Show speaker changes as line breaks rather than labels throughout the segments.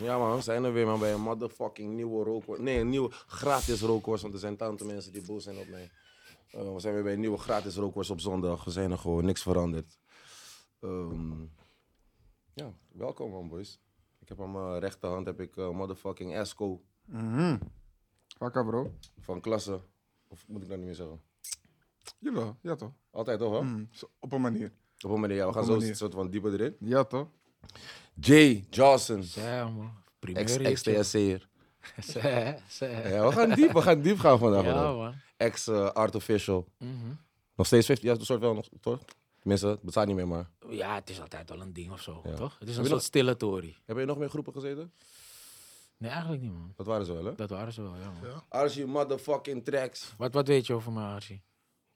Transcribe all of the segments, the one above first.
lang zijn we weer, maar bij een motherfucking nieuwe rookworst. Nee, een nieuwe gratis rookworst, want er zijn tante mensen die boos zijn op mij. Eh, we zijn weer bij een nieuwe gratis rookworst op zondag. We zijn er gewoon, niks veranderd. Ehm, ja, welkom man, boys. Ik heb aan mijn rechterhand heb ik eh, motherfucking Esco
Mhm. Wakker, bro.
van klasse. Of moet ik dat niet meer zeggen?
Jawel, ja toch?
Altijd toch, hè?
Mm, zo- op een manier.
Op een manier, ja, we gaan
Op
zo
een
een
manier.
soort van dieper erin.
Ja toch?
Jay Johnson,
Ja, man. Primeur
ex-TSC'er.
Zij, zij.
Ja, we gaan diep, we gaan diep gaan vandaag.
Ja,
man.
man.
Ex-Artificial.
Mhm.
Nog steeds 50, ja, een soort wel nog, toch? Tenminste, het bestaat niet meer, maar.
Ja, het is altijd wel een ding of zo,
Ja.
toch? Het is
je
een soort
nog-
stille tory.
Heb je nog meer groepen gezeten?
Nee, eigenlijk niet, man.
Dat waren ze wel, hè?
Dat waren ze wel, ja, man.
Ja.
Archie motherfucking tracks.
Wat, wat weet je over mij, Archie?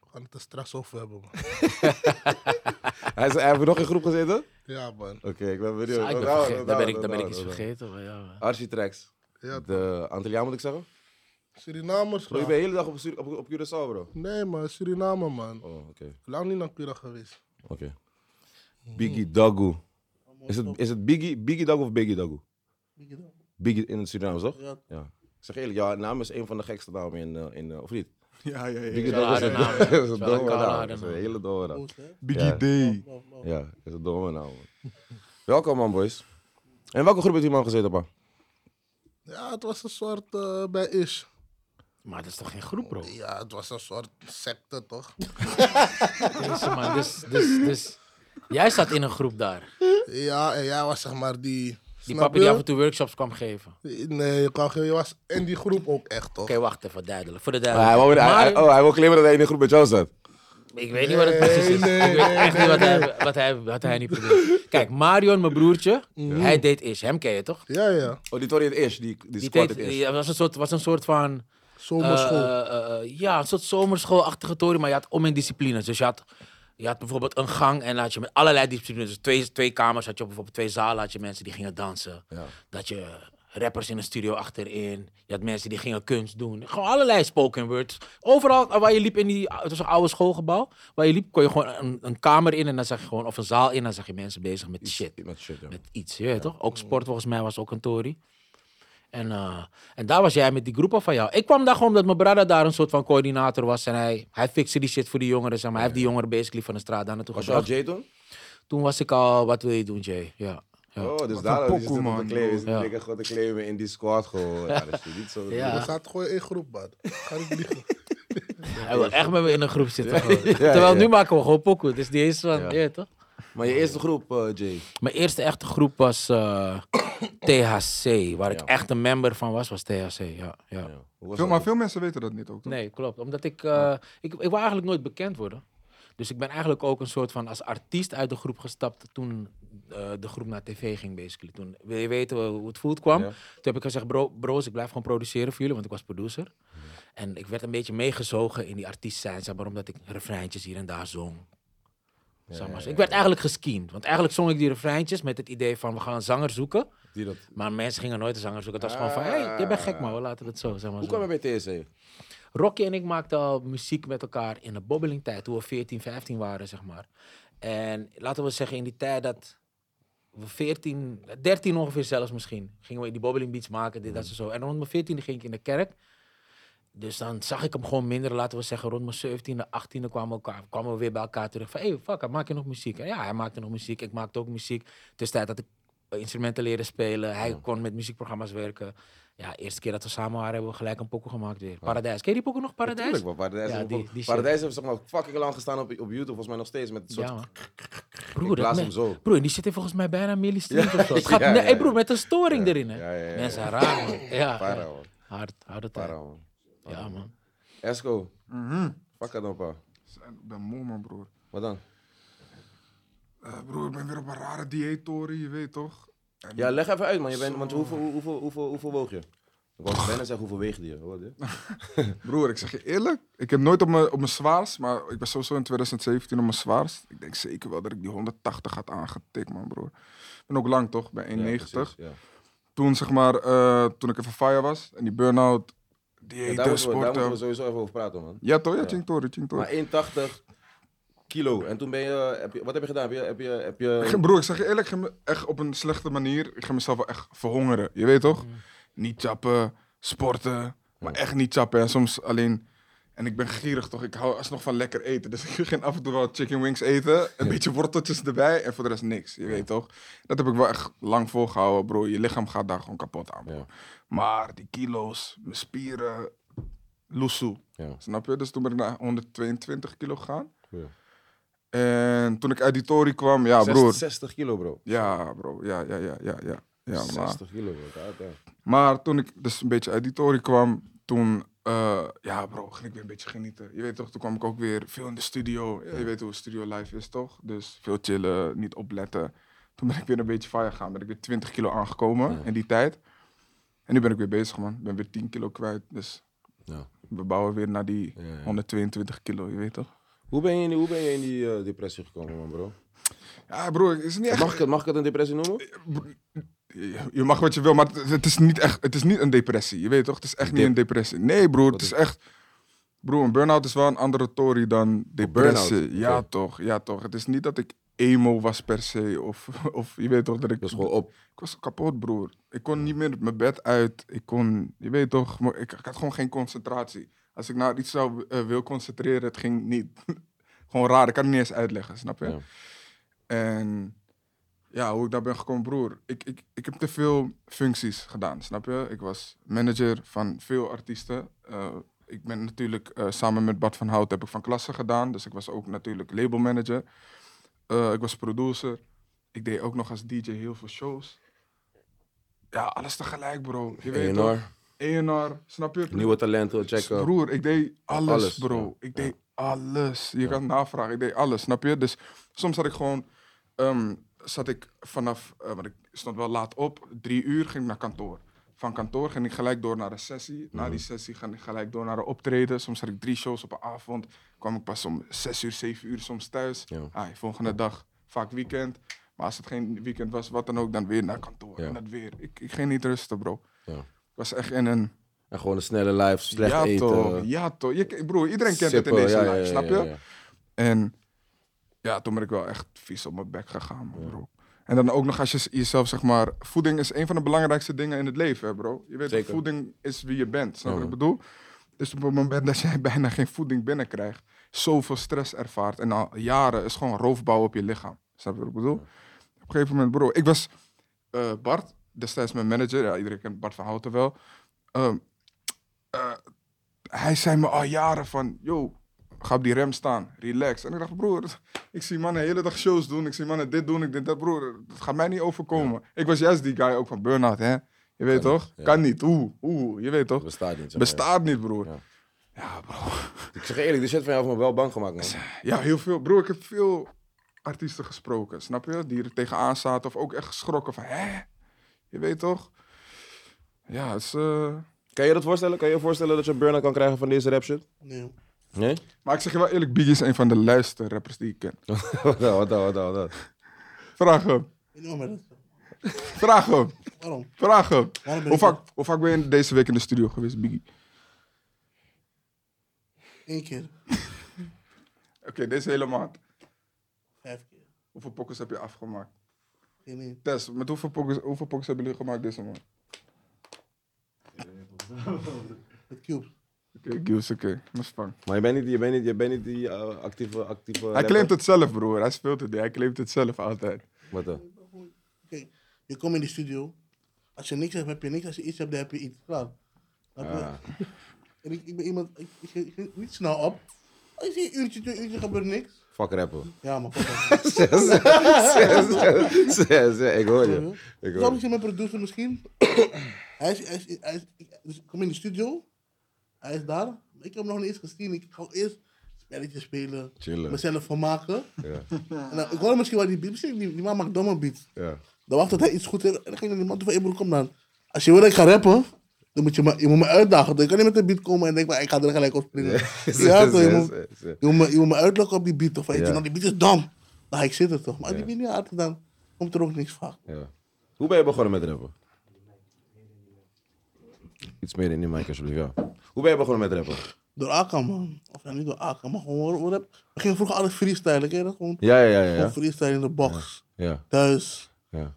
We gaan het er straks over hebben, man.
Hij zei, heb je nog in groep gezeten? Oké,
Ja, man.
ik ben benieuwd.
Ja, ik ben
Nou,
vergeten.
nou,
Daar ben ik,
nou,
daar ben
nou,
ik iets
nou.
vergeten, maar ja, man.
Archie tracks.
Ja,
De Antilliaan moet ik zeggen?
Surinamers,
Bro, je
man.
bent de hele dag op, Sur- op, op Curaçao, bro.
Nee, man. Suriname, man.
Oh, oké.
Lang niet naar Cura geweest.
Oké. Biggie Dagu. Is het, is het Biggie, Biggie Dagu of Biggie Dagu? Biggie in het Surinaams, toch?
Ja.
Ik zeg eerlijk, jouw naam is een van de gekste namen in, eh, in eh, of niet?
Ja, ja, ja.
Biggie
wel
Dagu is
een
een-
harde naam.
is een
Het is wel een
domme
kale
naam.
harde
Dat is een
naam.
hele domme naam.
Biggie D.
Ja, is een domme naam. man. Welkom man, boys. En welke groep heeft die man gezeten, pa?
Ja, het was een soort eh, bij Ish.
Maar dat is toch geen groep, bro?
Ja, het was een soort secte, toch?
Deze man, dus, dus, dus... Jij zat in een groep daar.
ja, en jij was zeg maar die...
Die
snap
papi
je?
die af en toe workshops kwam geven. Oké,
Nee, je, kwam geen- je was in die groep ook echt, toch?
wacht even, duidelijk. Voor de
hij,
duidelijkheid.
wil, hij,
Maar-
oh, hij wil claimen dat hij in de groep met jou staat.
Ik weet niet wat het
Nee,
precies is.
nee,
ik weet
nee,
echt
nee,
niet wat hij, wat, hij, wat hij niet probeert. Kijk, Marion, mijn broertje,
Mm.
hij deed is. Hem ken je toch?
Ja, ja.
Oh, die Tori het is, die, die,
Die eh,
squad
deed,
het is.
ja, was, een soort, was een soort van...
Zomerschool.
eh, eh, eh, ja, een soort zomerschoolachtige toren, maar je had om in disciplines. Dus je had, je had bijvoorbeeld een gang en dan had je met allerlei disciplines. Dus twee, twee kamers had je, bijvoorbeeld twee zalen had je mensen die gingen dansen.
Ja.
Dat je rappers in een studio achterin. Je had mensen die gingen kunst doen. Gewoon allerlei spoken word. Overal eh, waar je liep in die... Het was een oude schoolgebouw. Waar je liep kon je gewoon een, een kamer in en dan zag je gewoon... Of een zaal in en dan zag je mensen bezig met shit.
Met shit, ja.
Met iets, je weet toch? Ook sport volgens mij was ook een Tory. En, eh, en daar was jij met die groepen van jou. Ik kwam daar gewoon omdat mijn brada daar een soort van coördinator was. En hij, hij fixe die shit voor die jongeren, zeg maar. Hij heeft die jongeren basically van de straat daar naartoe
Was je al
gebracht.
Jay toen?
Toen was ik al, wat wil je doen, Jay? Ja. ja.
Oh, dus
een
daar is
pokoe,
het op de
man.
claim. Is
Ja.
ja. lekker gewoon te claimen in die squad gewoon. Ja, dat is niet zo.
Ja.
We zaten gewoon in één groep, man. Ga niet liegen.
Hij wil echt met me in een groep zitten. gewoon.
ja,
Terwijl
ja.
nu maken we gewoon pokoe. Dus die is van,
Ja.
je weet toch?
Maar je eerste groep, eh, Jay.
Mijn eerste echte groep was eh, THC. Waar ik
Ja.
echt een member van was, was THC. Ja, ja.
Ja. Hoe was
Veel,
dat?
maar veel mensen weten dat niet ook. Toch?
Nee, klopt. Omdat ik, eh,
Ah.
ik, ik wil eigenlijk nooit bekend worden. Dus ik ben eigenlijk ook een soort van als artiest uit de groep gestapt toen eh, de groep naar tv ging, basically. Toen wil je weten hoe het voelt kwam.
Ja.
Toen heb ik gezegd, bro, bro's, ik blijf gewoon produceren voor jullie, want ik was producer. En ik werd een beetje meegezogen in die artiest zijn, zeg maar, omdat ik refreintjes hier en daar zong. Zeg maar zo. Ik werd eigenlijk gescheemd, want eigenlijk zong ik die refreintjes met het idee van, we gaan een zanger zoeken.
Die dat.
Maar mensen gingen nooit een zanger zoeken. Het was gewoon van, hey, je bent gek man, we laten het zo, zeg maar
Hoe
zo.
kwam je bij TSC?
Rocky en ik maakten al muziek met elkaar in de bobbelingtijd, toen we 14, 15 waren, zeg maar. En laten we zeggen, in die tijd dat we 14, 13 ongeveer zelfs misschien, gingen we die bobbelingbeats maken, dit,
Mhm.
dat en zo. En rond mijn 14e ging ik in de kerk. Dus dan zag ik hem gewoon minder, laten we zeggen, rond mijn 17e, 18e kwamen we, elkaar, kwamen we weer bij elkaar terug. Van, hey, fuck, maak je nog muziek? En ja, hij maakte nog muziek, ik maakte ook muziek. Tussentijd had ik eh, instrumenten leren spelen, hij kon met muziekprogramma's werken. Ja, eerste keer dat we samen waren, hebben we gelijk een pokoe gemaakt weer. Paradijs. Ken je die pokoe nog, Paradijs?
Tuurlijk, wel. Paradijs,
Ja,
heeft
die-
ook-
die shit.
Paradijs heeft zeg maar fucking lang gestaan op, op YouTube, volgens mij nog steeds. Met een soort.
Ja, man.
ik
Broer, dat
blaas
me-
hem zo.
broer, die zit hier volgens mij bijna een miljoen of zo. Het gaat
ja,
nee,
ja,
hey, broer,
ja.
met een storing erin, hè.
Ja, ja, ja.
Mensen zijn raar, man. Ja,
Para,
ja.
man.
Hard, harde tijd.
Para, man.
Ja, man.
Esco,
Mhm.
pak het dan, pa.
Ik ben moe, man, broer.
Wat dan?
Eh, broer, ik ben weer op een rare dieet, Tori, je weet toch? En-
Ja, leg even uit, man. Je bent, want hoeveel, hoeveel, hoeveel, hoeveel woog je? Ik wou bijna zeggen, hoeveel weegde je? Hoor, dit.
Broer, ik zeg je eerlijk, ik heb nooit op mijn, op mijn zwaarst, maar ik ben sowieso in 2017 op mijn zwaarst. Ik denk zeker wel dat ik die 180 had aangetikt, man, broer. Ik ben ook lang, toch? Bij 1,90.
Ja,
toen, zeg maar, eh, toen ik even fire was en die burn-out, dieet, eh,
precies, ja. Ja, daar, moeten we, daar moeten
sporten.
we sowieso even over praten, man.
Ja, toch? Ja,
Ja.
Ching Tori, Ching Tori.
Maar 1,80 Kilo. En toen ben je, heb je wat heb je gedaan? Heb je, heb je, heb
Ik-
je...
Broer, ik zeg je eerlijk, ik ga me echt op een slechte manier. Ik ga mezelf wel echt verhongeren. Je weet
Mm.
toch? Niet chappen, sporten. Maar echt niet chappen. En soms alleen. En ik ben gierig toch? Ik hou alsnog van lekker eten. Dus ik ging af en toe wel chicken wings eten. Een beetje worteltjes erbij. En voor de rest niks. Je weet toch? Dat heb ik wel echt lang volgehouden, bro. Je lichaam gaat daar gewoon kapot aan, bro.
Ja.
Maar die kilo's, mijn spieren. Loesoe.
Ja.
Snap je? Dus toen ben ik naar 122 kilo gegaan.
Ja.
En toen ik uit die tory kwam, ja,
Zes-
broer.
60 kilo, bro.
Ja, bro. Ja, ja, ja, ja, ja. ja maar,
60 kilo, bro. Kaart, ja.
maar toen ik dus een beetje uit die toren kwam, toen, eh, ja, bro, ging ik weer een beetje genieten. Je weet toch, toen kwam ik ook weer veel in de studio. Ja, je weet hoe studio life is, toch? Dus veel chillen, niet opletten. Toen ben ik weer een beetje fire gaan. Ben ik weer 20 kilo aangekomen in die tijd. En nu ben ik weer bezig, man. Ik ben weer 10 kilo kwijt. Dus
Ja.
we bouwen weer naar die
ja.
122 kilo, je weet toch?
Hoe ben je in die, hoe ben je in die eh, depressie gekomen, man, bro?
Ja, bro, het is niet echt...
Mag ik, het- mag ik het een depressie noemen?
Je- Je mag wat je wil, maar het- het is niet echt. Het is niet een depressie. Je weet toch? Het is echt niet
Dip.
een depressie. Nee, broer, het is echt. Broer, een burn-out is wel een andere tory dan depressie.
Oh, burn-out,
ja,
oké.
toch? Ja, toch? Het is niet dat ik emo was per se. Of, of je weet toch dat ik.
Dus gewoon op.
Ik was kapot, broer. Ik kon niet meer mijn bed uit. Ik kon, je weet toch, maar ik, ik had gewoon geen concentratie. Als ik nou iets zou eh, wil concentreren, het ging niet. gewoon raar, ik kan het niet eens uitleggen, snap je?
Ja.
En ja, hoe ik daar ben gekomen, broer. Ik, ik, ik heb te veel functies gedaan, snap je? Ik was manager van veel artiesten. Eh, ik ben natuurlijk eh, samen met Bart van Hout heb ik van klassen gedaan. Dus ik was ook natuurlijk labelmanager. Eh, ik was producer. Ik deed ook nog als DJ heel veel shows. Ja, alles tegelijk, bro. Je weet
A&R.
toch? ENR, snap je?
Nieuwe talenten, checken.
Broer, ik deed alles,
Alles,
bro. Ik deed alles. Je kan navragen, ik deed alles, snap je? Dus soms had ik gewoon, ehm, zat ik vanaf, eh, want ik stond wel laat op, drie uur ging ik naar kantoor. Van kantoor ging ik gelijk door naar de sessie.
Mhm.
Na die sessie ging ik gelijk door naar de optreden. Soms had ik drie shows op een avond. Kwam ik pas om zes uur, zeven uur soms thuis.
Ja.
Ah, volgende dag, vaak weekend. Maar als het geen weekend was, wat dan ook, dan weer naar kantoor.
Ja.
En dat weer. Ik, ik ging niet rusten, bro.
Ja.
Ik was echt in een
En gewoon een snelle life, slecht
ja,
eten.
Toch, ja, toch. Je, broer, iedereen kent
sippen,
het in deze
ja,
life,
ja, ja,
snap je?
ja, ja.
En ja, toen ben ik wel echt vies op mijn bek gegaan, man, bro. En dan ook nog als je z- jezelf, zeg maar... Voeding is een van de belangrijkste dingen in het leven, hè, bro. Je weet,
Zeker.
voeding is wie je bent, snap je
Ja,
wat ik bedoel? Dus op het moment dat jij bijna geen voeding binnenkrijgt... zoveel stress ervaart en al jaren is gewoon roofbouw op je lichaam. Snap je wat ik bedoel? Op een gegeven moment, bro, ik was... eh, Bart, destijds mijn manager, ja, iedereen kent Bart van Houten wel... ehm, eh, hij zei me al jaren van, yo, ga op die rem staan, relax. En ik dacht, broer, ik zie mannen de hele dag shows doen, ik zie mannen dit doen, ik dit, dat, broer, dat gaat mij niet overkomen. Ik was juist die guy ook van burn-out, hè? Je weet
Kan
toch?
niet, ja.
Kan niet, oeh, oeh, je weet toch?
Dat bestaat niet. zeg maar.
Bestaat niet, broer.
Ja.
Ja, bro.
Ik zeg je eerlijk, die shit van jou heeft me wel bang gemaakt, man.
Ja, heel veel. Broer, ik heb veel artiesten gesproken, snap je? Die er tegenaan zaten of ook echt geschrokken van, hè? Je weet toch? Ja, het is... eh,
Kan je dat voorstellen? Kan je je voorstellen dat je een burn-out kan krijgen van deze rap shit?
Nee.
Nee?
Maar ik zeg je wel eerlijk, Biggie is een van de luister rappers die ik ken.
wat dan, wat dan, wat dan, wat dan?
Vraag hem.
Ik noem maar dat.
Vraag hem.
Waarom?
Vraag hem.
Waarom
Hoe
ben ik
vaak, hoe vaak ben je deze week in de studio geweest, Biggie?
Eén keer.
Oké, deze hele maand.
Vijf keer.
Hoeveel pokkers heb je afgemaakt?
Geen één.
Tess, met hoeveel pokkers, hoeveel pokkers hebben jullie gemaakt deze maand?
Met Cube.
Oké, Giels, oké. Maar spang.
Maar je bent niet, je bent niet, je bent niet die eh, actieve, actieve
Hij claimt het zelf, broer. Hij speelt het niet. Hij claimt het zelf altijd.
Wat dan?
Kijk, je komt in de studio. Als je niks hebt, heb je niks. Als je iets hebt, dan heb je iets. Klaar. Snap je?
Ah.
En ik, ik ben iemand, ik, ik, ik- ik- niet snel op. Als je ziet een uurtje, twee uurtje gebeurt niks.
Fuck rappen.
Ja, maar fuck off.
Zes, zes, zes, zes, zes. Ik hoor je. Ik
Zo
hoor je.
misschien mijn producer misschien. hij is, hij is, hij is, ik, dus ik kom in de studio. Hij is daar. Ik heb hem nog niet eens gezien. Ik ga eerst spelletjes spelen.
Chillen.
Mezelf vermaken.
Ja,
En dan, ik hoor misschien wel die beat. Misschien die, die man maakt domme beats.
ja.
Dan wacht tot hij iets goed heeft. En dan ging ik naar die man toe van, "Hey, broer, kom dan. Als je wil dat ik ga rappen, dan moet je me, je moet me uitdagen. Dan kan je met een beat komen en denk maar, ik ga er gelijk op springen. Ja,
Zes,
toch, je
zes,
moet-
zes, zes.
je moet me, je moet me uitlokken op die beat. Of hey,
Ja.
Gino, die beat is dom. Dan ga ik zitten toch. Maar als
Ja.
die beat niet uit, dan komt er ook niks van.
Ja. Hoe ben je begonnen met rappen? Iets meer in die mic alsjeblieft, ja. Hoe ben je begonnen met rappen?
Door Aka, man. Of ja, niet door Aka, maar gewoon... Wat heb... We gingen vroeger alles freestylen, ken je dat? Gewoon,
Ja, ja, ja.
gewoon
Ja,
freestyle in de box.
ja.
Thuis.
ja.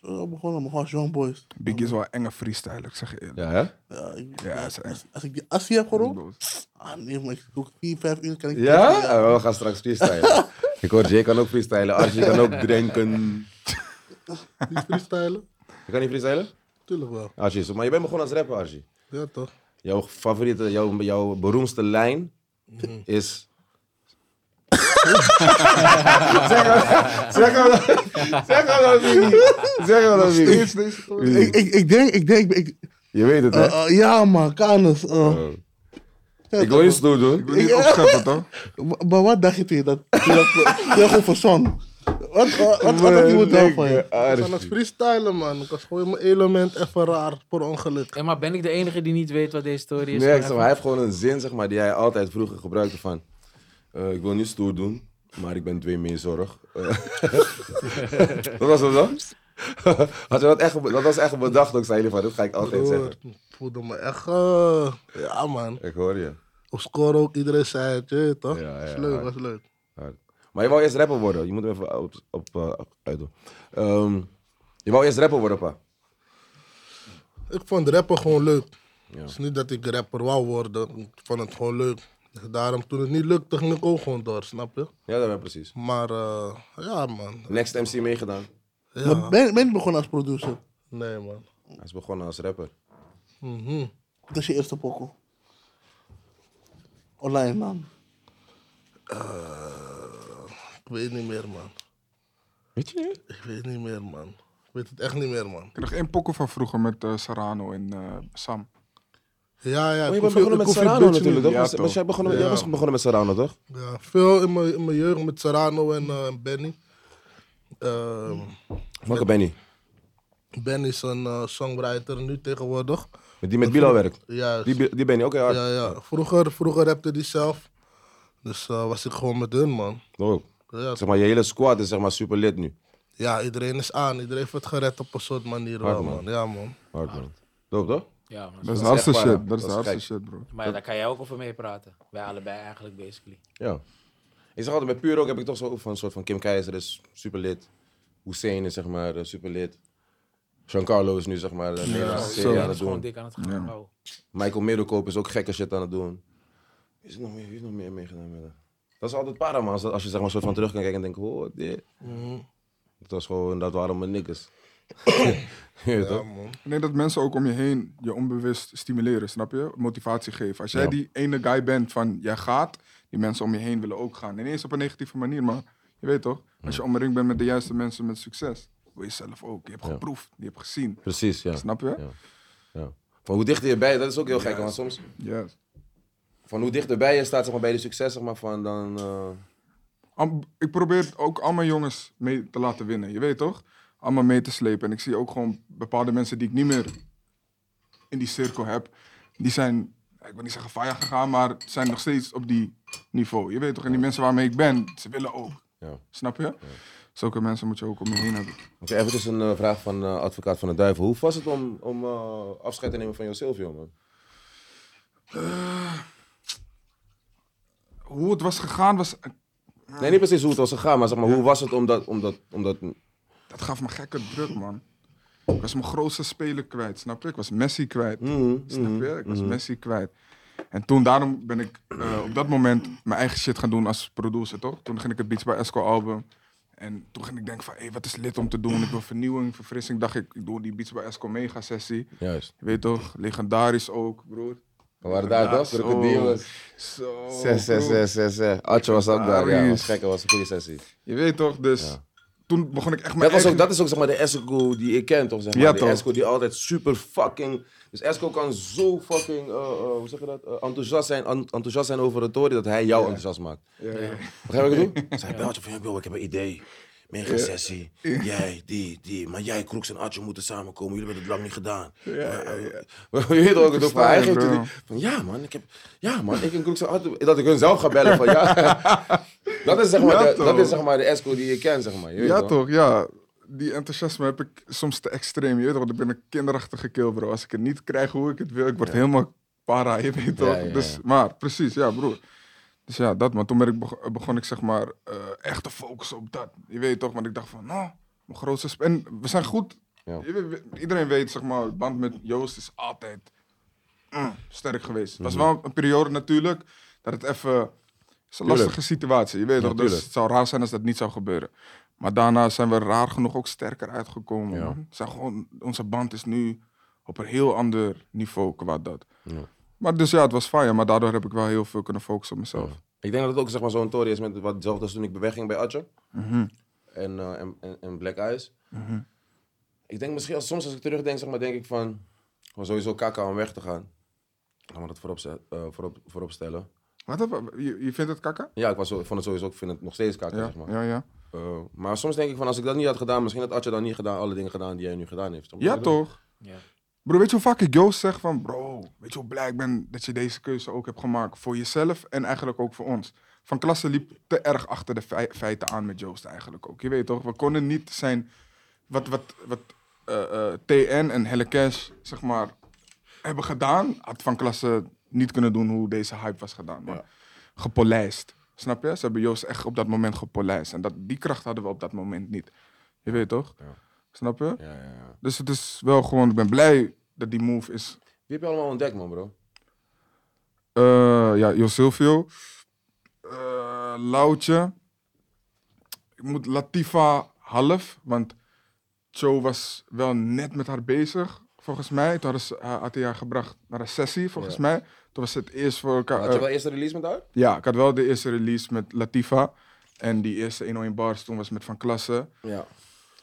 Zo hebben we begonnen, maar gewoon John Boys.
Biggie is wel een enge freestyler, ik zeg je eerlijk.
ja hè?
Ja, ik,
Ja,
als,
is echt-
als, als ik die Assie heb gerookt... Ah nee, maar ik doe 4, 5 uur, kan ik...
Ja? Ah, we gaan straks freestylen. ik hoor Jay kan ook freestylen. Archie kan ook drinken.
Niet freestylen?
Je kan niet freestylen?
Tuurlijk wel.
Archie, is- maar je bent begonnen als rapper, Archie.
Ja, toch?
Jouw favoriete, jouw, jouw beroemdste lijn is... zeg hem zeg hem dat niet. Zeg hem dat
Steeds
niet.
deze toren.
Ik, ik, ik denk, ik denk... Ik,
Je weet het, hè?
eh, eh, ja, man, Kanus. eh.
Oh. Ik wil niet stoer
Ik
doen.
wil niet opscheppen, toch?
Maar- Maar wat dacht je toen je dat... toen je dat- toen je gewoon verzon? Wat, wat, wat had dat iemand wel van je?
Ik was aan het
Archie.
freestylen, man. Ik was gewoon in mijn element even raar, per ongeluk.
Hé, maar ben ik de enige die niet weet wat deze story is?
Nee, ik zeg maar, hij heeft gewoon een zin zeg maar, die hij altijd vroeger gebruikte van... eh, ik wil niet stoer doen, maar ik ben twee meer zorg. Eh, dat was het dan? Had je dat, echt, dat was echt bedacht ook, zei jullie van, dat ga ik altijd
Broer,
zeggen.
ik voelde me echt... eh, ja, man.
Ik hoor je.
Op score ook, iedereen zei het, je weet toch?
Ja, ja,
was leuk,
hard.
was leuk.
Hard. Maar je wou eerst rapper worden. Je moet hem even op, op, eh, uitdoen. Ehm, je wou eerst rapper worden, pa.
Ik vond rappen gewoon leuk. Het is niet dat ik rapper wou worden. Ik vond het gewoon leuk. Dus daarom, toen het niet lukte, ging ik ook gewoon door, snap je?
Ja, dat ben ik precies.
Maar eh, ja, man.
Next MC meegedaan.
Maar ben, ben je begonnen als producer?
Nee, man.
Hij is begonnen als rapper.
Mhm.
Dat is je eerste pokkel. Online, man.
Ik weet niet meer, man.
Weet je niet?
Ik weet niet meer, man. Ik weet het echt niet meer, man.
Ik heb nog één pokkel van vroeger met eh, Serrano en eh, Sam.
Ja,
Maar
ja. ik
je
hoef
bent begonnen met
ik hoef je
Serrano
bitch
natuurlijk.
niet-
toch?
Ja,
Was- was
toch.
jij, begonnen, jij
Ja.
was begonnen met Serrano, toch?
Ja, veel in mijn, in mijn jeugd met Serrano en, eh, en Benny. Ehm,
Welke Benny?
Benny is een eh, songwriter nu tegenwoordig.
Met die met Bilal werkt.
Juist.
Die, Bi- die Benny, oké, hard.
Ja, ja. Vroeger, vroeger rapte die zelf. Dus eh, was ik gewoon met hun, man.
Dope.
Ja,
Zeg maar, je hele squad is zeg maar super lid nu.
ja, iedereen is aan. Iedereen heeft het gered op een soort manier
Hard,
wel,
man.
man. Ja, man.
Hard man. Dope toch?
Ja,
Dat
man.
is de
is echt
hardste
waar,
shit,
hè?
dat is de
Dat is
hardste shit, bro.
Maar ja, daar kan jij ook over mee praten. Wij allebei eigenlijk, basically.
Ja. Ik zeg altijd, bij Puur ook heb ik toch zo ook van een soort van Kim Keizer is super lid. Hussein is zeg maar eh, super lid. Giancarlo is nu zeg maar eh, Nederlandse
Zo,
serie
ja,
aan
dat
het
is gewoon
doen.
dik aan het gaan. Oh.
Michael Middelkoop is ook gekke shit aan het doen. Wie is er nog meer, wie heeft nog meer meegedaan met dat? Dat is altijd para man, als, als je zeg maar soort van terug kan kijken en denkt, oh dit.
Mhm.
Dat was gewoon, dat waren mijn niggers. Je weet toch?
Ik denk dat mensen ook om je heen je onbewust stimuleren, snap je? Motivatie geven. Als jij
Ja.
die ene guy bent van jij gaat, die mensen om je heen willen ook gaan. Ineens op een negatieve manier, maar je weet toch? Als je omringd bent met de juiste mensen met succes, wil je zelf ook. Je hebt geproefd, je hebt gezien.
Precies, ja.
Snap je?
Ja. ja. Van hoe dichter je bij, dat is ook heel gek, want soms
Yes.
van hoe dichterbij je staat zeg maar, bij de succes, zeg maar, van dan. eh,
Am- ik probeer ook allemaal jongens mee te laten winnen, je weet toch? Allemaal mee te slepen. En ik zie ook gewoon bepaalde mensen die ik niet meer in die cirkel heb, die zijn, ik wil niet zeggen faya gegaan, maar zijn nog steeds op die niveau. Je weet toch? En die mensen waarmee ik ben, ze willen ook.
ja.
Snap je? Zulke mensen moet je ook om je heen hebben.
Oké, even dus een eh, vraag van eh, advocaat van de duivel. Hoe was het om, om eh, afscheid te nemen van jouw Silvio, man?
Hoe het was gegaan, was,
Nee, niet precies hoe het was gegaan, maar zeg maar, hoe was het om dat, om dat, om dat...
dat gaf me gekke druk, man. Ik was mijn grootste speler kwijt, snap je? Ik was Messi kwijt.
Mhm,
Snap je? Ik was Messi kwijt. En toen, daarom ben ik eh, op dat moment mijn eigen shit gaan doen als producer, toch? Toen ging ik het Beats by Esco album. En toen ging ik denken van, hé, wat is lid om te doen? Ik wil vernieuwing, verfrissing. Dacht ik, ik doe die Beats by Esco mega sessie.
Juist.
Je weet toch, legendarisch ook, broer.
We waren daar, toch?
Zo.
Krokodilers.
Zo,
Zes, zes,
broer.
zes, zes, zes. Atje was ook daar, ja.
Aries.
was gek, was een goede sessie.
Je weet toch, dus toen begon ik echt
Dat,
mijn
was ook,
eigen-
dat is ook zeg maar de Esco die ik ken, toch? Zeg maar.
Ja,
de
toch.
Esco die altijd super fucking... Dus Esco kan zo fucking, eh, eh, hoe zeg je dat? Eh, enthousiast, zijn, an- enthousiast zijn over een tory dat hij jou enthousiast maakt.
Ja, ja.
Begrijp je wat ik bedoel? Zij belt je van, yo, ik heb een idee. Mega sessie. Jij, die, die. Maar jij, Kroeks en Atje moeten samenkomen. Jullie hebben het lang niet gedaan. Je weet toch ook het ook van, hij
Verstaan,
geeft je
bro.
die- van, ja man, ik heb, ja man, ik en Kroeks en Atje. Dat ik hun zelf ga bellen van, ja. dat, is, zeg maar,
Ja,
de, dat is
toch.
zeg maar de esco die je kent, zeg maar. Je weet
Ja, toch, ja. Die enthousiasme heb ik soms te extreem. Je weet toch, want ik ben een kinderachtige kill, bro. Als ik het niet krijg hoe ik het wil, ik word helemaal para, je weet toch?
Ja, ja, ja.
Dus, maar precies, ja broer. Dus ja, dat man. Toen ben ik beg- begon ik zeg maar eh, echt te focussen op dat. Je weet toch, want ik dacht van, nou, mijn grootste... sp- En we zijn goed.
Ja.
Je weet- we- iedereen weet zeg maar, het band met Joost is altijd mm, sterk geweest. Het
Mhm.
was wel een periode natuurlijk dat het even... Het is een lastige situatie, je weet toch? Dus
tuurlijk.
het zou raar zijn als dat niet zou gebeuren. Maar daarna zijn we raar genoeg ook sterker uitgekomen. man. Het Zijn gewoon, onze band is nu op een heel ander niveau qua dat. Maar dus ja, het was fijn, maar daardoor heb ik wel heel veel kunnen focussen op mezelf.
Ik denk dat het ook zeg maar, zo'n tory is met wat zelfs als toen ik beweging bij Atje.
Mhm.
En, eh, en, en, en Black Eyes. Ik denk misschien, als, soms als ik terugdenk, zeg maar, denk ik van... Gewoon sowieso kaka om weg te gaan. Laat maar dat voorop, zet- eh, voorop, voorop stellen.
Wat heb, je, je vindt het kakka?
Ja, ik, was, zo- ik vond het sowieso, ik vind het nog steeds kaka,
Ja,
zeg maar.
ja, ja.
Eh, maar soms denk ik van, als ik dat niet had gedaan, misschien had Atje dan niet gedaan, alle dingen gedaan die hij nu gedaan heeft.
Ja, toch?
Ja.
Bro, weet je hoe vaak ik Joost zeg van, bro, weet je hoe blij ik ben dat je deze keuze ook hebt gemaakt voor jezelf en eigenlijk ook voor ons. Van Klasse liep te erg achter de fei- feiten aan met Joost eigenlijk ook. Je weet toch, we konden niet zijn wat, wat, wat eh, eh, TN en Helle Cash, zeg maar, hebben gedaan. Had Van Klasse niet kunnen doen hoe deze hype was gedaan. Maar Gepolijst, snap je? Ze hebben Joost echt op dat moment gepolijst. En dat, die kracht hadden we op dat moment niet. Je weet toch? Snap je?
Ja, ja, ja.
Dus het is wel gewoon, ik ben blij dat die move is.
Wie heb je allemaal ontdekt, man, bro?
Eh, ja, Jo Silvio, eh, Loutje, ik moet Latifa half, want Cho was wel net met haar bezig, volgens mij. Toen hadden ze, eh, had hij haar gebracht naar een sessie, volgens mij. Toen was het eerst voor elkaar.
Had je
eh,
wel eerst een release met haar?
ja, ik had wel de eerste release met Latifa. En die eerste 101 bars toen was met Van Klasse.
Ja.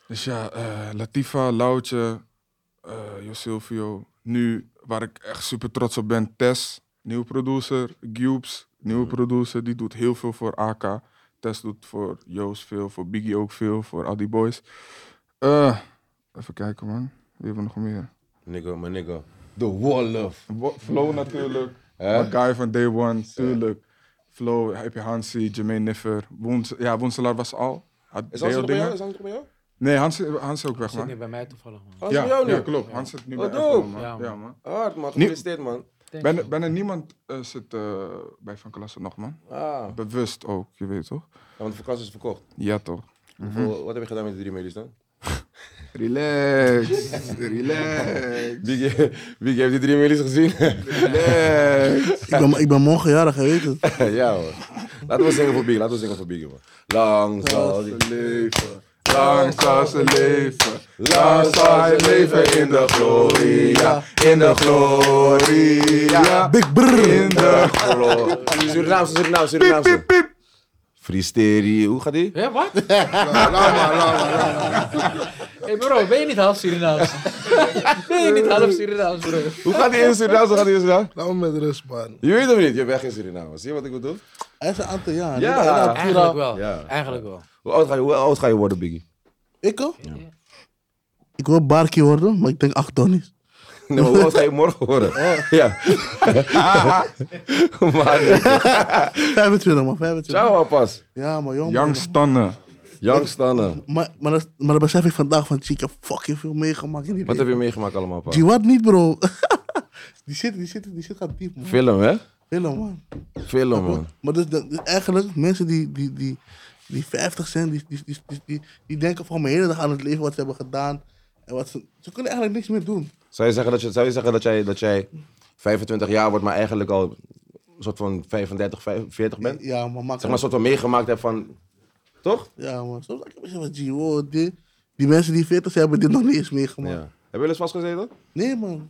Dus ja, eh, Latifa, Loutje, eh Jo Silvio. Nu, waar ik echt super trots op ben, Tess, nieuwe producer. Gubes, nieuwe
Mhm.
producer, die doet heel veel voor AK. Tess doet voor Joost veel, voor Biggie ook veel, voor al die boys. Eh, even kijken man, wie hebben we nog meer?
Nigga, mijn nigga. The Wolof.
Wo- Flow natuurlijk.
Hè?
Makai Guy van Day One, tuurlijk. Flow, heb je Hansi, Jermaine Niffer. Woens ja, Woenselaar was al. Had
Is
Deo
Hans nog bij jou?
dingen.
Is Hans nog bij jou?
Nee, Hansi, Hansi ook weg,
Zit
man.
niet bij mij toevallig, man.
Hans
Ja,
bij jou nu?
ja, klopt. Hans zit nu
Wat
bij Apple,
dope.
man.
Ja, man.
Ja, man.
Hard, man. Gefeliciteerd, man.
Ben, er- ben er niemand eh, zit eh, bij Van Klassen nog, man?
Ah.
Bewust ook, je weet toch?
Ja, want de vakantie is verkocht.
Ja, toch?
Hoeveel- Wat heb je gedaan met de drie medies dan?
Relax, relax,
Biggie, Biggie E- heeft die drie medies gezien.
relax.
Ik ben, ik ben morgen jarig, je weet het.
ja, hoor. Laten we zingen voor Biggie. Laten we zingen voor Biggie, man. Lang zal die...
leven, lang zal ze leven. Lang zal hij leven in de gloria, in de gloria.
Big brrr.
In de
Surinaamse, Surinaamse, Surinaamse. Freesterie. Hoe gaat die?
Hé, wat? Hé bro, ben je niet half Surinaams? ben je niet half Surinaams, bro?
Hoe gaat die in Suriname? Hoe gaat die in Suriname?
Laat me met rust, man.
Je weet hem niet. Je bent geen Suriname. Zie je wat ik bedoel?
Hij is een aantal jaar.
Ja.
Hij had vier
Eigenlijk
jaar.
wel.
Ja.
Eigenlijk wel.
Hoe oud ga je, hoe oud ga je worden, Biggie?
Ik al? Ik wil barkie worden, maar ik denk acht ton is.
Nee, maar hoe oud ga je morgen worden? Ja. maar,
25 man, 25.
ciao, appas.
Ja, maar jong.
Young Stannen.
Young Stannen.
Maar, maar, dat, maar dat besef ik vandaag van, zie, ik heb fucking veel meegemaakt in die
Wat heb je meegemaakt allemaal, pa?
Die wat niet, bro. die zit, die zit, die zit gaat diep, man.
Film, hè?
Film, man.
Film, man.
Maar dus, dat- dus eigenlijk, mensen die, die, die, die 50 zijn, die, die, die, die, die, die denken van mijn hele dag aan het leven wat ze hebben gedaan. En wat ze, ze kunnen eigenlijk niks meer doen.
Zou je zeggen dat, je, zou je zeggen dat, jij, dat jij 25 jaar wordt, maar eigenlijk al een soort van 35, 40 bent?
Ja, maar maak
Zeg maar, een soort van meegemaakt hebt van... Toch?
Ja, man. Soms denk ik misschien van, gee, wow, die, die mensen die 40 zijn, hebben dit nog niet eens meegemaakt.
Ja. Heb je wel eens vastgezeten?
Nee, man.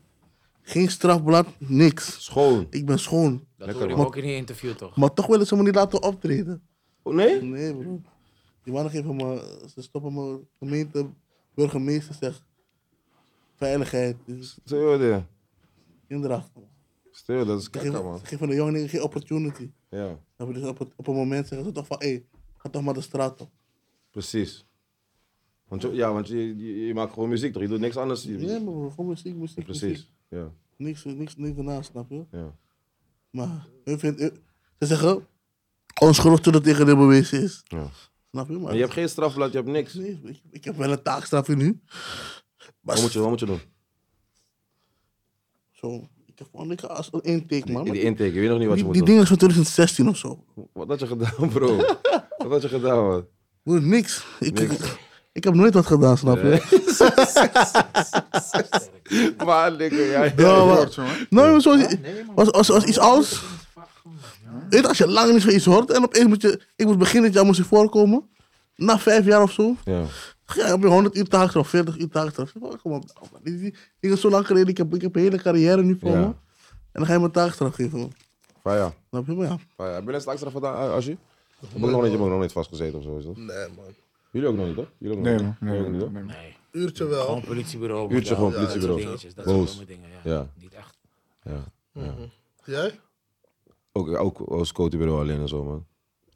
Geen strafblad, niks.
Schoon.
Ik ben schoon.
Dat hoorde ik ook in die interview, toch?
Maar toch willen ze me niet laten optreden.
Oh, nee?
Nee, bro. Die mannen geven me, ze stoppen me, gemeente, burgemeester zegt, veiligheid, dus
Stil, dit.
kinderachtig. man.
Stil, dat is
Ze
kaka,
geven,
man.
ze geven de jongen geen opportunity.
Ja,
Dan hebben we dus op, het, op een moment zeggen ze toch van, hé, ga toch maar de straat op.
precies. Want, je- ja, want je, je, je maakt gewoon muziek, toch? Je doet niks anders. Je-
Nee, maar bro, gewoon muziek, muziek,
Precies,
muziek.
ja.
Niks, niks, niks ernaast, snap je?
ja.
Maar hun vindt, hun- ze zeggen, onschuldig tot het tegen de bewezen is.
Ja.
Snap je? Maar
Maar je hebt geen strafblad, je hebt niks.
nee, ik, ik heb wel een taakstraf nu. Maar
Wat moet je, wat moet je doen?
Zo, ik, zeg van, ik als één take, man.
Die, die
Die,
intake, je weet nog niet wat je
die,
moet
die
doen.
ding is van 2016 of zo.
Wat had je gedaan, bro? wat had je gedaan, man?
Broer, niks. Ik,
Niks.
Ik, ik heb nooit wat gedaan, snap je?
maar, dikke, ja. ja.
Ja, maar-
Hoort, jongen.
Nee, maar zo, als, als, als iets ouds. Weet je, als je lang niet van iets hoort en opeens moet je. Ik moest begin dit jaar moest ik voorkomen. Na vijf jaar of zo.
Ja.
Ja, heb je 100 uur taak of 40 uur taak eraf. Ik zeg, Kom op, nou, man. Dit is niet- dit is zo lang geleden. Ik heb, ik heb een hele carrière nu voor
Ja.
me. En dan ga je mijn taak eraf geven. man.
Faya,
Snap je? Maar ja.
Faya. Heb je net straks eraf gedaan, eh, Asje? Je hebt ook nog niet, je hebt ook nog niet vastgezeten of zo, is dat?
Nee, man.
Jullie ook nog niet, toch? Jullie ook nog
Nee,
niet,
man.
toch?
Nee,
Jullie ook
nee,
niet,
nee, nee.
Nee,
Uurtje wel.
gewoon politiebureau.
Uurtje gewoon
model, dat soort
politiebureau.
dingetjes, Dat
Boos.
soort domme dingen, ja.
Ja.
Niet echt.
toch? Ja.
Jij?
Ook, ook als bureau alleen en zo, man.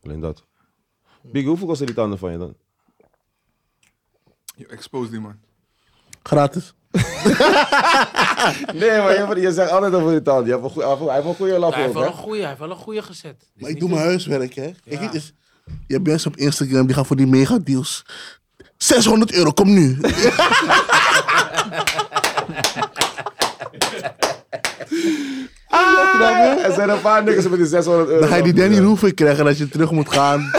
Alleen dat. Big, hoeveel kosten die tanden van je dan?
Je expose die man.
Gratis.
Nee, maar je, je zegt altijd over die tanden. Je hebt een goe- Hij heeft een goede lap
Hij heeft
ook,
wel een
hè?
goeie, hij heeft wel een goeie gezet. Dus
Maar ik
niet
doe mijn
een-
huiswerk, hè. Kijk, het is, je hebt mensen op Instagram die gaan voor die mega deals. 600 euro, kom nu.
Snap je? Er zijn een paar niks met die 600 euro.
Dan ga je die
lap,
Danny
ja.
Roeven krijgen als je terug moet gaan.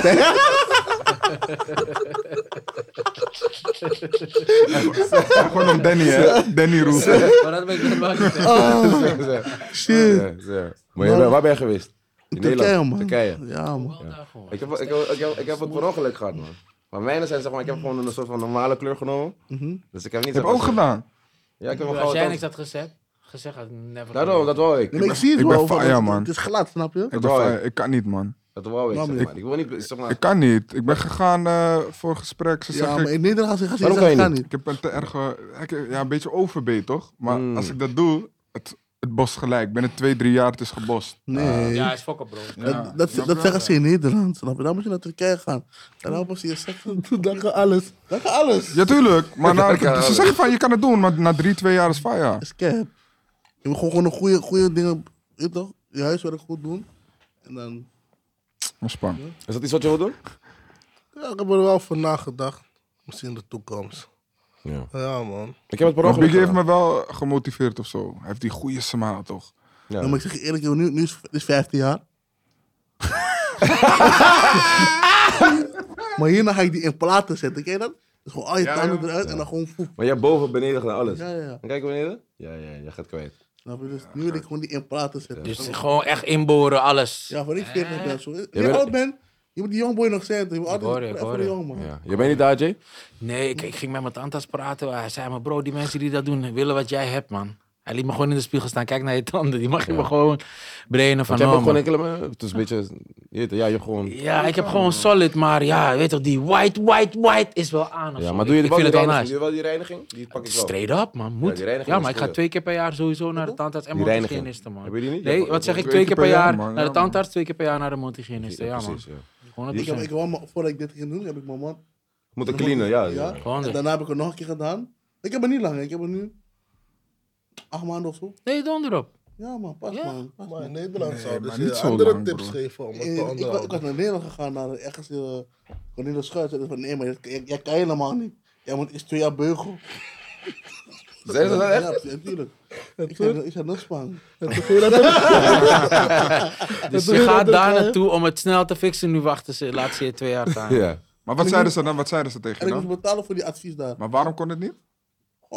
Gewoon om Danny, hè? Danny Roef.
Maar dat ben ik net wel niet. hè.
Zeg, zeg.
Shit.
Ja, zeg. Maar je bent- waar ben je geweest? In
Oh. Turkije,
Nederland?
man.
Turkije.
Ja, man.
Wel daar gewoon.
Ik heb, ik, heb, ik, heb, ik heb het per ongeluk gehad, man. Maar mijne zijn zeg maar, ik heb gewoon een soort van normale kleur genomen. Dus ik heb niet...
Heb
zeg
ook
maar-
gedaan.
Ja, ik heb een
Als
gouden
jij
tand.
niks had gezegd, gezegd had ik never.
Daarom, dat wou ik.
Maar ik, zie het
ik ben
wel.
fa-
van,
ja,
het-
man.
Het is glad, snap je?
Ik,
Dat wou
ben,
ik.
eh, ik kan niet, man.
Dat wou ik,
Nou,
zeg
maar-
maar. Ik wil niet, zeg maar...
Ik kan niet. Ik ben gegaan eh, voor gesprek. Ze
Ja,
zeggen,
maar in Nederland gaan ze gaan ze
Waarom
zeggen,
kan je
ga
ik
niet.
heb een te erge... ik- Ja, een beetje overbeet, toch? Maar
Mm.
als ik dat doe, het, het bost gelijk. Binnen twee, drie jaar, het is gebost.
Nee.
Ja, hij is fokker, bro.
Ja,
dat dat,
snap
dat
je?
zeggen ze in Nederland, snap je? Dan moet je naar Turkije gaan. Dan helpen ze je zeggen, dan kan alles. Dan kan alles.
Ja, tuurlijk. Maar na-
Dat kan
ze
alles.
zeggen van, je kan het doen, maar na drie, twee jaar is van, ja.
Dat is cap. Je moet gewoon, gewoon een goede, goede dingen, je weet toch? Je huiswerk goed doen. En dan,
Ontspan.
Is dat iets wat je wil doen?
Ja, ik heb er wel voor nagedacht. Misschien de toekomst.
Ja.
Ja, man.
Ik heb het per
Maar
ongeluk
Biggie heeft
gedaan.
me wel gemotiveerd of zo. Hij heeft die goede smaal, toch?
Ja.
dan moet ik zeggen eerlijk, joh, nu, nu is het 15 jaar. maar hierna ga ik die in platen zetten, ken je dat? Dus gewoon al je
Ja,
tanden
ja.
eruit en dan gewoon voep.
Maar jij hebt boven, beneden gedaan, alles.
Ja, ja, ja.
Kijk beneden. Ja, ja, jij gaat kwijt.
Snap je? Dus nu wil ik gewoon die in platen zetten.
Dus gewoon echt inboren, alles.
Ja, voor ik 40 ben. Zo. Als je
bent-
oud bent, je moet die jongboy nog zetten. Je moet
Ik hoor je,
altijd
ik
voor- voor
hoor
de
je.
jong man.
Ja. Je bent niet daar, Jay?
Nee, ik, ik ging met mijn tandarts praten. Hij zei, maar bro, die mensen die dat doen, willen wat jij hebt, man. Hij liet me gewoon in de spiegel staan. Kijk naar je tanden. Die mag je me gewoon brainen van
Want jij hebt ook
oh, man.
gewoon enkele... Het is een beetje... je weet het, Ja, je hebt gewoon...
Ja, ik heb gewoon solid, maar ja, je weet toch, die white, white, white is wel aan. of
Ja,
zo.
maar doe je
ik,
wel
ik
die
vind het wel
reiniging? Doe
nice.
je wel die reiniging? Die pak ik wel.
Straight up, man. Moet.
die
Ja,
reiniging is
maar ik ga
goeie.
twee keer per jaar sowieso naar de tandarts en
Die reiniging.
mondhygiëniste, man.
Heb je die niet?
Nee,
Ja,
wat zeg ik?
twee
Twee
keer
keer
per
per
jaar,
jaar
man.
naar de
Ja, man.
tandarts, twee keer per jaar naar de mondhygiëniste. Ja, man.
Precies, ja.
100%.
Ik heb, ik wel, maar voordat ik dit ging doen, heb ik mijn man.
Moet een cleanen, ja. ja.
Gewoon
En
dit.
daarna heb ik het nog een keer gedaan. Ik heb het niet lang, hè. ik heb het nu acht maanden of zo.
Nee, donder op.
Ja, man, pas
Ja.
man. Pas,
Maar
man.
in Nederland
Nee,
zouden
maar
ze
niet
je
zo
andere
lang,
tips
broer.
geven om het
Eh,
te
Ik, wa- ik was
onderhouden.
naar Nederland gegaan, naar ergens uh, Cornelis Schuit. En ik van, nee, maar jij- jij, jij kan helemaal niet. Jij moet eerst twee jaar beugel.
Zijn ze dat echt?
Ja, natuurlijk. Ik zei, ik zei, nog spannend.
En toen ging je dat-
Dus
doe
je
je dat
gaat
ook,
daar
hè?
naartoe om het snel te fixen. Nu wachten ze, laat ze je twee jaar staan.
Ja.
Maar wat zeiden ze dan? Wat zeiden ze tegen
En
je
ik moest
dan?
betalen voor die advies daar.
Maar waarom kon het niet?
Gewoon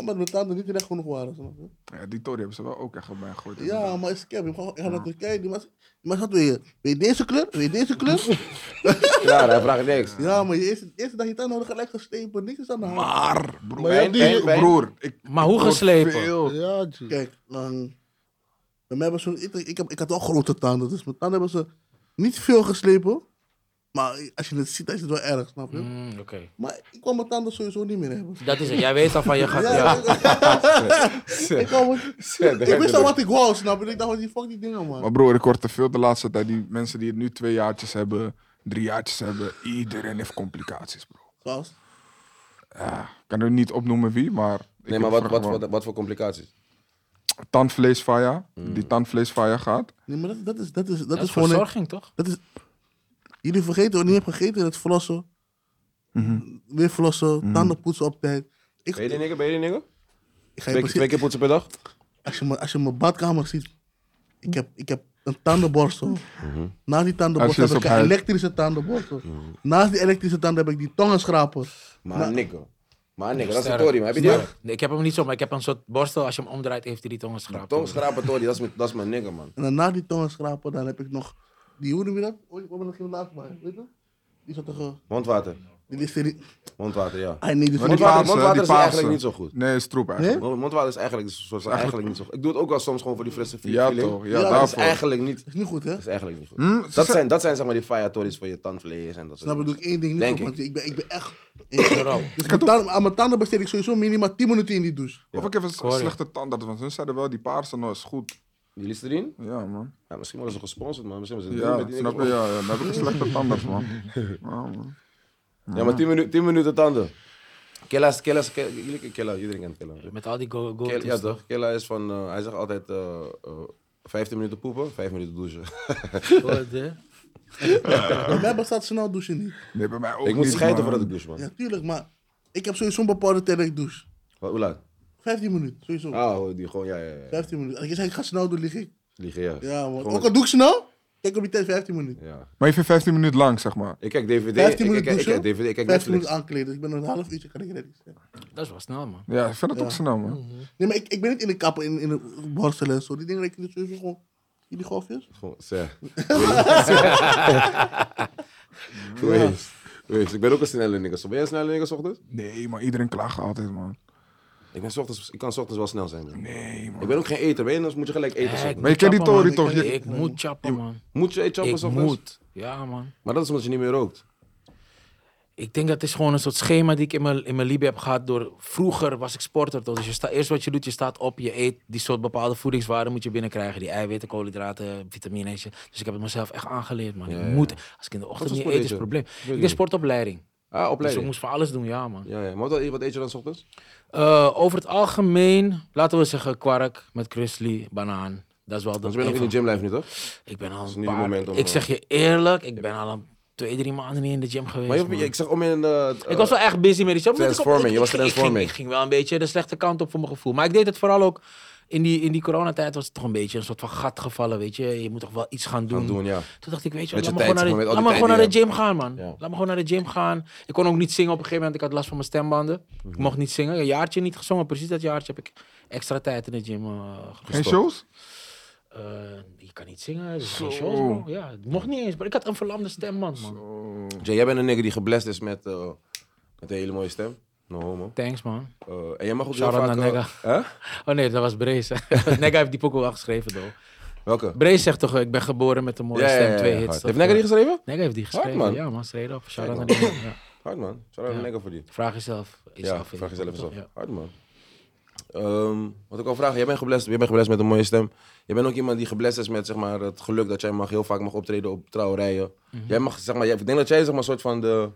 omdat mijn tanden niet recht genoeg waren. Snap je?
Ja, die Tory hebben ze wel ook echt op mij gegooid.
Ja, maar is scam. Ik ga- ik ga naar Turkije. Die mensen- die mensen hadden weer, weet je deze kleur? Weet je deze kleur?
Klaar, hij vraagt niks.
ja, maar de eerste, eerste dag je tanden hadden gelijk geslepen. Niks is aan de hand.
Maar, broer.
Maar je hebt die-
Hey, broer, ik
Maar hoe
word
geslepen?
veel-
Ja, G.
Kijk, dan... Bij mij was zo'n... Ik, ik, heb, ik had wel grote tanden. Dus mijn tanden hebben ze niet veel geslepen. Maar als je het ziet, dan is het wel erg, snap je?
Mm, Oké.
Maar ik kwam mijn tanden sowieso niet meer hebben.
Dat is het. Jij weet al van je gaat.
Ja,
Ja.
ik, kwam het- ik wist al wat ik wou, snap je? Ik dacht, die fuck die dingen, man.
Maar broer, ik hoor te veel de laatste tijd. Die mensen die het nu twee jaartjes hebben, drie jaartjes hebben. Iedereen heeft complicaties, bro.
Gast.
Ja, ik kan er niet opnoemen wie, maar... ik
Nee, maar
heb
wat,
vroeger
wat,
wel
wat, wat voor complicaties?
Tandvleesfaya,
Hmm.
die tandvleesfaya gaat.
Nee, maar dat, dat is, dat is, dat
Dat
is
is
gewoon... een-
verzorging, toch?
Dat is, jullie vergeten wat je hebt gegeten, dat flossen.
Mhm.
Weer flossen, tanden poetsen op tijd. Ik,
Ben je die nigger? Ben je die nigger?
ik ga je
Twee,
precies,
twee keer poetsen per dag?
als, je, me- als je mijn badkamer ziet, Ik heb, ik heb een tandenborstel.
Mhm.
Naast die
Als je
tandenborstel
eens
heb
op
ik een
huid-
elektrische tandenborstel.
Mhm.
Naast die elektrische tanden heb ik die tongenschraper.
Maar nikke. Maar nikke, dat is een
Sterk.
Tory, maar heb je die
Sterk.
ook?
Nee, ik heb hem niet zo, maar ik heb een soort borstel. Als je hem omdraait, heeft hij die tongen geschrapt.
Tongschrapen Tory, dat is mijn- dat is mijn nikke, man.
En dan na die tongenschraper, dan heb ik nog... Die, hoe noem je dat? Hoe hoe noem je dat? naast mij? Weet je? Die zat toch... eh,
Mondwater.
Die is er niet...
Mondwater, ja.
I
Maar
need
die
this
Mondwater,
paarse,
mondwater
die
is eigenlijk
paarse.
niet zo goed.
Nee, is troep eigenlijk.
Mond- Mondwater is eigenlijk, zo- zo- eigenlijk niet zo goed. Ik doe het ook wel soms gewoon voor die frisse
Ja,
feeling.
toch? Ja,
dat is
daarvoor.
eigenlijk niet,
is niet goed, hè?
dat is eigenlijk niet goed.
Hm?
Dat zijn, dat zijn zeg maar die fire tories voor je tandvlees en dat soort
Snap je, doe ik één ding niet
Denk
goed,
ik.
want ik ben, ik ben echt... Dus mijn tanden, aan mijn tanden besteed ik sowieso minimaal 10 minuten in die douche.
Of ik heb een
hoor je.
slechte tandarts, want hun zeiden wel, die paarse nou is goed.
Die Listerine?
Ja, man.
Ja, misschien worden ze gesponsord, man. Misschien worden ze
Ja,
met die
snap je?
niks op.
Ja, ja, dan heb ik een slechte tandarts, man. Ja, man.
Ja, maar 10 minuten, 10 minuten tanden. Kella, Kella, jullie Kella, iedereen kent Kella.
Met al die go go
Kella, ja toch? Kella is van, eh, hij zegt altijd eh, eh, 15 minuten poepen, 5 minuten douchen.
Bij mij bestaat snel douchen niet.
Nee, bij mij ook
ik moet
niet,
scheiden
man.
voordat ik douche, man.
Ja, tuurlijk, maar ik heb sowieso een bepaalde tijd dat ik douche.
Wat, hoe laat?
15 minuten, sowieso.
Ah, oh, die gewoon, ja, ja, ja.
15 minuten. Als je zegt, ik ga snel doen, lig ik.
Liegen, ja.
Ja, man.
Gewoon-
Ook al doe ik snel, kijk op die tijd 15 minuten.
ja.
Maar je vindt 15 minuten lang, zeg maar.
Ik kijk DVD,
15
ik,
minuten
ik, ik, ik
douchen,
kijk DVD, ik kijk
15 minuten
Netflix.
aankleden, dus ik ben een half uurtje kan ik ready zijn.
Dat is wel snel, man.
Ja, ik vind het ook snel,
Mhm.
man.
Nee, maar ik, ik ben niet in de kappen, in, in de borstelen en zo. Die dingen, ik doe sowieso gewoon... Jullie golfjes?
Gewoon, zeg. Wees. Wees. Ik ben ook een snelle nigger. Ben jij een snelle nigger 's ochtends?
Nee, maar iedereen klaagt altijd, man.
Ik, ben 's ochtends, ik kan 's ochtends wel snel zijn. man.
Nee, man.
Ik ben ook geen eter, weet je? Dan moet je gelijk eten. 's
Eh, ik
ochtends.
Maar je kent die
chappen, man.
Tory toch?
Ik-
Je-
Ik moet chappen, man.
Moet je eten 's
Ik
ochtends?
moet. Ja, man.
Maar dat is omdat je niet meer rookt.
Ik denk dat het is gewoon een soort schema die ik in mijn, in mijn liefde heb gehad. Door, vroeger was ik sporter. toch? Dus je sta, eerst wat je doet, je staat op, je eet die soort bepaalde voedingswaarden moet je binnenkrijgen. Die eiwitten, koolhydraten, vitamines. Dus ik heb het mezelf echt aangeleerd, man.
Ja,
ik
ja,
moet, als ik in de ochtend
voor
niet
sport
eet,
deed
is het
je?
probleem.
je
Ik
niet?
deed sportopleiding.
Ah,
Dus ik
opleiding.
moest voor alles doen, ja, man.
Ja, ja. Maar wat, wat eet je dan 's ochtends?
Eh, over het algemeen, laten we zeggen kwark met krusli, banaan. Dat is wel de
Want je bent ook in de gym blijven nu, toch?
Ik ben al
is
een
nu het
paar-
moment om,
Ik
eh,
zeg je eerlijk, ik ben al een twee, drie maanden niet in de gym geweest.
Maar je,
man.
ik zag om in... eh,
ik was wel echt busy met die shop. omdat ik op-
Transforming,
ik-
je was
ik, ging- ik, ging,
transforming.
ik ging wel een beetje de slechte kant op voor mijn gevoel. Maar ik deed het vooral ook... In die, in die coronatijd was het toch een beetje een soort van gat gevallen, weet je. Je moet toch wel iets gaan doen.
Gaan eh, doen, ja.
Toen dacht ik, weet je,
Met
wat,
je
laat me
tijd,
gewoon naar,
zeg
de, laat
maar, met al
me
die
gewoon naar
tijd
de gym gaan, man.
Ja.
Laat me gewoon naar de gym gaan. Ik kon ook niet zingen op een gegeven moment. Ik had last van mijn stembanden. Ik
Mhm.
mocht niet zingen. Een jaartje niet gezongen. Precies dat jaartje heb ik extra tijd in de gym eh
Geen
gestopt.
shows?
Eh, je kan niet zingen. Dus
Zo.
geen shows, bro. Ja, het mocht niet eens. Maar ik had een verlamde stemband, man.
Jay, jij bent een nigger die geblest is met, eh, met een hele mooie stem. No homo.
Thanks, man.
Eh, en jij mag ook heel
Shout-out
vaak...
naar
eh, hè?
Oh nee, dat was Brace. hè. Negga heeft die pokoe al geschreven, though.
Welke?
Brace zegt toch, eh, ik ben geboren met een mooie stem, twee hits.
hard.
toch?
Heeft Negger die geschreven?
Negga heeft die geschreven,
man.
ja man, straight up. Shout-out naar
Kijk,
die man, ja.
Hard man. Shout-out naar
Ja.
Negger voor die.
Vraag jezelf.
Ja,
jezelf in.
vraag jezelf eens af.
Ja.
Hard man. Ehm, wat ik al vraag, jij bent, geblest, jij bent geblest met een mooie stem. Jij bent ook iemand die geblest is met zeg maar, het geluk dat jij mag, heel vaak mag optreden op trouwerijen.
Mhm.
Jij mag, zeg maar, jij, ik denk dat jij zeg maar, soort van de,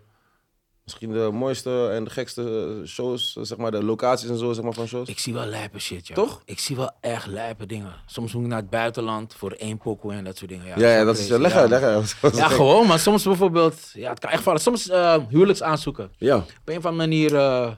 misschien de mooiste en de gekste eh, shows, eh, zeg maar, de locaties en zo zeg maar, van shows.
Ik zie wel lijpe shit, ja.
Toch?
Ik zie wel echt lijpe dingen. Soms moet ik naar het buitenland voor één pokoe en dat soort dingen. Ja,
ja, ja, dat is.
crazy,
Leg
ja,
uit, leg
man.
uit.
Ja, gewoon, maar soms bijvoorbeeld, ja, het kan echt vallen. Soms eh, huwelijks aanzoeken.
Ja.
Op een of andere manier eh,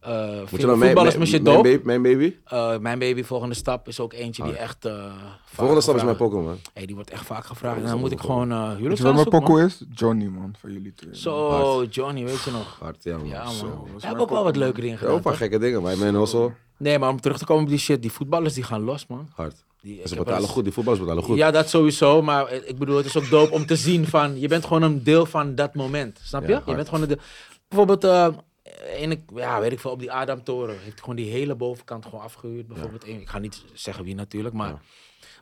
eh,
Moet
vinden
je dan mee,
voetballers
mijn,
me shit
mijn,
dope.
baby, mijn baby?
Eh, mijn baby, volgende stap, is ook eentje die echt. eh, vaak
Volgende stap is
gevraagd-
mijn Pokémon.
Hey, die wordt echt vaak gevraagd. En dan moet ik gewoon eh
Weet je
huwelijks
wat mijn
aanzoeken. man.
pokoe is? Johnny, man, van jullie twee.
Zo, Johnny, weet je nog.
Hard, ja man.
Ja, man.
zo, dat is
Daar
mijn
heb ik ook wel wat leuker in
Ja, ook
gedaan.
een paar
toch?
gekke dingen, maar mijn hossel,
Nee, maar om terug te komen op die shit, die voetballers die gaan los, man.
hard.
Die, ik
Ze
heb wel
betalen
eens-
goed, die voetballers betalen goed.
Ja, dat sowieso. Maar eh, ik bedoel, het is ook dope om te zien van... Je bent gewoon een deel van dat moment. Snap je?
Ja,
je
hard.
bent gewoon een deel. Bijvoorbeeld, eh ene- ja, weet ik veel, op die Adamtoren. Heeft gewoon die hele bovenkant gewoon afgehuurd. Bijvoorbeeld, Eén- ik ga niet zeggen wie natuurlijk, maar...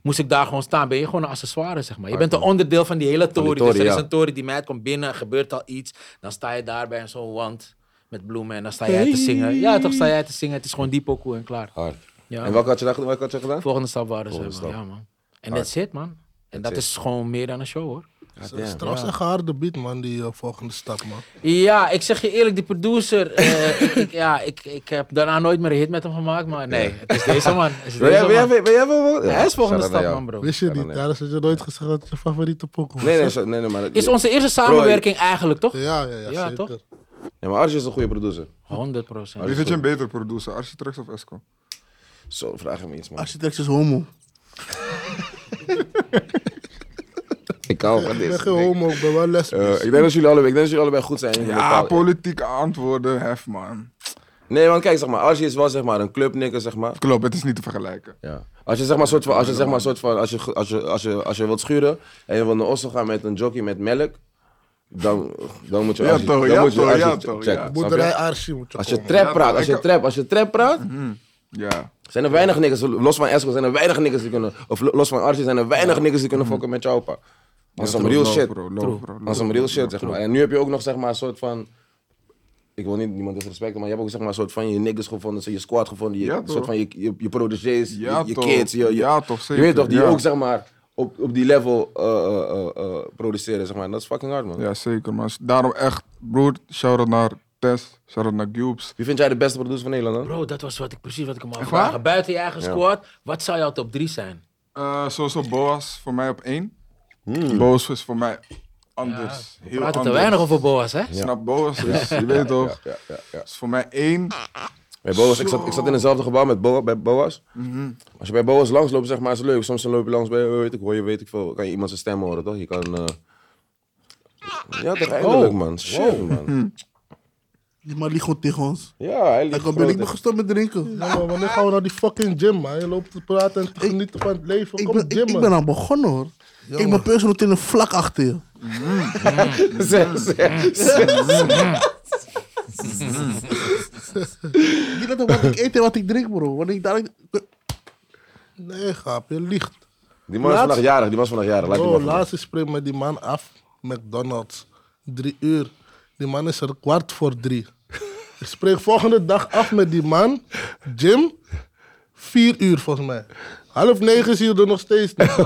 Moest ik daar gewoon staan, ben je gewoon een accessoire, zeg maar. Je bent een onderdeel van die hele toren. dus
toren,
er is
ja.
een toren die meid komt binnen, er gebeurt al iets. Dan sta je daar bij zo'n wand met bloemen en dan sta jij te zingen. Ja, toch sta jij te zingen. Het is gewoon die pokoe en klaar.
Hard.
Ja,
en welke had je, daar- welke had je gedaan?
Volgende stap waren ze, man.
Volgende
Ja, man. En that's it, man. En dat
it.
is gewoon meer dan een show, hoor.
Ah,
Dat is trouwens echt een harde beat, man, die eh, volgende stap, man.
Ja, ik zeg je eerlijk, die producer... eh, ik, ik- ja, ik, ik heb daarna nooit meer een hit met hem gemaakt, maar nee. Het is deze man. Het is
Ben
deze
jij- ben jij-
man.
ben jij wel?
Ja, Hij is volgende
shout-out naar
stap,
jou.
man, bro.
Wist je
Ja, dan
niet?
ja.
Ja, dat had je nooit gezegd dat het je favoriete pokoe was.
Nee, nee,
hè?
zo- nee, nee, maar,
Is onze eerste samenwerking eigenlijk, toch?
Ja, ja, ja,
Ja,
zeker.
toch?
nee, maar Arjen is een goede producer.
100
Wie
procent.
vind je een beter producer, Architects of Esco?
Zo, vraag hem iets, man.
Architect is homo.
Ik hou van
Ik ben
dit.
geen homo, ik ben wel
Eh,
lesbisch.
ik, denk dat jullie allebei, ik denk dat jullie allebei goed zijn. in hun
Ja,
taal.
politieke antwoorden, hef man.
Nee, want kijk, zeg maar, Archie is wel zeg maar, een clubnikker, zeg maar.
Klopt, het is niet te vergelijken.
Ja. Als je zeg maar soort van, als je zeg maar soort van, als je, ge- als je, als je, als je wilt schuren en je wil naar Oslo gaan met een jockey met melk, dan, dan moet je
Ja,
Archie-
toch,
dan
ja,
moet je
toch,
Archie
ja,
ch-
toch,
checken,
ja.
snap je?
Boerderij Archie moet je
Als je
komen.
trap
Ja,
praat,
toch,
als je
ik-
trap, als je trap praat,
Ja.
zijn er weinig niggers, los van Esco zijn er weinig niggers die kunnen, of lo- los van Archie zijn er weinig niggers die kunnen fokken met jou, pa. Als
Mhm. Ja,
some
true,
real
love,
shit.
bro, love,
True.
bro, love,
Als some real shit, zeg maar. En nu heb je ook nog, zeg maar, een soort van... Ik wil niet niemand disrespecten, maar je hebt ook, zeg maar, een soort van je niggers gevonden, zo je squad gevonden, je,
Ja,
een soort
toch.
van je, je, je protégés,
Ja,
je, je
toch.
kids, je, je-
Ja, toch,
Je weet
zeker,
toch, die
ja.
ook, zeg maar, op, op die level eh, eh, eh, eh, produceren, zeg maar. En Dat is fucking hard, man.
ja, zeker man. Daarom echt, broer, shout-out naar Tess, shout-out naar Gubes.
Wie vind jij de beste producer van Nederland, dan?
Bro, dat was wat ik, precies wat ik hem
Echt
afvraag.
waar?
Buiten je eigen squad, wat zou jouw top 3 zijn?
Eh sowieso Boas voor mij op één. Boas is voor mij anders.
We
heel
praten te
anders.
weinig over Boas, hè?
Snap, Boas is, je weet toch.
Ja, ja, ja.
is voor mij één.
Bij Boas, ik zat, ik zat in hetzelfde gebouw met Boa, bij Boas.
Mhm.
Als je bij Boas langsloopt, zeg maar, is het leuk. Soms dan loop je langs bij, eh, weet ik, hoor je, weet ik veel, kan je iemand zijn stem horen, toch? Je kan... eh, Ja, toch eindelijk, man. Shit, man.
Die man liegt gewoon tegen ons.
Ja, hij liep
Ik ben ik ben
groot,
gestopt met drinken.
Ja, maar wanneer gaan we naar die fucking gym, man? Je loopt te praten en te genieten van het leven.
Ik
Kom,
ben, ik,
gym,
ik
man.
ben aan begonnen hoor. ik ben personal trainer vlak achter je.
hè. Zeg, zeg, zeg.
Je let op wat ik eet en wat ik drink bro. Want ik dadelijk...
Nee, gaap, je liegt.
Die man is vandaag jarig, die man is vandaag jarig.
Oh,
Laat die man
Bro,
vandaag.
laatst ik spreek met die man af. McDonald's. Drie uur. Die man is er kwart voor drie. Ik spreek volgende dag af met die man. Jim. Vier uur volgens mij. Half negen is hij er nog steeds niet.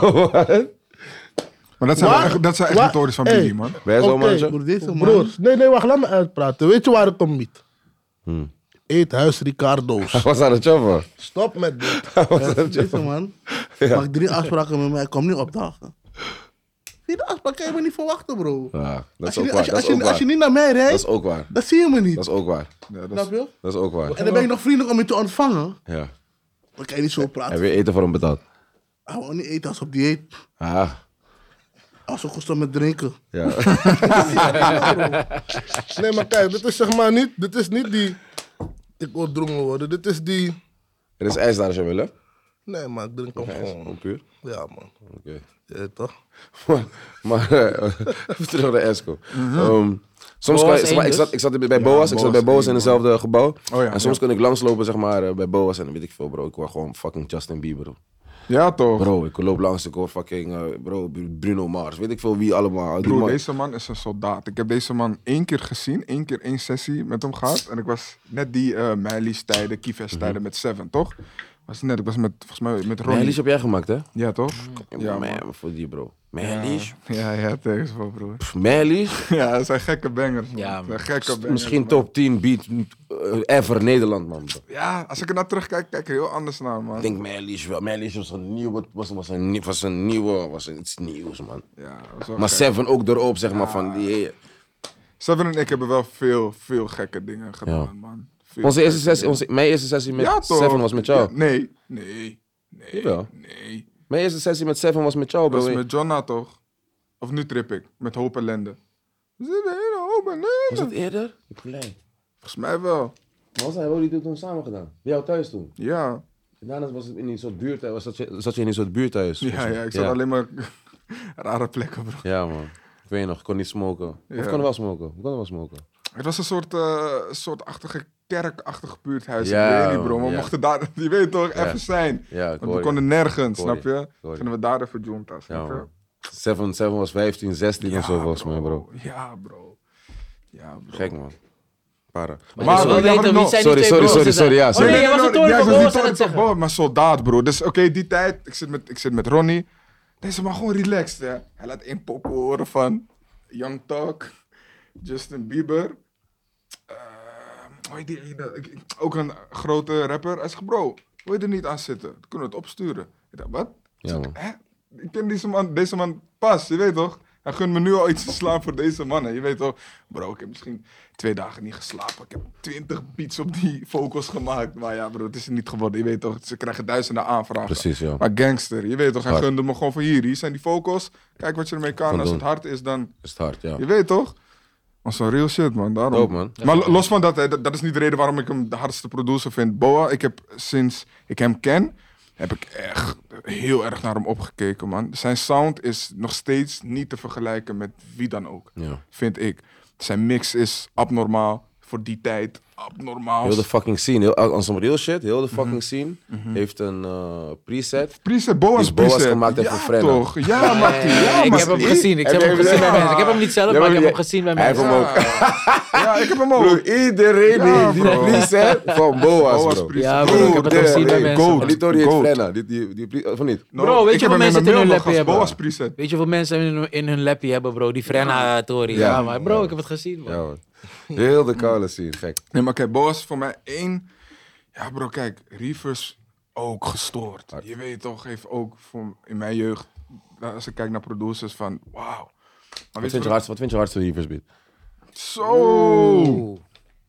Maar dat zijn, wel echt, dat zijn echt
Waar-
methodes van
Hey,
Billy, man.
Ben je zo,
oké,
mannetje?
Broer, deze man.
Broers, nee, nee, wacht, laat me uitpraten. Weet je waar ik om bied? Eethuis Ricardo's.
Wat is aan het choppen?
Stop met dit.
Deze man. Maak drie afspraken met mij. Ik kom niet opdagen. Vierde afspraak kan je me niet verwachten bro.
Ja, dat
Als
is
je,
ook
niet-
waar.
als, je,
Dat
als,
is ook
je, als je
waar.
niet naar mij
Dat is
rijdt,
ook waar.
dan zie je me
Dat
niet.
is ook waar.
Ja, dat is-
Snap je?
Dat is ook waar.
En dan ben ik nog vriendelijk om je te ontvangen.
Ja.
Dan kan je niet zo
En
praten.
weer eten voor hem betaald.
Hij wil niet eten als op dieet.
Ah,
Als ook gestopt met drinken.
ja.
Nee, maar kijk, dit is zeg maar niet, dit is niet die. Ik wil drongen worden. Dit is die.
Er is ijs daar als je wil, hè?
Nee, maar ik drink hem gewoon.
Ook puur.
Ja, man.
Oké.
Je weet Eh, toch?
Maar, maar eh, even terug naar Esco.
Mhm.
Ehm, soms
Boas
kan je-
één
zeg maar, ik,
dus?
zat, ik zat bij Boas, ik zat
Boas
bij Boas
één,
in hetzelfde gebouw.
Oh ja,
en soms
ja.
kon ik langslopen zeg maar, eh, bij Boas en dan weet ik veel, bro. Ik hoor gewoon fucking Justin Bieber.
Ja, toch.
Bro, ik loop langs, ik hoor fucking eh, bro, Bruno Mars, weet ik veel wie allemaal. Die
Broer,
man-
deze man is een soldaat. Ik heb deze man één keer gezien, één keer één sessie met hem gehad. En ik was net die eh Meilies tijden, Kieves tijden
Mhm.
met Seven, toch? Was net, ik was met, volgens mij met
Mijn
Ronnie.
liedje heb jij gemaakt, hè?
Ja, toch?
Ja,
Ja, man.
man, voor die bro.
Ja,
Mijn liedje?
ja, ja, tegen wel, broer.
Pff, Mijn liedje?
Ja, dat zijn gekke bangers, man.
Ja,
Ja,
man.
gekke bangers.
Misschien
man.
top 10 beat eh, ever Nederland, man. Bro.
Ja, als ik er naar terugkijk, kijk ik er heel anders naar, man.
Ik denk mijn liedje wel. Mijn liedje was een nieuwe, was, was een, nie- was een nieuwe, was iets nieuws, man.
Ja, dat is wel
Maar
gek.
Seven ook erop, zeg maar, van die...
Ah, Seven en ik hebben wel veel, veel gekke dingen gedaan,
Ja.
man. Veel
Onze eerste
gekke
sessie,
dingen.
onze, mijn eerste sessie met
Ja, toch?
Seven was met jou.
Ja, nee, nee, nee,
Jawel.
nee.
Mijn eerste sessie met Seven was met jou,
Dat
bro.
was met Jonna, toch? Of nu trip ik, met hoop ellende. We zitten in een hoop
Was
ellende.
dat eerder? Ik heb gelijk.
Volgens mij wel,
Maar was hij wel die toen samen gedaan? Bij jou thuis toen?
ja.
En daarna was het in die soort buurt, was dat je, zat je in die soort buurt thuis?
Ja, ja, ik zat alleen maar rare plekken, bro.
Ja, man. Ik weet nog, ik kon niet smoken. Of
Ja.
ik kon wel smoken. Ik kon wel smoken.
Het was een soort, eh soort achtige kerkachtig buurthuis.
Ja,
ik weet niet, bro. Maar
ja.
we mochten daar, je weet toch,
Ja.
even zijn.
Ja, ik
Want
hoor
we
je.
konden nergens,
Ik hoor
snap
je.
je?
Ik hoor je.
Kunnen we daar even joint aan,
Ja,
snap je?
man. Seven, Seven was 15, 16 of zo, volgens mij, bro.
Ja, bro. Ja, bro.
Gek, man. Para.
Maar,
Maar-
je wil
ja, maar
weten
no-
wie
sorry,
zijn die twee
sorry,
broers,
sorry,
is dat?
sorry, ja,
Oh,
sorry.
nee, jij was een
ja,
toren
ze
van
was
Boas
niet
aan
Tony
het zeggen.
van Boas, maar soldaat, bro. Dus oké, die tijd, ik zit, met, ik zit met Ronnie. Deze man gewoon relaxed, hè. Hij laat één pop horen van Young Talk, Justin Bieber. Eh, hoe heet die ene? Ik- ik- ook een grote rapper. Hij zegt, bro, wil je er niet aan zitten? Dan kunnen we het opsturen. Ik dacht, wat?
Ja, man.
Hè? Ik ken deze man, deze man pas, je weet toch? Hij Hij gunt me nu al iets te slaan voor deze mannen. Je weet toch, bro, ik heb misschien twee dagen niet geslapen. Ik heb twintig beats op die vocals gemaakt. Maar ja, bro, het is er niet geworden. Je weet toch, ze krijgen duizenden aanvragen.
Precies, ja.
Maar gangster, je weet toch, hij
Hard.
gunde me gewoon van hier. Hier zijn die vocals. Kijk wat je ermee kan.
Kan
Als
doen.
het hard is, dan
Is het hard, ja.
je weet toch? Maar zo'n real shit, man. Daarom.
Dope, man.
Maar lo- los van dat, hè, dat, dat is niet de reden waarom ik hem de hardste producer vind. Boa, ik heb sinds ik hem ken, heb ik echt heel erg naar hem opgekeken, man. Zijn sound is nog steeds niet te vergelijken met wie dan ook,
ja.
vind ik. Zijn mix is abnormaal voor die tijd. Abnormaal.
Heel de fucking scene, heel, als een real shit, heel de
Mhm.
fucking scene heeft een eh, preset.
Preset, Boa's
Die Boa's
preset.
gemaakt heeft
ja,
voor Frenna.
toch? Ja,
Eh,
maakt hij. Ja,
ik
maar
heb hem
die-
gezien. Ik
Heb
heb hem
je-
gezien bij
Ja.
mensen. Ik heb hem niet zelf,
Ja,
maar ik
maar
heb hem
je-
gezien bij
Hij heeft
mensen.
hem ook.
Ja, ik heb hem ook.
Bro, iedereen
Ja,
die
bro.
die preset van Boas,
Boa's
bro.
preset.
Ja, bro, ik heb het
Goat,
gezien bij
hey,
mensen.
goat.
En
man.
die Tory heeft
Goat.
Frenna, die, die, die, pre- of niet?
Nou,
Bro, weet
ik heb
je hoeveel
hem in
mensen het
mijn
in hun
mailbox
lappie hebben?
als Boa's preset.
Weet je hoeveel mensen in hun, in hun lappie hebben, bro? Die Frenna-tory. Ja.
Ja.
maar bro, ik heb het gezien, man. Mm.
Ja, man. Heel de koude scene, gek.
Nee, maar kijk, Boas is voor mij één. Ja, bro, kijk, Reefers ook gestoord. Je weet toch, heeft ook voor, in mijn jeugd, nou, als ik kijk naar producers van, wauw. Maar
Wat
weet je
vind je
wat-
hardst, wat vind je hardste Reapers beat?
Zo!
Oeh,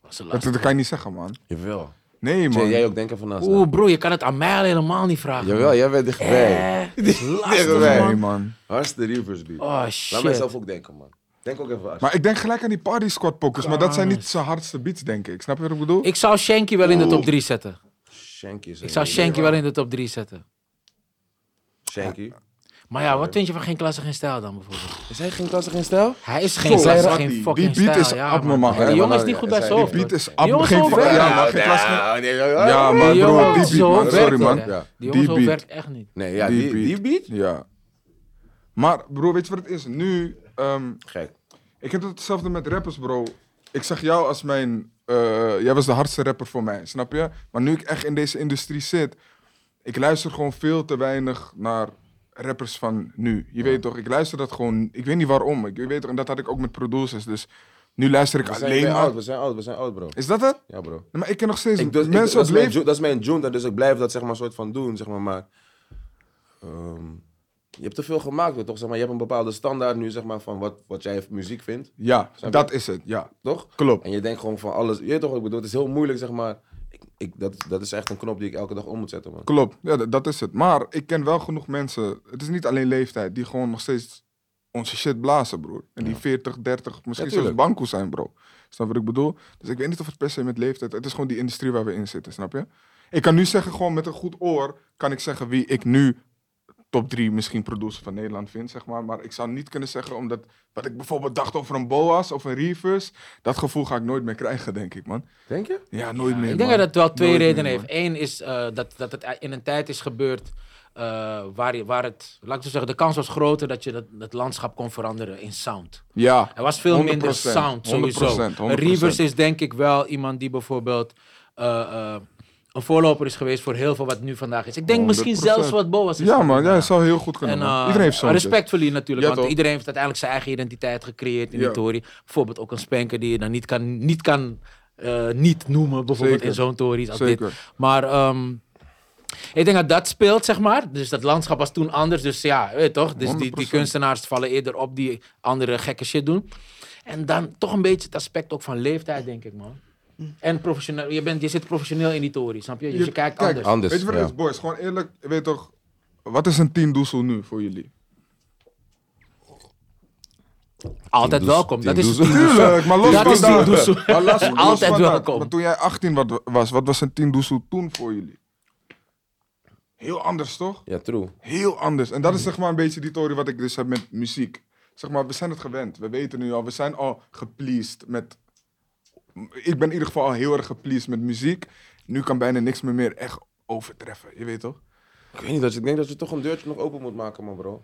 was de
Dat,
laatste.
dat kan je niet zeggen, man.
Jawel.
Nee, man.
Jay, jij ook denken van naast.
Oeh, bro, je kan het aan mij al helemaal niet vragen.
Jawel, jij bent dichtbij.
Eh, dat is lastig,
Dichtbij.
Nee,
man.
man.
Hardste Reapers beat.
Oh,
Laat
shit.
mij zelf ook denken, man. Denk ook even hardst.
Maar ik denk gelijk aan die Party Squad pokers, maar dat zijn niet zijn hardste beats, denk ik. Snap je wat ik bedoel?
Ik zou Shanky wel in de top 3 zetten.
Shanky is
Ik
een-
zou Shanky wel in de top 3 zetten.
Shanky.
Maar ja, wat vind je van geen klasse, geen stijl dan bijvoorbeeld?
Is hij geen klasse, geen stijl?
Hij is geen klasse,
Zij-
geen
die
fucking
beat
stijl.
is
ja,
abnormaal,
man.
hè?
Die jongen is
Maar
niet goed bij
zij-
zijn
die
hoofd.
Beat
man.
is
Die
ab,
jongen
geen
is
ja,
overwerkt.
maar geen klas. geen-
Ja, nee, ja, ja.
Ja, maar
Die
bro,
jongen
die
is
beat, man.
zo
Sorry,
werkt,
man.
hè.
Ja.
Die jongen
Die
zo
beat.
werkt echt niet.
Nee, ja, die, die beat?
Ja. Maar bro, weet je wat het is? Nu, ehm,
Gek.
Ik heb hetzelfde met rappers, bro. Ik zag jou als mijn. eh, jij was de hardste rapper voor mij, snap je? Maar nu ik echt in deze industrie zit, ik luister gewoon veel te weinig naar rappers van nu. Je weet toch, ik luister dat gewoon. Ik weet niet waarom. Ik je weet toch, en dat had ik ook met producers. Dus nu luister ik
We zijn, we
alleen
zijn
maar.
oud, we zijn oud, we zijn oud, bro.
Is dat het?
Ja, bro.
Nee, maar ik ken nog steeds
Ik, dus, ik-
mensen
dat, is mijn,
op leeftijd.
ju- dat is mijn junta, dus ik blijf dat zeg maar soort van doen, zeg maar. maar ehm, je hebt te veel gemaakt, hoor, toch? Zeg maar, je hebt een bepaalde standaard nu, zeg maar, van wat, wat jij muziek vindt,
Ja,
Snap je?
dat is het. Ja,
toch?
klopt.
En je denkt gewoon van alles. Je weet toch, wat ik bedoel, het is heel moeilijk, zeg maar. Ik, ik, dat, dat is echt een knop die ik elke dag om moet zetten, man.
Klopt, ja, d- dat is het. Maar ik ken wel genoeg mensen, het is niet alleen leeftijd, die gewoon nog steeds onze shit blazen, broer. En die 40, 30, misschien
Ja,
zelfs
tuurlijk.
banko zijn, bro. Snap wat ik bedoel? Dus ik weet niet of het per se met leeftijd, het is gewoon die industrie waar we in zitten, snap je? Ik kan nu zeggen, gewoon met een goed oor, kan ik zeggen wie ik nu top 3 misschien producer van Nederland vind, zeg maar. Maar ik zou niet kunnen zeggen, omdat wat ik bijvoorbeeld dacht over een Boas of een Reefers, dat gevoel ga ik nooit meer krijgen, denk ik, man.
Denk je?
Ja, nooit meer.
Ik denk
man.
dat het wel twee
Nooit meer,
redenen
man.
heeft. Eén is eh, dat, dat het in een tijd is gebeurd eh, waar, je, waar het, laat ik zo zeggen, de kans was groter dat je dat, dat landschap kon veranderen in sound.
Ja.
Er was veel
100%,
minder sound sowieso.
100%, 100%.
Reavers is denk ik wel iemand die bijvoorbeeld eh, eh, een voorloper is geweest voor heel veel wat nu vandaag is. Ik denk misschien
100%.
zelfs wat Boas is.
Ja, man,
geworden.
ja, het zou heel goed kunnen.
En,
man.
eh,
iedereen heeft zo'n
Respectfully natuurlijk,
Ja,
want
toch?
iedereen heeft uiteindelijk zijn eigen identiteit gecreëerd in
Ja.
die tory. Bijvoorbeeld ook een spanker die je dan niet kan, niet, kan, eh, niet noemen, bijvoorbeeld
Zeker.
in zo'n tory. als dit.
Zeker.
Maar ehm, ik denk dat dat speelt, zeg maar. Dus dat landschap was toen anders. Dus ja, weet je toch? Dus die, die
100%.
kunstenaars vallen eerder op die andere gekke shit doen. En dan toch een beetje het aspect ook van leeftijd, denk ik, man. En professioneel. Je, bent, je zit professioneel in die tory, snap je? Dus je,
Hm. Je-
kijkt
kijk,
anders.
Anders.
Weet je wat het
ja.
is, boys? Gewoon eerlijk, je weet toch... Wat is een 10 doezel nu voor jullie?
Altijd
Doezel-
welkom. Dat is
Doezel.
Tuurlijk, maar los
Dat
van
is
dat.
tien doezel.
Maar los- los
Altijd
van dat.
welkom.
Maar toen jij 18 wat- was, wat was een 10 doezel toen voor jullie? Heel anders, toch?
Ja, true.
Heel anders. En dat is zeg maar een beetje die theorie wat ik dus heb met muziek. Zeg maar, we zijn het gewend. We weten nu al, we zijn al gepleased met... Ik ben in ieder geval al heel erg gepleased met muziek. Nu kan bijna niks meer meer echt overtreffen. Je weet toch?
Ik weet niet, dat, ik denk dat je toch een deurtje nog open moet maken, man, bro.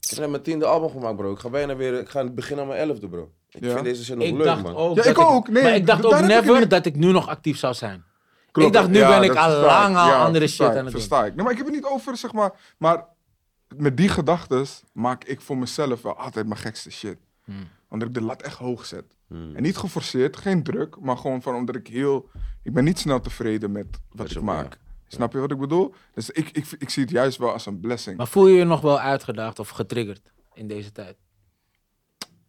Ik heb net mijn tiende album gemaakt, bro. Ik ga bijna weer, ik ga beginnen aan mijn elfde, bro. Ik
Ja.
vind deze shit nog
Ik
leuk,
dacht
man.
ook.
Ja,
dat
ik ook. Nee,
maar ik dacht
daar
ook
heb ik
never
niet-
dat ik nu nog actief zou zijn.
Klopt.
ik dacht, nu
Ja,
ben ik
dat
al
versta
lang al
Ja,
andere
versta
shit
ik,
aan het doen.
versta ik. Nee, maar ik heb het niet over, zeg maar. Maar met die gedachten maak ik voor mezelf wel altijd mijn gekste shit.
Hmm.
Omdat ik de lat echt hoog zet. En niet geforceerd, geen druk, maar gewoon van omdat ik heel. Ik ben niet snel tevreden met wat ik
je-
maak.
ja.
Snap je wat ik bedoel? Dus ik, ik, ik zie het juist wel als een blessing.
Maar voel je je nog wel uitgedaagd of getriggerd in deze tijd?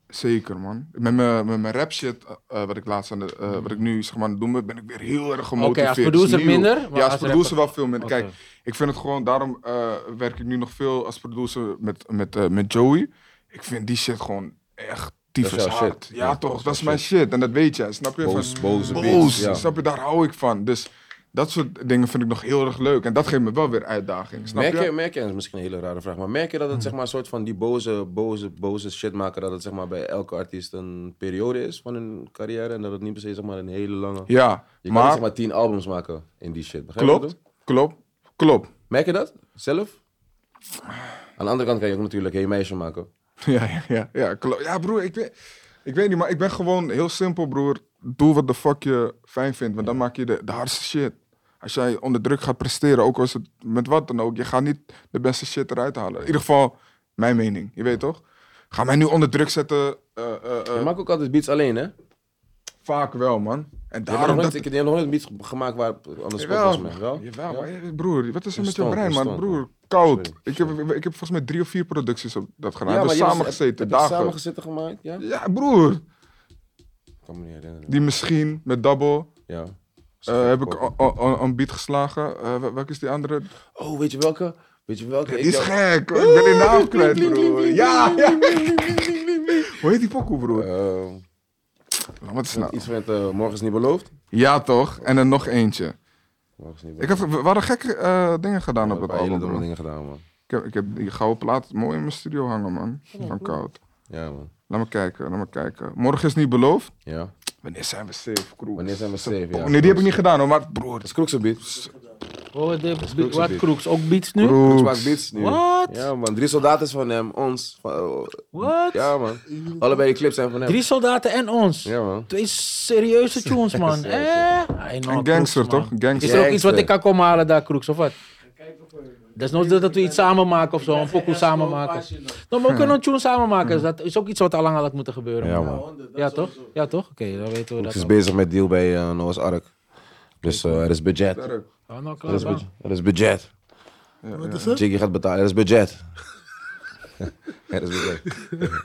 Zeker, man. Met mijn, met mijn rap shit, eh, eh, wat ik laatst aan de, eh, wat ik nu zeg maar aan het doen ben, ben ik weer heel erg gemotiveerd.
als
Het is
producer
nieuw.
minder, maar
Ja, als,
als
producer
rapper-
wel veel minder.
Oké.
Kijk, ik vind het gewoon, daarom eh, werk ik nu nog veel als producer met, met, eh, met Joey. Ik vind die shit gewoon echt tyfus
jouw
hard.
shit.
Ja,
Ja, dat
toch,
is
dat is
jouw
mijn shit. En dat weet jij, snap je?
Boos-
Van-
boze
boos
beats, ja.
snap je? Daar hou ik van. Dus dat soort dingen vind ik nog heel erg leuk. En dat geeft me wel weer uitdaging, snap
Merk je,
je?
merk je, en dat is misschien een hele rare vraag, maar merk je dat het zeg maar een soort van die boze, boze, boze shit maken, dat het zeg maar bij elke artiest een periode is van hun carrière en dat het niet per se zeg maar een hele lange...
Ja,
je kan niet,
maar
zeg maar tien albums maken in die shit, begrijp je wat ik
klopt, klopt, klopt.
bedoel? Merk je dat? Zelf? Aan de andere kant kan je ook natuurlijk Hey Meisje maken.
Ja, ja, ja, ja, klo- ja broer, ik weet, ik weet niet, maar ik ben gewoon heel simpel, broer. Doe wat de fuck je fijn vindt, want dan maak je de, de hardste shit. Als jij onder druk gaat presteren, ook als het met wat dan ook, je gaat niet de beste shit eruit halen. In ieder geval, mijn mening, je weet toch? Ga mij nu onder druk zetten, eh, eh, eh,
Je maakt ook altijd beats alleen, hè? Je
vaak wel, man. En
hebt nog
daarom
nooit,
dat...
ik, je hebt nog nooit een beat ge- gemaakt waar anders volgens
Jawel,
mij, wel?
jawel,
Ja?
maar eh, broer, wat is er
Een
met je
stonk,
brein,
een
man?
stonk,
Broer,
man.
koud.
Sorry,
Ik heb, ik heb volgens mij drie of vier producties op dat gedaan.
Ja,
dus
maar je hebt-
samengezeten,
heb je
dagen.
samengezeten gemaakt, ja? Ik
Ja, broer.
kan me niet herinneren.
Die misschien met Double
Ja.
eh, heb ik o- o- o- een beat geslagen. Eh, wel- welke is die andere?
Oh, weet je welke? Weet je welke?
Die
Ik
is
dacht-
gek. hoor. Ik ben die naam kwijt, broer. Ja, ja. Hoe heet die pokoe, broer?
Eh,
Wat is nou?
Iets met eh, Morgen is niet beloofd.
Ja, toch? En dan nog eentje.
Morgen is niet
Ik
beloofd.
heb, we we hadden gekke eh, dingen gedaan op
heb
dat
een hele
album,
domme
broer.
dingen gedaan, man.
Ik heb, ik heb die gouden plaat mooi in mijn studio hangen, man. Van koud.
Ja, man.
Laat me kijken, laat me kijken. Morgen is niet beloofd.
Ja.
Wanneer zijn we safe, crew?
Wanneer zijn we safe? Ja.
Oh, nee, die heb ik niet gedaan, hoor. Maar broer,
Dat is Kroeks' beat.
Oh, de-
Kroeks een
Wat
beat.
Kroeks? Ook beats nu?
Kroeks
Kroeks.
maakt beats nu.
Wat?
Ja, man. Drie soldaten is van hem. Ons. Van, oh,
Wat?
ja, man. Allebei die clips zijn van hem.
Drie soldaten en ons.
Ja, man.
Twee serieuze tunes, man. Eh? I know,
Een gangster,
Kroeks, man.
toch? Gangster.
Is er ook iets wat
Gangster.
ik kan komen halen daar, Kroeks, of wat? Desnoods dat we iets samen maken of zo, een pokoe samen maken. Nou, maar we kunnen een tune samen maken. dus dat is ook iets wat al lang al had moeten gebeuren.
Ja,
man.
man.
Ja, toch? Ja, toch? Oké, dan weten we
Kroeks is
dat.
bezig met deal bij eh, Noah's Ark. Dus eh, er is budget. Er
al. Oh, nou, klaar,
is,
man.
budget. er is budget.
Wat is het?
Jiggy gaat betalen. Er is budget. er is budget.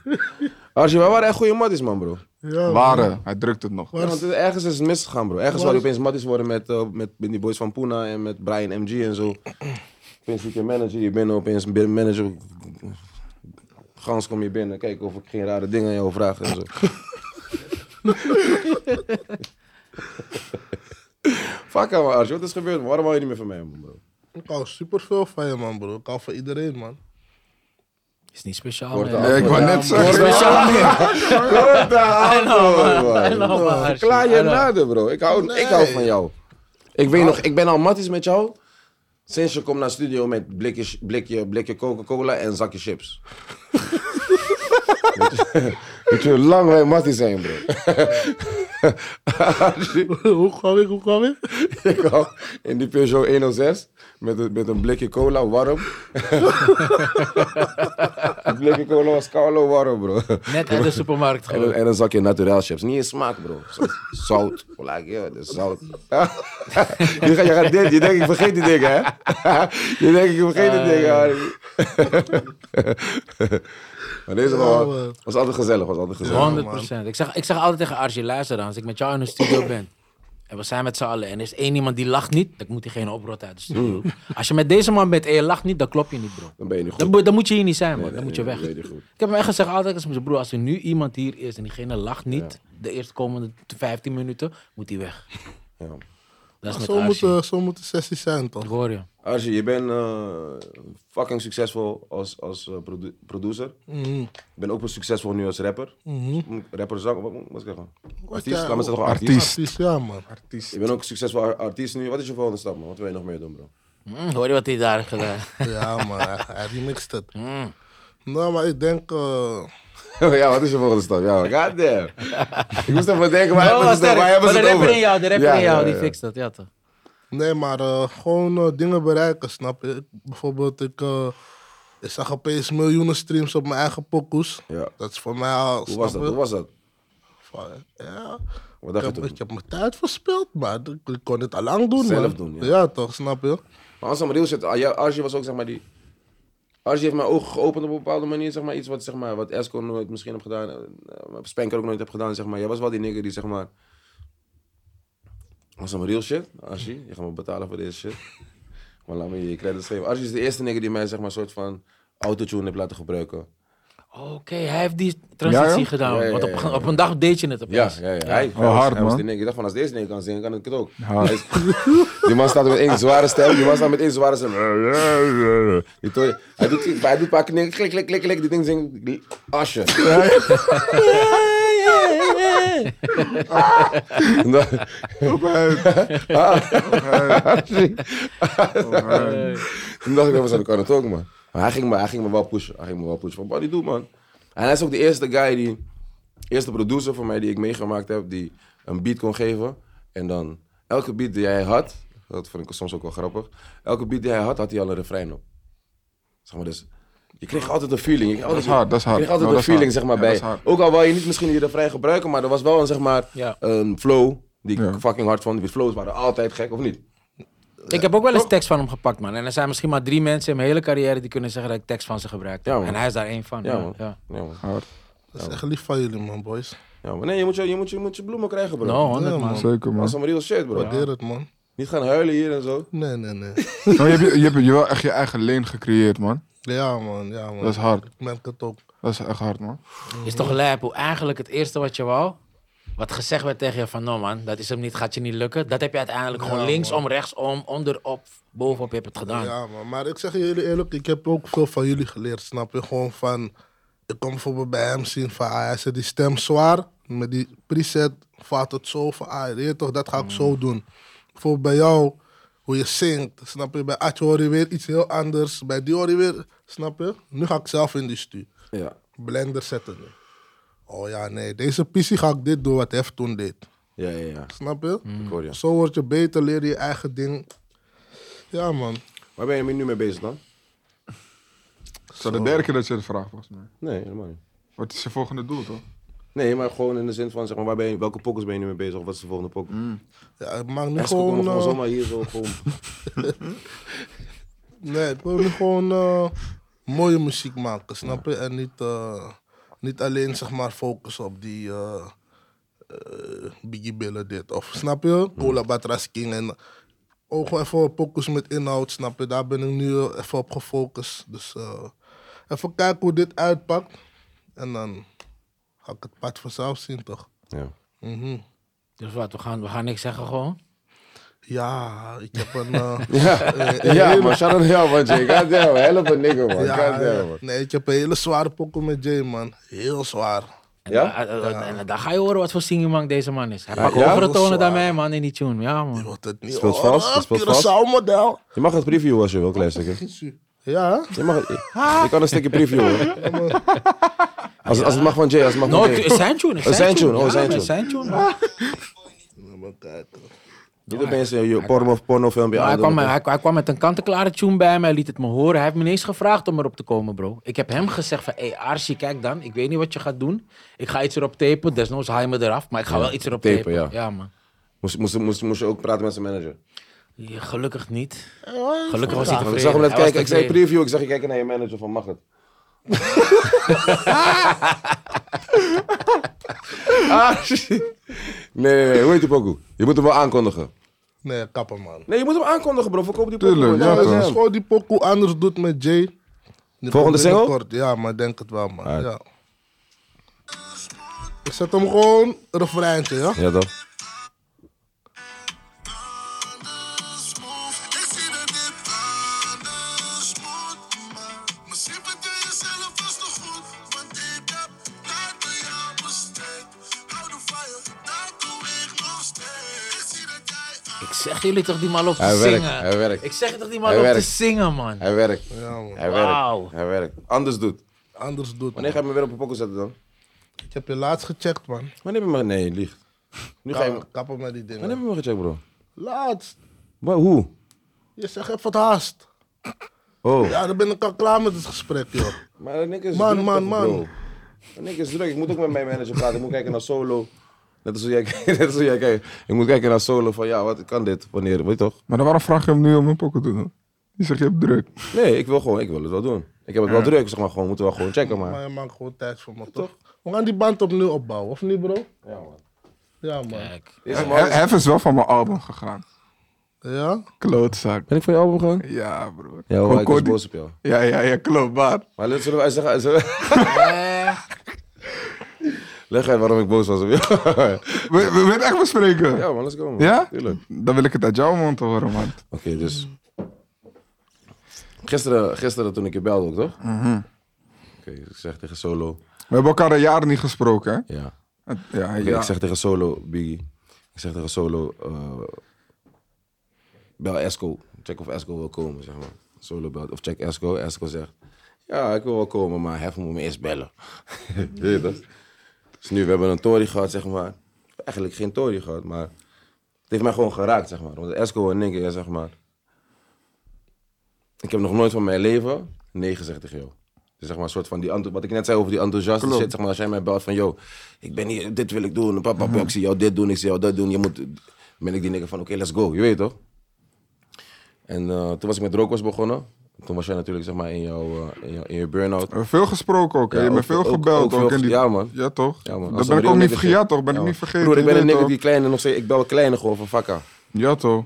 Archie, wij waren echt goede matties, man, bro.
Ja,
Waren. Hij drukt het nog.
Ja, want het- ergens is het misgegaan, bro. Ergens
Waar
zou je
is-
opeens matties worden met, eh, met, met die boys van Puna en met Brian MG en zo. Opeens zit je manager, je bent opeens bi- manager. Gans kom je binnen, kijk of ik geen rare dingen aan jou vraag en zo. Fuck aan Archie, wat is gebeurd? man? Waarom hou je niet meer van mij, man, bro?
Ik hou superveel van je, man, bro. Ik hou van iedereen, man.
Is niet speciaal,
Korte
man.
Ja, ik wou
Ja,
net zeggen.
Korte
I know, man, Archie.
Klaar je
I know.
naden, bro. Ik hou, ik hou van jou. Ik weet nog, ik ben al matties met jou. Sinds je komt naar studio met blikje, blikje, blikje Coca-Cola en zakje chips. Weet je hoe lang wij matties zijn, bro?
hoe kwam ik? Hoe kwam ik?
Ik hou in die Peugeot 106 met een, met een blikje cola warm. Het blikje cola was Carlo warm, bro.
Net uit de supermarkt
En een,
gewoon.
en een zakje naturel chips. Niet in smaak, bro. Zo- Zout. Like, ja, dat is zout. je, gaat, je, gaat dit, je denkt, ik vergeet die dingen, hè? je denkt, ik vergeet die
Ah.
dingen. Harry. maar deze was,
Oh,
man.
was altijd gezellig. Was altijd gezellig.
100 procent. Ik zeg, ik zeg altijd tegen Archie, luister dan, als ik met jou in de studio ben. En we zijn met z'n allen. En er is één iemand die lacht niet, dan moet diegene oprotten uit de
Mm.
studio. Als je met deze man bent en je lacht niet, dan klop je niet, bro.
Dan ben je niet goed.
Dan, moet- dan moet je hier niet zijn, man. dan
nee,
moet je
nee,
weg.
weet je goed.
Ik heb hem echt gezegd altijd, ik zeg, broer, als er nu iemand hier is en diegene lacht niet, de eerstkomende 15 minuten, moet hij weg.
Ja.
Dat is met
Zo moet,
Archie.
eh, zo moet de sessie zijn,
Ik
toch?
hoor je.
Archie, je bent eh, fucking succesvol als, als eh, produ- producer.
Mhm.
Ik ben ook wel succesvol nu als rapper.
Mhm.
Moet ik- Rapper zang, wat moet ik zeggen? Artiest,
jij-
laat me zeggen,
Artiest.
artiest.
Precies, ja, man.
Je bent ook succesvol ar- artiest nu. Wat is je volgende stap, man? Wat wil je nog meer doen, bro?
Mm, hoor je wat hij daar heeft gedaan?
Ja, man. Hij, hij remixt het.
Mm.
Nou, maar ik denk... eh,
ja, wat is je volgende stap? Ja, god damn. ik moest even denken, waar
Oh,
hebben ze het,
sterk.
waar hebben
Maar
ze het
de
over?
rapper in jou, de rapper
Ja,
in jou,
ja,
die
ja.
fixt dat, ja toch.
Nee, maar eh, gewoon eh, dingen bereiken, snap je? Ik- bijvoorbeeld, ik, eh, ik zag opeens miljoenen streams op mijn eigen pokoes.
Ja.
Dat is voor mij al...
Hoe was dat? Hoe was dat?
Ja,
Wat
ik
dacht je
heb,
toen?
ik heb mijn tijd verspild, maar ik, ik kon het al lang doen,
Zelf
man.
doen, ja.
toch, snap je?
Maar Ansem Riel zit, ah, ja, Archie was ook zeg maar die Archie heeft mijn ogen geopend op een bepaalde manier, zeg maar. Iets wat, zeg maar, wat Esco nooit misschien heb gedaan, eh, eh, Spanker ook nooit heb gedaan, zeg maar. Jij was wel die nigger die, zeg maar... Was een real shit, Archie. Je gaat me betalen voor deze shit. Maar laat me je credits geven. Archie is de eerste nigger die mij, zeg maar, soort van autotune heeft laten gebruiken.
Oké, hij heeft die transitie
Ja, ja?
gedaan.
Ja, ja,
Want
ja,
op,
ja, ja.
op een dag deed je het
Ja,
opeens.
ja, ja. Hij, hij
Oh,
was,
hard,
hij was
man.
die nigger. Ik dacht van, als deze nigger kan zingen, kan ik het ook.
Hard.
Hij is- die man staat met één zware stem. Die man staat met één zware stem. Die tooi- hij, doet, hij doet een paar knikken. Klik, klik, klik, klik. Die ding zingt. Asje. En dan-
Alright.
Toen dacht ik, dat was ik kan het ook, man. Maar hij ging me, hij ging me wel pushen. Hij ging me wel pushen. Van, wat die doet, man. En hij is ook de eerste guy die, eerste producer van mij die ik meegemaakt heb, die een beat kon geven. En dan, elke beat die hij had, dat vond ik soms ook wel grappig, elke beat die hij had, had hij al een refrein op. Zeg maar dus, je kreeg altijd een feeling. Je kreeg altijd,
is hard, dat is hard.
Je kreeg altijd
Nou,
een
dat is
feeling, zeg
hard.
maar, bij.
Ja, dat is hard.
Ook al wou je niet misschien die refrein gebruiken, maar er was wel een, zeg maar,
Ja.
een flow die ik
Ja.
fucking hard vond. Die flows waren altijd gek, of niet?
Ik heb ook wel eens tekst van hem gepakt, man. En er zijn misschien maar drie mensen in mijn hele carrière die kunnen zeggen dat ik tekst van ze gebruikt heb.
Ja, man.
en hij is daar één van.
Ja,
ja,
man.
ja.
Ja, man.
Hard.
Dat is echt lief van jullie, man, boys.
Ja, maar nee, je moet je, je, moet je, je moet je bloemen krijgen, bro.
Nou, honderd,
Ja, man.
man.
Zeker,
Dat
man.
is allemaal real shit, bro.
Waardeer het, man.
Niet gaan huilen hier en zo.
Nee, nee, nee.
Maar je hebt je hebt je wel echt je eigen leen gecreëerd, man.
Ja, man, ja, man.
Dat is hard.
Ik merk het ook.
Dat is echt hard, man.
Is toch lijp hoe eigenlijk het eerste wat je wou, wat gezegd werd tegen je van no man, dat is hem niet, gaat je niet lukken. Dat heb je uiteindelijk gewoon
Ja,
linksom, rechtsom, onderop, bovenop je hebt het gedaan.
Ja, man. Maar ik zeg jullie eerlijk, ik heb ook veel van jullie geleerd, snap je? Gewoon van, ik kom bijvoorbeeld bij hem zien van, ah, hij zet die stem zwaar. Met die preset vaat het zo van, ah, je weet toch, dat ga ik zo doen. Bijvoorbeeld bij jou, hoe je zingt, snap je? Bij Atje hoor je weer iets heel anders. Bij die hoor je weer, snap je? Nu ga ik zelf in die stuur.
Ja.
Blender zetten nu. Oh ja, nee, deze pissie ga ik dit doen wat Hef toen deed.
Ja, ja, ja.
Snap je?
Ik hoor je.
Zo word je beter, leer je je eigen ding. Ja, man.
Waar ben je nu mee bezig dan?
Het is al de derde keer dat je het vraagt, volgens mij.
Nee, helemaal niet.
Wat is je volgende doel, toch?
Nee, maar gewoon in de zin van, zeg maar, waar ben je, welke pokkers ben je nu mee bezig? Of wat is de volgende pokker?
Ja, ik maak nu
Esco kon nog
gewoon.
gewoon
eh,
zomaar hier zo gewoon...
nee, ik wil nu gewoon eh, mooie muziek maken, snap je? En niet, eh, niet alleen zeg maar focussen op die eh, eh, Biggie Billen dit. Of snap
Hmm.
je? Cola Batras King en ook gewoon even focus met inhoud, snap je? Daar ben ik nu eh, even op gefocust. Dus eh, even kijken hoe dit uitpakt. En dan ga ik het pad vanzelf zien, toch?
Ja.
Mhm.
Dus wat, we gaan, we gaan niks zeggen gewoon.
Ja, ik heb een. eh,
Ja, ja man, shout out to jou, man. Jay. God damn, help een nigger, man.
ja,
God damn, man.
nee, ik heb een hele zware pokkel met Jay, man. Heel zwaar.
En,
Ja?
da- eh, eh, en dan ga je horen wat voor singingman deze man is. Hij pakt
ja?
overal tonen
Zwaar.
dan mij, man, in die tune. Ja,
Je
man.
wordt het niet
Speelt vast,
horen,
speelt vast.
Curaçao model.
Je mag het previewen als je wil, klein stukje.
Ja,
Je, mag, je, je kan een stukje previewen. Als, als het mag van Jay, als het mag
No,
van
het is
Jay.
zijn tune. het
Oh,
is zijn
zijn tune,
tune.
oh,
Ja,
zijn
man,
tune.
zijn tune, man.
maar kijk.
Niet opeens eh, je porno, pornofilmpje
Maar hij,
aan
kwam, hij, hij kwam met een kant-en-klare tune bij me. Hij liet het me horen. Hij heeft me niet eens gevraagd om erop te komen, bro. Ik heb hem gezegd van... Hé, Archie, kijk dan. Ik weet niet wat je gaat doen. Ik ga iets erop tapen. Desnoods haal je me eraf. Maar ik ga
Ja,
wel iets erop
tapen,
tapen.
ja.
man.
Moest, moest, moest, moest je ook praten met zijn
Ah,
manager?
Ja, gelukkig niet. Gelukkig was hij
Want
tevreden.
ik zag hem net
Hij was
kijken. Ik zei
tevreden.
preview. Ik zag je kijken naar je manager van mag het. ah, shit. nee, nee, nee. Hoe heet die pokoe? Je moet hem wel aankondigen.
Nee, kapper, man.
Nee, je moet hem aankondigen, bro. Verkoop die pokoe.
Tuurlijk,
man.
ja,
Ja,
Dat is
als
toch.
hem.
gewoon die pokoe anders doet met Jay. die
Volgende
komt
single?
binnenkort. Ja, maar ik denk het wel, man.
Uit.
Ja. Ik zet hem gewoon refreintje, ja?
Ja, toch?
Ik zeg jullie toch die man op te
Hij werkt,
zingen.
hij werkt.
Ik zeg toch die man
Hij
op
werkt.
te zingen, man.
Hij werkt.
Ja, man.
Hij
Wauw.
werkt. Hij werkt. Anders doet.
Anders doet.
Wanneer
man.
ga je me weer op een pokoe zetten dan?
Ik heb je laatst gecheckt, man.
Wanneer heb je me... Nee, liegt. Nu ga je...
Ja, kapper met die
Wanneer heb
dingen.
je me gecheckt, bro?
Laatst.
Wa- Hoe?
Je zegt even het haast.
Oh.
Ja, dan ben ik al klaar met het gesprek, joh.
Maar Nick is
Man,
druk,
man,
toch,
man.
bro? Nick is druk. Ik moet ook met mijn manager praten. Ik moet kijken naar solo. Net als hoe jij, kijkt- net als hoe jij kijkt. Ik moet kijken naar solo van ja, wat kan dit? Wanneer? Weet je toch?
Maar dan waarom vraag je hem nu om een pokken te doen? Je zegt, je hebt druk.
Nee, ik wil gewoon, ik wil het wel doen. Ik heb het wel druk, zeg maar. Gewoon, moeten we wel gewoon checken,
Maar
maar.
je maakt gewoon tijd voor me, toch? We gaan die band opnieuw opbouwen, of niet, bro?
Ja, man.
Ja, man.
Kijk.
Deze man is-
Hef is wel van mijn album gegaan.
Ja?
Klootzak.
Ben ik voor je album gewoon?
Ja, broer.
Ja,
Kon-
hoor, ik
kon
was
die-
boos op jou.
Ja, ja, ja, klopt, maar...
Maar let- zullen we uitleggen? zullen we- Leg uit waarom ik boos was op jou.
Wil wil- wil je het echt bespreken?
ja, man, let's go. Man.
Ja?
Tuurlijk.
Dan wil ik het uit jouw mond horen, man.
Oké, dus. Gisteren, gisteren toen ik je belde ook, toch? Oké, dus ik zeg tegen Solo.
We hebben elkaar al jaren niet gesproken, hè?
Ja.
Het- Ja,
Oké,
ja.
Ik zeg tegen Solo, Biggie. Ik zeg tegen Solo, eh, bel Esco. Check of Esco wil komen, zeg maar. Solo belt, of check Esco. Esco zegt, ja, ik wil wel komen, maar hef moet me eerst bellen. Weet je dat? Dus nu, we hebben een tory gehad, zeg maar. Eigenlijk geen tory gehad, maar het heeft mij gewoon geraakt, zeg maar. Want Esco en ik, ja, zeg maar. Ik heb nog nooit van mijn leven nee gezegd tegen jou. Dus zeg maar, een soort van die, enth- wat ik net zei over die enthousiaste
Klopt.
shit. Zeg maar, als jij mij belt van, yo, ik ben hier, dit wil ik doen. Papa, papa, ik zie jou dit doen, ik zie jou dat doen. Je moet, ben ik die nigger van, oké, let's go. Je weet toch? En eh, toen was ik met Rookwas begonnen. Toen was jij natuurlijk, zeg maar, in jouw, eh, in jouw, in je burn-out.
We hebben veel gesproken ook, hè?
Ja,
je bent
ook-
veel
ook-
gebeld
ook
ook.
veel
in
ges-
die...
ja, man.
Ja, toch?
Ja, man. Als een
Dat ben ik
real
ook niet
nigger shit.
vergeten, toch?
Ja,
Ben ik
man.
niet vergeten.
Broer, ik ben
je
een
weet
nigger die
toch?
kleine nog steeds. Ik bel kleine gewoon van vakka.
Ja, toch?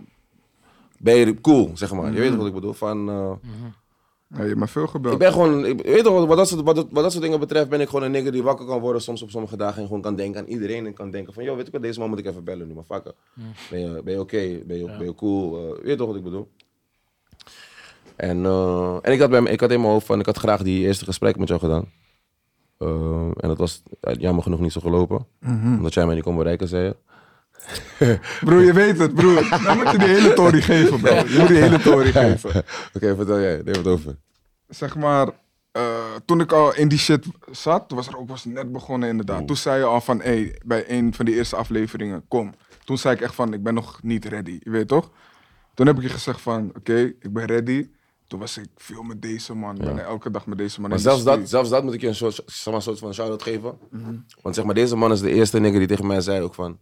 Ben je cool, zeg maar. Je weet wat ik bedoel. Van, eh,
Ja, je bent veel gebeld.
Ik ben gewoon, ik, weet toch, wat dat, soort, wat, dat- wat dat soort dingen betreft ben ik gewoon een nigger die wakker kan worden soms op sommige dagen en gewoon kan denken aan iedereen en kan denken van, joh, weet ik wat, deze man moet ik even bellen nu, maar fucker. Ben je, ben je oké? Ben, je, ben je cool? Eh, weet toch wat ik bedoel? En, eh, en ik, had bij, me- ik had in mijn hoofd van, ik had graag die eerste gesprek met jou gedaan. Eh, en dat was eh, jammer genoeg niet zo gelopen. Omdat jij mij niet kon bereiken, zei je.
Broer, je weet het, broer. Dan moet je die hele tory geven, bro. Je moet die hele tory geven.
Oké, vertel jij, neem het over.
Zeg maar, eh, toen ik al in die shit zat, toen was er ook was net begonnen inderdaad.
Mm.
Toen zei je al van, hé, bij een van die eerste afleveringen, kom. Toen zei ik echt van, ik ben nog niet ready, je weet toch? Toen heb ik je gezegd van, oké, ik ben ready. Toen was ik veel met deze man, bijna elke dag met deze man.
Maar
in de
zelfs dat,
studio.
zelfs dat moet ik je een soort, zeg maar, een soort van shout-out geven. Want zeg maar, deze man is de eerste nigger die tegen mij zei ook van...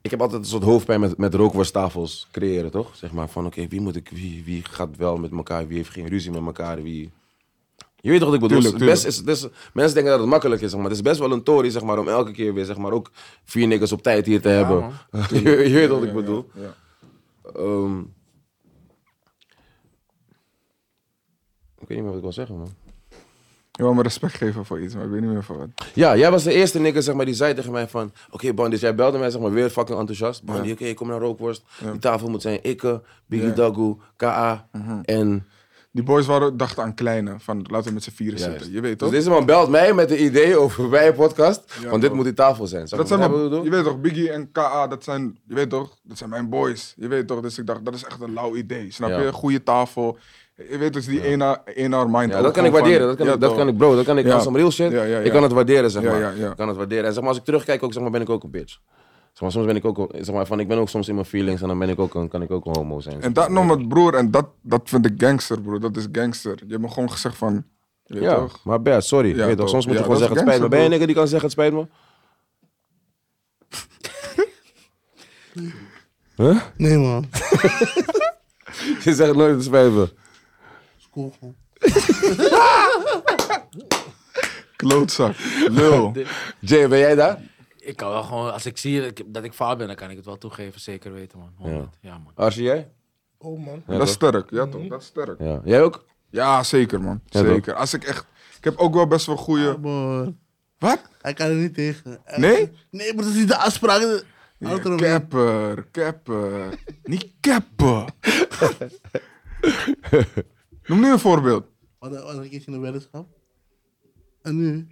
Ik heb altijd een soort hoofdpijn met, met rookworsttafels creëren, toch? Zeg maar van, oké, wie moet ik... Wie, wie gaat wel met elkaar? Wie heeft geen ruzie met elkaar? Wie... Je weet toch wat ik bedoel?
Tuurlijk,
Het best
tuurlijk.
is, het is, mensen denken dat het makkelijk is, zeg maar het is best wel een tory zeg maar, om elke keer weer zeg maar, ook vier niggers op tijd hier te hebben. je, je weet wat ik bedoel.
ja.
Ehm, ik weet niet meer wat ik wil zeggen, man.
Je wil me respect geven voor iets, maar ik weet niet meer voor wat.
Ja, jij was de eerste nigger zeg maar, die zei tegen mij van... Oké, Bandit, jij belde mij zeg maar, weer fucking enthousiast. Bandit, oké, kom naar Rookworst. Die tafel moet zijn ikke, Biggie
Ja. Mhm.
Dagu, K.A. en...
Die boys waren, dachten aan kleine, van laten we met z'n vieren zitten. Je weet
Dus
toch?
deze man belt mij met de idee over mijn podcast.
Ja,
want dit
toch.
moet die tafel zijn. Snap
Dat
je
zijn
wat
mijn-
ik bedoel?
je weet toch, Biggie en K.A., dat zijn, je weet toch, dat zijn mijn boys. Je weet toch, dus ik dacht, dat is echt een lauw idee. Snap
Ja.
je? Goede tafel. Je weet dus die één hour- één hour mind.
Ja,
ook
dat kan ik
gewoon
waarderen.
van-
Dat kan,
ja,
ik, dat
toch.
kan ik, bro. Dat kan ik
Ja.
als een real shit.
Ja, ja, ja.
Ik kan het waarderen, zeg
Ja,
maar.
ja, ja.
Ik kan het waarderen. En zeg maar, als ik terugkijk, ook, zeg maar, ben ik ook een bitch. Zeg maar, soms ben ik ook, zeg maar, van, ik ben ook soms in mijn feelings en dan ben ik ook een, kan ik ook een homo zijn.
En dat noem het broer, en dat, dat vind ik gangster, broer. Dat is gangster. Je hebt me gewoon gezegd van, je weet
Ja,
toch?
maar bad, sorry.
Ja,
Weet toch,
toch.
soms moet
Ja,
je gewoon
dat is
zeggen, het spijt me.
gangster,
Ben je een nigger die kan zeggen, het spijt me? huh?
Nee, man.
Je zegt nooit het spijt me.
Is cool, gewoon.
Klootzak, lul.
Jay, ben jij daar?
Ik kan wel gewoon, als ik zie dat ik- dat ik fout ben, dan kan ik het wel toegeven. Zeker weten, man. 100. Ja, man.
Arsje, jij?
Oh, man.
dat is sterk, ja toch? Dat is sterk.
Ja. Jij ook?
Ja, zeker man.
Ja, toch?
zeker. Als ik echt, ik heb ook wel best wel goede.
Man.
Wat?
Hij kan er niet tegen. Echt.
Nee?
Nee, maar dat is niet de afspraak.
Ja,
Houd eromheen.
Kepper, kepper. Niet keppen. Noem nu een voorbeeld.
We hadden, we hadden een keertje een weddenschap. En nu?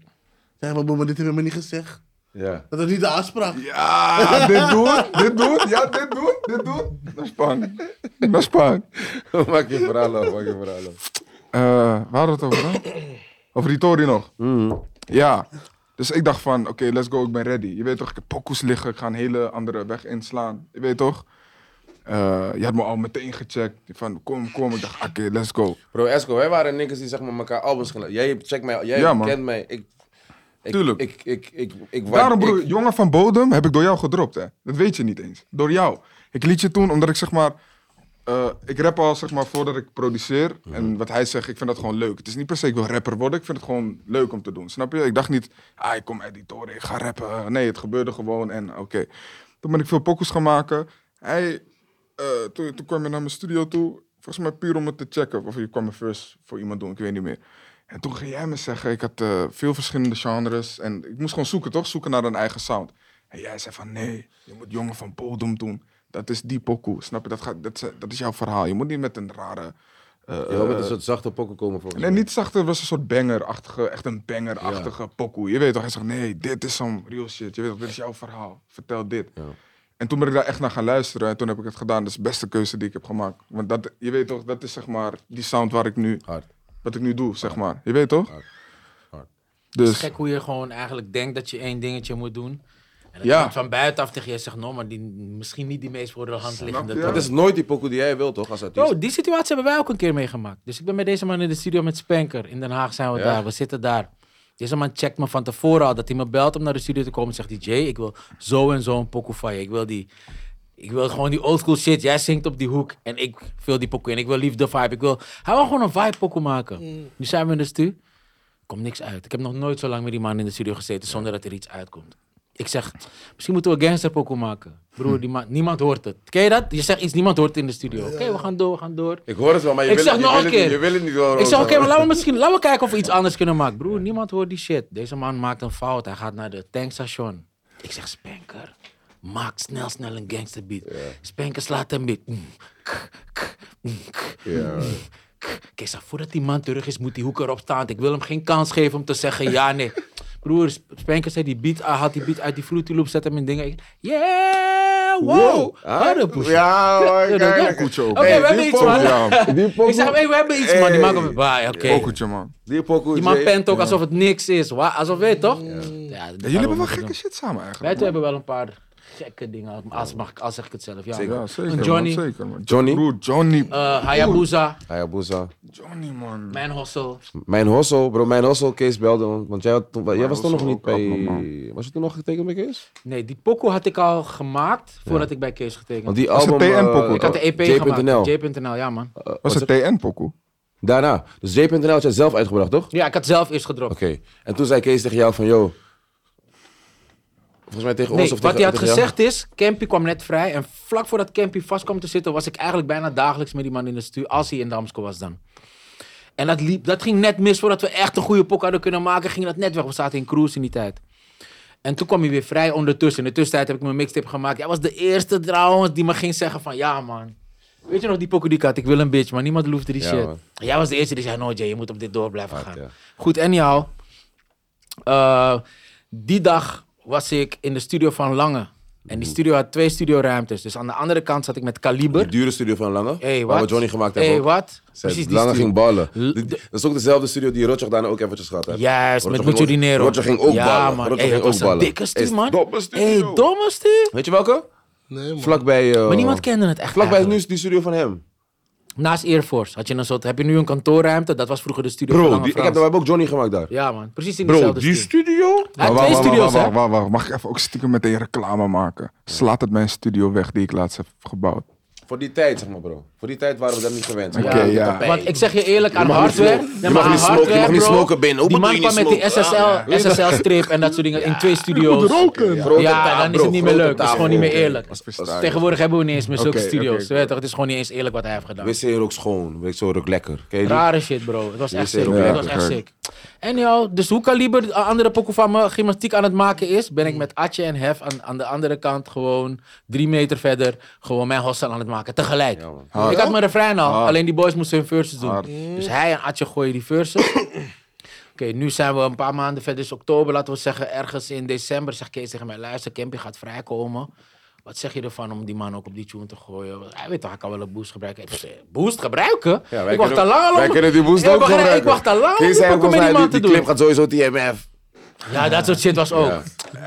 Zeg maar, maar dit hebben we niet gezegd.
Ja.
Dat is niet de afspraak.
Ja, dit doen, dit doen, ja, dit doen, dit doen. Dat is bang. Dat is bang.
maak je verhaal af, maak je verhaal af.
Eh, waar hadden we het over dan? Over die Tori nog. Ja. Dus ik dacht van, oké, let's go, ik ben ready. Je weet toch, ik heb pokoes liggen, ik ga een hele andere weg inslaan. Je weet toch? Eh, je had me al meteen gecheckt. Van, kom, kom. Ik dacht, oké, let's go.
Bro, Esco, wij waren niggers die zeg maar elkaar albums gingen... Jij check mij, jij
Ja, man.
kent mij. Ik, ik,
Tuurlijk.
Ik, ik, ik, ik, ik-
Daarom,
ik-
broer, jongen van bodem heb ik door jou gedropt, hè. Dat weet je niet eens. Door jou. Ik liet je toen, omdat ik zeg maar... eh, ik rap al, zeg maar, voordat ik produceer. En wat hij zegt, ik vind dat gewoon leuk. Het is niet per se, ik wil rapper worden. Ik vind het gewoon leuk om te doen, snap je? Ik dacht niet, ah, ik kom editoren, ik ga rappen. Nee, het gebeurde gewoon en oké. Toen ben ik veel pokus gaan maken. Hij, eh, toen, toen kwam hij naar mijn studio toe. Volgens mij puur om het te checken. Of je kwam een verse voor iemand doen, ik weet niet meer. En toen ging jij me zeggen, ik had eh, veel verschillende genres. En ik moest gewoon zoeken, toch? Zoeken naar een eigen sound. En jij zei van, nee, je moet Jongen van Bodem doen. Dat is die pokoe, snap je? Dat, gaat, dat, is- dat is jouw verhaal. Je moet niet met een rare... eh,
Je wil met een soort zachte pokken komen volgens
Nee,
mij.
niet zachter, het was een soort banger-achtige, echt een banger-achtige pokoe. Je weet toch, hij zegt, nee, dit is zo'n real shit. Je weet toch, dit is jouw verhaal. Vertel dit.
Ja.
En toen ben ik daar echt naar gaan luisteren en toen heb ik het gedaan. Dat is de beste keuze die ik heb gemaakt. Want dat, je weet toch, dat is zeg maar die sound waar ik nu,
Hard.
wat ik nu doe, zeg maar. Je weet toch?
Hard. Hard.
Het is
Dus,
gek hoe je gewoon eigenlijk denkt dat je één dingetje moet doen. En dat
Ja.
iemand van buitenaf tegen je zegt, no, maar die, misschien niet die meest voor de hand liggende.
je? Dus-
toon."
Dat is nooit die pokken die jij wilt, toch? Als artiest.
Oh.
Yo, die situatie hebben wij ook een keer meegemaakt. Dus ik ben met deze man in de studio met Spanker. In Den Haag zijn we
Ja.
daar. We zitten daar. Deze man checkt me van tevoren al dat hij me belt om naar de studio te komen. Zegt hij, Jay, ik wil zo en zo een pokoe van je. Ik wil die... Ik wil gewoon die oldschool shit. Jij zingt op die hoek en ik vul die pokoe in. Ik wil liefde vibe. Ik wil... Hij wil gewoon een vibe pokoe maken. Nu zijn we in de stu. Komt niks uit. Ik heb nog nooit zo lang met die man in de studio gezeten zonder dat er iets uitkomt. Ik zeg, misschien moeten we gangster pokoe maken. Broer, die man, niemand hoort het. Ken je dat? Je zegt iets, niemand hoort het in de studio. Oké, we gaan door, we gaan door.
Ik hoor het wel, maar je,
Ik
wil,
zeg
het, je,
nog
wil,
een
het, niet-
keer.
je wil het niet horen.
Ik zeg, oké,
Rosa.
maar laten we misschien laten we kijken of we iets anders kunnen maken. Broer, niemand hoort die shit. Deze man maakt een fout. Hij gaat naar de tankstation. Ik zeg, Spanker, maak snel, snel een gangsterbeat. Spanker slaat een beat. Mm, k, k, mm, k,
Ja.
k. Ik zeg, voordat die man terug is, moet die hoek erop staan. Ik wil hem geen kans geven om te zeggen ja, nee. Broer, Sp- Spanker zei die beat, haalt die beat uit die Fruity Loop, zet hem in dingen. Ik- Yeah, wow.
Huh?
Aardappeltje.
Ah, Ja, hoor,
Ja,
kijk.
ja.
Pokoetje ook.
Oké, we hebben
die
iets,
pokoe,
man.
ja.
Die pokoe,
Ik zeg, hey, we hebben iets, man. Die maken we... Bye, oké.
Pokoetje, man.
die pokoe,
Die man
Jay.
pent ook alsof het niks is. Wa- Alsof weet je toch? Ja. dat
Ja, jullie hebben wel
gaan we
gekke
doen.
shit samen
Wij
eigenlijk.
twee hebben wel een paar gekke dingen. Als, mag, ik- als zeg ik het zelf. Ja.
Ja, zeker.
Een
man,
Johnny.
zeker, man.
Johnny?
Broer, Johnny.
Eh, Hayabusa,
Hayabusa.
Johnny, man.
mijn hostel.
Ah, Mijn hossel, bro, mijn hossel, Kees belde. Want, want jij, had toen- jij was toen nog
hossel
niet
ook
bij.
abnormaal.
Was je toen nog getekend bij Kees?
Nee, die pokoe had ik al gemaakt voordat ik bij Kees getekend
Want
had.
die
Was het
album. eh,
TN-pokoe,
Ik had de EP
J.nl.
gemaakt. J.nl, ja man.
Was het TN-pokoe?
Daarna. Dus J.nl had jij zelf uitgebracht, toch?
Ja, ik had zelf eerst gedropt.
Oké. En toen zei Kees tegen jou van, yo. Volgens mij tegen
Nee,
ons of
wat hij
tegen,
had
tegen jou.
gezegd is, Campy kwam net vrij. En vlak voordat Campy vast kwam te zitten, was ik eigenlijk bijna dagelijks met die man in de stuur. Als hij in Damsko was dan. En dat, liep, dat ging net mis voordat we echt een goede pok hadden kunnen maken. Ging dat net weg. We zaten in cruise in die tijd. En toen kwam hij weer vrij ondertussen. In de tussentijd heb ik mijn mixtape gemaakt. Jij was de eerste trouwens die me ging zeggen van ja man. Weet je nog die pokoe die ik had? Ik wil een bitch, maar niemand loefde die
Ja,
shit.
man.
Jij was de eerste die zei, no Jay, je moet op dit door blijven
Hard,
gaan.
ja.
Goed, en jou? Eh, die dag was ik in de studio van Lange. En die studio had twee studioruimtes. Dus aan de andere kant zat ik met
Die
Kaliber.
dure studio van Lange.
Hey,
waar
wat?
we Johnny gemaakt hebben.
Hey,
ook.
wat?
Zij-
Precies die
Lange
studio.
ging ballen.
L-
Die-
de-
dat is ook dezelfde studio die Rotjoch daarna ook eventjes gehad heeft.
Juist,
Rotjoch
met Mucho
ging ook-
Dinero.
Rotjoch ging ook
ja,
ballen.
man.
Rotjoch
Hey,
ging
dat
ook
was een
ballen.
dikke
Is
stuur, man.
domme
hey,
studio.
domme stuur.
Weet je welke?
Nee, man.
Vlakbij... eh,
Maar niemand kende het echt
Vlakbij
eigenlijk.
nu is die studio van hem.
Naast Air Force had je een soort... Heb je nu een kantoorruimte? Dat was vroeger de studio van
Bro,
Lange
die, ik heb,
Frans.
we hebben ook Johnny gemaakt daar.
Ja, man. Precies in
Bro,
diezelfde
die
studio.
studio?
Hij
Maar
had
wacht,
twee
wacht,
studio's,
wacht,
hè?
wacht, wacht, wacht. Mag ik even ook stiekem meteen reclame maken? Slaat het mijn studio weg die ik laatst heb gebouwd?
Voor die tijd, zeg maar, bro. Voor die tijd waren we dat niet gewend. zeg maar.
Oké, ja.
tapijt.
Want ik zeg je eerlijk, aan
mag niet
hardware...
smoken.
Nee,
Je
maar
mag
aan
niet smoken, je mag
hardware,
niet
bro,
smoken, Ben. Hoe
Die
bedoel
man
je
kwam
niet
met die
smoken?
SSL, SSL-strip en dat soort dingen in twee studio's.
Roken.
Grote
Ja,
tafel,
dan is
bro,
het niet meer
grote
leuk. Het is
tafel.
gewoon niet meer
Oké.
eerlijk.
Als-
Verstaan.
als-
Tegenwoordig hebben we niet eens meer zulke
Oké,
studio's.
oké,
Je weet toch, het is gewoon niet eens eerlijk wat hij heeft gedaan.
WC rook schoon, WC rook lekker. Ken je die?
Rare shit, bro. Het was echt
Wist
sick.
je
ook,
Het
ja.
was echt sick. En jou, dus hoe kaliber de andere pokoe van me gymnastiek aan het maken is, ben ik met Atje en Hef aan, aan de andere kant gewoon drie meter verder gewoon mijn hostel aan het maken. Tegelijk.
Ja, man.
ik had mijn refrein al,
Hard.
alleen die boys moesten hun verses doen.
Hard.
Dus hij en Atje gooien die verses. Oké, nu zijn we een paar maanden verder. Dus oktober, laten we zeggen, ergens in december zegt Kees tegen mij: luister, Campy gaat vrijkomen. Wat zeg je ervan om die man ook op die tune te gooien? Want Hij weet toch, hij kan wel een boost gebruiken. Ik zeg, Boost gebruiken?
Ja, wij
ik wacht al
kunnen-
lang al om-
Wij kunnen die boost
Ja,
ook
ik wacht-
gebruiken.
Ik wacht al lang om
Kees
die
zei
pokken
volgens
met die
mij,
man
die
te doen.
clip gaat sowieso TMF.
Ja, dat soort shit was ook.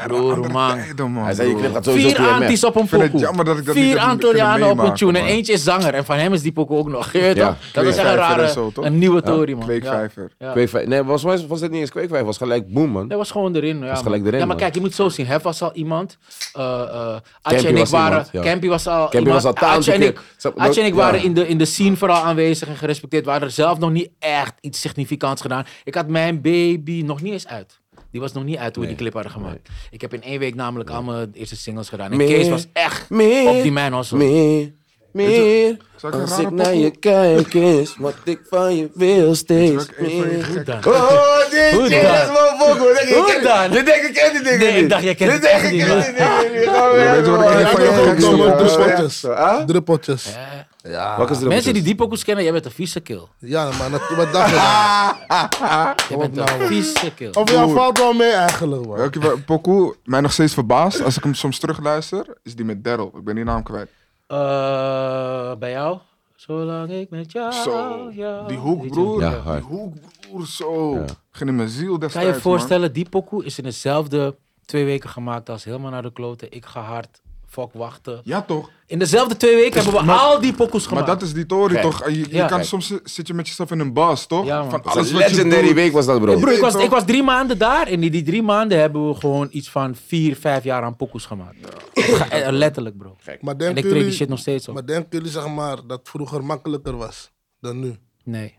Broer,
Andere
man.
tijden, man.
Hij zei, je
broer.
clip gaat sowieso
Vier
TMF.
antis op een
vind het
pokoe.
jammer dat ik dat niet
Vier
heb kunnen
Antillianen op een
meemaken,
tune. En
man.
eentje is zanger. En van hem is die pokoe ook nog. Geurt
Ja,
ja, Dat is echt een
Kweekvijver en
rare,
zo, toch?
een nieuwe tory, man.
Kweekvijver.
Ja. Ja.
Kweekvijf. Nee, was, was, was het niet eens kweekvijf. was gelijk boom, man.
Dat was gewoon erin. Ja, man.
gelijk erin,
ja maar
man.
kijk, je moet zo zien. Hef was al iemand. eh eh
Campy
Atje en ik
was
waren.
iemand, ja.
Campy was al.
Campy
iemand.
was al
Atje en ik,
talented kid.
Atje en ik
Ja.
waren in de, in de scene vooral aanwezig en gerespecteerd. We hadden zelf nog niet echt iets significants gedaan. Ik had mijn baby nog niet eens uit. Die was nog niet uit hoe we die clip hadden gemaakt. Ik heb in één week namelijk allemaal al mijn eerste singles gedaan. En
Meer,
Kees was echt
meer,
op die mijn hustle.
Meer, meer.
Zal ik een
Als
rare
ik naar
pokoe-
je kijk is, wat ik van je wil steeds meer.
Hoe dan?
Oh, dit
Hoe
dit is
dan?
wel fokker.
Hoe dan?
Dit denk ik ken die dingen
Nee, ik
niet.
dacht, jij kent
Dit
het
denk
echt
ik
niet,
ken
man.
die dingen niet. Gaan we
weet je wat ik
even-
echt
Ja,
van
Ik
jou
dat
heb
gek
ook
is
zou
ook
nog
maken?
zo,
met
eh,
drie
hè?
potjes.
Zo, hè?
Drie potjes.
Eh,
Ah.
Welke is er
Mensen
op
die
het
die pokoes kennen, jij bent een vieze kill.
Ja, maar dat- wat dacht je
Ah,
dan?
Jij bent een vieze kill.
Of jou valt wel mee eigenlijk, man.
Welke wa- pokoe mij nog steeds verbaast, als ik hem soms terugluister, is die met Daryl. Ik ben die naam kwijt.
Eh, bij jou? Zolang ik met jou.
Zo,
jou-
die hoek, broer.
Ja,
die
hard.
hoek, broer, zo. Geen in mijn ziel
Kan
destijds,
je je voorstellen, die pokoe is in dezelfde twee weken gemaakt als helemaal naar de kloten. Ik ga hard, fuck wachten.
Man. Ja, toch?
In dezelfde twee
Dus
weken hebben we al die
Maar
pokoes gemaakt.
dat is die tory,
Kijk.
toch? Je, je
Ja.
kan,
Kijk.
soms zi- zit je met jezelf in een baas, toch?
Ja, man.
Van
Dat
alles
is
wat je
legendary
doet.
week was dat, bro.
Broer, ik, was,
toch?
ik was drie maanden daar en in die drie maanden hebben we gewoon iets van vier, vijf jaar aan pokoes gemaakt. Ga- eh, Letterlijk, bro.
Maar
En ik
denken
treed die
jullie,
shit nog steeds op.
maar denken jullie zeg maar, dat vroeger makkelijker was dan nu?
Nee,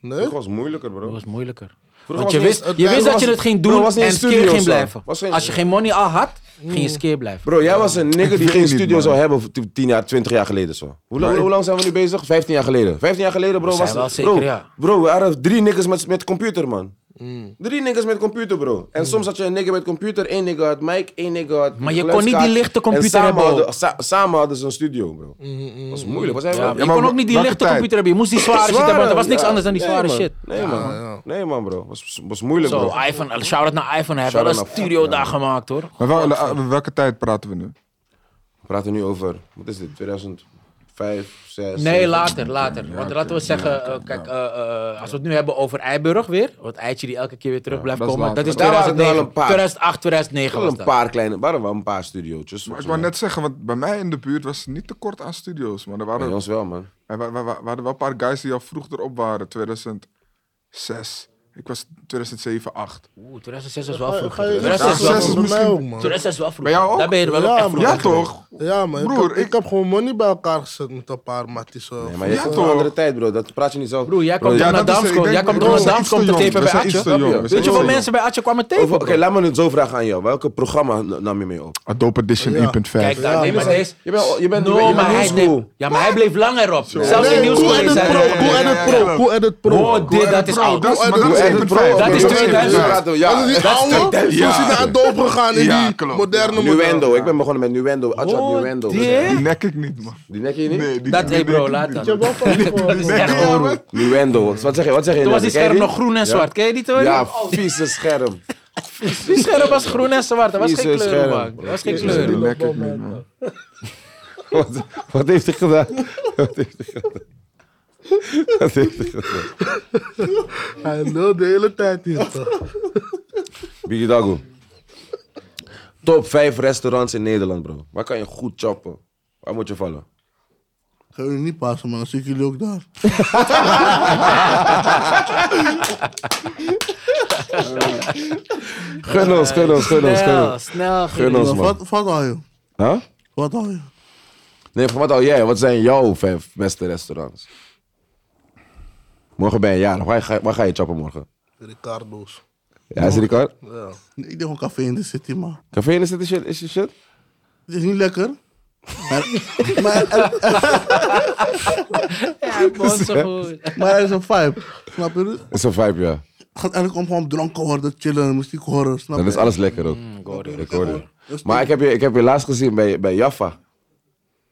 Nee?
Het was moeilijker,
dat
bro.
was moeilijker.
Vroeger
Want je
was
wist,
niet- het-
je wist
vroeger
dat je
was-
het ging
vroeger
doen
was niet
en
in
skeer
studio
ging
of zo.
blijven.
Was geen- Mm.
Als je geen money al had, ging je skeer blijven.
Bro, jij was een nigger die
weet
geen
niet,
studio
man.
zou hebben t- 10 jaar, 20 jaar geleden zo. Hoe lang, hoe lang zijn we nu bezig? 15 jaar geleden. 15 jaar geleden, bro,
zijn
was
wel
het-
zeker,
bro,
ja. Mm.
bro, we hadden drie niggers met, met computer, man. Drie niggers met computer, bro. En soms had je een nigger met computer, één nigger had mic, één nigger had
Maar je kon
geluidskaart.
niet die lichte
En
computer
samen
hebben
Hadden,
ook.
sa- samen hadden ze een studio, bro. Dat was moeilijk. Was
mm. Ja,
eigenlijk
je
maar
kon ook niet die
welke
lichte
tijd?
computer hebben. Je moest die zware, shit hebben. want Er was niks anders dan die zware
nee,
shit.
Man. Nee, man. Nee, man, bro. Was, was moeilijk,
Zo,
bro.
iPhone, shout-out naar iPhone. Hij heeft wel
Shout-out
een
naar
studio
fuck,
daar
ja.
gemaakt, hoor.
Maar wel- eh, welke tijd praten we nu?
We praten nu over, wat is dit, 2005, 6?
Nee, later, later. Want laten we zeggen, eh, kijk, eh, eh, als we het nu hebben over Eiburg weer. Het eitje die elke keer weer terug blijft
dat is
komen.
later.
Dat is
Daar waren er wel
2009.
een paar.
2008, 2009
Wel
was
een
dat.
paar kleine, waren wel een paar studiootjes.
Maar ik wou net zeggen, want bij mij in de buurt was het niet tekort aan studio's. Maar er
Bij
waren,
ons wel, man.
er wa- wa- wa- waren wel een paar guys die al vroeg erop waren. 2006. Ik was 2007, 8.
Oeh, 2006 was wel vroeg.
Ga je-
2006
zes
was wel
is
bij
vroeg.
mij
misschien-
ook, man.
2006 was wel vroeg.
Bij jou ook?
Daar ben je er wel
Ja,
op echt
man.
vroeg
Ja,
aan geweest.
toch?
Ja, maar
Broer,
ik, heb, ik...
ik-
heb gewoon money bij elkaar gezet met een paar matties. eh,
Nee, maar jij
Ja,
komt uit
toch?
een andere tijd, bro. Dat praat je niet zelf.
Broer, jij
Bro,
komt
ja,
toch naar
dat is- ik
Damsko.
denk-
Jij komt
bro,
toch
we
naar
zijn
Damsko om
iets
te
te jong.
tapen bij
We zijn iets te
Atje?
Snap je?
jong. We zijn
Weet je
iets
hoeveel
te
mensen bij Atje kwamen
Over-
tapen?
Oké, laat me het zo vragen aan jou. Welke programma na- nam je mee op?
jong. Adobe Edition
Ja.
1.5.
Kijk daar,
Ja,
nee, maar
maar
deze...
Je bent, je bent,
No,
je bent
maar hij,
oldschool.
nee, ja, maar hij bleef langer op. Zelfs
Nee,
in Nieuws
Cool
School
Edit
is hij
Pro,
langer.
Cool
ja,
Edit
ja,
Pro,
ja.
Cool Edit Pro.
Oh, dit, dat is
Bro,
oud.
dat is- maar dat
Doe
is
echt het
1.5.
pro-
Dat is
bro.
2000.
Ja, laten we-
Dat
Ja,
is die oude,
is
hoe is hij naar Adobe gegaan in
Ja,
die
klopt.
moderne model.
Nuendo. Ik ben begonnen met Nuendo. Atje had
Oh,
Nuendo.
dit?
Die nek ik niet, man.
Die nek je niet?
Nee, die
Dat,
die
hey bro,
nek ik
laat
niet.
dan.
Ik heb wel van die
Dat is
gehoord.
echt
Ja,
horror.
man.
Nuendo. Wat zeg je? Wat zeg je?
Toen was die
Ken je
scherm nog groen en
Ja.
zwart. Ken je die toen?
Ja,
Oh,
vieze scherm.
Die scherm was groen en zwart. Dat was
Vieze
geen kleur,
scherm.
man. Dat was geen
Die
kleur.
nek ik niet, man.
Wat, wat heeft hij gedaan? Wat heeft hij gedaan? Wat heeft hij gedaan?
Hij lult de hele tijd hier. toch.
Biggie Dago. Top 5 restaurants in Nederland, bro. Waar kan je goed choppen? Waar moet je vallen?
Ga jullie niet passen, man. Dan zie ik jullie ook daar.
Gun ons, gun ons, gun ons, gun
Snel,
ons.
snel.
Gun ons,
Maar
man.
Wat, wat al je?
Huh?
Wat al je?
Nee, van wat al jij? Wat zijn jouw vijf beste restaurants? Morgen ben je jarig. Waar ga, waar ga je choppen morgen?
Ricardo's.
Ja, is Ricard?
Ja.
Nee, Ik denk een café in de city, man.
Café is dit shit? Is je shit?
Het is niet lekker. Maar, maar, er,
Ja, bond zo goed.
maar er is een vibe. Snap je? Het
Is een vibe, ja.
gaat eigenlijk om gewoon dronken worden, chillen, muziek horen. Snap
Dan
je?
is alles lekker ook.
Mm,
Ik hoor het.
Dat is
Maar ik heb, je, ik heb je laatst gezien bij, bij Jaffa.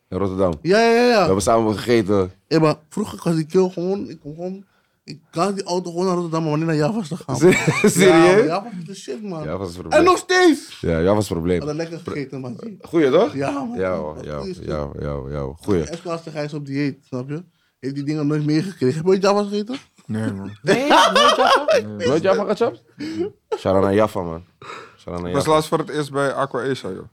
In Rotterdam.
Ja, ja, ja.
We
ja.
hebben samen gegeten.
Hey, maar vroeger was ik heel gewoon, ik kon gewoon, ik kan die auto gewoon naar Rotterdam, maar niet naar Java's te gaan.
Ser- serieus?
Ja, Java's is de shit, man.
Jaffa is een
en
probleem.
nog steeds!
Ja, Jaffa is een
We hadden
probleem.
lekker gegeten, man.
Goeie, toch?
Ja, man.
Ja, hoor, ja,
Goeie shit.
ja, ja, ja. Goeie.
Echt lastig, hij is op dieet, snap je? Heeft die dingen nooit meegekregen. Heb je ooit Java's gegeten?
Nee, man.
Nee, nooit Jaffa?
Nooit Jaffa gechapt? Shout-out naar Jaffa, man. Shout-out naar
Ik was
Jaffa.
laatst voor het eerst bij Aqua Asia, joh.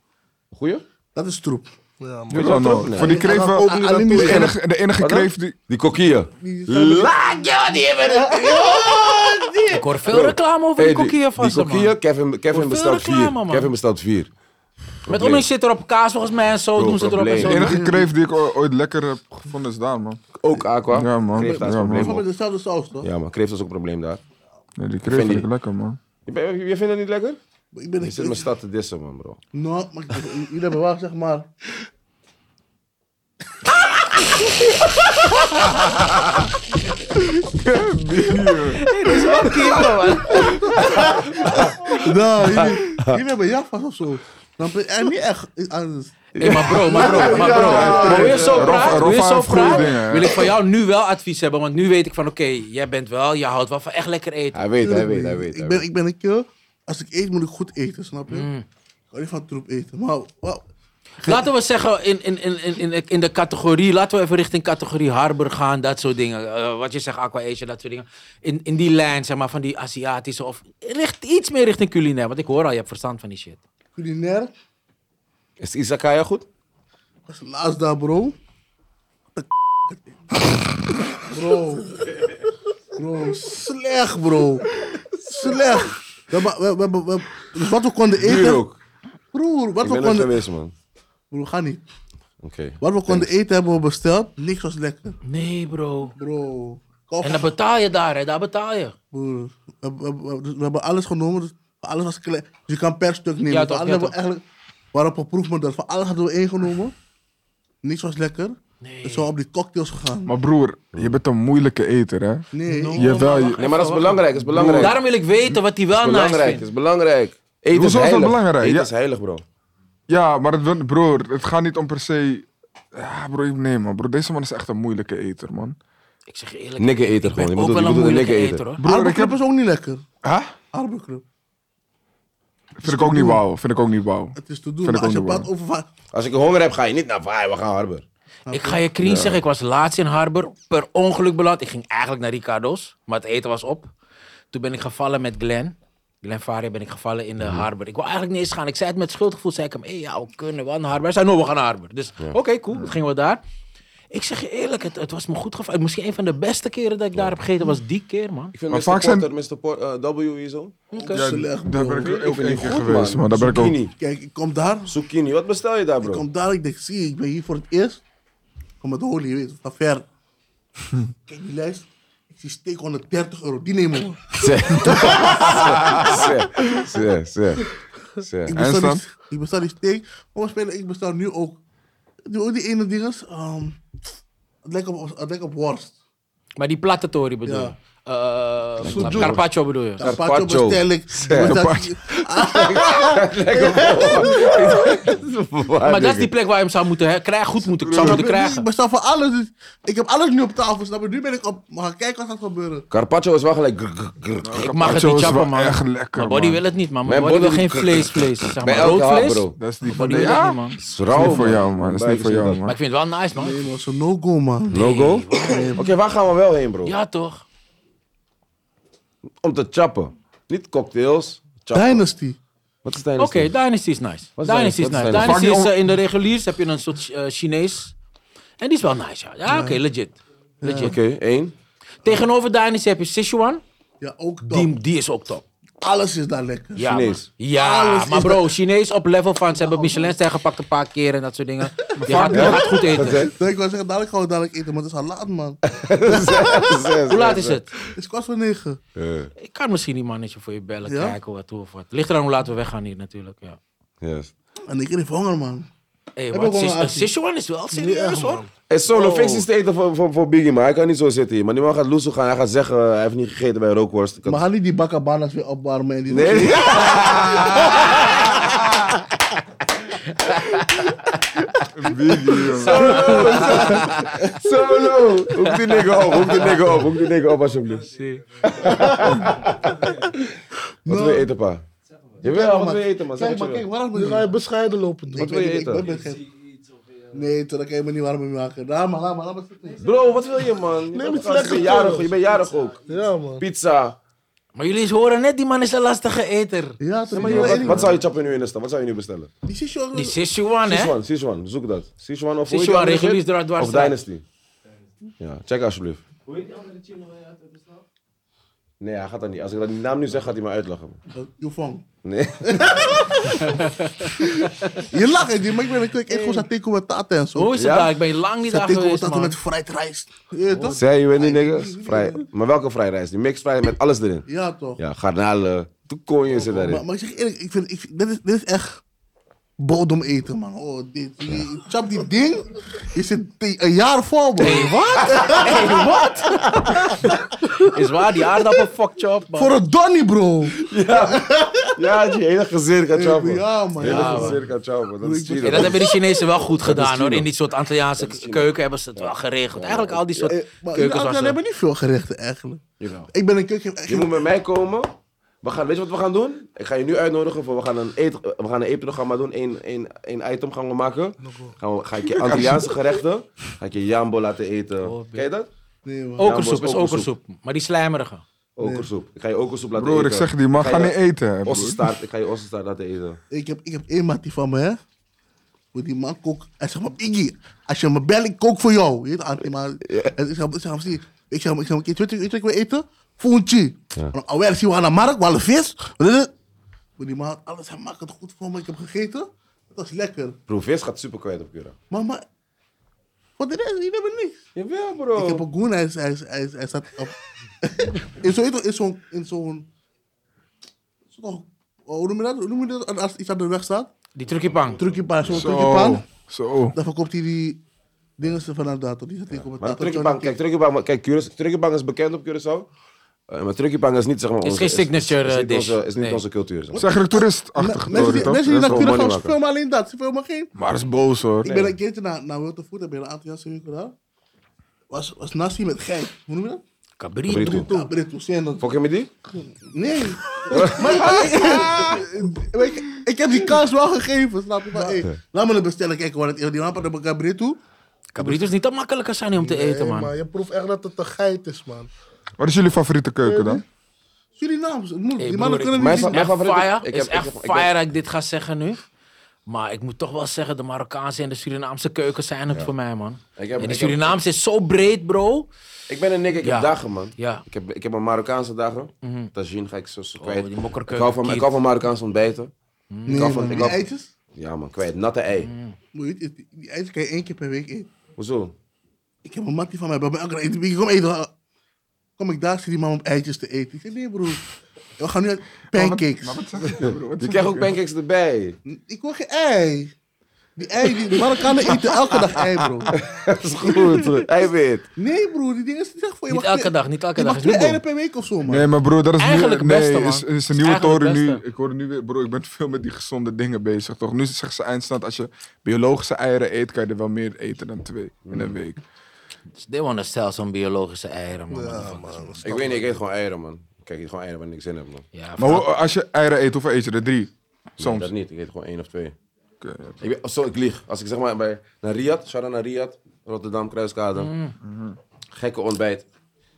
Goeie?
Dat is troep.
Ja, man.
Weet je wat
Nou,
troep? Nee.
Voor die kreef...
Hij gaat ook niet
Alleen
naartoe
de
gaan.
enige, de enige
Wat dan?
kreef die...
Die kokieën.
Die
Laat je die hebben
Ik hoor veel reclame over die kokieën van ze,
Die
man.
kokieën, Kevin, Kevin
Hoeveel
bestelt vier.
reclame, man.
Kevin bestelt vier.
Met
Probleem.
onniks zit er op kaas volgens mij en zo
Bro,
doen ze erop en
probleem.
De
zo.
enige kreef die ik o- ooit lekker heb gevonden is daar, man.
Ook Aqua.
Ja, man.
Kreeft daar is
Ja,
een
man.
Oh, probleem.
Gewoon met
hoor.
dezelfde saus, toch?
Ja, man. Kreeft is ook een probleem daar.
Nee, die
vind
kreef vind
die-
ik lekker, man.
Je, bent- je vindt het niet lekker?
Ik ben
Je zit mijn stad te dissen, man, bro.
No, maar ik- jullie hebben wel, zeg maar... Nou, jullie, jullie hebben Jaffa's of zo. Dan ben je niet echt anders.
Hey, maar bro, maar bro, maar bro. Maar hoe je zo
Rob-
praat, hoe je
Rob
zo
heeft goede
praat,
dingen, hè.
wil ik van jou nu wel advies hebben. Want nu weet ik van, oké, jij bent wel, je houdt wel van echt lekker eten.
Hij weet, hij weet, hij
Tuurlijk
weet.
niet.
hij
Ik ben,
weet.
ik ben een keer, als ik eet moet ik goed eten, snap je? Ik hou niet van troep eten. Maar wat?
Laten we zeggen, in, in, in, in- in, in de categorie, laten we even richting categorie Harbor gaan, dat soort dingen. Eh, wat je zegt, Aqua Asia, dat soort dingen. In, in die lijn, zeg maar, van die Aziatische of richt, iets meer richting culinair. Want ik hoor al, je hebt verstand van die shit.
culinair.
Is Izakaya goed?
Ik was laatst daar, bro. Wat een Bro. Bro, slecht, bro. Slecht. We, hebben- we, we, hebben- we, hebben- dus wat we konden
Duur
eten.
ook.
Broer, wat
Ik
we
ben er
konden.
geweest, man.
Broer, ga niet.
Oké.
Wat we konden eten hebben we besteld. Niks was lekker.
Nee, bro.
Bro. Kof,
En dan betaal je daar, hè? Daar betaal je.
broer. We, we- we- dus we hebben alles genomen. Dus alles was klein. Dus je kan per stuk nemen.
Ja,
Dus
toch,
alles
ja,
hebben we
toch.
eigenlijk. We waren op een proefmodel. Van alles hadden we ingenomen. Niks was lekker.
Nee.
Dus we op die cocktails gegaan.
Maar broer, je bent een moeilijke eter, hè?
Nee.
No.
Jawel, je-
Nee, maar dat is belangrijk, dat is belangrijk.
Daarom wil ik weten wat hij wel
is
nice
belangrijk,
vindt.
is belangrijk. Eten is
Hoezo is dat
heilig.
belangrijk?
Eten
Ja.
is heilig, bro.
Ja, maar het, wil- broer, het gaat niet om per se... Ja, bro, nee, man. Bro, deze man is echt een moeilijke eter, man.
Ik zeg je eerlijk,
Nikke eter
ik
gewoon.
ben
Je moet
ook
het-
wel
je
een
moet het
moeilijke
nikke
eter,
eten.
hoor.
Broer, ik
Arbecrop
heb...
is ook niet lekker.
Huh?
Arbecrop.
Vind ik ook niet wauw. Vind ik ook niet wauw.
Het is te doen.
Vind
Maar
ik
als je
ook niet
praat over van-
Als ik honger heb, ga je niet naar Vaai, we gaan Harbor.
Ik ga je clean zeggen, ik was laatst in Harbor, per ongeluk beland. Ik ging eigenlijk naar Ricardo's, maar het eten was op. Toen ben ik gevallen met Glenn. Glenn Faria ben ik gevallen in de
Mhm.
Harbor. Ik wil eigenlijk niet eens gaan. Ik zei het met schuldgevoel, zei ik hem, hé, ja, we kunnen wel naar Harbor. Hij zei, no, we gaan naar Harbor. Dus oké, cool, toen gingen we daar. Ik zeg je eerlijk, het, het was me goed gevallen. Misschien een van de beste keren dat ik daar heb gegeten was die keer, man.
Ik vind
Maar
Mr.
vaak zijn-
Porter, Mr. Por- eh, W hier zo.
Ja,
slecht,
daar
bro.
ben ik ook
vind
één
die
keer
goed,
geweest,
man.
maar daar ben ik ook...
Zucchini.
Kijk, ik kom daar.
Zucchini, wat bestel je daar,
Ik
bro?
kom daar. Ik denk, zie, je, ik ben hier voor het eerst. Ik kom met holy, je weet van ver. Kijk die lijst. Ik zie steek 130 euro. Die nemen we.
Zeg. Zeg, zeg, zeg, zeg.
En
Ik bestel, die,
Stan?
ik bestel die steak. Oh, spelen, ik bestel nu ook. Die, ook die ene ding is. ehm, het lijkt op, het lijkt op worst.
Maar die platte tory bedoel je?
Ja.
Eh, Carpaccio bedoel je?
Carpaccio
Carpaccio.
bestel ik. Ik bestel- Ah,
Maar dat is die plek waar je hem zou moeten hè, krijgen, goed moeten, zou
Ik
moeten
heb-
krijgen.
Ik bestel voor alles. dus ik heb alles nu op tafel, snap je? Nu ben ik op. We gaan kijken wat gaat gebeuren.
Carpaccio is wel gelijk. grr, grr, grr.
Ik mag het
Carpaccio
niet
is
chappen,
wel
man.
echt lekker,
Mijn body
man.
wil het niet, man. Mijn
Mijn
body, wil
body-
geen vlees, vlees. Zeg
Bij
maar.
elke
Rood
hap,
vlees?
bro.
Dat is niet
Mijn
van...
body wil
ja,
het niet, man.
is
Dat is
rauw,
niet voor jou, man. Dat is niet voor jou,
Maar ik
man.
vind het wel nice, man.
Nee, man, zo'n no-go,
Mm.
man.
No go? Oké, waar gaan we wel heen, bro?
Ja, toch?
Om te chappen. Niet cocktails. chappen.
Dynasty.
Wat is Dynasty?
Oké, Dynasty is nice.
Wat is Dynasty?
Dynasty is
Wat is Dynasty?
nice. Dynasty
Fuck
is
die
eh, in de reguliers heb je een soort eh, Chinees. En die is wel nice, ja. Ja, oké, legit. legit.
Oké, één.
Tegenover Dynasty heb je Sichuan.
Ja, ook top.
Die, die is ook top.
Alles is daar lekker.
Ja,
Chinees.
man. Ja,
Alles is
maar bro, Chinees op level van. Ze hebben Michelinster gepakt een paar keer en dat soort dingen. Je gaat, je gaat goed eten.
Nee, ik wil zeggen, dadelijk gaan we dadelijk eten, maar het is al laat, man. Het
Hoe laat is het?
is kwart voor negen.
Eh,
Ik kan misschien die mannetje voor je bellen,
Ja?
kijken wat, hoe of wat. Ligt eraan hoe laat we weggaan hier natuurlijk, ja.
yes.
En ik heb honger, man.
Hey,
Hebben we
wat,
gewoon
Sich-
een
eh,
actie.
Sichuan is wel serieus, hoor.
Hey, solo, fix die eten voor, voor, voor Biggie, maar hij kan niet zo zitten hier. Maar die man gaat loesoe gaan, hij gaat zeggen, eh, hij heeft niet gegeten bij rookworst. Ik had-
Maar ga niet die bakkabanas weer opwarmen. En die
Nee. Solo! Solo! Hoek die nigger op, hoek die nigger op, hoek die nigger op alsjeblieft. Wat wil je eten, pa? Jawel, wat wil je eten, man? Zeg
Kijk,
wat
maar
je
kijk,
wil.
waarom
Nu ga je bescheiden lopen doen.
Wat wil je eten?
Ik ben geen...
eh,
Nee, toen kan je me niet warm mee maken. Laat maar, laat maar, laat maar zitten.
Bro, wat wil je, man? Je,
het
bent,
is
gast, je bent
lekker,
jarig,
toch?
je bent jarig ook.
Ja, man.
Pizza.
Maar jullie eens horen net, die man is een lastige eter.
Ja, toch?
Wat, wat, zou je chappen nu in de stad? Wat zou je nu bestellen?
Die Sichuan.
Die Sichuan, hè?
Sichuan, Sichuan, zoek dat. Sichuan of hoe heet die
Sichuan,
andere
regulier
shit?
dra-
Of
dwarsstraat.
Dynasty. Ja, check alsjeblieft. Nee, hij gaat dat niet. Als ik dat die naam nu zeg, gaat hij me uitlachen. man.
Oh, Yufang.
Nee.
Je lacht, hè, die- maar ik ben natuurlijk echt gewoon zijn teko met taten en zo.
Hoe is het
Ja?
daar? Ik ben lang niet daar
Zijn teko met
geweest,
taten
man.
met fried rice. Ja, toch?
Zij, je weet niet, niggas? Vrij. Maar welke vrijreis? Die mixed vrij met alles erin.
Ja, toch?
Ja, garnalen, toekonjes zit
Maar,
daarin.
maar ik zeg eerlijk, ik vind, ik vind- dit, is, dit is echt bodem eten, man. Oh, dit, je chapt die ding, je zit te- een jaar vol, man. Wat?
Is waar, die aardappel fucked je op, man.
Voor een donnie, bro.
Ja, die hele gezin gaat chappen.
Ja, man.
Hele
Ja,
gezin gaat chappen. Dat is
Ja,
Ja,
China.
dat hebben de Chinezen wel goed gedaan
China.
hoor. In die soort Antilliaanse keuken hebben ze het wel geregeld. Eigenlijk al die soort
Eh, Maar in
keukens was
Amsterdam
er-
hebben niet veel gerechten, eigenlijk.
Jawel.
Ik ben een keuken...
Je moet met mij komen. We gaan, weet je wat we gaan doen? Ik ga je nu uitnodigen voor we gaan een, eet, we gaan een eetprogramma doen. Eén één, één item gaan we maken. Gaan we, ga ik je Antilliaanse gerechten. Ga ik je jambo laten eten.
Oh,
Ken je dat?
Nee, man.
Okersoep
Ja,
is
maar is
okersoep. Maar die slijmerige.
Okersoep. Ik ga je okersoep laten
Broer,
eten.
ik zeg die man,
Ik
ga
je
niet eten. hè, broer.
Ossenstaart. Ik ga je ossenstaart laten eten.
Ik heb, ik heb één mattie van me, hè. Hoe die man kookt. Hij zegt, maar Biggie, als je me belt, ik kook voor jou. Je weet Antti, maar... En Ik zeg, ik zeg, zie, ik zeg, ik zeg, weet je weet je wat ik wil eten? Foontje. "Oh, Ja. Alweer zien we aan de markt, we hadden vis. Hoe die man had alles, hij maakt het goed voor me. Ik heb gegeten. Het was lekker.
Broer, vis gaat super kwijt op Cura.
Maar, maar... Voor de rest, jullie hebben niks.
Jawel, bro.
Ik heb een goen, hij, is- hij, is- hij, is- hij staat op... in zo'n... In zo'n... In zo'n... Zo, hoe noem je dat? Hoe noem je dat als iets aan de weg staat?
Die trucje pang.
Trucjepan, zo'n
Zo,
trucjepan.
zo.
Dan verkoopt hij die dingen ze vanuit daar, toch? Die zit ik op het
Maar
tato-
Truckybank, kijk, Truckybank, kijk, Curaçao- Truckybank is bekend op Curaçao. Eh, maar Truckybank is niet, zeg maar,
Is
onze-
geen signature,
is,
eh,
niet
dish.
onze, is niet
Nee.
onze cultuur, zeg maar.
Zeg er toeristachtig,
Me- Mensen
Tory,
die,
toch?
mensen die
Dat is
naar
gewoon
Curaçao
money
gaan, ze
maken.
filmen alleen dat. Ze filmen geen...
Maar is boos hoor.
Ik ben een keertje naar, naar Wilde Food, daar ben ik een aantal jaar zo gedaan. Was, was nasi met geit. Hoe noem je dat?
Cabrito.
Cabrito.
Ja, Brit, hoe zijn dat?
Fok je met die?
Nee. maar, ik, ik, ik heb die kans wel gegeven, snap je? Maar, hey, laat me het bestellen, kijken wat het is. Die man pakt op een cabrito.
Cabrito is niet dat makkelijke zijn om te eten,
Nee,
man.
Je proeft echt dat het een geit is, man.
Wat is jullie favoriete keuken dan?
Surinaams, het moet.
Hey,
die mannen
broer, ik-
kunnen niet...
Mijn
zien.
Echt
favoriete-
fire.
ik
is
heb- ik
echt
heb- ik heb-
fire dat ik dit ga zeggen nu. Maar ik moet toch wel zeggen, de Marokkaanse en de Surinaamse keuken zijn het voor mij, man.
Ik heb-
en
ik
de
heb-
Surinaamse is zo breed, bro.
Ik ben een nik, ik
Ja.
heb dagen, man.
Ja. Mhm. Oh,
Ik heb, ik heb mijn Marokkaanse dagen. Tagine ga ik zo, zo kwijt.
die mokkerkeuken,
ik, hou van, ik
kief.
hou van Marokkaans ontbijten. Ik hou
Nee,
van,
man,
ik
die
hou-
eitjes,
ja, man, kwijt. Natte ei.
Mhm.
moet je- die- die eitjes kan je één keer per week eten.
Hoezo?
Ik heb een mattie van mij bij mij. elke keer, Ik kom eten. Kom ik daar, zit die man op eitjes te eten. Ik zeg, nee broer. We gaan nu uit pancakes.
Maar wat zeg je, broer? Wat
Je
zeg
krijgt
je?
ook pancakes erbij.
Ik wil geen ei. Die ei, die die Marokkanen eten elke dag ei, bro.
Dat is goed. Hij weet.
Nee broer, die dingen zijn echt voor je.
Niet
mag
elke
twee-
dag, niet elke
Je
dag.
mag
Is
twee
niet
eieren
dom.
per week of zo, man.
Nee, maar broer, dat is
Eigenlijk
nu...
het
Nee,
beste, man.
is, is een
Is
nieuwe
eigenlijk
Tory
het
nu.
beste.
Ik hoor nu weer... Broer, ik ben veel met die gezonde dingen bezig, toch? Nu zegt ze eindstand, als je biologische eieren eet, kan je er wel meer eten dan twee in een week.
They want to sell some biologische eieren, man. motherfuckers, man.
Ik weet niet, ik eet gewoon eieren, man. Ik eet gewoon eieren waar ik niks in heb, man.
Ja,
Maar hoe- als je eieren eet, hoeveel eet je er? Drie? Soms.
Dat niet, ik eet gewoon één of twee.
Oké, ja.
Ik weet, zo, ik lieg. Als ik zeg maar bij, naar Riyadh, shout naar Riyadh, Rotterdam, Kruiskade.
Mm.
Gekke ontbijt.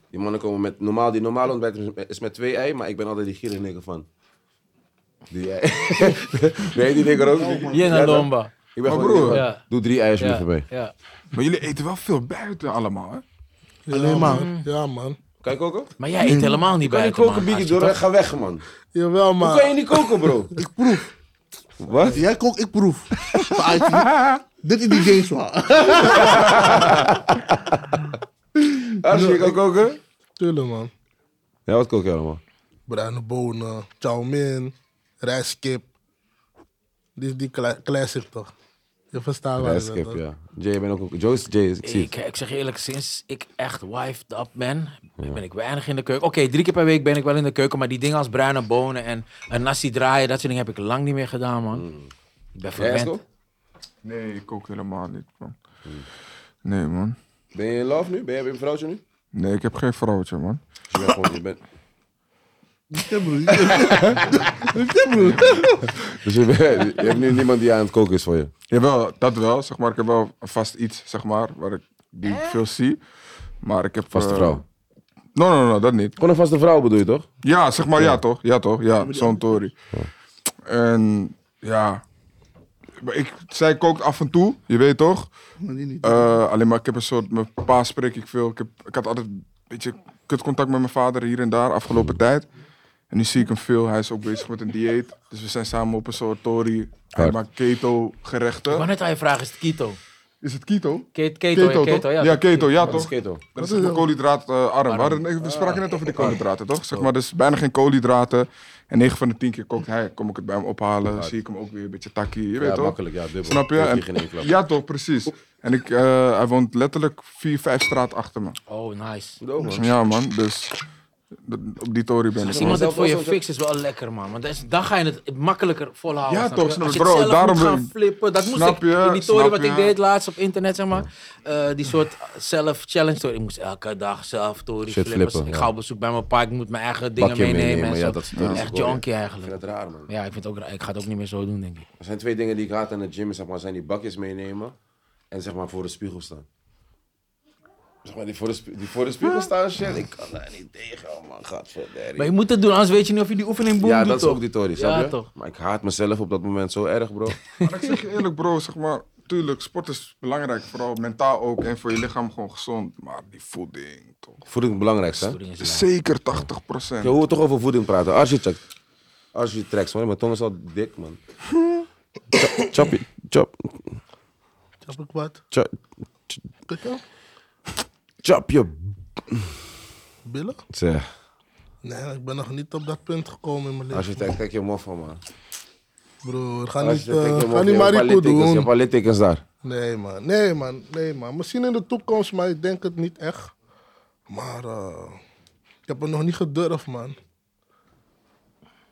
Die mannen komen met, normaal, die normale ontbijt is met, is met twee ei, maar ik ben altijd die gierige nigger van. Die ei. nee, die nigger ook.
Je
Ja,
naar
toch?
Lomba.
Ik ben
Maar
gewoon
broer.
broer.
Ja.
Doe drie eiers
Ja,
liever bij.
ja.
Maar jullie eten wel veel buiten allemaal, hè?
Alleen maar. Ja, man.
Kan je koken?
Maar jij eet helemaal niet
Kan je
buiten,
koken,
man.
Biggie?
Als je
Door,
toch-
ga weg, man.
Jawel,
Hoe kan je
man.
niet koken, bro?
Ik proef.
Wat?
Jij kookt, ik proef. Van eitjes. Dit is die Jezus.
Als je kan koken?
Tuurlijk, man.
Ja, wat kook je allemaal?
Bruine bonen, chow mein, rijstkip. Dit is die cla- classic, toch? Je verstaat wel.
Rijskip, ja. Jay, ben ook... Joe is Jay, ik zie
Ik,
het.
ik zeg je eerlijk, sinds ik echt wifed up ben, ben ik weinig in de keuken. Oké, drie keer per week ben ik wel in de keuken, maar die dingen als bruine bonen en een nasi draaien, dat soort dingen heb ik lang niet meer gedaan, man. Ik ben
Mm. Jij,
verwend.
Esco?
Nee, ik kook helemaal niet, man. Nee, man.
Ben je in love nu? Ben je, heb je een vrouwtje nu?
Nee, ik heb geen vrouwtje, man.
Je bent gewoon- je bent-
Ja, broer. Ja, broer.
Dus je, bent- je hebt nu niemand die aan het koken is voor je.
Jawel, dat wel. Zeg maar, ik heb wel een vast iets, zeg maar, waar ik, die ik veel zie. Maar ik heb...
Vaste
eh,
vrouw.
No, no, no, dat niet.
Gewoon een vaste vrouw bedoel je toch?
Ja, zeg maar, ja, toch? Ja, toch? Ja, zo'n Tory. En ja, maar ik, zij kookt af en toe, je weet toch?
Maar die niet.
Eh, alleen maar ik heb een soort, mijn pa spreek ik veel. Ik, heb, ik had altijd een beetje kut contact met mijn vader hier en daar
Mm.
afgelopen tijd. En nu zie ik hem veel, hij is ook bezig met een dieet. Dus we zijn samen op een soort Tory. Hij
Hard.
maakt keto
Ik wou
gerechten.
net aan je vragen, is het keto?
Is het keto?
Keto, keto, keto,
toch?
keto ja.
ja, keto, ja
Dat is
toch?
keto. Ah,
Dat is een koolhydraatarm. We, hadden- we spraken net over de koolhydraten, toch? Zeg maar, dus bijna geen koolhydraten. En 9 van de 10 keer kookt hij, kom ik het bij hem ophalen. Zie ik hem ook weer een beetje takkie, je weet
Ja,
toch?
makkelijk, ja, dubbel.
Snap je?
Hoef je
En-
geen één klap.
ja, toch, precies. En ik, eh, hij woont letterlijk 4, 5 straat achter me.
Oh, nice.
Doe, man.
Ja, man, dus d- op die tory ben ik.
Als
man.
iemand het voor je
Zelf-
fixt is wel lekker, man. Want dat is- dan ga je het makkelijker volhouden.
Ja,
snap
toch,
je?
snap
Als je
ik,
het
bro,
zelf
daarom
moet gaan
wil-
flippen. Dat moest
Snap
ik
je,
in die toren
snap
wat
je.
ik deed laatst op internet, zeg maar. eh, die soort zelf-challenge toren. Ik moest elke dag zelf toren
Shit
flippen.
flippen,
ik
ja.
ga op bezoek bij mijn pa. Ik moet mijn eigen dingen
Bakje
meenemen.
meenemen,
en
ja,
zo.
dat is- dat is
echt
wel, ja.
junkie
Ik
eigenlijk.
vind dat raar, man.
Ja, ik, vind het ook, raar. ik ga het ook niet meer zo doen, denk ik.
Er zijn twee dingen die ik haat aan de gym, zeg maar, zijn die bakjes meenemen en zeg maar voor de spiegel staan. Zeg maar, die voor de, spie- die voor de spiegel staan, shit, ik kan daar niet tegen, oh man,
Maar
godverdomme.
je moet het doen, anders weet je niet of je die oefening boem
Ja,
doet,
dat is
toch?
ook die Tory, snap
Ja,
je?
toch.
Maar ik haat mezelf op dat moment zo erg, bro.
Maar ik zeg je eerlijk, bro, zeg maar, tuurlijk, sport is belangrijk. Vooral mentaal ook en voor je lichaam gewoon gezond. Maar die voeding, toch?
Voeding is het belangrijkste, hè?
Oefening is leuk.
Zeker 80
Ja, hoe we toch over voeding praten, architect. Architect, man, mijn tong is al dik, man. Chop- Choppy, chop,
Heb ik wat?
chop,
Kijk aan.
chop je...
Billen?
Zeg,
Nee, ik ben nog niet op dat punt gekomen in mijn leven.
architect, kijk je moffel, man.
Broer, ga niet,
Architect, kijk je
eh, ga
moffel, je
niet
hebt een paar
Marico
littekens, je
doen.
hebt al littekens daar.
Nee man, nee man, nee man. Misschien in de toekomst, maar ik denk het niet echt. Maar eh, ik heb het nog niet gedurfd man.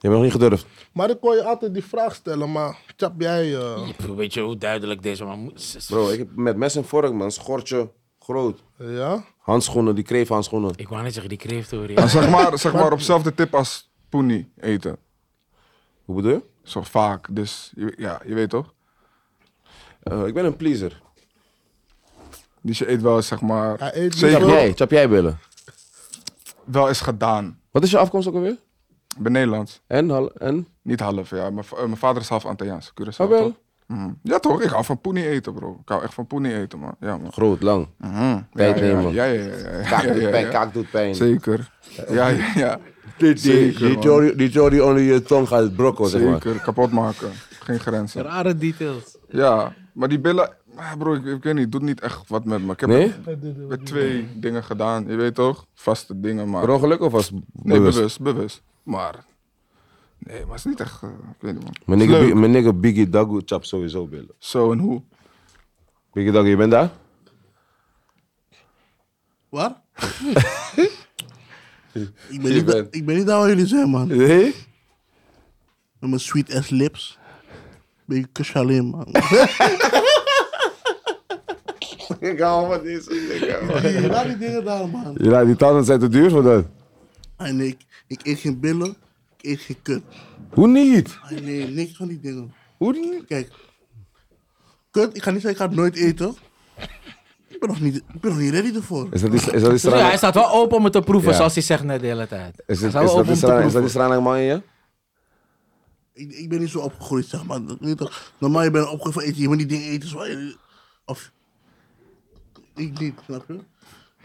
Je hebt nog niet gedurfd.
Maar ik kon je altijd die vraag stellen, maar Chap, jij... eh,
Weet je hoe duidelijk deze man moet...
Bro, ik heb met mes en vork, man. Schortje, groot.
ja?
Handschoenen, die kreefhandschoenen.
Ik wou net zeggen, die kreeft hoor.
Maar zeg maar, zeg maar op hetzelfde tip als poenie eten.
Hoe bedoel je?
Zo vaak, dus je- ja, je weet toch?
Eh, ik ben een pleaser.
Dus je eet wel eens, zeg maar,
Hij eet
zeker
niet
Chap
veel.
jij, chap jij billen.
wel eens gedaan.
Wat is je afkomst ook alweer?
Ik ben Nederlands.
En? hal- en?
Niet half, ja. Mijn, va- eh, mijn vader is half Antilliaans, Curaçao,
Ah, wel?
toch? Mhm. Ja toch, ik hou van poenie eten, bro. Ik hou echt van poenie eten, man. Ja, man.
Groot, lang.
Mhm.
Tijd
ja, ja,
nemen.
Ja, ja, ja. ja, ja,
Kaak
ja,
doet
ja,
pijn,
ja.
kaak doet pijn.
Zeker. Ja, ja, ja. Zeker, man.
die Tory onder je tong gaat brokken,
Zeker, kapot maken. Geen grenzen.
Rare details.
Ja, maar die billen, ah, bro, ik, ik weet niet, doet niet echt wat met me. Ik heb
Nee?
met twee dingen gedaan, je weet toch? Vaste dingen, maar.
Per ongeluk of was
nee,
bewust?
bewust, bewust. Maar. Nee, maar het is niet echt. eh, ik weet niet, man.
Mijn
Het is
nigga,
leuk.
Bi- mijn nigga Biggie Dagu chap sowieso billen.
Zo en hoe?
Biggie Dagu, je bent daar?
Waar? ik, ben niet, da-
bent-
ik ben niet daar waar jullie zijn, man. Met
Nee?
mijn sweet ass lips. Ben je kus alleen, man.
Ik hou van deze
Hey, Laat die dingen daar, man.
Ja, die tanden zijn te duur voor dat.
Ah, nee, ik, ik eet geen billen. Ik eet geen kut.
Hoe niet?
Ah, nee, niks van die dingen.
Hoe niet?
Kijk. Kut, ik ga niet zeggen, ik ga het nooit eten. Ik ben nog niet, ik ben nog niet ready ervoor.
Is dat die, is dat die
Dus ja, hij
strana,
staat wel open om het te proeven,
Ja.
zoals hij zegt net de hele tijd.
is,
Hij
het,
staat
is
wel
dat die
open om te
strana, is dat die
proeven.
strana man in je?
Ik, ik ben niet zo opgegroeid, zeg maar. Dat- weet je toch, Normaal, je bent opgegroeid van eten. Je moet niet dingen eten zoals je- Of... Ik niet, snap je?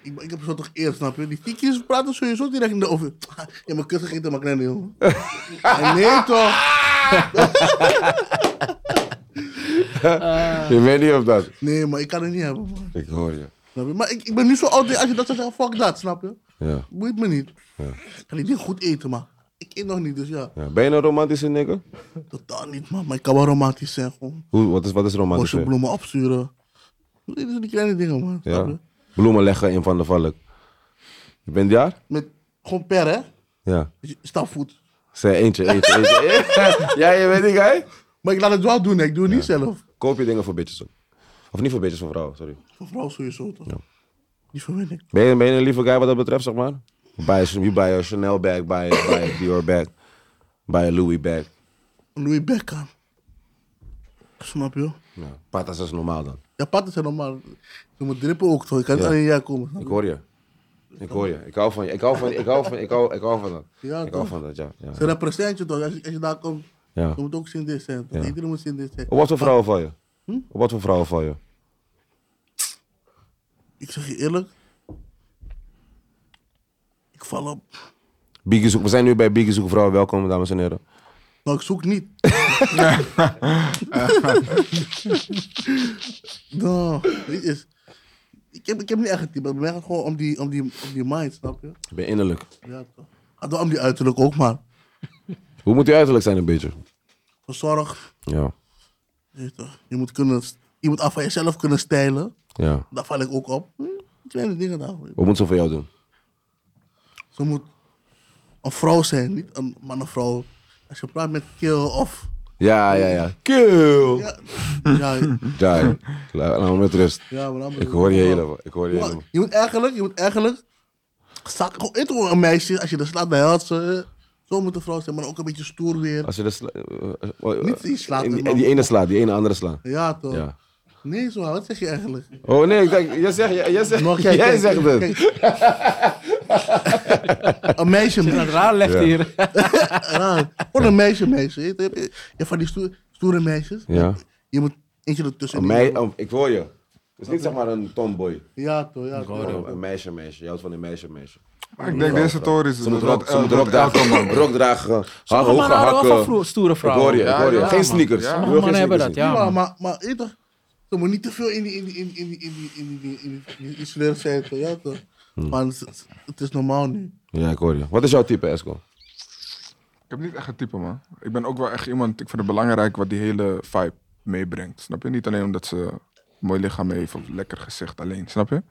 Ik, ik heb zo toch eer, snap je? Die tikjes praten sowieso direct in de oven. Ja, mijn kut gegeten, maar kleine jongen. Ah, nee, toch?
Je weet niet of dat.
Nee, maar ik kan het niet hebben, man.
Ik hoor je.
Snap je? Maar ik, ik ben nu zo oud, als je dat zou zeggen, fuck dat, snap je?
Ja.
Boeit me niet. Ik kan die dingen goed eten, maar ik eet nog niet, dus ja.
Ben je een romantische nigger?
Totaal niet, man. Maar ik kan wel romantisch zijn, gewoon.
Hoe, wat, is, wat is romantisch?
Bosje bloemen opsturen. Dit zijn die kleine dingen, man. Snap
ja.
je?
Bloemen leggen in Van der Valk. Je bent daar?
Met gewoon per, hè?
Ja.
Stapvoet.
Zeg eentje, eentje, eentje. ja, je weet niet, hè?
Maar ik laat het wel doen, hè. ik doe het niet zelf.
Koop je dingen voor bitches ook. Of niet voor bitches, voor vrouwen, sorry.
Voor vrouw sowieso, toch?
Ja.
Die verwin ik.
Ben je, ben je een lieve guy wat dat betreft, zeg maar? Buy a, you buy a Chanel bag, buy, buy a Dior bag, buy a Louis bag.
Louis Beckham. Snap je?
Ja, patas Nou, is normaal dan.
Ja, patten zijn normaal. Je moet drippen ook toch? Je kan niet
Ja.
alleen jij komen.
Ik hoor je. Ik hoor je. Ik hou van je. Ik hou van Ik hou van, ik hou, ik hou van dat.
Ja,
ik hou
toch?
van dat, ja. ja.
Ze represent je toch? Als je, als je daar komt,
ja.
je moet ook zin dit zijn. toch?
Ja.
Iedereen moet zin dit zijn.
Op wat voor vrouwen val je?
Hm?
Op wat voor vrouwen val je?
Ik zeg je eerlijk. Ik val op.
Biggie zoek. We zijn nu bij Biggie zoek vrouwen. Welkom, dames en heren.
Nou, ik zoek niet. no, dit Nou, is... Ik heb, ik heb niet echt een type. Bij mij gaat het gewoon om die, om, die, om die mind, snap je?
Ik ben innerlijk.
Ja, toch. Gaat wel om die uiterlijk ook, maar.
Hoe moet je uiterlijk zijn een beetje?
Verzorg.
Ja.
Je, weet toch, je moet kunnen... Je moet af van jezelf kunnen stijlen.
Ja.
Daar val ik ook op. Hm, Kleine dingen daar.
Wat moet ze voor jou doen?
Ze moet een vrouw zijn, niet een man of vrouw. Als je praat met kill of...
Ja, ja, ja. Kill!
Ja, ja,
Die. Laat laat me met rust.
ja maar dan
Ik hoor je helemaal. Ik hoor je
Maar
helemaal.
Je moet eigenlijk, je moet eigenlijk... Zak, gewoon in toch een meisje, als je er slaat, dan helpt ze. eh, Zo moet een vrouw zijn, maar ook een beetje stoer weer.
Als je de sla- eh, eh, eh,
Niet die slaat,
die,
man.
die ene slaat, die ene andere slaat.
Ja, toch?
Ja.
Nee, zo, wat zeg je eigenlijk?
Oh nee, ik denk, jij zegt, jij, jij zegt,
Nog
jij
kijk,
zegt het. Oh,
kijk. een meisje,
Dat
meisje.
raar legt
Ja.
hier.
Ja, Gewoon een meisje, meisje. Je hebt- je hebt van die stoer- stoere meisjes.
Ja.
Je moet eentje ertussen.
Een mei- oh, ik hoor je. Het is niet zeg maar een tomboy.
Ja, toch, ja. toch.
maar Een een meisje, meisje. Jij houdt van een meisje, meisje.
Maar ik denk deze toren is
Ze moet
dat
rok,
eh,
ze moet
dat
rok
elke man-
dragen. Rok dragen. ha- Hoge
mannen houden wel van
hakken.
vroeg- stoere
Ik
vrouwen.
hoor je, ik
Ja,
hoor je.
ja,
Geen
man.
sneakers.
Ja.
Ik wil
Mannen
geen
hebben
sneakers
dat, Ja,
Ja, maar,
man.
maar, maar weet je toch, ze moet niet te veel in die, in die, in die, in die, in die, in die, in die, in die isoleren zijn, toch? Ja, toch?
Hm.
Want ze- ze- het is normaal nu.
zien. Ja, ik hoor je. Wat is jouw type, Esco?
Ik heb niet echt een type, man. Ik ben ook wel echt iemand, ik vind het belangrijk wat die hele vibe meebrengt. Snap je? Niet alleen omdat ze een mooi lichaam heeft of een lekker gezicht alleen, snap je?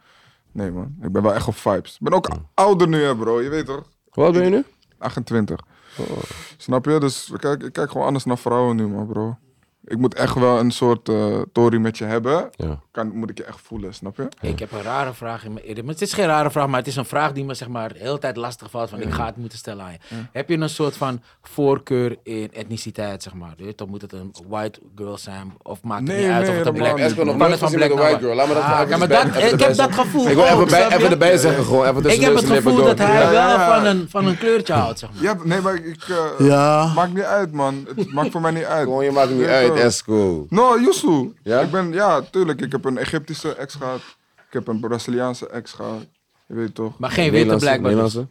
Nee, man. Ik ben wel echt op vibes. Ik ben ook ouder nu, hè, bro. Je weet toch?
Hoe oud ben je nu?
28.
Oh.
Snap je? Dus ik kijk, ik kijk gewoon anders naar vrouwen nu, man, bro. Ik moet echt wel een soort eh tory met je hebben.
Ja.
Kan, moet ik je echt voelen, snap je?
Ik heb een rare vraag. In mijn, maar het is geen rare vraag, maar het is een vraag die me zeg maar de hele tijd lastig valt. Van, Ik ga het moeten stellen aan je. Heb je een soort van voorkeur in etniciteit, zeg maar? Dan moet het een white girl zijn? Of maakt het
Nee,
niet uit
nee,
of het een
helemaal
black
niet.
is?
Esco, nog
nooit gezien met een white girl. Laat me dat even
ja, maar
erbij-
dat,
even
Ik
erbij
heb dat
zeggen.
gevoel
Ik wil
ook,
even, bij,
snap
even
je?
erbij zeggen gewoon. Even
Ik
tussen
heb
neus
het
en lippen
gevoel
door.
dat hij
Ja,
wel
ja.
van een, van een kleurtje houdt, zeg maar.
Ja, nee, maar ik... eh,
Ja.
Maakt niet uit, man. Het maakt voor mij niet uit.
Gewoon, je maakt het niet
Ja,
uit,
bro.
Esco.
No, Yusu.
Ja?
Ik ben, ja, tuurlijk. Ik heb een Egyptische ex gehad. Ik heb een Braziliaanse ex gehad. Je weet toch?
Maar geen witte blijkbaar. dus.
Nederlandse?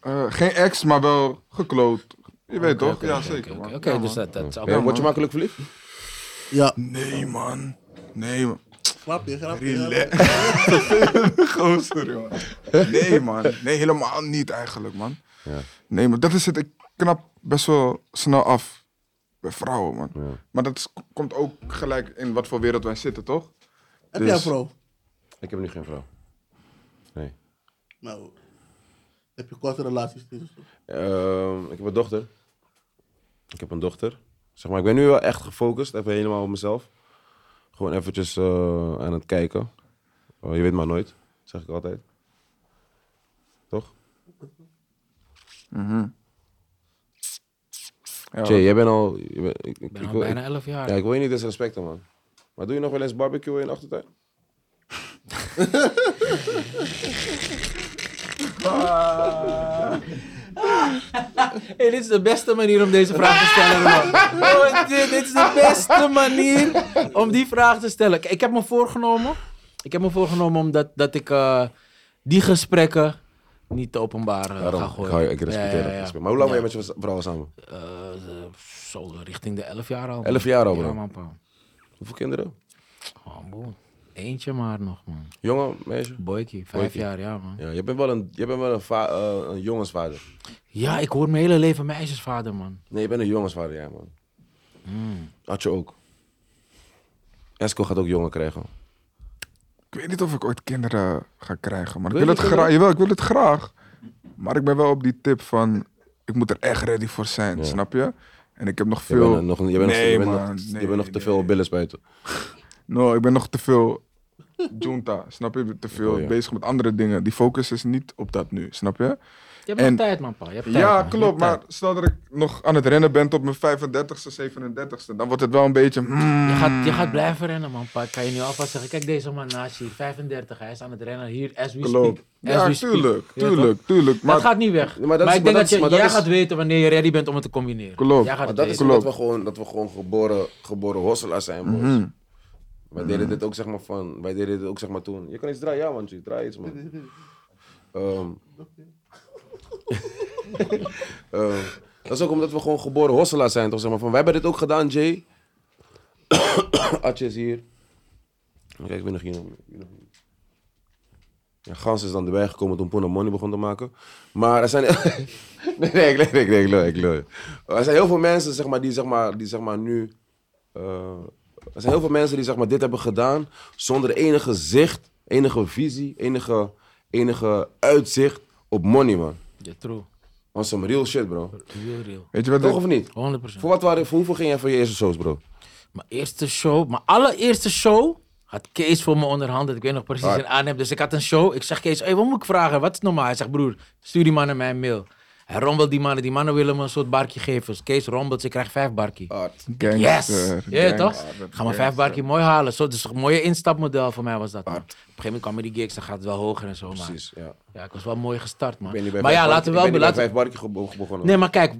Eh, geen ex, maar wel gekloot. Je weet toch? ja, zeker.
Oké,
man.
oké,
Ja,
dus
man.
dat, dat is
Ja,
allemaal...
word je makkelijk verliefd?
Ja,
Nee, man. Nee, man.
grapje, grapje. grapje.
Relax. Gozer, man. Nee, man. Nee, helemaal niet eigenlijk, man.
Ja.
Nee, maar dat is het. Ik knap best wel snel af. Bij vrouwen, man. Maar dat is- komt ook gelijk in wat voor wereld wij zitten, toch?
Heb jij
Dus-
vrouw?
Ik heb nu geen vrouw. Nee.
Nou, heb je korte relaties? dus.
Ehm, ik heb een dochter. Ik heb een dochter. Zeg maar, ik ben nu wel echt gefocust, even helemaal op mezelf. Gewoon eventjes eh, aan het kijken. Eh, je weet maar nooit, zeg ik altijd. Toch?
mhm. Ja,
Jay, jij bent al... Je bent- ik, ik-
Ik ben
ik
al
wil,
bijna
ik-
11 jaar.
ja, ik wil je niet disrespecten, man. Maar doe je nog wel eens barbecue in de achtertuin?
Hey, dit is de beste manier om deze vraag te stellen. man. Oh, dit, dit is de beste manier om die vraag te stellen. Kijk, Ik heb me voorgenomen. Ik heb me voorgenomen omdat dat ik eh, die gesprekken niet te openbaar eh,
Daarom,
ga
ik,
gooien.
hou je- ik respecteer
Ja, ja,
dat
ja.
respect. Maar hoe lang
Ja.
ben je met je vrouw samen?
Eh, eh, zo richting de 11 jaar al. man.
11 jaar al, bro.
Ja, man, pa.
Hoeveel kinderen?
Oh, boe. Eentje maar nog, man.
Jongen, meisje?
Boykie, vijf
Boykie.
jaar, ja, man.
Ja, je bent wel een, je bent wel een, va- eh, een jongensvader.
Ja, ik hoor mijn hele leven meisjesvader, man.
Nee, je bent een jongensvader, ja, man.
Hmm.
Had je ook. Esco gaat ook jongen krijgen.
Ik weet niet of ik ooit kinderen ga krijgen, maar ik
Wil
wil
je
het
kinderen?
graag. Jawel, ik wil het graag. Maar ik ben wel op die tip van, ik moet er echt ready voor zijn, snap je? En ik heb nog
Je bent,
veel.
eh, nog, je bent nog-
Nee,
je bent nog,
man,
je
nee,
bent nog te
nee.
veel billen spuiten.
No, ik ben nog te veel junta, snap je? Te
Oh,
veel bezig met andere dingen. Die focus is niet op dat nu, snap je?
Je hebt nog
En-
tijd, man, pa. Je hebt tijd,
Ja,
man. Je
klopt.
hebt
Maar
tijd.
stel dat ik nog aan het rennen ben tot mijn 35ste, 37ste, dan wordt het wel een beetje... hmm,
Je gaat, je gaat blijven rennen, man, pa. Ik kan je nu alvast zeggen. Kijk, deze man nou, naast je, 35. Hij is aan het rennen hier, as we
klopt.
speak. As
Ja,
we speak.
tuurlijk,
Ja, toch?
tuurlijk, tuurlijk. Maar
dat gaat niet weg.
Ja,
maar
maar dat is-
ik denk
maar
dat,
dat is-
je,
maar dat
jij
is-
gaat weten wanneer je ready bent om het te combineren.
Klopt.
Jij gaat
Maar
het
dat is
weten.
omdat we gewoon, dat we gewoon geboren, geboren hosselaars zijn, boys. Wij deden dit ook, zeg maar, van... Wij deden dit ook, zeg maar, toen... Je kan iets draaien, ja, man. je Draai iets, man. Ehm. Ehm, dat is ook omdat we gewoon geboren hosselaars zijn, toch? Zeg maar. van, wij hebben dit ook gedaan, Jay. Atje is hier. Kijk, ik ben nog hier. ik ben nog hier. Ja, Gans is dan erbij gekomen toen Pona Money begon te maken. Maar er zijn... nee, nee, ik nee, nee, ik lul, ik lul. Er zijn heel veel mensen, zeg maar, die, zeg maar, die zeg maar, nu... eh, er zijn heel veel mensen die zeg maar, dit hebben gedaan zonder enige zicht, enige visie, enige, enige uitzicht op money, man.
Ja, true.
Dat is some real shit, bro.
Real, real.
Weet je wat
Toch
ik...
of niet?
100%.
Voor, wat waren, voor hoeveel ging jij voor je eerste shows, bro?
Mijn eerste show, mijn allereerste show, had Kees voor me onderhandeld. Ik weet nog precies
Hard.
een aanheb. Dus ik had een show. Ik zeg Kees, hey, wat moet ik vragen? Wat is normaal? Hij zegt, broer, stuur die mannen mijn mail. Hij rommelt die mannen. Die mannen willen me een soort barkje geven. Dus Kees rommelt, ze krijgt vijf barkie.
Art.
Yes!
eh,
Gangster,
Ja, toch?
gangster,
Ga maar vijf barkie mooi halen. Zo, dus een mooie instapmodel voor mij was dat. man. Op een gegeven moment kwamen die gigs, dan gaat het wel hoger en zo. Maar
Precies, ja.
ja, ik was wel mooi gestart, man.
Ik ben niet bij
Maar
vijf
ja,
Barkie-
laten we
ik
wel...
ben niet
laten-
bij vijf barkie gebo- begonnen.
Nee, maar kijk,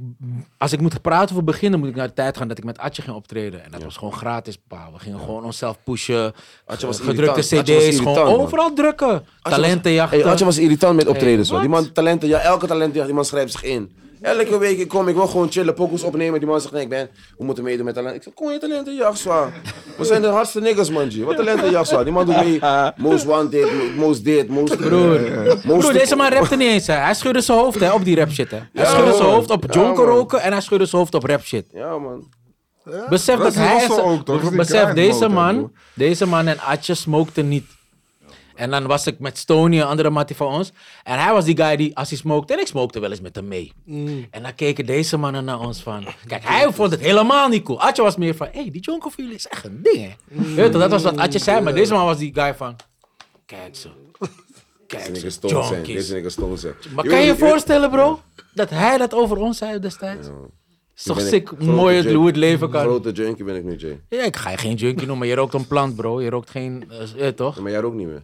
als ik moet praten of beginnen, moet ik naar de tijd gaan dat ik met Atje ging optreden. En dat was gewoon gratis, pa. We gingen gewoon onszelf pushen.
Atje was
gedrukte
irritant. Atje was
CD's, gewoon
irritant, man.
overal drukken.
Hey,
Talentenjachten.
Atje was irritant met optredens,
Hey,
hoor. Die
wat?
man, talenten, ja, elke talentenjacht, die man schrijft zich in. Elke week ik kom, ik wil gewoon chillen, pokoes opnemen. Die man zegt, nee, ik ben, we moeten meedoen met talent. Ik zeg, kom je talentenjacht, zwaar. We zijn de hardste niggas, man, G. Wat talentenjacht, zwaar. Die man doet mee, most wanted, most dit, most... Broer.
Broer, deze man rapte niet eens, hè. Hij schudde zijn hoofd hè, op die rap shit, hè. Hij
Ja,
schudde zijn
man.
hoofd op
Ja,
jonker
man.
roken en hij schudde zijn hoofd op rap shit.
Ja, man.
Besef
Dat
dat,
is
hij...
Rosso ook, toch? Dat is die
Besef,
grind mode,
deze
hè,
man,
broer.
deze man en Atje smokten niet. En dan was ik met Stony, een andere mattie van ons. En hij was die guy die, als hij smokte, en ik smokte wel eens met hem mee.
Mm.
En dan keken deze mannen naar ons van... Kijk, hij vond het helemaal niet cool. Atje was meer van, hé, hey, die jonker van jullie is echt een ding, hè.
Mm.
Je weet toch, dat was wat Atje zei, maar deze man was die guy van... Kijk zo. Kijk
Niggas
zo,
stoned zijn.
jonkies.
Deze niggas stoned zijn.
Maar
Je
kan
weet-
je je
je weet-
voorstellen, bro, dat hij dat over ons zei destijds? Is toch
ben ik.
sick
Grote
mooi het-
junkie.
hoe het leven kan.
Grote junkie ben ik nu, Jay.
Ja, ik ga je geen junkie noemen. Je rookt een plant, bro. Je rookt geen... eh, eh, toch?
Ja, Maar jij ook niet meer.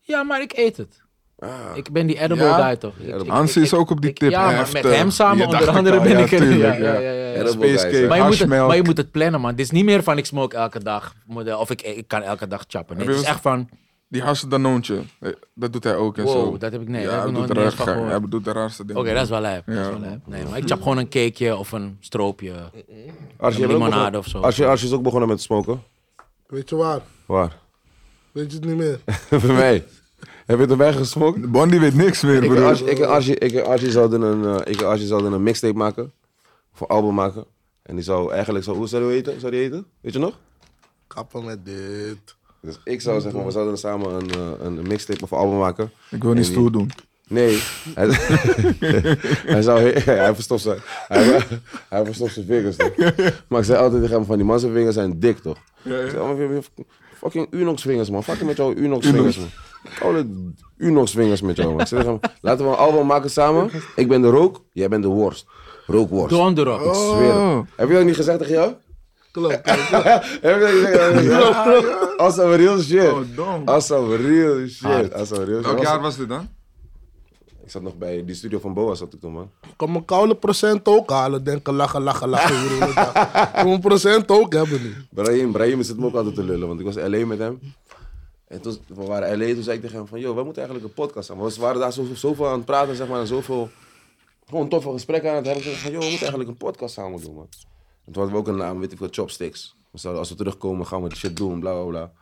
Ja, maar ik eet het.
Ah.
Ik ben die edible
Ja?
guy, toch? Ik- ik-
Hansi
ik-
is ook op die
ik-
tip.
Ja, maar
Heftig.
met hem
Je
samen,
dacht
onder andere,
al,
ben
ja,
ik er. Ja,
tuurlijk,
ja, ja, ja.
Edible
Space
guys, hè.
cake,
Maar je, moet het,
hashmelk.
maar je moet het plannen, man. Het is niet meer van ik smoke elke dag. model, Of ik, ik kan elke dag chappen. Nee,
Heb
het
je
is
wel-
echt van...
Die harsdanoontje, dat doet hij ook en
Wow,
zo.
dat heb ik- nee,
ja,
dat heb
hij
ik
doet
nog niet eens van
raar-
gehoord.
Hij doet de raarste dingen.
Oké, dat is wel lijp. dat is
Ja.
wel lijp. Nee, maar ik chap gewoon een cakeje of een stroopje.
Als
Een limonade of zo.
Arsje, Arsje is ook begonnen met smoken.
Weet je waar?
Waar?
Weet je het niet meer?
Voor mij. Heb je erbij gesmokt?
Bondi weet niks meer,
Ik en
broer.
Arsje, ik en Arsje, ik en Arsje zouden een, eh, ik en Arsje zouden een mixtape maken. Voor album maken. En die zou eigenlijk zo, hoe zou die heten? Zou die heten? Weet je nog?
Kappen met dit.
Dus ik zou zeggen, we zouden samen een, eh, een mixtape of album maken.
Ik wil niet
En die-
stoer doen.
Nee. Hij, hij, zou, hij, verstopt zijn, hij, hij verstopt zijn vingers. Toch? Maar ik zei altijd tegen hem van die man zijn vingers zijn dik toch? Ik zei, "Oh, maar fucking Unox vingers man. Fucking met jouw Unox vingers man. Koude Unox vingers met jou man. Ik zei tegen hem, laten we een album maken samen. Ik ben de rook, jij bent de worst. Rookworst. Ik
Doan erop.
zweer
Oh.
het. Heb je dat niet gezegd tegen jou?
Klopt.
Heb je dat niet gezegd tegen jou? Als een real shit.
Oh, dom.
Als een real shit. Als een real shit.
Welk jaar was dit dan?
Ik zat nog bij die studio van Boa zat ik toen man.
Kan mijn koude procent ook halen. Denken lachen, lachen, lachen. hier in de dag. Kan mijn procent ook hebben nu.
Brahim, Brahim zit me ook altijd te lullen, want ik was in LA met hem. En toen we waren in LA, toen zei ik tegen hem van, joh, wij moeten eigenlijk een podcast aan. Want we waren daar zo- zoveel aan het praten, zeg maar, en zoveel, gewoon toffe gesprekken aan het hebben. Toen zei ik van, joh, we moeten eigenlijk een podcast samen doen, man. En toen hadden we ook een naam, weet ik veel, Chopsticks. We zouden, als we terugkomen, gaan we die shit doen, bla, bla, bla.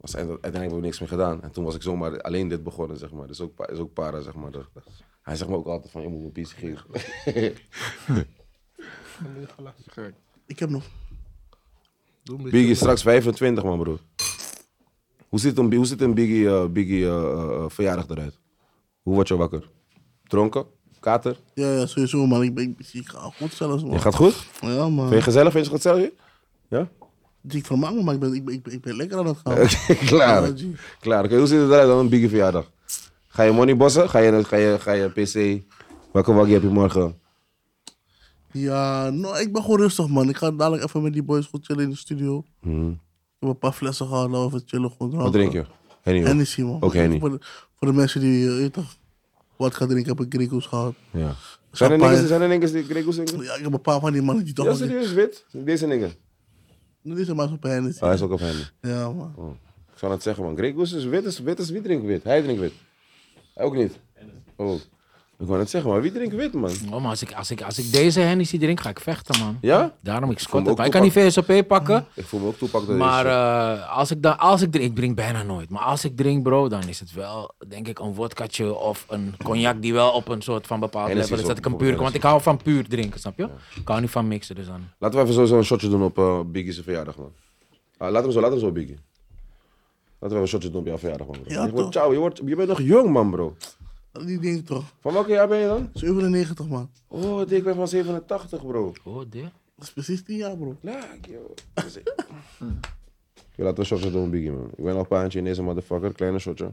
Was eind- uiteindelijk hebben we niks meer gedaan. En toen was ik zomaar alleen dit begonnen, zeg maar. Dus ook, pa- is ook para, zeg maar. Dat- Hij zegt me ook altijd van, je moet me piece geven.
Ik heb nog.
Doe een beetje.
Biggie is straks 25, man, broer. Hoe ziet een, hoe ziet een Biggie, eh, Biggie eh, eh, eh, verjaardag eruit? Hoe word je wakker? Dronken? Kater?
Ja, ja, sowieso, man. Ik, ben, ik, ik ga goed zelfs, man.
Je gaat goed?
Ja, man.
Vind je gezellig? Vind je het gezellig? hier? Ja?
Ik vermaak me, maar ik ben, ik ben, ik ben, ik ben lekker aan het gaan.
Oké, klaar.
Ja, G.
Klaar. Oké, hoe ziet het eruit dan een biggie verjaardag? Ga je money bossen? Ga je, ga je, ga je PC? Welke waggie heb je morgen?
Ja, nou, ik ben gewoon rustig, man. Ik ga dadelijk even met die boys goed chillen in de studio. Ik heb een paar flessen gehad, nou even chillen. Gewoon
Wat drink je? Henny. hoor.
Hennessy, man.
Ook Henny.
Voor de, voor de mensen die, eh, weet toch, wat gaan drinken, heb ik Griekos gehad.
Ja. Zijn er
Champagne.
niks, zijn er niks die Grego's drinken?
Ja, ik heb een paar van die mannen die toch...
Ja,
Ja,
serieus, wit? Deze dingen.
Dit is maar zo'n Hennessy.
Oh, hij is ook op Henny.
Ja, man.
Ik zal het zeggen, man. Grego's is wit, is wit, is wie drinkt wit? Hij drinkt wit. Hij ook niet. Oh. Ik wou net zeggen, maar wie drinkt wit, man?
Oh, maar als ik, als, ik, als ik deze Hennessy drink, ga ik vechten, man.
Ja?
Daarom, ik
Vond
scot
me
het.
ook
Hij kan niet VSOP pakken.
Ik voel me ook toepak door
Maar
deze.
eh, als, ik dan, als ik drink, ik drink bijna nooit. Maar als ik drink, bro, dan is het wel, denk ik, een wodkatje of een cognac die wel op een soort van bepaald
Hennessy
level is.
is ook
Dat ik een
bijvoorbeeld
puur, want ik hou van puur drinken, snap je? Ik hou niet van mixen, dus dan.
Laten we even sowieso een shotje doen op eh, Biggie's verjaardag, man. Ah, laat hem zo, laat hem zo, Biggie. Laten we even een shotje doen op jouw verjaardag, man. Bro.
Ja,
je, wordt,
toch?
ciao, je, wordt, je bent nog jong, man, bro.
Die ding toch.
Van welke jaar ben je dan?
97, man.
Oh, dik, ik ben van 87, bro.
Oh, dit.
Dat is precies 10 jaar, bro.
Laak, joh. Yo, laten we een shotje doen, Biggie, man. Ik ben al een paantje in deze motherfucker. Kleine shotje.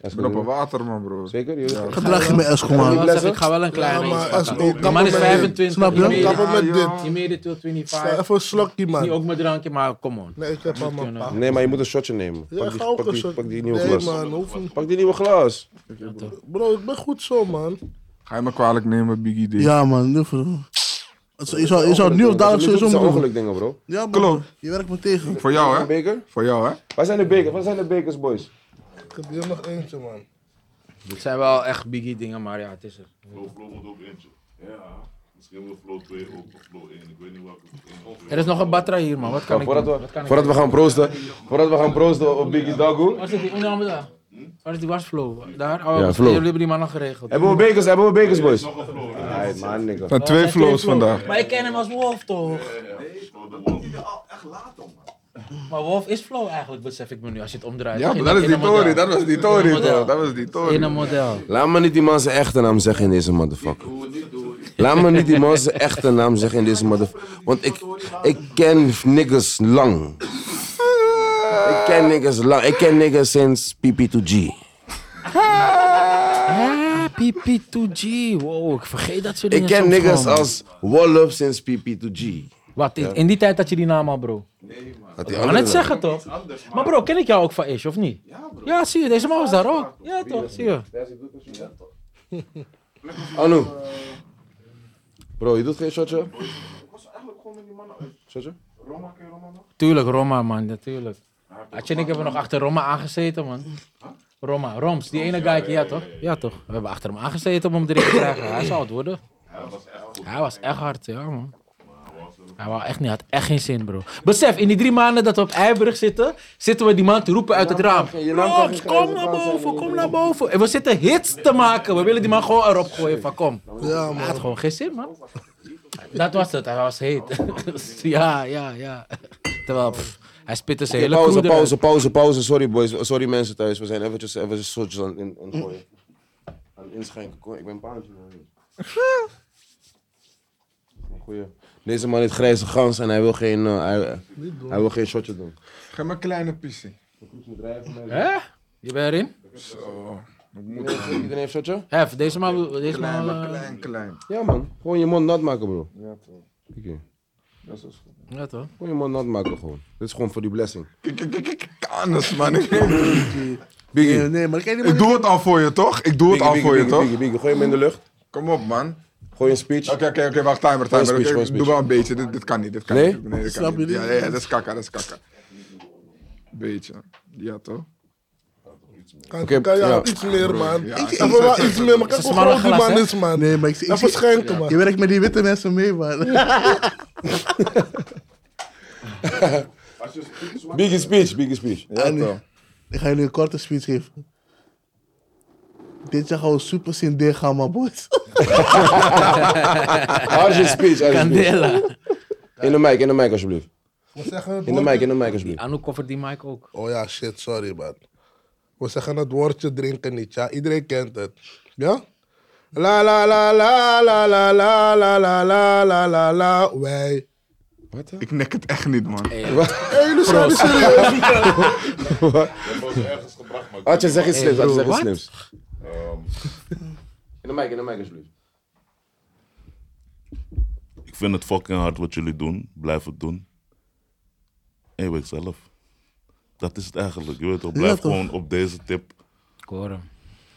Ik ben op een water, man, bro.
Zeker? Jullie gaan-
Gedrag je met Esco,
Ja,
Ik,
man.
maar-
wil zeggen, ik ga wel een kleine
Ja, maar
iets
als-
pakken.
ook-
Die man is
kappen met-
25.
Snap je?
niet meer-
Kappen met dit.
Niet meer de 225.
Ga even een slokje,
Niet
man.
ook mijn drankje, maar come on.
Nee, ik heb al mijn pa.
Nee, maar je moet een shotje nemen.
Ja,
pak, die,
ga ook
pak,
een
die,
shot.
pak die nieuwe
Nee,
glas.
man. hoef niet.
Pak die nieuwe glas.
Bro, ik ben goed zo, man.
Ga je me kwalijk nemen, Biggie D?
Ja, man. Nu voor... Het is- Je zou, je zou nu of
Oh, Dat
dadelijk
is een
sowieso moeten doen.
ongeluk dingen, bro.
Ja, man.
Klopt.
Je werkt me tegen.
Voor jou, hè?
Beker?
Voor jou, hè?
Waar zijn de bekers? Waar zijn de bekers, boys?
Ik heb hier nog eentje, man.
Het zijn wel echt biggie dingen, maar ja, het is er.
Flow, flow moet ook eentje. Ja. Misschien wil Flow 2 ook, of Flow 1. Ik weet niet welke.
Er is nog een batra hier, man. Wat kan ik
voordat
doen?
we,
Wat kan ik
voordat we gaan proosten, voordat we gaan proosten op Biggie Dagoe.
Waar zit die onder andere daar? Waar is die wasflow? Daar? Oh,
Ja,
wat-
flow.
Jullie hebben die man al geregeld.
Hebben we bekers, hebben we bekers, boys? Nee, man, nigga.
Er zijn twee flows vandaag.
Maar ik ken hem als Wolf toch? Maar Wolf is Flow eigenlijk, besef ik me nu, als je het omdraait.
Ja, maar
In-
dat is
in
die
een model.
Tory. Dat was die Tory,
model.
toch? Dat was die
In
Tory.
een model.
Laat me niet die man zijn echte naam zeggen in deze motherfucker. Laat me niet die man zijn echte naam zeggen in deze motherfucker. Want ik, ik ken niggas lang. Ik ken niggas lang. Ik ken niggas sinds PP2G.
Ah, PP2G. Wow, ik vergeet dat soort
Ik
dingen.
ken
soms
niggas
gewoon.
als Wallop sinds PP2G.
Wat, in, in die tijd had je die naam al, bro.
Had die
Ik kan
andere
het zeggen toch? Maar bro, ken ik jou ook van Ish, of niet? Ja, bro. Ja, zie je, deze man was daar ook. Ja, toch, zie je.
Anu. Bro, je doet geen shotje? Shotje?
Tuurlijk, Roma, man, natuurlijk. Atje en ik hebben nog achter Roma aangezeten, man. Roma, Roms, die ene guy, ja toch? Ja toch? We hebben achter hem aangezeten om hem erin te krijgen. Hij zou het worden. Hij was echt hard, ja man. Hij wou echt niet, had echt geen zin, bro. Besef, in die drie maanden dat we op Eiburg zitten, zitten we die man te roepen uit het raam. Roms, kom naar boven, kom naar boven. En we zitten hits te maken. We willen die man gewoon erop gooien van kom.
Ja,
Hij
man.
had gewoon geen zin, man. Dat was het, hij was heet. ja, ja, ja. Terwijl, pff, hij spitte zijn hele
pauze,
crew eruit.
pauze, pauze, pauze. Sorry boys, sorry mensen thuis. We zijn eventjes even een shotje aan in, in gooien. Aan het inschenken. Kom, Ik ben paantje man. Goeie. Deze man heeft grijze gans en hij wil geen, eh, hij, hij wil geen shotje doen.
Geef me een kleine pissie.
Hè? Je bent erin?
Zo. Ik moet
Iedereen iedereen heeft shotje?
Hef, deze man wil- Deze
klein,
man,
maar
eh,
klein, klein.
Ja man, gewoon je mond nat maken bro.
Ja, toch.
Oké.
Dat is wel goed.
eh, ja toch?
Gewoon je mond nat maken gewoon. Dit is gewoon voor die blessing.
Kijk, kijk, kijk, kijk, Kanus, man. Ik
Biggie.
Nee, nee, maar ik ken die man
ik doe het al voor je, toch? Ik doe het
Biggie,
al
Biggie,
voor je,
Biggie,
toch?
Biggie, Biggie. Gooi hem in de lucht.
Kom op, man.
Gooi een speech.
Oké, oké, oké, wacht, timer,
Gewoon
timer.
speech,
Oké,
gewoon speech.
doe wel een beetje, dit, dit kan niet, dit kan
Nee?
niet. Nee, dit
Snap
kan
je
niet.
dit?
Ja, ja, ja, dat is kakka, dat is kakka. Beetje, ja toch?
Kan,
Oké,
kan je
ja.
al iets meer, man?
Ja,
Ik
ik-
even wel iets meer, maar kijk
is
hoe
een smalle
groot die
glas,
man
hè?
is, man.
Nee, maar ik, ik
Even
zie-
schenken, man.
Je werkt met die witte mensen mee, man.
Biggie speech, Biggie speech.
Ja
Annie.
toch?
Ik ga jullie een korte speech geven. Dit jaar gaan we super zin dicht gaan, man, boys.
Arjen speech, Arjen speech.
Candela.
In de mic, in de mic alsjeblieft.
We zeggen het
In de
woordje-
mic, in de mic alsjeblieft.
Anu koffert die mic ook.
Oh ja, shit, sorry, man. We zeggen het woordje drinken niet, ja. Iedereen kent het. Ja? La la la la la la la la la la la la la wij
Wat? hè?
Ik nek het echt niet, man.
Hé, jullie zijn niet serieus.
Dat wordt ergens gebracht, maar ik
Had je zegt iets slims, had je
broer,
zegt iets
wat?
slims.
Ehm,
In de mic, in de mic alsjeblieft.
Ik vind het fucking hard wat jullie doen. Blijf het doen. Eeuw zelf. Dat is het eigenlijk. Je weet toch, blijf
toch?
gewoon op deze tip.
Ik hoor hem.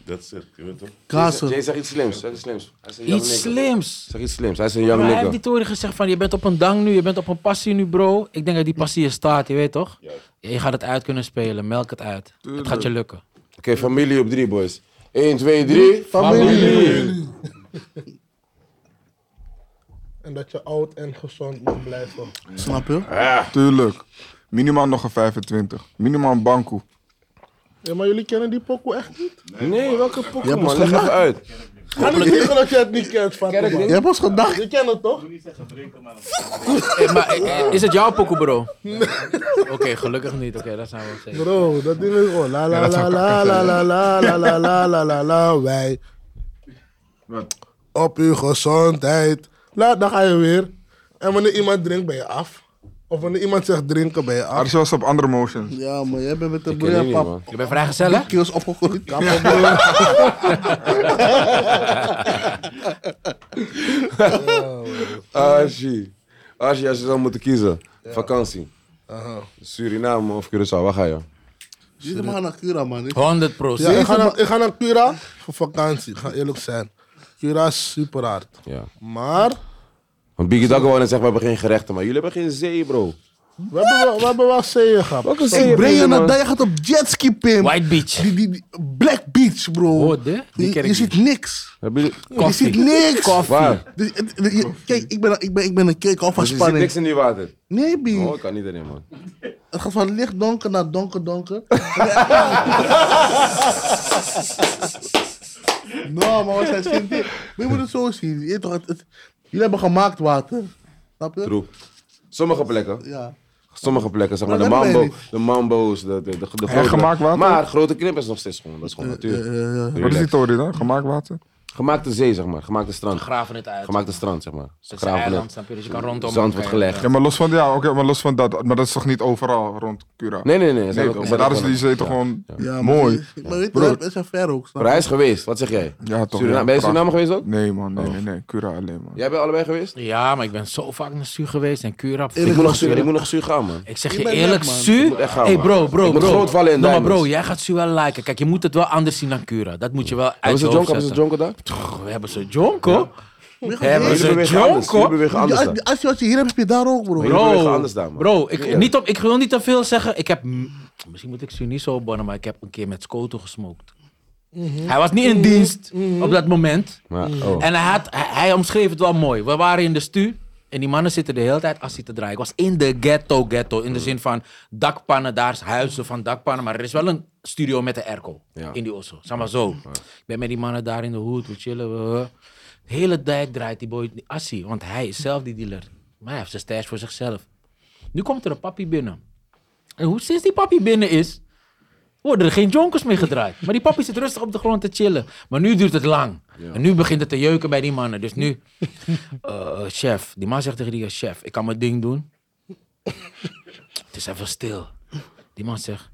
That's it. Je weet toch?
Jay
Kazen.
zegt iets slims, zeg iets slims. Hij is een young
Iets
nigga.
slims.
Zeg iets slims, hij is een young
Maar hij heeft
nigga.
die toren gezegd van, je bent op een dang nu, je bent op een passie nu, bro. Ik denk dat die passie je staat, je weet toch? Je gaat het uit kunnen spelen, melk het uit. Het gaat je lukken.
Oké, familie op drie, boys. 1, 2, 3.
Familie.
En dat je oud en gezond moet blijven.
Snap je?
Tuurlijk. Minimaal nog een 25. Minimaal een bankoe.
Ja, maar jullie kennen die pokoe echt niet?
Nee, welke pokken,
hebt
man?
ons
Leg even
gemaakt.
uit.
Ga niet zeggen dat je het niet kent, Fatima.
Je hebt ons gedacht.
Je kent het toch?
Hey, maar eh, eh, is het jouw pokoe, bro? Oké, gelukkig niet. Oké, dat zijn we zeker.
Bro, dat ding is gewoon la la la la la la la la la la la la la wij.
Wat?
Op uw gezondheid. La, dan ga je weer. En wanneer iemand drinkt, ben je af. Of wanneer iemand zegt drinken, ben je af.
Maar zelfs op andere motions.
Ja, man. Jij bent met de
Ik ken die
broer
niet,
pap.
man.
Je bent vrijgezel, hè?
Kiels opgegooid.
Ashi. Ashi, als je zou moeten kiezen. Vakantie. Suriname of Curaçao, waar ga je?
Jullie maar naar Cura, man.
Oh,
100
Ja, ik ga, naar, ik ga naar Cura voor vakantie, ik ga eerlijk zijn. Cura is super hard.
Ja.
Maar
Want Biggie Dagger wou net zeggen, we hebben geen gerechten, maar jullie hebben geen zee, bro.
we hebben wel, we hebben wel zeeën gehad.
Welke
Ik breng je naar
man?
daar. Je gaat op jetski, Pim.
White Beach.
Die, die, die- Black Beach, bro.
Hoorde? Die
Je-
ken ik
je ziet niks.
Hebben jullie...
Je ziet niks.
Waar?
Dus, het- het- je- kijk, ik ben, ik ben, ik ben een kerk al
Dus
van
je ziet
spanning.
niks in die water.
Nee, Bi.
Oh, ik kan niet erin, man.
Het gaat van licht donker naar donker donker. nou, maar we zijn zin in. Maar je moet het zo zien. Je weet toch, het- het- jullie hebben gemaakt water. Snap je?
True. Sommige plekken.
Ja.
Sommige plekken, zeg maar. De
Maar dat ben je
mambo,
niet.
de mambo's, de, de, de, de grote-
gemaakt water?
Maar grote knip is nog steeds gewoon. Dat is gewoon natuur. Relax.
Wat is die Tori dan? Gemaakt water?
Gemaakte zee, zeg maar. Gemaakte strand.
Graven het uit.
Gemaakte strand, zeg maar. Ze
Het is een
graven
eiland,
het.
snap je? Dus je kan rondom.
Zand wordt gelegd.
Ja, maar los van, ja, oké, maar los van dat. Maar dat is toch niet overal rond Cura?
Nee, nee, nee. ze
Nee,
hebben
toch?
ook-
maar daar is
ze hebben
die
ook-
zee toch
Ja.
gewoon
Ja,
mooi?
Maar, maar weet
Bro.
je, het is een ver ook. Snap je?
Maar hij is geweest, wat zeg jij?
Ja, toch.
Suriname-
ja,
ben je in
prachtig.
Suriname geweest ook? Oh.
Nee, man. Nee, nee, nee. Cura alleen, man.
Jij bent allebei geweest?
Ja, maar ik ben zo vaak naar Su geweest en Cura.
Ik moet nog
Su.
zuur, ik moet nog zuur gaan, man.
Ik zeg
Ik
je
ben
eerlijk,
weg, man.
Su.
moet echt gaan,
hey
man.
bro, bro,
Ik moet
bro.
groot vallen in
Nou, maar
diamonds.
bro, jij gaat Su wel liken. Kijk, je moet het wel anders zien dan Cura. Dat moet je wel uit
Hebben ze
je
Jonko,
hoofd
hebben ze
zetten.
Jonko daar?
Pff, We hebben ze Jonko. Hebben
Jullie
ze
bewegen anders, jullie
Jonko.
bewegen anders
Als,
dan.
als, je, wat je hier hebt, heb je daar ook, bro.
Maar jullie bewegen
Bro,
anders daar, man.
bro ik,
Ja.
niet op, ik wil niet te veel zeggen. Ik heb, mm, misschien moet ik ze niet zo opbonnen, maar ik heb een keer met Scoto gesmokt. Hij was niet in dienst op dat moment. Mhm.
Maar, oh.
En hij, had, hij, hij omschreef het wel mooi. We waren in de stu. En die mannen zitten de hele tijd assie te draaien. Ik was in de ghetto, ghetto. In de
Mhm.
zin van dakpannen, daar is huizen van dakpannen. Maar er is wel een studio met een airco
Ja.
in die Osso. Zeg maar zo. Ik ben met die mannen daar in de hoed, we chillen. we- we. De hele tijd draait die boy die assie. Want hij is zelf die dealer. Maar hij heeft zijn stash voor zichzelf. Nu komt er een papi binnen. En hoe sinds die papi binnen is, worden er geen jonkers meer gedraaid. Maar die papi zit rustig op de grond te chillen. Maar nu duurt het lang. En nu begint het te jeuken bij die mannen. Dus nu, eh, eh, chef, die man zegt tegen die chef, ik kan mijn ding doen. het is even stil. Die man zegt,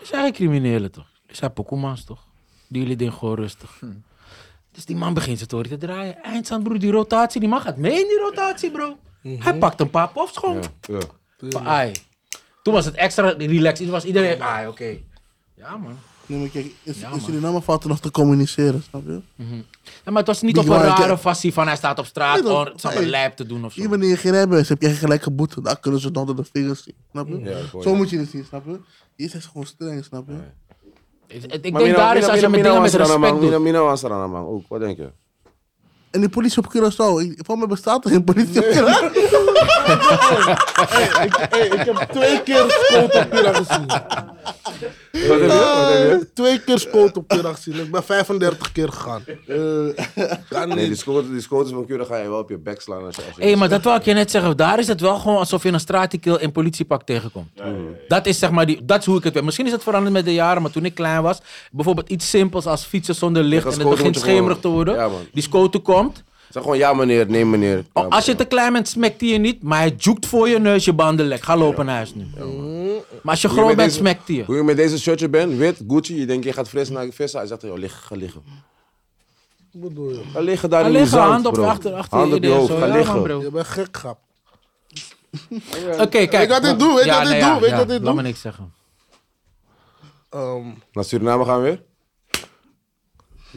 "Er zijn geen criminelen toch? Er zijn pokoemans toch? Doe jullie ding gewoon rustig. Dus die man begint zijn toren te draaien. Eindstand broer, die rotatie, die man gaat mee in die rotatie bro. Hij pakt een paar pofs gewoon.
Mhm. Ja.
Van, ai. Toen was het extra relaxed. Toen was iedereen, ai, oké. Ja, man.
Nee, maar kijk, in, in Suriname valt er nog te communiceren, snap je?
Ja, maar het was niet
Die
op een
waren-
rare fassie van hij staat op straat
eh, Nee,
om
dat-
nee,
nee.
lijp te doen of zo.
Hier wanneer je geen hebben is, heb je gelijk geboet. Daar kunnen ze het onder de vingers zien, snap je?
Ja, ik hoor
Zo
je.
moet je het zien, snap je? Hier zijn ze gewoon streng, snap je?
Ik- Ik denk
Maar Mina-
daar is
Mina-
als
Mina-
je met dingen
Mina was
met
er aan de
respect
man, Mina-
doet.
Mina was er aan de man ook, wat denk je?
En die politie op Curaçao, ik- voor mij bestaat er geen politie op Curaçao.
Hey, ik heb twee keer scoot op Cura gezien.
Wat heb je?
Twee keer scoot op Cura gezien. Ik ben 35 keer gegaan. Eh,
Nee, die scooters, die scooters van Cura ga je wel op je bek slaan als je... als je-
Hé, maar dat wil ik je net zeggen. Daar is het wel gewoon alsof je een straatkill in politiepak tegenkomt. Dat is zeg maar die, dat is hoe ik het weet. Misschien is het veranderd met de jaren, maar toen ik klein was, bijvoorbeeld iets simpels als fietsen zonder licht
Ja,
en het
scoten
begint
moet je gewoon-
schemerig te worden.
Ja, man.
die scoter komt.
Zeg gewoon ja meneer, nee meneer. Ja,
Oh, als je te klein bent, smekt hij je niet. Maar hij joekt voor je neus je banden lek. Ga lopen naar huis nu. maar als je
Hoe je met
groot bent,
deze-
smekt hij je.
Hoe je met deze shirtje bent, wit, Gucci, je denkt je gaat fris naar Vissa. Hij zegt, joh, lig, ga liggen.
Wat bedoel je?
Ga liggen daar
Ga
in die
liggen,
zand,
hand op
bro.
achter, achter
Hand op je
iedereen
hoofd,
zo.
ga
Ja, man,
liggen.
bro.
Je bent gek, grap.
Oké, kijk.
Weet je wat ik doe? Weet je wat ik doe? Weet je wat ik
Laat
doe?
me niks zeggen.
Ehm,
Naar Suriname gaan we weer?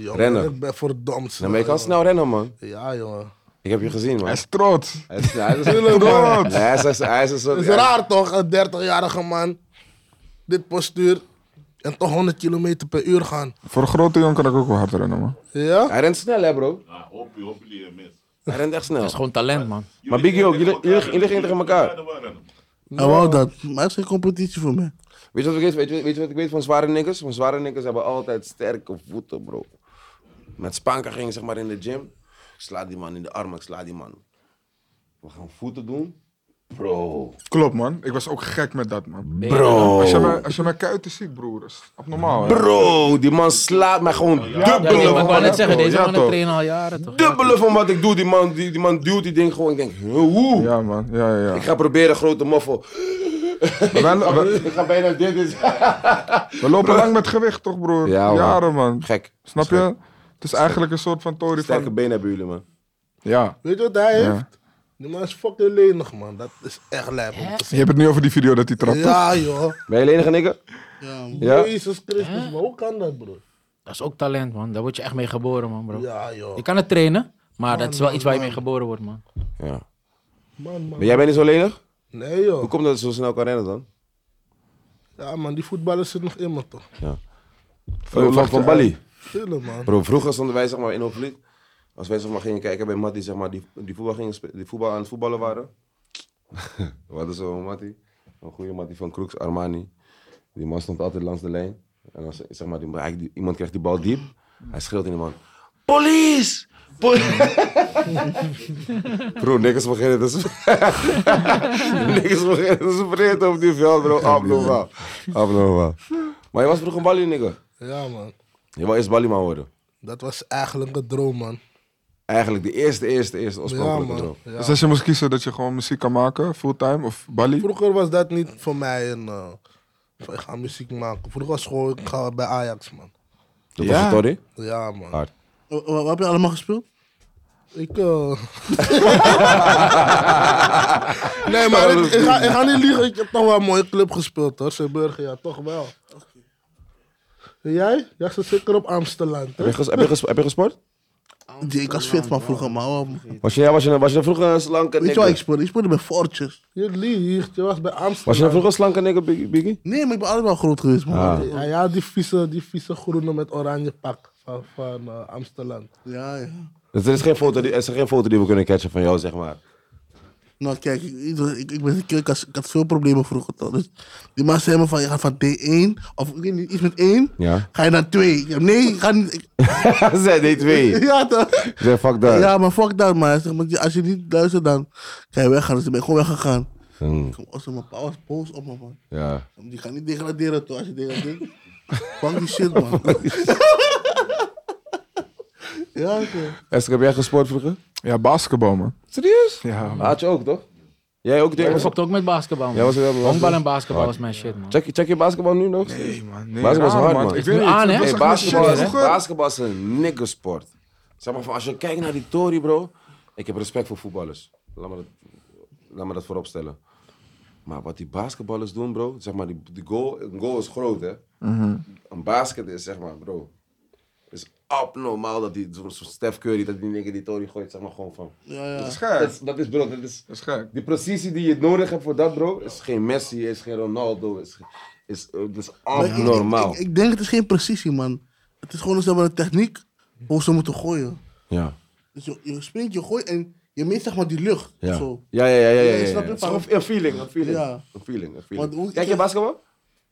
jongen,
Rennen.
Ik ben verdomd snel.
Nou, maar je kan snel rennen, man.
Ja, jongen.
Ik heb je gezien,
Hij
man.
is trots.
Hij is, hij is,
man.
hij is, hij is, hij is een soort...
Het is raar toch, een 30-jarige man. Dit postuur. En toch 100 kilometer per uur gaan.
Voor een grote jongen kan ik ook wel hard rennen, man.
Ja?
Hij rent snel, hè, bro.
Nou, hoop je, hoop jullie je mis.
Hij rent echt
Dat is
snel.
gewoon talent, man.
Maar Biggie ook, jullie, jullie, jullie gingen tegen elkaar.
Hij wou dat. Maar het is geen competitie voor mij.
Weet je wat ik weet? Weet je, weet je wat ik weet van zware nikkers? Van zware nikkers hebben altijd sterke voeten, bro. Met Spanka ging ik, zeg maar in de gym. Ik sla die man in de armen, ik sla die man. We gaan voeten doen. Bro.
Klopt, man. Ik was ook gek met dat, man.
Bro.
Als je mijn, als je mijn kuiten ziet, broer, is het abnormaal, hè?
Bro, die man slaat mij gewoon
Ja, nee,
dubbele
maar ik
van
wou net
wat ik
zeggen, deze
Ja,
mannen
toch.
trainen al jaren, toch?
Dubbele van wat ik doe. Die man, die, die man duwt die ding gewoon. Ik denk, hoe?
Ja, man. Ja, ja,
Ik
ja.
ga proberen grote moffel.
Maar wij lo- we,
Ik ga bijna dit is.
we lopen lang met gewicht, toch, broer?
Ja, man.
Jaren, man.
Gek.
Snap je? Het is eigenlijk een soort van Tory
Sterke
van...
benen hebben jullie, man.
Ja.
Weet je wat hij
Ja.
heeft? Die man is fucking lenig, man. Dat is echt lijp. om te
Je hebt het nu over die video dat hij trapt, toch?
Ja, joh.
Ben je de enige nikker?
Ja, man.
Ja?
Jezus Christus, maar hoe kan dat, bro?
Dat is ook talent, man. Daar word je echt mee geboren, man, bro.
Ja, joh.
Je kan het trainen, maar dat is wel iets waar je mee geboren wordt, man.
Ja.
Man, man.
Maar jij bent niet zo lenig?
Nee, joh.
Hoe komt dat je zo snel kan rennen dan?
Ja, man, die voetballers zitten nog in me, toch?
Van, van, van Bali.
Chillen, man.
Bro, vroeger stonden wij zeg maar, in Hoogvliet. Als wij zeg maar, gingen kijken bij Mattie, zeg maar, die, die, voetbal gingen spe- die voetbal aan het voetballen waren. We hadden zo'n Mattie, een goede Mattie van Kroeks, Armani. Die man stond altijd langs de lijn. En als zeg maar, die, hij- die- iemand krijgt die bal diep, hij schreeuwt in die man. Police! Police! bro, niks beginnen te spreken. niks beginnen te spreken op die veld, bro. Abnormaal. Abnormaal. Maar je was vroeger een balie, nigga.
Ja, man.
Je wou eerst balieman worden.
Dat was eigenlijk een droom, man.
Eigenlijk de eerste, eerste, eerste
Ja,
oorspronkelijke
man.
droom.
Ja.
Dus als je moest kiezen dat je gewoon muziek kan maken, fulltime of Bali?
Vroeger was dat niet voor mij een... eh, van, ik ga muziek maken. Vroeger was gewoon, ik ga bij Ajax, man.
Dat
Ja.
was het, Toddy?
Ja, man.
Hard.
Wa- wa- Wat heb je allemaal gespeeld?
Ik, eh, nee, maar ik, ik ga, ik ga niet liegen. Ik heb toch wel een mooie club gespeeld, hoor. Zeeburger, ja, toch wel. En jij? Jij zit zeker op Amsterdam,
Heb
hè?
je, ges- heb, je ges- heb je gesport?
Die, ik was fit van vroeger, maar oh, man.
Was je, ja, was je, was je vroeger een slanke
Weet je waar ik
nigger?
speelde? Ik speelde bij Fortjes.
Je liegt. Je was bij Amsterdam.
Was je vroeger een slanke nigger, Biggie? Biggie?
Nee, maar ik ben altijd wel groot geweest, man.
Ah.
Ja, ja die, vieze, die vieze groene met oranje pak van, van eh, Amsterdam.
Ja, ja.
Dus er, is geen foto die, er is geen foto die we kunnen catchen van jou, zeg maar.
Nou, kijk, ik, ik, ik, ben- ik, had, ik had veel problemen vroeger, toch? Dus die man zei me van, je gaat van D1, of ik weet niet, iets met 1,
Ja.
ga je naar 2. Nee, ik ga niet... ik-
Zij deed twee.
ja, toch?
Zij fuck dat.
Ja, maar fuck dat, man. Hij zegt, maar als je niet luistert, dan kan je weggaan. Dus ik ben gewoon weggegaan.
Hmm,
Ik was mijn pa was boos op me, man.
ja.
Die gaan niet degraderen, toch? Als je degradeert. Fuck die shit, man. ja, toch.
Esther, heb jij gesport vroeger?
Ja, basketbal, man.
Serieus?
Ja, man.
Had je ook, toch? Jij ook,
Ik
denk ik.
stopte ook met basketbal,
Jij
man.
was wel
Honkbal en basketbal was mijn shit, man.
Check, check je basketbal nu nog?
Nee, man. Nee,
Basketbal is
raar,
hard, man.
Ik
Is
weet
nu
niet,
aan,
het
hè?
was
Nee,
echt mijn
basketbal,
shit
is,
vroeger.
basketbal is een nikkersport. Zeg maar, van, als je kijkt naar die Tory, bro. Ik heb respect voor voetballers. Laat me dat, laat me dat voorop stellen. Maar wat die basketballers doen, bro. Zeg maar, die, die goal, een goal is groot, hè. Een basket is, zeg maar, bro. Het is abnormaal dat die, zo'n zo'n Steph Curry, dat die nigger die Tory gooit, zeg maar, gewoon van.
Ja, ja.
Dat is gek.
Dat is, dat is bro, dat is...
Dat is gek.
Die precisie die je nodig hebt voor dat, bro, is geen Messi, is geen Ronaldo, is, is, eh, dat is
Maar ik-
abnormaal.
Ik, ik, ik denk, het is geen precisie, man. Het is gewoon, ze hebben een techniek hoe ze moeten gooien.
Ja.
Dus je, je springt, je gooit en je meet zeg maar die lucht.
Ja.
Zo.
Ja, ja, ja, ja, ja.
Ja,
ja,
snap je?
Het is gewoon Een feeling, een feeling.
Ja.
Een feeling, een
Want hoe-
feeling. Kijk je basketbal?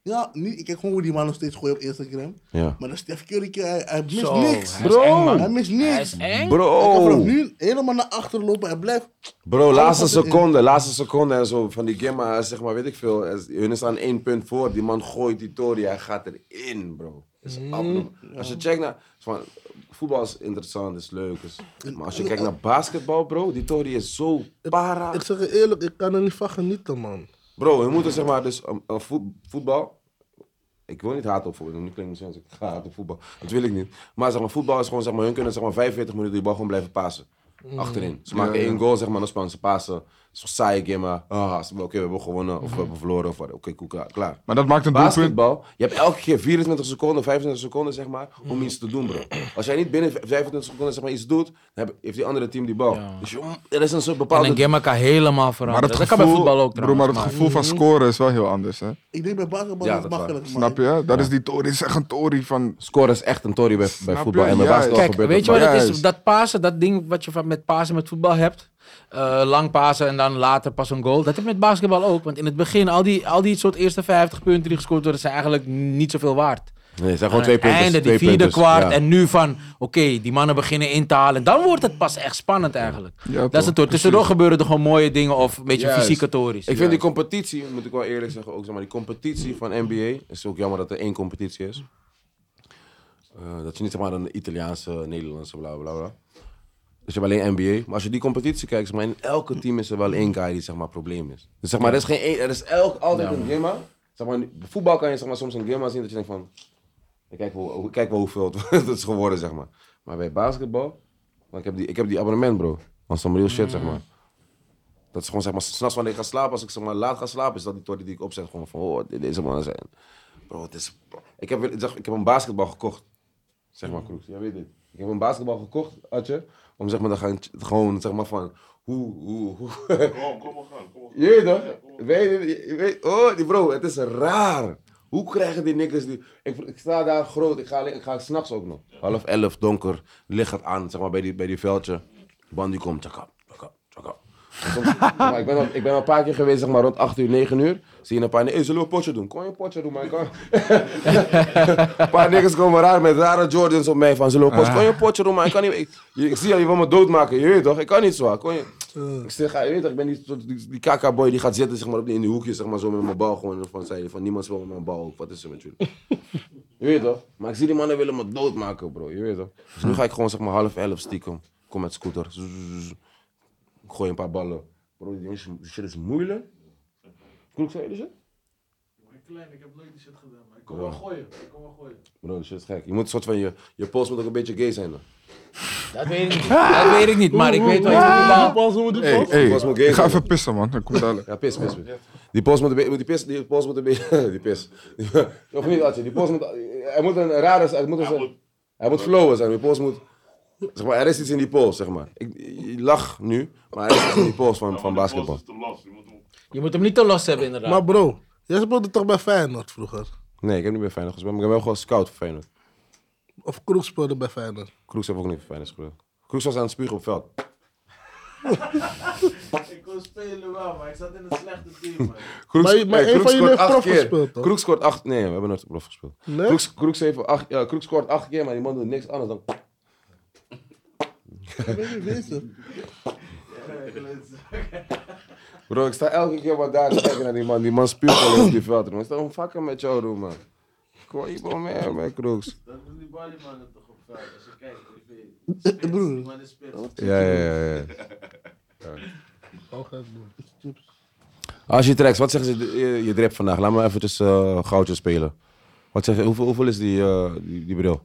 Ja, niet, ik kijk gewoon hoe die man nog steeds gooit op Instagram.
Ja.
Maar dat Stef Curry, hij, hij mist
Zo,
niks.
hij is eng, man.
Hij mist niks.
Hij is eng.
Hij kan vanaf
Bro,
nu Oh, helemaal naar achteren lopen. Hij blijft...
bro, laatste
Alles gaat erin.
seconde, laatste seconde en zo van die game, maar hij is, zeg maar, weet ik veel. hij is- Hun is aan één punt voor, die man gooit die tory, hij gaat erin, bro. Dat
Mm,
Is abnormaal. Als je checkt naar, is van, voetbal is interessant, is leuk, is, maar als je kijkt naar basketbal, bro, die tory is zo para.
Ik zeg je eerlijk, ik kan er niet van genieten, man.
Bro, we moeten zeg maar dus um, uh, voet- voetbal. Ik wil niet haat op voetbal. Nu klinkt het niet zo als ik ga haat op voetbal. Dat wil ik niet. Maar zeg maar, voetbal is gewoon zeg maar, hun kunnen zeg maar 45 minuten die bal gewoon blijven passen.
Mm.
Achterin. Ze maken één goal, zeg maar, dan spannen ze passen. Zo'n saaie game, maar ah, ze- oké, we hebben gewonnen
Mm.
of we hebben verloren of wat. Oké, cool, klaar, klaar.
Maar dat maakt een doelpunt.
Basketbal, je hebt elke keer 24 seconden, 25 seconden zeg maar,
Mm.
om iets te doen, bro. Als jij niet binnen 25 seconden zeg maar, iets doet, dan heb- heeft die andere team die bal. Dus je, er is een soort
En
bepaalde
een game kan helemaal
Maar
veranderen.
het
dat kan bij
gevoel-
voetbal ook
Bro,
trouwens.
maar het gevoel van scoren is wel heel anders, hè?
Ik denk bij basketbal
Ja,
is
dat
het
is waar.
makkelijk, man.
Snap je? Dat is die tory, is echt een tory van...
Scoren is echt een tory bij, bij
je?
voetbal. En bij
Ja,
basketbal
ja.
Kijk,
gebeurt
weet je
dat
wat
maar.
het
Juist.
is? Dat Pasen, dat ding wat je van- met Pasen met voetbal hebt. eh, lang Pasen en dan later pas een goal. Dat heb je met basketbal ook. Want in het begin, al die, al die soort eerste 50 punten die gescoord worden, zijn eigenlijk niet zoveel waard.
Nee, het zijn gewoon twee
Aan het
punten.
einde, die vierde kwart. En nu van, oké, die mannen beginnen in te halen. Dan wordt het pas echt spannend eigenlijk.
Ja,
dat
toch,
is het hoor. Tussendoor gebeuren er gewoon mooie dingen of een beetje
Juist.
fysieke tories.
Ik vind die competitie, moet ik wel eerlijk zeggen, ook zeg maar, die competitie van NBA. is ook jammer dat er één competitie is. Eh, dat je niet zeg maar een Italiaanse, Nederlandse, bla bla bla. Dus je hebt alleen NBA. Maar als je die competitie kijkt, zeg maar, in elke team is er wel één guy die zeg maar probleem is. Dus zeg maar, er is, geen, één- er is elk, altijd een gimma. Zeg maar, bij voetbal kan je zeg maar, soms een gimma zien dat je denkt van... Ik kijk wel, ik kijk wel hoeveel het, het is geworden, zeg maar. Maar bij basketbal, want ik, heb die, ik heb die abonnement, bro. Dat is some real shit, zeg maar. Dat is gewoon, zeg maar, s'nachts wanneer ik ga slapen, als ik zeg maar laat ga slapen, is dat die tory die ik opzet. Gewoon van, oh, dit- deze mannen zijn... Bro, het is... Ik heb, weer- zeg, ik heb een basketbal gekocht. Zeg
Mm.
maar, Kroes, jij weet het. Ik heb een basketbal gekocht, Adje, om zeg maar te gaan, gewoon zeg maar van, hoe, hoe, hoe.
Kom, kom maar gaan. Kom maar.
Je weet toch? Weet, je- je weet, oh, die bro, het is raar. Hoe krijgen die nikkers die... Ik, ik sta daar groot, ik ga, alleen- ik ga s'nachts ook nog. Half elf, donker, licht gaat aan, zeg maar, bij die, bij die veldje. De band die komt, tjaka, tjaka, tjaka. Soms- zeg maar, ik, ben al, ik ben al een paar keer geweest, zeg maar, rond 8 uur, 9 uur. Zie je een paar niggers, hey, zullen we een potje doen? Kon je een potje doen, man? Kan... een paar niggers komen raar met rare Jordans op mij van, zullen we een potje... Kon je een potje doen, man? Ik kan niet... Ik, je- ik zie al, je wil me doodmaken, je weet toch? Ik kan niet zwaar, kon je... Ik zeg, ga- je weet toch, ik ben die, soort- die, die kaka-boy die gaat zitten zeg maar, op die- in die hoekjes zeg maar, zo met mijn bal gewoon. Van, zei, van niemand speelt met mijn bal ook, wat is er met jullie? je weet toch? Maar ik zie die mannen willen me doodmaken, bro, je weet toch? Dus nu ga ik gewoon zeg maar half elf stiekem. Kom met scooter. Zzz, zzz, zzz. Ik gooi een paar ballen. Bro, die jongens, die shit is moeilijk. Kloek, zei je die shit? Bro, die shit is gek. Je moet een soort van je, je pols moet ook een beetje gay zijn. Dan.
Dat weet ik niet. Dat weet ik niet, maar ik weet wel.
Hoe
Ah.
pas hoe die
Hey,
pas?
hey,
was mijn game,
ik ga
man.
even pissen, man. Dat komt dadelijk.
Ja, pis, pis. pis. Die post moet een beetje, die pis, die post moet een beetje, die pis. Of niet, Adje, die post moet, hij moet een rare, hij moet, een, hij moet, flowen zijn, die post moet, zeg maar, er is iets in die post, zeg maar. Ik, ik lach nu, maar er is iets in die post van, van basketbal.
Je moet hem niet te los hebben inderdaad.
Maar bro, jij speelde toch bij Feyenoord vroeger?
Nee, ik heb niet meer Feyenoord gespeeld, maar ik ben wel gewoon scout voor Feyenoord.
Of Kroeg speelde bij Feyenoord?
Kroeks heb ook niet voor Feyenoord gespeeld. Kroeks was aan het spugen op het veld.
Ik kon spelen wel, maar ik zat in een slechte team, man.
Kroeks,
Maar- maar
eh,
een
Kroeks
van
scoort
jullie heeft
acht
prof
keer.
gespeeld, toch?
Kroeks scoort acht, nee, we hebben nooit prof gespeeld.
Nee?
Kroeks, Kroeks, heeft acht, ja, Kroeks scoort acht keer, maar die man doet niks anders dan...
Ik weet niet weten.
Bro, ik sta elke keer maar daar te kijken naar die man. Die man spuugt al op die veld. man. Ik sta een fucking met jou doen, man. Kom hier bij mij, man, Kroeks.
Dat doen die ballymannen toch op veld, als je kijkt, ik weet
Eh, Broer,
Maar de spits.
Ja, ja, ja.
oh, gek, broer.
Als je trekt, wat zeggen ze, eh, je, je drip vandaag? Laat me eventjes eh goudje spelen. Wat zeg je, hoeveel, hoeveel is die, eh, die, die bril?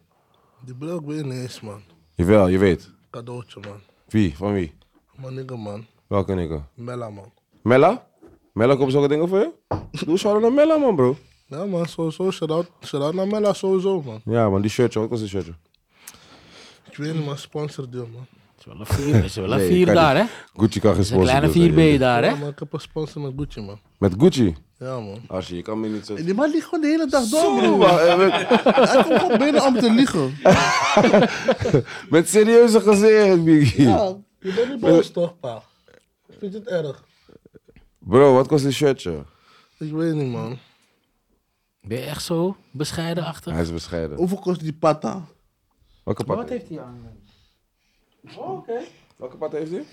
Die bril ik weer niet eens, man.
Jawel, je weet.
Cadeautje, man.
Wie? Van wie?
Maar nigga, man.
Welke nigga?
Mella, man.
Mella? Mella komt zulke dingen voor je? Doe shout naar nou Mella, man, bro.
Ja, man, sowieso. Shout-out shout naar Mella, sowieso, man.
Ja, man, die shirtje, wat was die shirtje?
Ik weet niet, man. Sponsordeal, man.
Het is wel een vier, is wel een
Nee,
vier
kan
daar, hè?
niet.
Het
Gucci kan geen
is een
sponsor.
kleine
doen, weet je.
4 ben je daar, hè?
Ja, man, ik heb een sponsor met Gucci, man.
Met Gucci?
Ja, man.
Asje, je kan me niet zo...
Die man ligt gewoon de hele dag door,
Zo,
bro.
man, eh, met-
Hij komt gewoon binnen om te liegen.
Met serieuze gezicht, Biggie.
Ja, je bent niet boos, toch, pa? Vind je het erg?
Bro, wat kost die shirtje?
Ik weet niet, man.
Ben je echt zo bescheiden achter?
Hij is bescheiden.
Hoeveel kost die pata?
Welke
Wat
pad heeft
heeft hij aan? Oh, Oké.
Welke pad heeft hij?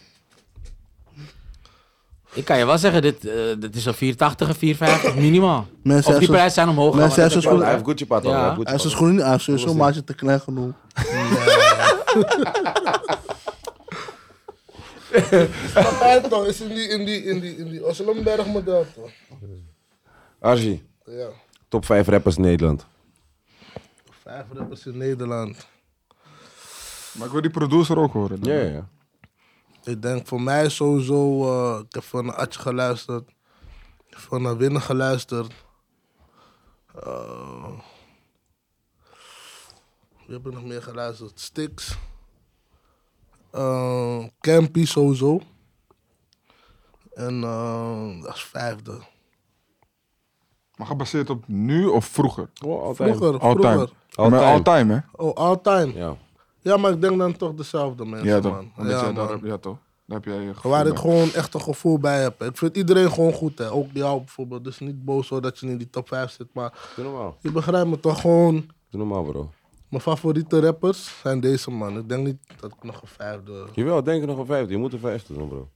Ik kan je wel zeggen, dit, eh, dit is een 480, een 450 minimaal.
Mensen
Of die
hebben
prijzen zijn omhoog.
mensen
gegaan,
hebben
maar dat
Hij
heb
heeft Gucci pad.
Ja.
Ja.
Hij is zijn schoenen niet aan,
Hoe
sowieso
was
maatje te klein genoeg.
Papijn toch, is in die, in die, in die, in die Osselomberg model toch?
Archie,
Ja.
top 5 rappers Nederland.
Vijf rappers in Nederland.
Maar ik wil die producer ook horen.
Ja, ja, ja.
Ik denk voor mij sowieso, eh, ik heb van een Atje geluisterd. Ik heb van een Winnen geluisterd. Eh, wie heb ik nog meer geluisterd? Stix. Eh, Campy sowieso. En eh, dat is vijfde.
Maar gebaseerd op nu of vroeger?
Oh, altijd.
Vroeger,
All time.
vroeger.
All
Maar
time.
all time, hè?
Oh, all time. Ja.
Ja.
maar ik denk dan toch dezelfde mensen,
Ja, toch?
man.
Omdat jij
Ja,
daar-
man.
ja, toch? Daar heb jij je gevoel
Waar ik
bij.
gewoon echt een gevoel bij heb. Ik vind iedereen gewoon goed, hè. Ook jou bijvoorbeeld. Dus niet boos hoor dat je niet in die top 5 zit. Maar
Doe normaal.
je begrijpt me toch gewoon.
Doe normaal, bro.
Mijn favoriete rappers zijn deze man. Ik denk niet dat ik nog een vijfde...
Jawel, denk er nog een vijfde. Je moet een vijfde doen, bro.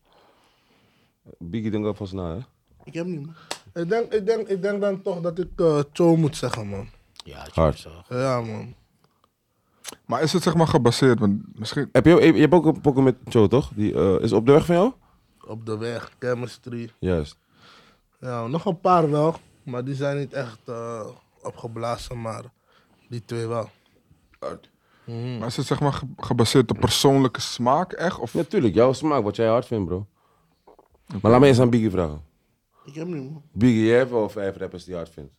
Biggie, denk alvast na, hè?
Ik heb niet, man.
Ik denk, ik denk, ik denk dan toch dat ik eh Cho moet zeggen, man.
ik- Ja, het
Hard.
is zo.
Ja, man.
Maar is het zeg maar gebaseerd? Want misschien...
Heb je, je hebt ook een pokken met Joe, toch? Die eh, is op de weg van jou?
Op de weg, chemistry.
Juist.
Ja, nog een paar wel. Maar die zijn niet echt eh, opgeblazen, maar die twee wel. Mm.
Maar is het zeg maar ge- gebaseerd op persoonlijke smaak, echt? Of...
Natuurlijk, jouw smaak, wat jij hard vindt, bro. Maar laat me eens aan Biggie vragen.
Ik heb niet, man.
Biggie, jij hebt wel vijf rappers die je hard vindt.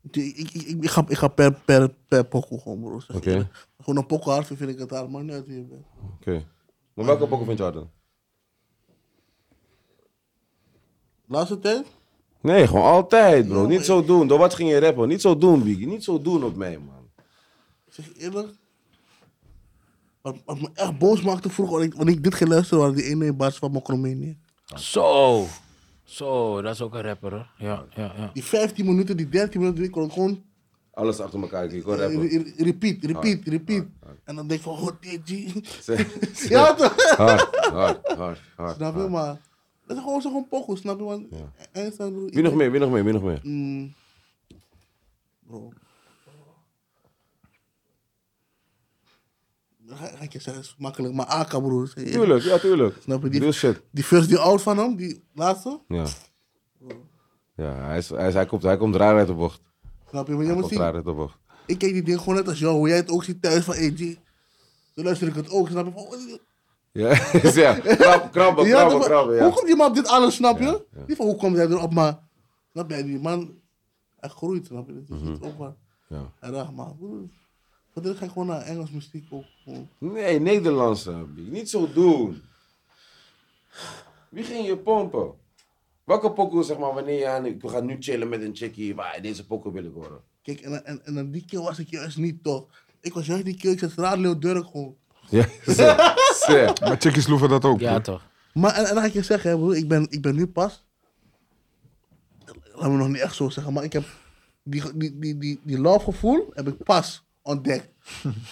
Die- Ik, ik, ik, ik ga, ik ga per, per, per pokoe gewoon, bro. Zeg
Oké.
je eerlijk. Gewoon een pokoe hard vind, vind ik het hard. Maakt niet uit wie je bent.
Oké. Maar welke pokken vind je hard dan?
Laatste tijd?
Nee, gewoon altijd, bro. Niet zo doen. Door wat ging je rappen? Niet zo doen, Biggie. Niet zo doen op mij, man.
Ik zeg je eerlijk. Wat, wat me echt boos maakte vroeger, want ik, want ik dit geluisterd waren die ene bars van Macromanië.
Zo. Zo, dat is ook een rapper hoor. Ja, ja, ja.
Die 15 minuten, die 13 minuten, ik kon het gewoon
Alles achter elkaar, ik kon
eh,
rappen.
re- re- repeat, repeat, repeat. En dan denk ik van, god, dit, die.
Ja,
Ja, toch?
Hard, hard, hard, hard.
Snap je, maar dat is gewoon zo'n gewoon pokoe, snap je, man. En staan doen-
Wie nog meer, wie nog meer, wie nog meer?
Mm. Bro. Dan Ga, ga ik je zeggen, is makkelijk, maar AK broer. zeg je.
Tuurlijk, ja, tuurlijk.
Snap je die?
Real shit.
Die first die out van hem, die laatste.
Ja. Ja, hij, is, hij, is- hij, komt, hij komt raar uit de bocht.
Snap je? Maar je
Hij
moet
komt
zien,
raar uit de bocht.
ik kijk die ding gewoon net als jou, hoe jij het ook ziet thuis van AG. Zo luister ik het ook, snap je? Van, oh, die-
Ja, dus ja. Krab, krabben,
Ja,
krabben,
maar-
krabben, ja.
Hoe komt die man op dit alles, snap je?
Ja, ja.
Niet van hoe komt hij erop, maar snap je? Die man, hij groeit, snap je? Dat is iets ook maar.
Mhm. Ja.
En raar, maar broer. Voor de rest ga ik gewoon naar Engels muziek ook. gewoon.
Nee, Nederlandse. Biggie. Niet zo doen. Wie ging je pompen? Welke pokoe, zeg maar, wanneer je aan... Ik ga nu chillen met een chickie. Maar deze pokoe wil ik horen.
Kijk, en, en, en, en die keer was ik juist niet toch. Ik was juist die keer, ik zat Radio Durk gewoon.
Ja, ze- ze.
Maar chickies loeven dat ook.
Ja,
broer.
toch.
Maar en, en dan ga ik je zeggen, hè, broer, ik ben, ik ben nu pas. Laat me nog niet echt zo zeggen, maar ik heb die, ge- die, die, die, die love gevoel heb ik pas ontdekt.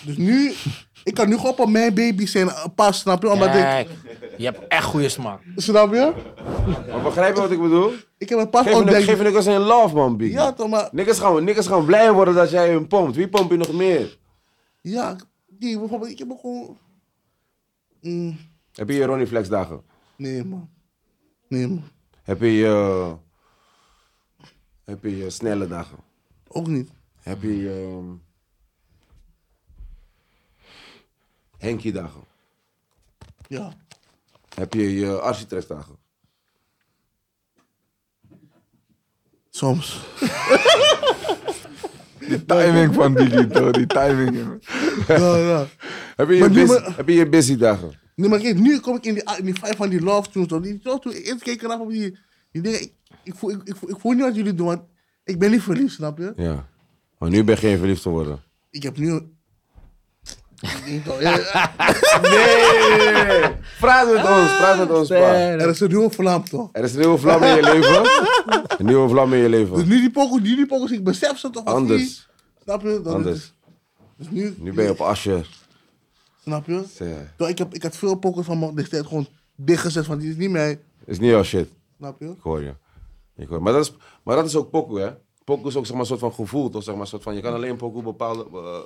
dus nu, ik kan nu gewoon op mijn baby zijn, eh, pas, snap je? Omdat ik,
Kijk, je hebt echt goede smaak.
snap je?
Maar begrijp je wat ik bedoel?
Ik heb het pas
Geef
ontdekt.
niks- Geef niks een love, man, Biggie.
ja, toch, maar.
Nikkers gaan, nikkers gaan blij worden dat jij hun pompt. Wie pompt je nog meer?
Ja, die bijvoorbeeld, ik heb ook gewoon. Mm,
Heb je je Ronnie Flex dagen?
nee, man. Nee, man.
Heb je je... Heb je je snelle dagen?
Ook niet.
Heb je je... ehm, Henkie dagen?
Ja.
Heb je je architect dagen?
Soms.
Die timing van Biggie, toch? Die timing. jongen.
ja, ja.
Heb je je,
Maar nu
busy,
maar-
heb je je busy dagen?
Nee, maar kijk, nu kom ik in die, in die vijf van die love tunes. toch? Die love tunes, eerst keek ik eraf op die, die dingen. Ik, ik, voel, ik, ik, voel, ik voel niet wat jullie doen, want ik ben niet verliefd, snap je?
Ja. Maar nu ben je geen verliefd geworden.
Ik heb nu...
Nee! Praat met
Ah,
ons, praat met ons, pa.
Er is een nieuwe vlam, toch?
Er is een nieuwe vlam in je leven. Een nieuwe vlam in je
Dus
leven.
nu die pokoe, die, die pokoe, ik besef ze toch? als
Anders,
die- Snap je? Dan
anders.
is- Dus nu,
Nu ben je op asje.
Snap je?
Ja.
Toch, ik, heb, ik had veel pokoes van me destijds gewoon dichtgezet, van die is niet mij.
Is niet jouw shit.
Snap je?
Ik hoor je. Ik hoor je. Maar, dat is, maar dat is ook pokoe, hè? Pokoe is ook zeg maar, een soort van gevoel, toch? Zeg maar, soort van, je kan alleen pokoe bepaalde, eh, eh,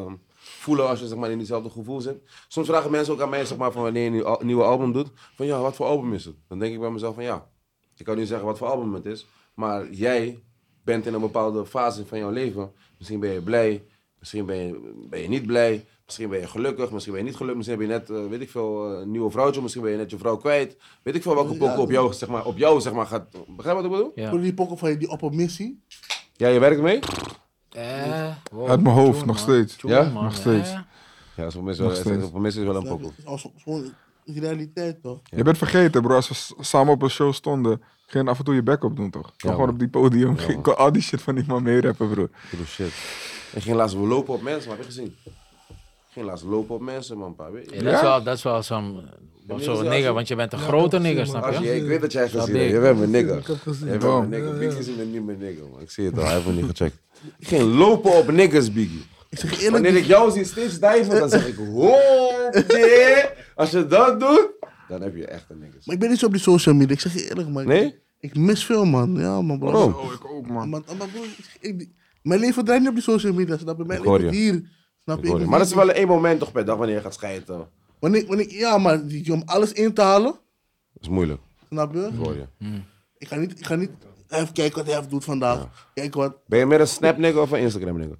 ehm, voelen als je zeg maar, in hetzelfde gevoel zit. Soms vragen mensen ook aan mij, zeg maar, van wanneer je een nieuw al- nieuwe album doet, van ja, wat voor album is het? Dan denk ik bij mezelf van ja, ik kan nu zeggen wat voor album het is, maar jij bent in een bepaalde fase van jouw leven. Misschien ben je blij, misschien ben je, ben je niet blij, misschien ben je gelukkig, misschien ben je niet gelukkig, misschien heb je net, eh, weet ik veel, eh, een nieuwe vrouwtje, misschien ben je net je vrouw kwijt. Weet ik veel welke pokoe op jou, zeg maar, op jou, zeg maar, gaat... Begrijp je wat ik bedoel?
Ja.
Voor die pokoe van je, die op een missie.
Ja, je werkt mee?
Eh, wow,
Uit mijn hoofd,
tjoen,
nog
man.
steeds.
Tjoen,
Ja?
man,
Nog steeds.
eh.
Ja, voor mensen
Nog steeds.
voor mensen is wel een
Snap je?
pokoe.
Het is als- gewoon een realiteit, toch?
Je bent vergeten, bro. Als we s- samen op een show stonden, ging je af en toe je bek op doen, toch? Ik
Ja,
kon gewoon
man.
op die podium.
Ja,
ik kon al die shit van die man meerappen, bro.
Bedoel, Oh, shit. Ik ging laatst lopen op mensen, maar heb je gezien? Ik ging laatst lopen op mensen, man, pa. Weet je?
Ja, dat, is
Ja?
wel, dat is wel zo'n
Ja,
zo'n
als je-
nigger, want je bent een grote nigger, snap
Als je,
je?
ik weet dat jij
Dat
gezien
ik.
hebt. Je bent mijn
Ik
nigger.
heb gezien.
Je bent
Wow.
mijn nigger. Biggie is mijn- niet mijn nigger, man. Ik zie het al, hij heeft me niet gecheckt. Ik ging lopen op niggers, Biggie.
Ik zeg je eerlijk,
Wanneer ik jou zie steeds diven, dan zeg ik, oh, nee. Als je dat doet, dan heb je echt een niggers.
maar ik ben niet zo op die social media. Ik zeg je eerlijk, man.
Nee?
Ik mis veel, man. Ja, man. bro.
Waarom?
Oh, ik ook, man.
Maar- maar broer, ik- ik- mijn leven draait niet op die social media, snap je? Mijn
Ik hoor
leven
je.
hier, snap je?
Ik hoor je.
Ik-
Maar dat is wel één moment toch per dag wanneer je gaat scheiden. Dat
Wanneer, wanneer, ja, maar die- om alles in te halen,
is moeilijk,
snap je?
ik hoor je.
Ik ga niet, ik ga niet even kijken wat hij even doet vandaag. Kijk wat.
Ben je meer een snap nigger of een Instagram nigger?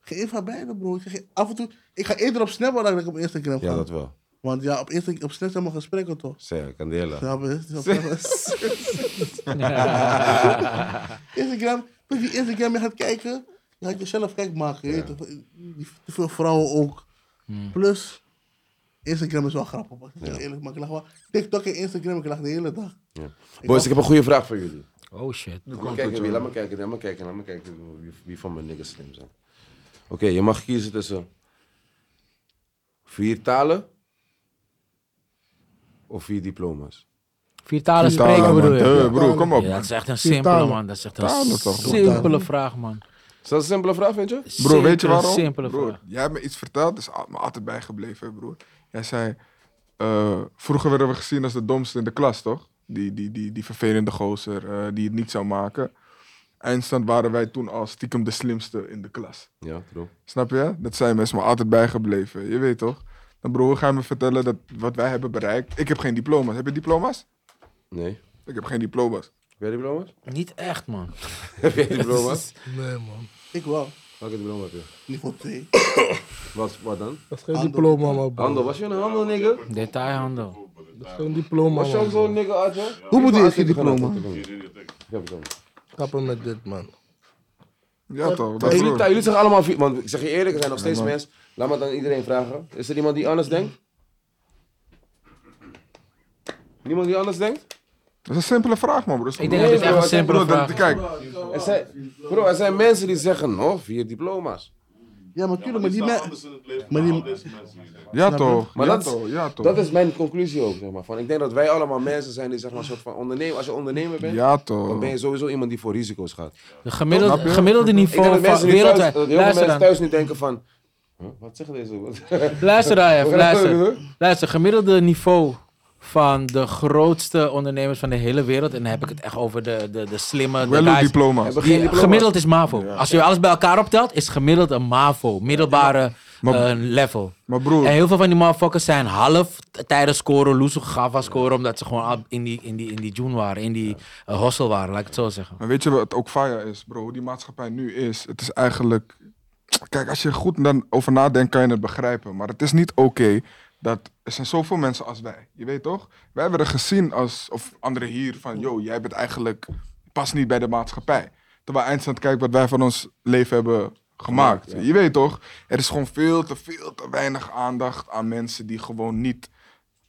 Geef haar beide, bro. Ik zeg je, af en toe, ik ga eerder op Snap dan ik op Instagram ga.
Ja, dat wel.
Want ja, op, Insta, op Snap zijn mijn gesprekken toch?
Zeker, Candela.
Snap je? Snap je? Instagram, met die Instagram, je gaat kijken, je gaat jezelf gek maken. je weet toch? Die- Te veel vrouwen ook.
Hmm.
Plus, Instagram is wel grappig. man. Ik zeg je eerlijk, maar ik lach wel. TikTok en Instagram, ik lach de hele dag.
Boys, ik heb een goede vraag voor jullie.
Oh shit.
Laat me kijken, wie, laat me kijken, laat me kijken, laat me kijken wie, wie van mijn niggas slim zijn. Oké, je mag kiezen tussen vier talen of vier diploma's.
Vier talen
Vier talen, man.
spreken bedoel je?
Eh, bro, kom op.
Ja,
man.
dat is echt een
Vier
simpele
talen.
man. Dat is echt een
Talen toch?
simpele vraag man.
Is dat een simpele vraag, vind je?
Bro, weet je
Simpele,
waarom?
Simpele
Bro,
vraag.
jij hebt me iets verteld, dus me altijd bijgebleven, broer. Jij zei, eh, vroeger werden we gezien als de domste in de klas, toch? Die, die, die, die vervelende gozer eh, die het niet zou maken. Eindstand waren wij toen al stiekem de slimste in de klas.
Ja, true.
Snap je? Dat zijn mensen me altijd bijgebleven. Je weet toch? Dan broer, ga je me vertellen dat wat wij hebben bereikt. Ik heb geen diploma's. Heb je diploma's?
Nee.
Ik heb geen diploma's.
Heb jij diploma's?
Niet echt man.
Heb jij diploma's?
Nee, man.
Ik wel.
Welke diploma heb je?
Niveau 2.
Wat, wat dan?
Dat is geen diploma, man. bro.
Handel, was je een handel, nigger?
Detailhandel.
Dat is geen diploma,
Was je ook
man.
zo'n nigger, Adje?
Hoe moet je je diploma?
Kappen met dit, man.
Ja toch? Dat
Hey, jullie,
broer.
jullie zeggen allemaal vier, want ik zeg je eerlijk, er zijn nog steeds mensen. Laat me dan iedereen vragen. Is er iemand die anders denkt? Niemand die anders denkt?
Dat is een simpele vraag, man, broer.
Ik denk dat dit
bro,
echt een
dat-
simpele
Broer, dat-
vraag is.
Kijk,
Er zijn, bro, er zijn mensen die zeggen, oh, vier diploma's.
Ja, natuurlijk, maar die
staan
mensen.
anders in het leven
maar die-
dan al deze mensen hier, denk ik.
Ja toch?
Maar
ja,
dat, is-
toch? Ja toch?
dat is mijn conclusie ook, zeg maar. Van, ik denk dat wij allemaal mensen zijn die, zeg maar, soort van ondernemen. Als je ondernemer bent,
Ja
dan
toch?
ben je sowieso iemand die voor risico's gaat.
De gemiddelde,
Snap je?
gemiddelde
nou, Ik denk
niveau
dat
van
mensen nu thuis,
wereldwijd.
dat heel veel
Luister
mensen
dan.
thuis nu denken van, huh, wat zeggen deze?
Luister daar even. Luister.
Huh?
Luister, gemiddelde niveau van de grootste ondernemers van de hele wereld. En dan heb ik het echt over de, de, de slimme. De
Wel
guys.
diploma's.
Hebben geen
Die,
diploma's.
gemiddeld is MAVO. Als je alles bij elkaar optelt, is gemiddeld een MAVO. Middelbare
Maar-
eh, level.
Maar broer,
En heel veel van die motherfuckers zijn half t- tijdens scoren, loesel gava scoren. Omdat ze gewoon al in die, in die, in die June waren. In die eh, hostel waren, laat ik het zo zeggen.
maar weet je wat het ook fire is, bro? Hoe die maatschappij nu is, het is eigenlijk... Kijk, als je er goed dan over nadenkt, kan je het begrijpen. Maar het is niet oké dat... Er zijn zoveel mensen als wij. Je weet toch? Wij werden gezien als... Of anderen hier van... Yo, jij bent eigenlijk... Pas niet bij de maatschappij. Terwijl eindstand kijkt wat wij van ons leven hebben gemaakt. Je weet toch? Er is gewoon veel te, veel te weinig aandacht aan mensen die gewoon niet...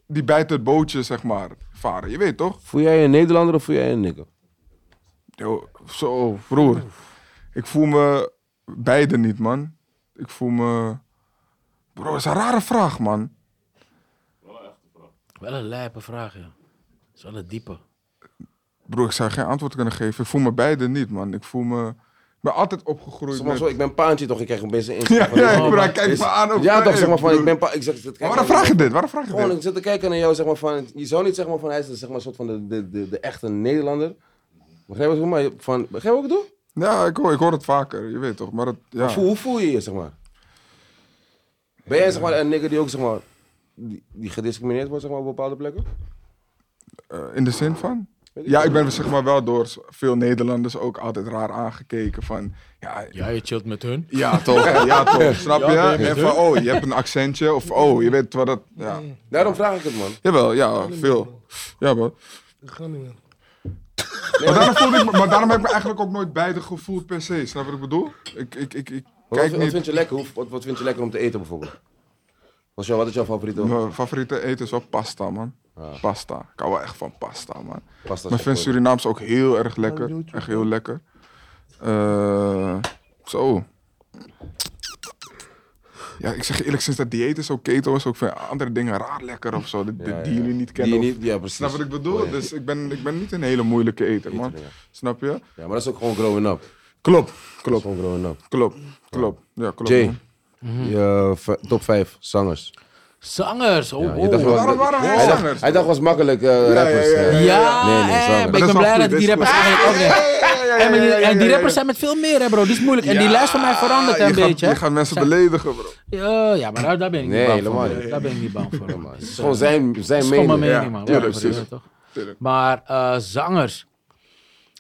Die buiten het bootje, zeg maar, varen. Je weet toch?
Voel jij een Nederlander of voel jij een nigger?
Yo, zo, broer. Ik voel me beide niet, man. Ik voel me Bro, dat is een rare vraag, man.
Wel een lijpe vraag, ja. Dat is wel een diepe.
Bro, ik zou geen antwoord kunnen geven. Ik voel me beide niet, man. Ik voel me... Ik ben altijd opgegroeid
Soms
met...
zo, ik ben paantje toch, ik krijg opeens een
Ja,
Instagram.
ja,
van,
bro, hij kijkt
is-
me aan. ook,
ja,
hey,
toch, zeg maar van,
broer.
ik ben pa- ik zeg, ik kijk
Oh, Maar waarom
naar-
vraag je dit? Waarom vraag je
Gewoon,
dit?
ik zit te kijken naar jou, zeg maar van, je zou niet zeggen maar van, hij is dus, zeg maar een soort van de, de, de, de echte Nederlander. Begrijp je wat ik bedoel? Maar Van, begrijp je wat ik bedoel?
Ja, ik hoor, ik hoor het vaker. Je weet toch, maar het... Ja.
Voel- hoe voel je je, zeg maar? Ben jij zeg maar een nigger die ook zeg maar, die, die gediscrimineerd wordt zeg maar, op bepaalde plekken?
Eh, in de zin van?
Weet
Ja, ik ben zeg maar wel door veel Nederlanders ook altijd raar aangekeken van... Ja,
Ja, je chillt met hun.
Ja, toch? Ja, toch? Snap je?
Ja,
en van, oh, je hebt een accentje. Of, oh, je weet wat dat... Ja.
Daarom vraag ik het, man.
Jawel, ja, veel. Ja, man.
Ik ga niet meer.
Maar daarom, voelde ik, me- maar daarom heb ik me eigenlijk ook nooit beide gevoeld per se. Snap je wat ik bedoel? Ik, ik, ik, ik
Wat,
kijk
wat,
niet...
vind je lekker? Hoe- Wat, wat vind je lekker om te eten, bijvoorbeeld? Wat is, jouw- wat is jouw favoriete
Mijn favoriete eten is wel pasta, man. Pasta. Ik hou wel echt van pasta, man.
pasta?
Maar ik vind Surinaams ook heel erg lekker. Echt heel lekker. Eh, zo. Ja, ik zeg je eerlijk, sinds dat dieet is ook keto is ook veel andere dingen raar lekker of zo. Die, die- die jullie niet
Die je
kennen. of-
niet, ja, precies.
Snap wat ik bedoel? Dus ik ben, ik ben niet een hele moeilijke eter, man.
Eter, ja.
Snap je?
Ja, maar dat is ook gewoon growing up.
Klopt,
Dat is gewoon growing up.
klopt, klopt. Ja, klopt.
Jay,
man.
je, eh, top 5 zangers.
Zangers! Oh,
Ja, je
wow.
dacht wel-
Waarom- waarom
hij,
zangers?
Dacht, hij dacht was makkelijk eh, rappers.
ja, ja,
eh.
Ja,
Nee, nee,
eh,
zanger.
maar
Dat
ik
is
ben
wel
blij
goed,
dat
dit
die
is
rappers
goed.
eigenlijk ook niet. En die-
ja,
En
ja,
die
ja,
rappers
ja.
zijn met veel meer, hè, bro. Die is moeilijk. En die lijst van mij verandert
je
een
gaat,
beetje.
Je
hè.
gaat mensen beledigen, bro.
Ja, ja, maar daar, daar ben ik
Nee,
niet bang
helemaal
voor.
niet.
Daar ben ik niet bang voor. man. Het
is
is, eh,
gewoon zijn, zijn
het is gewoon mijn
mening.
mening,
Ja,
man.
tuurlijk,
Whatever,
precies.
toch?
Tuurlijk.
Maar eh, zangers.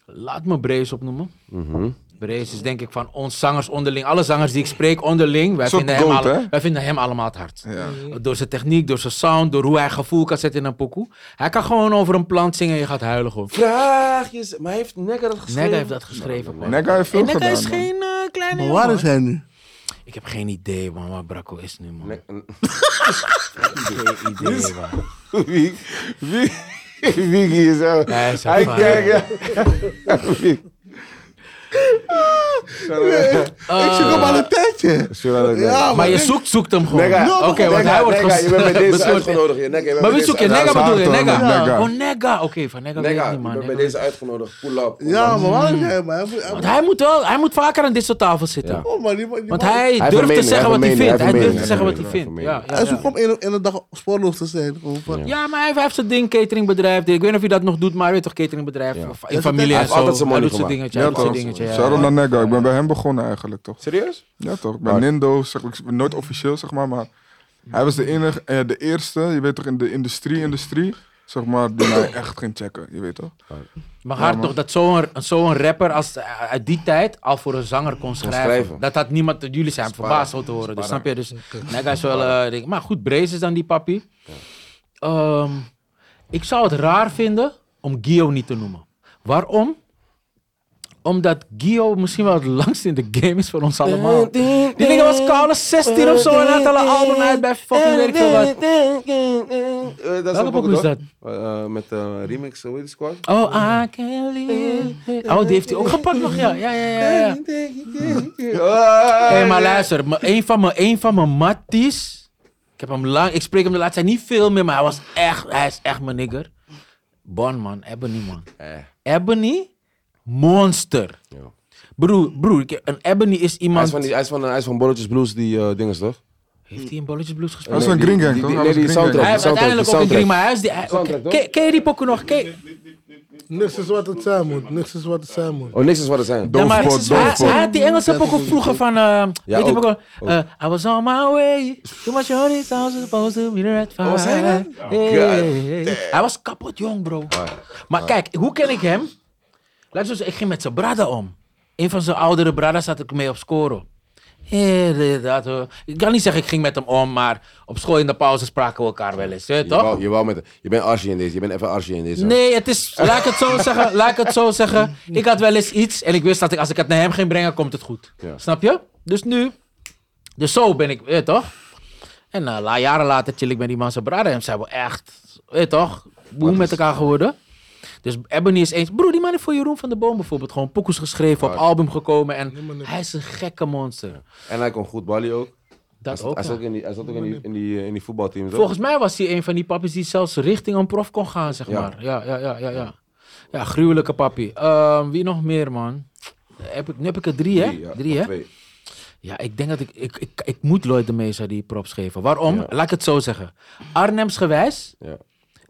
Laat me Brace opnoemen.
Mhm.
Brace is denk ik van ons zangers onderling. Alle zangers die ik spreek onderling. Wij,
Soort
vinden hem,
goat,
alle-
hè?
wij vinden hem allemaal het hart.
Ja.
Door zijn techniek, door zijn sound, door hoe hij gevoel kan zetten in een pokoe. Hij kan gewoon over een plant zingen en je gaat huilen gewoon.
Vraagjes, maar heeft Nekker dat geschreven?
Negga heeft dat geschreven. man.
Nekka heeft veel
En Negga
gedaan,
is
man.
geen eh, kleine
Maar
jongen,
waar
hoor.
is hij nu?
Ik heb geen idee man, waar Bracco is nu man.
Nek- een-
Geen idee man.
Wie- wie- Wiggy is ook.
Hij is
Hij
een vader.
kijkt, ja.
Eh,
Ik zoek hem al een tijdje. Ja,
Maar je
ik-
zoekt, zoekt hem gewoon.
Nega,
Oké, want hij wordt
Nega, je bent met deze
besloten.
uitgenodigd. hier. Nega, je bent
Maar
met
wie
deze
zoek je?
uit-
Nega
Nega
bedoel je?
Sartor,
Nega?
man. Nega.
Oh, Nega. Oké, van Nega weet ik
Nega,
niet,
je
man.
bent
Nega
bij
weet ik
deze uitgenodigd. Pull up.
Ja, maar waar is
Hmm.
hij, man? Hij- hij-
niet. Want hij moet wel, hij moet vaker aan dit soort tafels zitten.
Ja.
Oh, man, die man- die
Want
man-
hij
heeft een
durft te
mening,
zeggen
hij
wat hij
heeft een
vindt. Hij
mening,
durft te
hij heeft
zeggen
een
wat hij vindt.
mening,
Ja, ja,
Hij zoekt
ja.
om in in de dag spoorloos te zijn. Gewoon van-
Ja, maar hij heeft- hij heeft zijn ding, cateringbedrijf. Ik weet niet of hij dat nog doet, maar hij weet toch, cateringbedrijf.
Ja.
of
Hij
In familie
heeft
en zo.
altijd zijn
Hij
money
doet zijn
gemaakt.
dingetje. Hij doet
toch?
zijn dingetje. ja.
Shout-out naar Negga. Ik ben bij hem begonnen eigenlijk, toch?
Serieus?
Ja, toch? Bij
Maar-
Nindo, zeg maar, ik- nooit officieel, zeg maar, maar hij was de enige, eh, de eerste, je weet toch, in de industrie-industrie, zeg maar, die mij echt ging checken, je weet toch?
Maar hard
man.
toch dat zo'n zo'n rapper als, eh, uit die tijd al voor een zanger kon schrijven.
schrijven.
Dat had niemand, jullie zijn verbaasd zo te horen. Dus snap je? Dus Nega is wel. eh, ding. maar goed, Brace is dan die papi. Ehm, ik zou het raar vinden om Gio niet te noemen. Waarom? Omdat Gio misschien wel het langst in de game is voor ons allemaal. Die dingen was koude 16 of zo en had al een album uit bij fucking weet ik veel wat.
Eh, dat
Welke
een
pokoe is dat?
toch? Eh, eh, met eh, Remix, hoe heet die squad?
Oh, I can live. Oh, die heeft hij ook gepakt nog, ja. Ja, ja, ja. ja. Hé, maar luister. me- Een van mijn, een van mijn matties... Ik heb hem lang... Ik spreek hem de laatste tijd niet veel meer, maar hij was echt... Hij is echt mijn nigger. Bon, man. Ebony, man.
Eh.
Ebony? Monster.
Ja.
Broer, broer. ik- Een Ebony is
Hij
iemand...
is van die- hij is van, eh, hij is van Bolletjes Blues, die eh dinges toch?
Heeft hij een Bolletjes Blues
Dat
gespeeld?
is
Nee,
een
die-
Green Gang,
die-
toch?
die-
Hij
Nee,
was
die
Green Gang.
soundtrack.
Hij heeft
die
uiteindelijk ook een
soundtrack.
Green Maar Huis... die- hij-
Soundtrack,
Ken
toch?
ken je die pokken nog? Ken je-
Niks is wat het zijn moet. Niks is wat het zijn moet.
Oh, niks is wat het zijn.
Ja, maar
Doofpot,
hij,
doofpot.
hij had die Engelse pokoe vroeger van... eh weet je
ook,
pokoe, eh, I was on my way. Too much honey, I was supposed to be the red flag.
Oh, was hij Oh, dan?
Hey, hey, hey. Hij was kapot jong, bro.
Ah,
Maar kijk, hoe ken ik hem? Luister, eens, ik ging met zijn brada om. Een van zijn oudere bradas had ik mee op scoren. Inderdaad, hoor. Ik kan niet zeggen ik ging met hem om, maar op school in de pauze spraken we elkaar wel eens, hè,
Je
toch?
wou- Je wou met Je bent Archie in deze. Je bent even Archie in deze.
Nee, het is, laat ik het zo zeggen, laat ik het zo zeggen. Ik had wel eens iets en ik wist dat ik, als ik het naar hem ging brengen, komt het goed.
Ja.
Snap je? Dus nu, dus zo ben ik, weet je toch? En eh, la, jaren later chill ik met die man zijn brada en zijn we echt, weet je toch, boem met elkaar geworden. Dus Ebony is eens, broer, die man heeft voor Jeroen van der Boom bijvoorbeeld gewoon pokoes geschreven, op album gekomen en hij is een gekke monster.
En hij kon goed ballen ook. Hij
Dat
zat,
ook.
hij
ja.
zat ook in die, hij zat ook in die, in die, in die voetbalteam. toch?
Volgens mij was hij een van die pappies die zelfs richting een prof kon gaan, zeg
Ja.
maar. Ja, ja, ja, ja, ja. Ja, gruwelijke papi. Ehm, wie nog meer, man? Heb ik, nu heb ik er drie, hè?
Drie, ja,
drie
of
hè?
twee.
Ja, ik denk dat ik... Ik, ik, ik moet Lloyd de Mesa die props geven. Waarom? Laat ik het zo zeggen. Arnhemsgewijs,
Ja.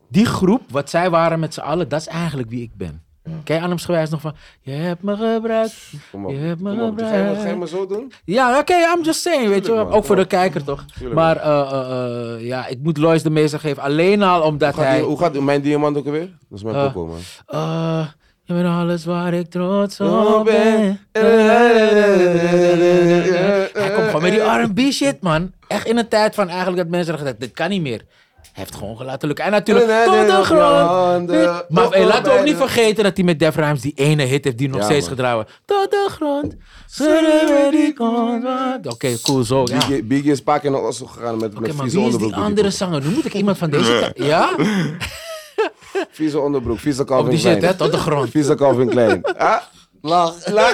die groep, wat zij waren met z'n allen, dat is eigenlijk wie ik ben. Ken je Arnhemsgewijs nog van... Je hebt me gebruikt.
Kom op.
Je hebt me
Kom op. Dus Ga je, ga je
gebruikt.
maar zo doen?
Ja, oké, I'm just saying, weet je wel.
man,
Ook voor de
tuurlijk.
kijker, toch?
Tuurlijk,
maar eh, eh, eh, ja, ik moet Lois de meester geven. Alleen al omdat
Hoe gaat,
hij...
die- hoe gaat mijn diamant ook alweer? Dat is mijn
Eh.
popo, man.
eh, je bent alles waar ik trots
Oh,
op
ben. eh,
ben. Hij komt gewoon met die R&B shit, man. Echt in een tijd van eigenlijk dat mensen dachten, dit kan niet meer. Hij heeft gewoon gelaten lukken. En natuurlijk,
Nee, nee,
tot
nee,
de
op je
grond.
handen,
Maar
tot
hey,
de
laten we ook niet
benen.
vergeten dat hij met Def Rhymes die ene hit heeft die nog
Ja,
steeds
man.
gedraaid wordt. Tot de grond, zullen we die kant wa- Oké, cool, zo. Ja.
Biggie- Biggie is vaak in de Oslo gegaan met,
Oké,
met vieze
maar wie is die
onderbroek. doet hij
andere zanger? Nu moet ik iemand van deze... ta- Ja?
toch? Vieze onderbroek, vieze Calvin
Op Oh, die shit,
Klein.
hè? Tot de grond.
Vieze Calvin Klein. Ah?
Lach.
Eh.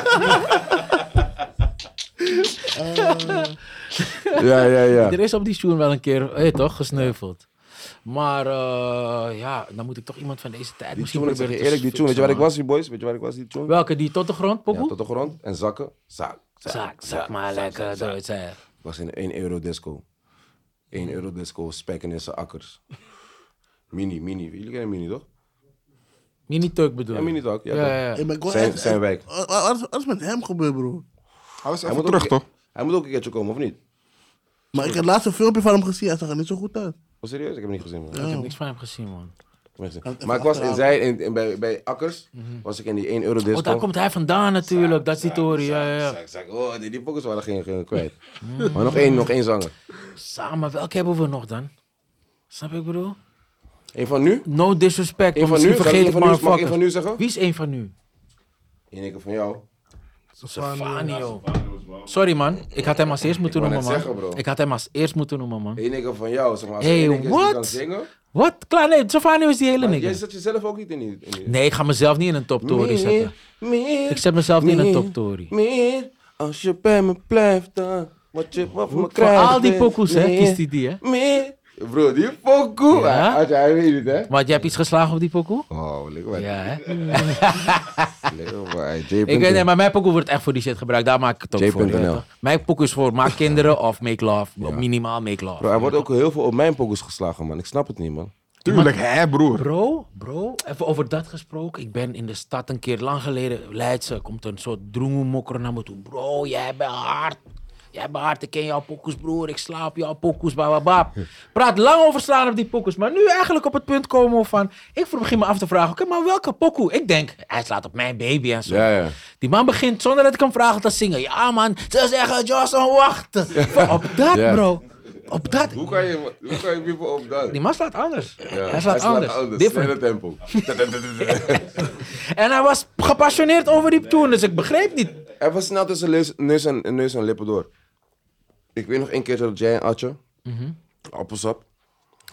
Ja, ja, ja.
Er is op die show wel een keer, hé, toch, gesneuveld. Maar eh, ja, dan moet ik toch iemand van deze tijd
Die
misschien
tune, ik zeg je
proberen
eerlijk, die
te
tune. Weet je waar ik
fixen,
was, die boys? Weet je waar ik was, die tune?
man. Welke, die tot de grond,
Ja,
pokoe?
tot de grond en zakken. Zak, zak.
Zak, zak maar lekker, Duits, hè.
Ik was in een 1 euro disco. 1 euro disco, spekken in zijn akkers. Mini, mini. Jullie kennen mini, toch?
Mini-Turk bedoel
Ja,
ik.
mini toch? Ja,
Ja,
toch?
ja, ja.
Hey, maar ik wil
Zijn-
echt-
zijn wijk.
Wat- Wat wat is met hem gebeurd,
Hij
bro?
was
Hij
even
moet
terug,
ook-
toch?
Hij moet ook een keertje komen, of niet?
Maar ik heb het laatste filmpje van hem gezien. Hij zag er niet zo goed uit.
Oh, serieus? Ik heb hem niet gezien, man.
Ik heb niks van hem gezien, man.
Maar ik was in zij, in, in- bij, bij Akkers, was ik in die 1 euro disco.
Mhm. Oh, daar komt hij vandaan natuurlijk, dat is die toren, ja, ja, ja.
Zak, zak. Oh, die, die focus waren geen, geen kwijt. Maar nog één, nog één zanger.
Samen, welke hebben we nog dan? Snap je wat ik bedoel?
Eén van nu?
No disrespect,
Eén
want
van
misschien
nu? Zal ik
vergeet
één
ik
van nu-
maar
Mag ik één
fuckers.
van nu zeggen?
Wie is één van nu?
Eén ik van jou.
Stefanio. Sorry man, ik had hem als eerst moeten
Ik wou
noemen man.
net zeggen, bro.
ik had hem als eerst moeten noemen man.
Eén ik van jou, zeg maar. Als
Hey,
één nigger is die
what?
kan zingen.
Wat? Klaar, nee, Stefanio is die hele
Maar jij
nigger.
zet jezelf ook niet in die... In die...
Nee, ik ga mezelf niet in een top tory zetten.
meer,
Ik zet mezelf niet in een
meer,
top tory.
Meer, als je bij me blijft dan, wat je wat voor me
Voor
krijgt.
al die
is
pokoes hè,
meer,
kiest hij die hè.
Meer. Bro, die pokoe.
Ja?
Hij, hij- hij weet het, hè?
Want jij hebt iets geslagen op die pokoe?
Oh, lekker
Ja
wat.
hè.
Lekker wat.
Ik weet
J.P.
nee, maar mijn pokoe wordt echt voor die shit gebruikt. Daar maak ik het ook voor.
J.nl.
ja, toch? Mijn pokoe is voor maak kinderen of make love. Minimaal make love.
Bro, hij wordt ook heel veel op mijn pokus geslagen, man. Ik snap het niet, man.
Tuurlijk, hè, broer.
Bro, bro, even over dat gesproken. Ik ben in de stad een keer lang geleden, Leidse, komt een soort droemokker naar me toe. Bro, jij bent hard. Jij bent hard, ik ken jouw pokoes, broer. Ik slaap jouw pokoes, bababab. Praat lang over slaan op die pokoes. Maar nu eigenlijk op het punt komen van... Ik begin me af te vragen, oké, maar welke pokoe? Ik denk, hij slaat op mijn baby en zo.
Ja, ja.
Die man begint zonder dat ik hem vraag te zingen. Ja man, ze zeggen Johnson wachten. Op dat
Ja.
bro, op dat.
Hoe kan je, hoe kan je people op dat?
Die man slaat anders. hij slaat anders. Different.
Snelle tempo.
En hij was gepassioneerd over die tune, dus ik begreep niet.
Even snel tussen neus, neus, en, neus en lippen door. Ik weet nog één keer dat jij en Atje, appelsap,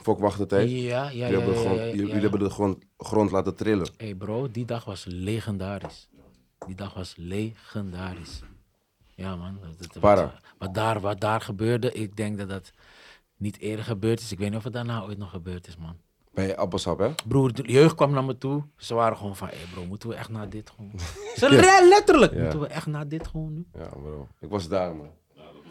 fok wachten tijd.
Mhm. Ja, ja,
jullie hebben de grond, jullie- jullie hebben de grond, grond laten trillen.
hey bro, die dag was legendarisch. Die dag was legendarisch. Ja man. Dat, dat was-
Para.
wat, daar, wat daar gebeurde, ik denk dat dat niet eerder gebeurd is. Ik weet niet of het daarna ooit nog gebeurd is man.
Bij appelsap, hè?
Broer, de jeugd kwam naar me toe. Ze waren gewoon van, hé hey bro, moeten we echt naar dit gewoon? Ze re- letterlijk, moeten we echt naar dit gewoon nu?
Ja, bro. Ik was daar, man.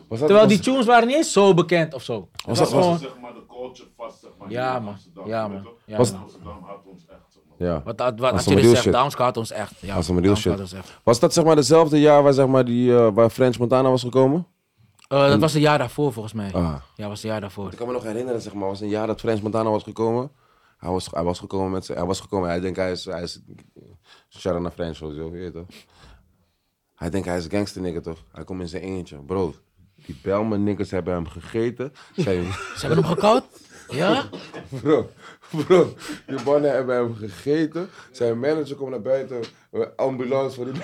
Was dat,
Terwijl die
was-
tunes waren niet eens zo bekend of zo. Het was
dat- was-
gewoon...
Zeg maar de culture vast, zeg maar.
Ja
hier in
man,
Amsterdam,
ja
weet
man.
je
Ja,
Was-
man.
wel. Amsterdam had ons echt, zeg maar.
Ja.
Wat, wat, wat
Dat is
als
een
jullie
real
zegt,
shit.
Downs gaat ons echt. Ja,
Dat is een real
Downs
shit.
gaat ons echt.
Was dat zeg maar dezelfde jaar waar, zeg maar, die, eh, waar French Montana was gekomen?
Eh, dat was een jaar daarvoor volgens mij.
Ah.
Ja, was een jaar daarvoor.
Ik kan me nog herinneren, zeg maar, was een jaar dat French Montana was gekomen. Hij was, hij was gekomen met zijn, hij was gekomen, hij denkt hij is, hij is Sharon naar French of zo, weet je toch? Hij denkt hij is gangster nigger toch? Hij komt in zijn eentje, bro. Die Belmen niggers hebben hem gegeten. Zijn,
Ze hebben hem gekoud? Ja?
bro, bro, die mannen hebben hem gegeten. Zijn manager komt naar buiten, eh, ambulance voor die.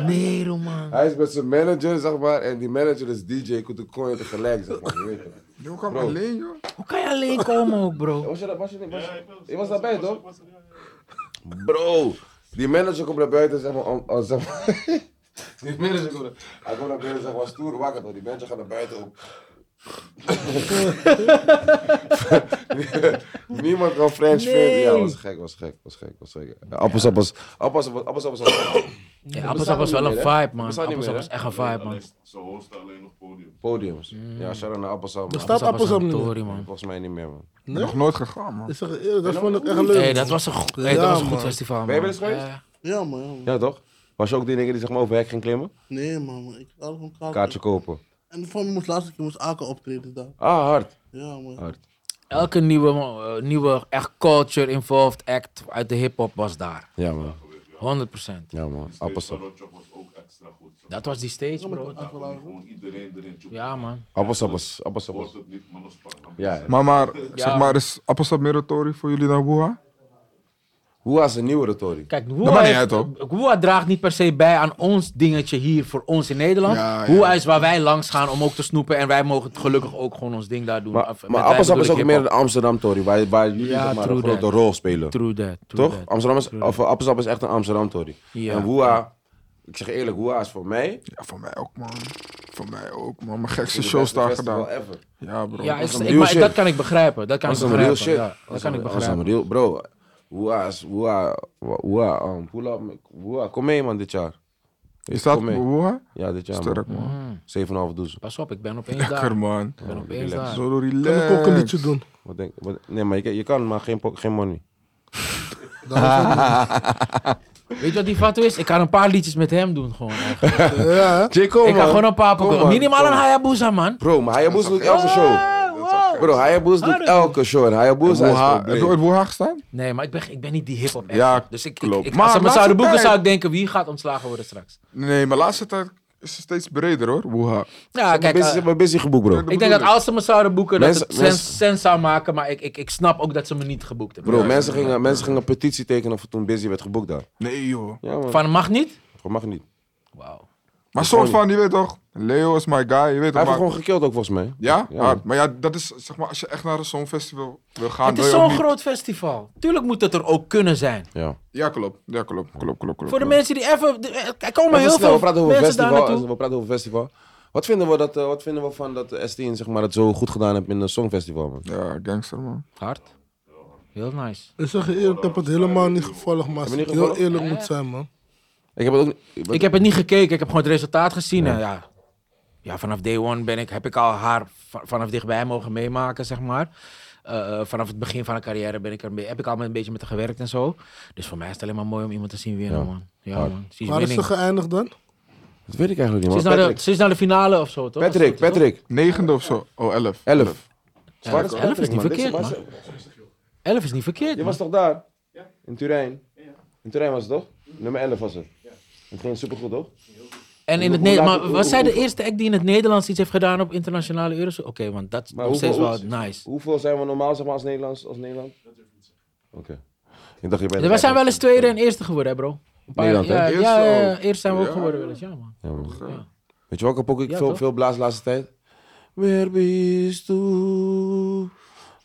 Nee, joh, man.
Hij is met zijn manager, zeg maar, en die manager is DJ Kutukoye tegelijk, zeg maar, je weet toch?
Yo, kom alleen, joh.
Hoe kan je alleen komen ook, bro?
Was je, dat- was je, niet- was, je was daarbij, toch? Bro, die manager komt naar buiten en zegt maar... om- om- zeg maar- die manager komt naar, hij komt naar buiten en zegt maar stoer wakker toch? Die manager gaat naar buiten om Niemand kan French
Nee.
frit. Ja, was gek, was gek, was gek, was gek. Ja, Appelsap was... Appelsap appelsap was...
Ja, Appelsap was wel een
meer, hè?
vibe, man.
Bestaat niet
Appelsap
meer,
was echt een vibe, man.
Ze hosten alleen nog podium.
Podiums. Ja, shout-out naar Appelsap. man.
Bestaat- Staat
was
Appelsap
een
niet meer?
tory, man.
Volgens mij niet meer, man.
Nee?
Nog nooit gegaan, man.
Dus-
Ik zeg je eerlijk, dat vond ik echt leuk.
Hey, dat was een, go- hey, dat
Ja,
was een goed
man.
festival, man.
Ben je wel eens geweest?
Ja.
Ja, man. ja, man.
Ja, toch? Was je ook die nigger die zeg maar over hek ging klimmen?
Nee, man. man. Ik had gewoon kaarten.
Kaartje kopen.
En van me moest laatste keer moest Aken optreden daar.
Ah, hard.
Ja, man.
Hard.
Elke nieuwe, eh, nieuwe echt culture-involved act uit de hip-hop was daar.
Ja, man.
100%.
Ja, man. Appelsap.
Rotjoch was ook extra goed.
Dat was die stage, bro.
Gewoon iedereen erin. Tjoep,
Ja, man.
Appelsap was... Appelsap
Wordt
was...
het niet, maar dan sprak dan.
Ja,
Maar, maar zeg maar, is appelsap meritorie voor jullie naar Boeha?
Hoe was een nieuwe Tory?
Kijk,
Dat maakt niet
Woeha
uit, hoor.
Woeha draagt niet per se bij aan ons dingetje hier voor ons in Nederland.
Ja, ja.
Woeha is waar wij langs gaan om ook te snoepen. En wij mogen het gelukkig ook gewoon ons ding daar doen.
Maar,
Of,
maar
met wij
Appelsap is
bedoel
ook
ik
meer een
hiphop.
Amsterdam Tory, waar, waar jullie
Ja,
zeg maar
true
een grote
that.
rol spelen.
True that. true
Toch?
that.
Amsterdam is, of, eh, Appelsap is echt een Amsterdam Tory.
Ja.
En Woeha, ik zeg eerlijk, Woeha is voor mij.
Ja, voor mij ook, man. Voor mij ook, man. Mijn gekste
de
shows
beste
daar
festival
gedaan.
Ever.
Ja, bro.
Ja, is,
een
ik,
real
maar,
shit.
dat kan ik begrijpen. Dat kan ik
Dat is een real
begrijpen.
shit.
ja. dat kan ik
Dat is een
begrijpen.
real, bro. Woeha is, Woeha, Woeha, um, pull up, Woeha, kom mee man dit jaar.
Je staat
Kom
op
mee.
Boeha?
Ja, dit jaar
Sterk,
man.
man.
7,5 doezel.
Pas op, ik ben opeens daar.
Lekker, man.
Ik ben opeens
relax.
daar.
Zo
Kan
relaxed.
ik ook een liedje doen?
Wat denk, wat, nee, maar je, je kan, maar geen, po- geen money.
Weet je wat die fatto is? Ik kan een paar liedjes met hem doen gewoon. eigenlijk.
Ja,
J. Cole,
ik
man.
ga gewoon een paar
Kom,
pakken.
man.
Minimaal een
Kom.
Hayabusa, man.
Bro, maar Hayabusa doet elke show.
Oh,
Bro, Hayabusa doet elke show. En Hayabusa is
Boeha. Heb
probleem.
je ooit Boeha gestaan?
Nee, maar ik ben, ik ben niet die hip-hop. echt.
Ja,
dus ik,
klopt.
Ik, ik,
Maar
als ze me
laatste
zouden boeken,
tijd-
zou ik denken: wie gaat ontslagen worden straks?
Nee, maar laatste tijd is het steeds breder, hoor. Boeha.
Ja,
Ik ben
kijk,
busy-
eh,
ik ben busy geboekt, bro.
ik denk dat als ze me zouden boeken,
Mensen-
dat het sens,
mensen-
sens zou maken. Maar ik, ik, ik snap ook dat ze me niet geboekt hebben.
Bro, mensen gingen, mensen gingen een petitie tekenen voor toen Busy werd geboekt daar.
Nee, joh.
Ja, man.
Van mag niet?
Gewoon mag niet.
Wauw.
Maar soort van, je weet toch? Leo is my guy, je weet
Hij
toch?
heeft
maar-
gewoon gekild ook, volgens mij.
Ja?
Ja.
Hard. Maar ja, dat is zeg maar, als je echt naar zo'n festival wil
Ah,
gaan.
Het is
wil je ook
zo'n
niet-
groot festival. Tuurlijk moet het er ook kunnen zijn.
Ja.
Ja, klopt. Ja, klopt. Klopt, klopt, klopt.
Voor de
klopt.
mensen die even. de- eh, Er komen
Even
heel
snel,
veel
we praten over
mensen daar
festival.
naartoe.
We praten over festival. Wat vinden we, dat, eh, wat vinden we van dat de S10 zeg maar, het zo goed gedaan heeft in het Songfestival, man?
Ja, gangster, man.
Hard. Heel nice.
ik zeg je eerlijk, ik heb het helemaal niet gevolgd, maar als
je niet
ik heel
gevolgd?
eerlijk moet zijn, man.
Ik heb het ook niet...
Ik heb het niet gekeken, ik heb gewoon het resultaat gezien. Ja, ja. ja vanaf day one ben ik, heb ik al haar va- vanaf dichtbij mogen meemaken, zeg maar. Eh, eh, vanaf het begin van haar carrière ben ik er, mee- heb ik al een beetje met haar gewerkt en zo. Dus voor mij is het alleen maar mooi om iemand te zien winnen,
Ja.
man. Ja,
Hard.
man. Ze is
Waar is ze
winning.
geëindigd dan?
Dat weet ik eigenlijk
Ze
niet, man.
is, naar de,
Patrick,
ze is naar de finale of zo, toch?
Patrick,
Dat is goed,
Patrick.
Negende of zo. Oh, elf.
11.
toch? Elf- elf is niet verkeerd, man. Elf is niet verkeerd,
Je
man.
was toch daar? In Turijn? In Turijn was het toch? Nummer 11 was het. Het ging supergoed, toch?
En in het
hoe
Ne-
laat-
maar
hoe-
was zij de
hoe-
eerste act die in het Nederlands iets heeft gedaan op internationale euro's? Oké, want dat is
Maar
nog steeds
hoeveel-
wel nice.
Hoeveel zijn we normaal zeg maar, als, Nederlands, als Nederland? Dat durf ik niet zeggen. Oké. Ik dacht, je bent...
We Dus zijn wel eens tweede en eerste geworden, hè, bro. Een paar-
Nederland, hè?
ja,
Eerst
ja, ja,
ook.
eerst zijn we ook
Ja.
geworden wel eens, ja, man.
Ja, man.
Ja.
Weet je welke pokoe ik
Ja,
veel,
toch?
veel blaas de laatste tijd? Where bist du?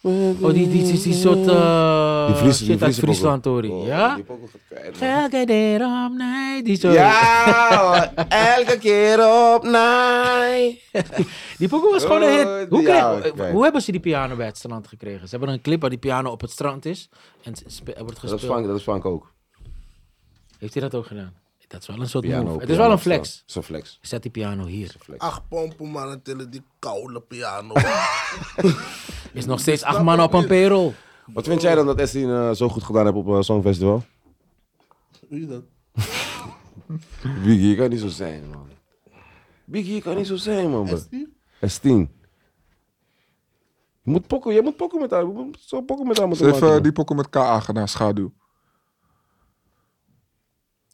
Where
Oh, die, die, die, die soort eh
Die Vries- die
shit uit
Friese pokoe.
Friesland, hoor.
Oh,
ja?
Die pokoe gaat kwijt, man.
Elke keer om nee, die soort.
Ja, man. elke keer op nee.
Die pokoe was gewoon een hit. Hoe,
Oh, ja,
kreeg-
ik weet.
hoe hebben ze die piano bij het strand gekregen? Ze hebben een clip waar die piano op het strand is en het spe- er wordt
Dat
gespeeld.
is Frank, dat is Frank ook.
Heeft hij dat ook gedaan? Dat is wel een soort
Piano,
move. Het is
piano,
wel een
zo.
flex.
Zo'n flex.
Zet die piano hier.
Acht pompen, man, en tillen die koude piano.
Is nog steeds acht man op een payroll.
Wat vind jij dan dat Estin eh, zo goed gedaan heeft op eh, Songfestival?
Wie dat?
Biggie, je kan niet zo zijn, man. Biggie, je kan niet zo zijn, man. bro. S10. Je moet pokken, jij moet pokken met haar. Je moet zo pokken met haar
Ze
moeten
heeft
maken.
eh, die pokken met KA gedaan, schaduw.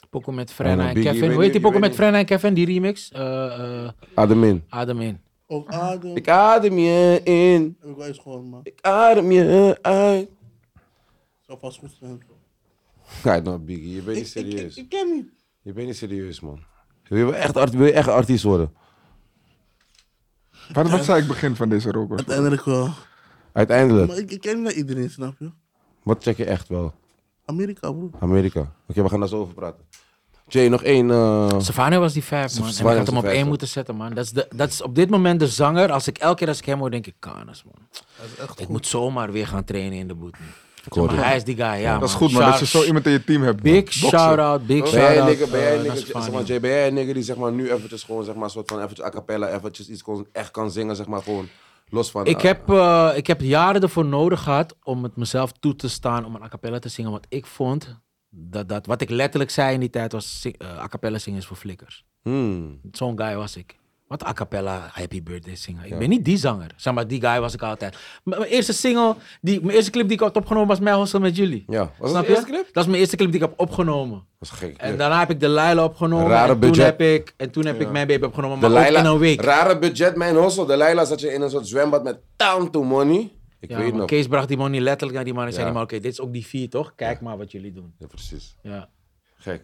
Pokoe met
Ja,
Frenna
nou,
en
Biggie,
Kevin.
weet
Hoe heet die
niet,
pokoe
weet
met
niet.
Frenna en Kevin? Die remix? Eh, eh,
Adem in.
Adem in.
Ook Adem.
Ik adem je in.
Heb ik wel eens gehoord, man.
Ik adem je uit.
Zou vast goed zijn.
Kijk nou, Biggie, je bent niet
Ik, ik,
serieus.
ik ken niet.
Je bent niet serieus, man. Wil je echt, art- wil je echt een artiest worden?
Wat, wat zei ik begin van deze roker?
Uiteindelijk wel.
Uiteindelijk.
Maar ik, ik ken niet naar iedereen, snap je?
Wat check je echt wel?
Amerika, bro.
Amerika. Oké, we gaan daar zo over praten. Jay, nog één. eh,
Savannah was die vijf, man. En ik
Savannah
had
was die
hem op
vijf,
één
ja.
moeten zetten, man. Dat is, de, dat is op dit moment de zanger. Als ik elke keer als ik hem hoor, denk ik, Kanas, man. ik moet zomaar weer gaan trainen in de boot. nu.
Corrie.
Maar hij is die guy, ja,
Dat is
man.
goed, man. Dat je
Shout-
zo iemand in je team hebt. man.
Big
Boksen.
shout-out, big
ben jij een
shout-out.
nigger, ben jij een
eh, naar
nigger, zeg maar,
Savannah.
Jay, ben jij een nigger die zeg maar, nu eventjes gewoon zeg maar, soort van eventjes a cappella, eventjes iets kon, echt kan zingen, zeg maar gewoon los van.
Ik heb, eh, ik heb jaren ervoor nodig gehad om het mezelf toe te staan om een a cappella te zingen. Want ik vond dat, dat wat ik letterlijk zei in die tijd was: zing- eh, a cappella zingen is voor flikkers.
Hmm.
Zo'n guy was ik. Wat a cappella happy birthday zingen. Ik ben niet die zanger. Zeg maar, die guy was ik altijd. M- Mijn eerste single, die, mijn eerste clip die ik had opgenomen was Mijn Hostel met jullie.
Ja, was dat
Snap
de
je?
eerste clip?
Dat is mijn eerste clip die ik heb opgenomen.
Dat is gek.
En daarna heb ik De Laila opgenomen.
Rare
en toen
budget.
heb ik, en toen heb ik Mijn Baby opgenomen,
de
maar
Laila,
ook in een week.
Rare budget, mijn hossel. De Laila zat je in een soort zwembad met town to money. Ik
Ja,
weet
maar
nog.
Kees bracht die man niet letterlijk naar die man. Ik zei
Ja.
die man, oké, dit is ook die vier, toch? Kijk maar wat jullie doen.
Ja, precies.
Ja.
Gek.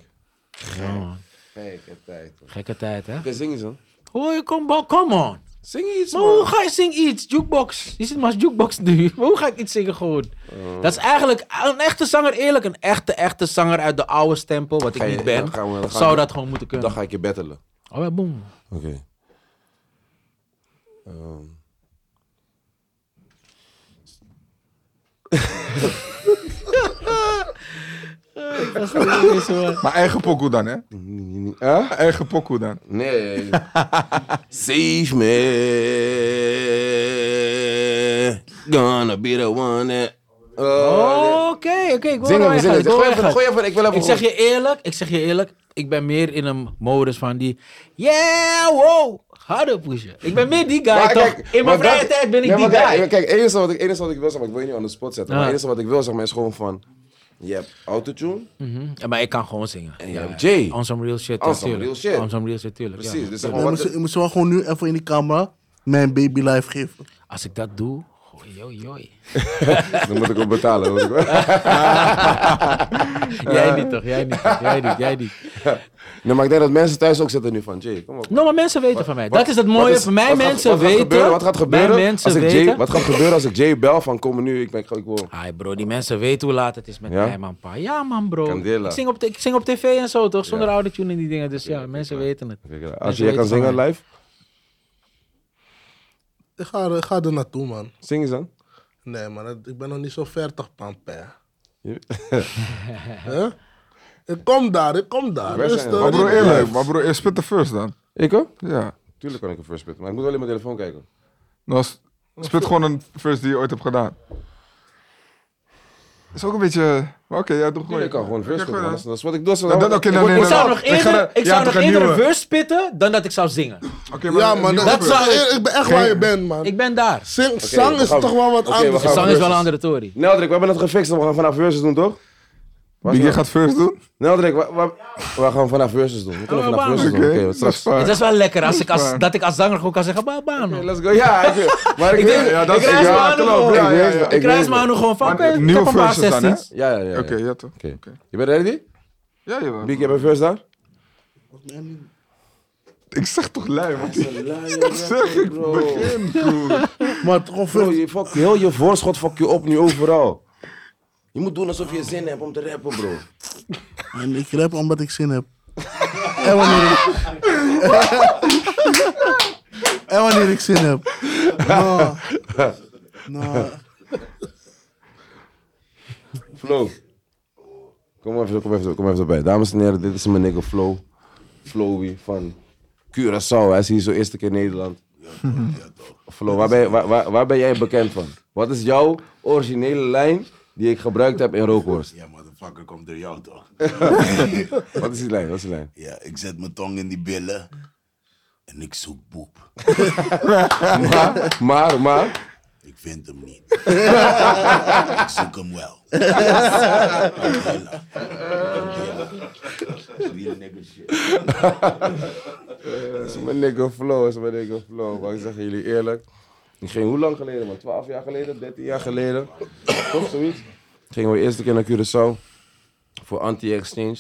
Ja, man.
Gekke tijd. man.
Gekke tijd, hè?
Oké, zing eens dan.
Hoi, kom, bo- come on.
Zing iets,
Maar hoe
man.
ga je zingen iets? Jukebox. Je zit maar als jukebox nu. Maar hoe ga ik iets zingen gewoon?
Oh.
Dat is eigenlijk een echte zanger, eerlijk. Een echte, echte zanger uit de oude stempel, wat ik
Ga je-
niet ben.
dan gaan we- dan gaan
zou
we-
dat gewoon moeten kunnen.
Dan ga ik je battelen.
Oh ja, boom.
Oké. Ehm.
Oh,
Maar eigen pokoe dan, hè?
Huh?
Eigen pokoe dan.
Nee. Save me. Gonna be the one that... Oh,
Oké, oké. ik wil
Zing
wel
hem, zing
weggaan,
hem. Gooi even,
ik wil wel weggaan.
gooi even, ik wil even...
Ik zeg je eerlijk, ik zeg je eerlijk, ik ben meer in een modus van die. Yeah, wow, harder pushen. Ik ben meer die guy
Maar
toch?
kijk,
in mijn
maar
vrije
dat-
tijd ben ik
Nee,
die
maar kijk,
guy.
Kijk, het enige wat, ik, enige wat ik wil zeggen, maar ik wil je niet aan de spot zetten.
Ja.
Maar het enige wat ik wil zeggen, maar is gewoon van... Je hebt autotune.
Mhm. Ja, maar ik kan gewoon zingen.
En je hebt Jay.
On some real shit,
On
ja,
some
tuurlijk.
real shit.
On some real shit, tuurlijk. ja.
Precies. Dus zeg
Je
maar,
moet,
wat,
ze- je moet ze wel gewoon nu even in die camera mijn baby life geven.
Als ik dat doe, gooi, joi, joi.
dan moet ik ook betalen. moet ik wel.
Jij niet toch, jij niet toch, jij niet, jij niet.
nee, maar ik denk dat mensen thuis ook zitten nu van... Jay, kom op.
Nou, maar mensen weten van mij.
Wat-
dat is het
wat
mooie
is-
van mij.
wat gaat-
mensen
wat gaat
weten.
gebeuren- wat gaat gebeuren
Mijn mensen
als ik
weten.
Jay, wat gaat gebeuren als ik Jay bel van kom nu, ik ben ik wil.
Hi bro, die mensen weten hoe laat het is met
Ja?
mij, man. Pa. Ja, man, bro.
Candela.
Ik zing, op, t- ik zing op tv en zo, toch? Zonder
Ja.
oude tune en die dingen. Dus ja, mensen weten het.
Als
Mensen
jij kan
weten van
zingen
mij.
live,
Ik ga, er- ik ga er naartoe, man.
zing eens dan.
Nee, man, dat- ik ben nog niet zo ver toch, Pampé.
Je-
Hè? Ik kom daar, ik kom daar. eh,
Waar zijn
Rustig,
we?
Maar broer,
rustig.
eerlijk. Maar broer, spit de first dan.
Ik hoor?
Ja.
Tuurlijk kan ik een first spitten, maar ik moet wel in mijn telefoon kijken.
Nou, s- spit gewoon een first die je ooit hebt gedaan. Is ook een beetje... maar Oké, ja, doe gewoon.
ik kan gewoon first
Oké,
spitten,
gooi
man. dat is-
dan.
dat is wat ik doe.
Ja, dan- oké,
Ik
dan-
word-
nee,
Ik
nee,
zou
nee.
nog
Ik ga
eerder,
er- ja,
ik zou
toch
nog
een
eerder een
eh,
nieuwe.
verse spitten dan dat ik zou zingen.
Oké, maar
Ja,
een
man,
nieuwe
dat,
Dat zou ik-
ik, ik ben echt waar je bent, man.
Ik ben daar.
Zing,
Oké,
zang
we
is
gaan-
toch wel wat
oké, we
anders.
gaan-
Zang is wel
verses.
een andere tory.
Neldrik, we hebben het gefixt, we gaan vanaf versus doen, toch? Waar
Biggie
is-
gaat first doen?
Neldrik, we, we, we gaan vanaf versus doen. We kunnen
Oh,
vanaf
bam.
versus doen. Oké,
Oké, dat is
straks.
fijn.
Het is wel lekker als ik als, dat ik als zanger gewoon kan zeggen, "Ba- baan.
Oké,
man."
Let's go. Ja, ik, maar ik,
denk-
ja,
dat
ik
is-
reis
ja,
maar aan de
klopt,
wall.
ja, ja, ja.
weet-
Ik
weet-
krijg maar nu gewoon van, oké, ik heb
Nieuwe
een paar
verses dan, hè?
16's.
Ja, ja, ja. ja.
Oké, ja toch.
Oké.
Oké.
Je bent ready?
Ja, jawel.
Big, je bent first daar?
Ik zeg toch lui, want dat zeg ik begin, broer.
Maar toch
Bro,
veel.
je fuck, heel je voorschot fuck je op nu overal. Je moet doen alsof je zin hebt om te rappen, bro.
En ik rap omdat ik zin heb. en, wanneer ik... en wanneer ik zin heb. Nou. Nou.
Flow. Kom even, kom even, kom even erbij. Dames en heren, dit is mijn nigga Flow. Flowy van Curaçao. Hij is hier zo eerste keer in Nederland. Flow, waar ben, je- waar, waar, waar ben jij bekend van? Wat is jouw originele lijn die ik gebruikt heb in Rookhorst?
Ja, motherfucker, komt door jou toch?
Wat is die lijn? Wat is die lijn?
Ja, ik zet mijn tong in die billen. En ik zoek boep.
Maar, maar, maar.
Ik vind hem niet. ik zoek hem wel. Umbrella. Umbrella. Real nigga shit.
Dat is mijn nigga Flow, dat is mijn nigga Flow. Maar ik zeg jullie eerlijk. Ik ging hoe lang geleden, man? 12 jaar geleden, 13 jaar geleden. Toch zoiets? Gingen we de eerste keer naar Curaçao voor anti-exchange.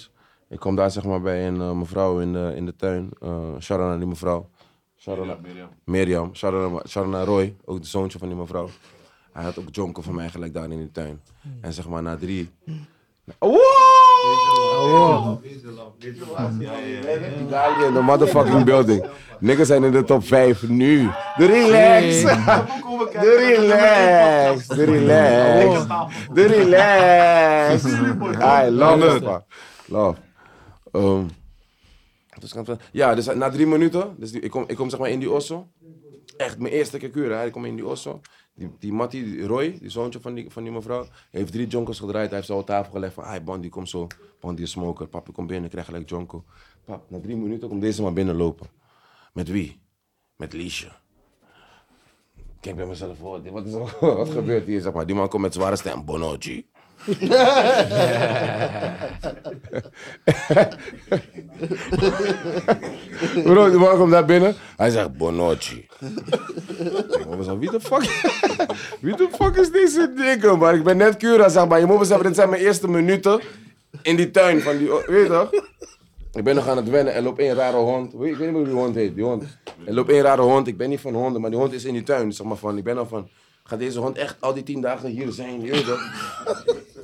Ik kwam daar zeg maar bij een eh, mevrouw in de, in de tuin. Eh shout out naar die mevrouw. Shout out naar Mirjam. Mirjam. Shout out naar, shout out naar Roy, ook de zoontje van die mevrouw. Hij had ook jonken van mij gelijk daar in die tuin. En zeg maar na drie. Wow! Italië in the motherfucking building. Niggas zijn in de top 5 nu. De relax. De relax. De relax. De relax. I love it, man. Love. Ehm, dus kan het- ja, dus na drie minuten. Dus die- ik, kom, ik kom zeg maar in die osso. Echt mijn eerste keer kuren. hè. Ik kom in die osso. Die, die Matty die Roy, die zoontje van die, van die mevrouw, heeft drie jonkers gedraaid. Hij heeft zo op tafel gelegd van, hey, Bandy, kom zo. Bandy is smoker. Papi, kom binnen, krijg gelijk jonko. Pap, na drie minuten komt deze maar binnenlopen. Met wie? Met Liesje. Ik kijk bij mezelf, oh, dit- wat, is er- wat gebeurt hier? Zeg maar. Die man komt met zware stem, Bonoji. Bro, die man komt daar binnen. Hij zegt Bonocci. Ik zo, wie de fuck? wie de fuck is deze dikke? Maar ik ben net Cura, zeg maar. Je moet beseffen, dit zijn mijn eerste minuten in die tuin van die... Weet je toch? Ik ben nog aan het wennen. Er loopt één rare hond. Weet- Ik weet niet hoe die hond heet. Die hond. Er loopt één rare hond. Ik ben niet van honden, maar die hond is in die tuin. Zeg maar van. Ik ben al van... Gaat deze hond echt al die tien dagen hier zijn? Je weet toch?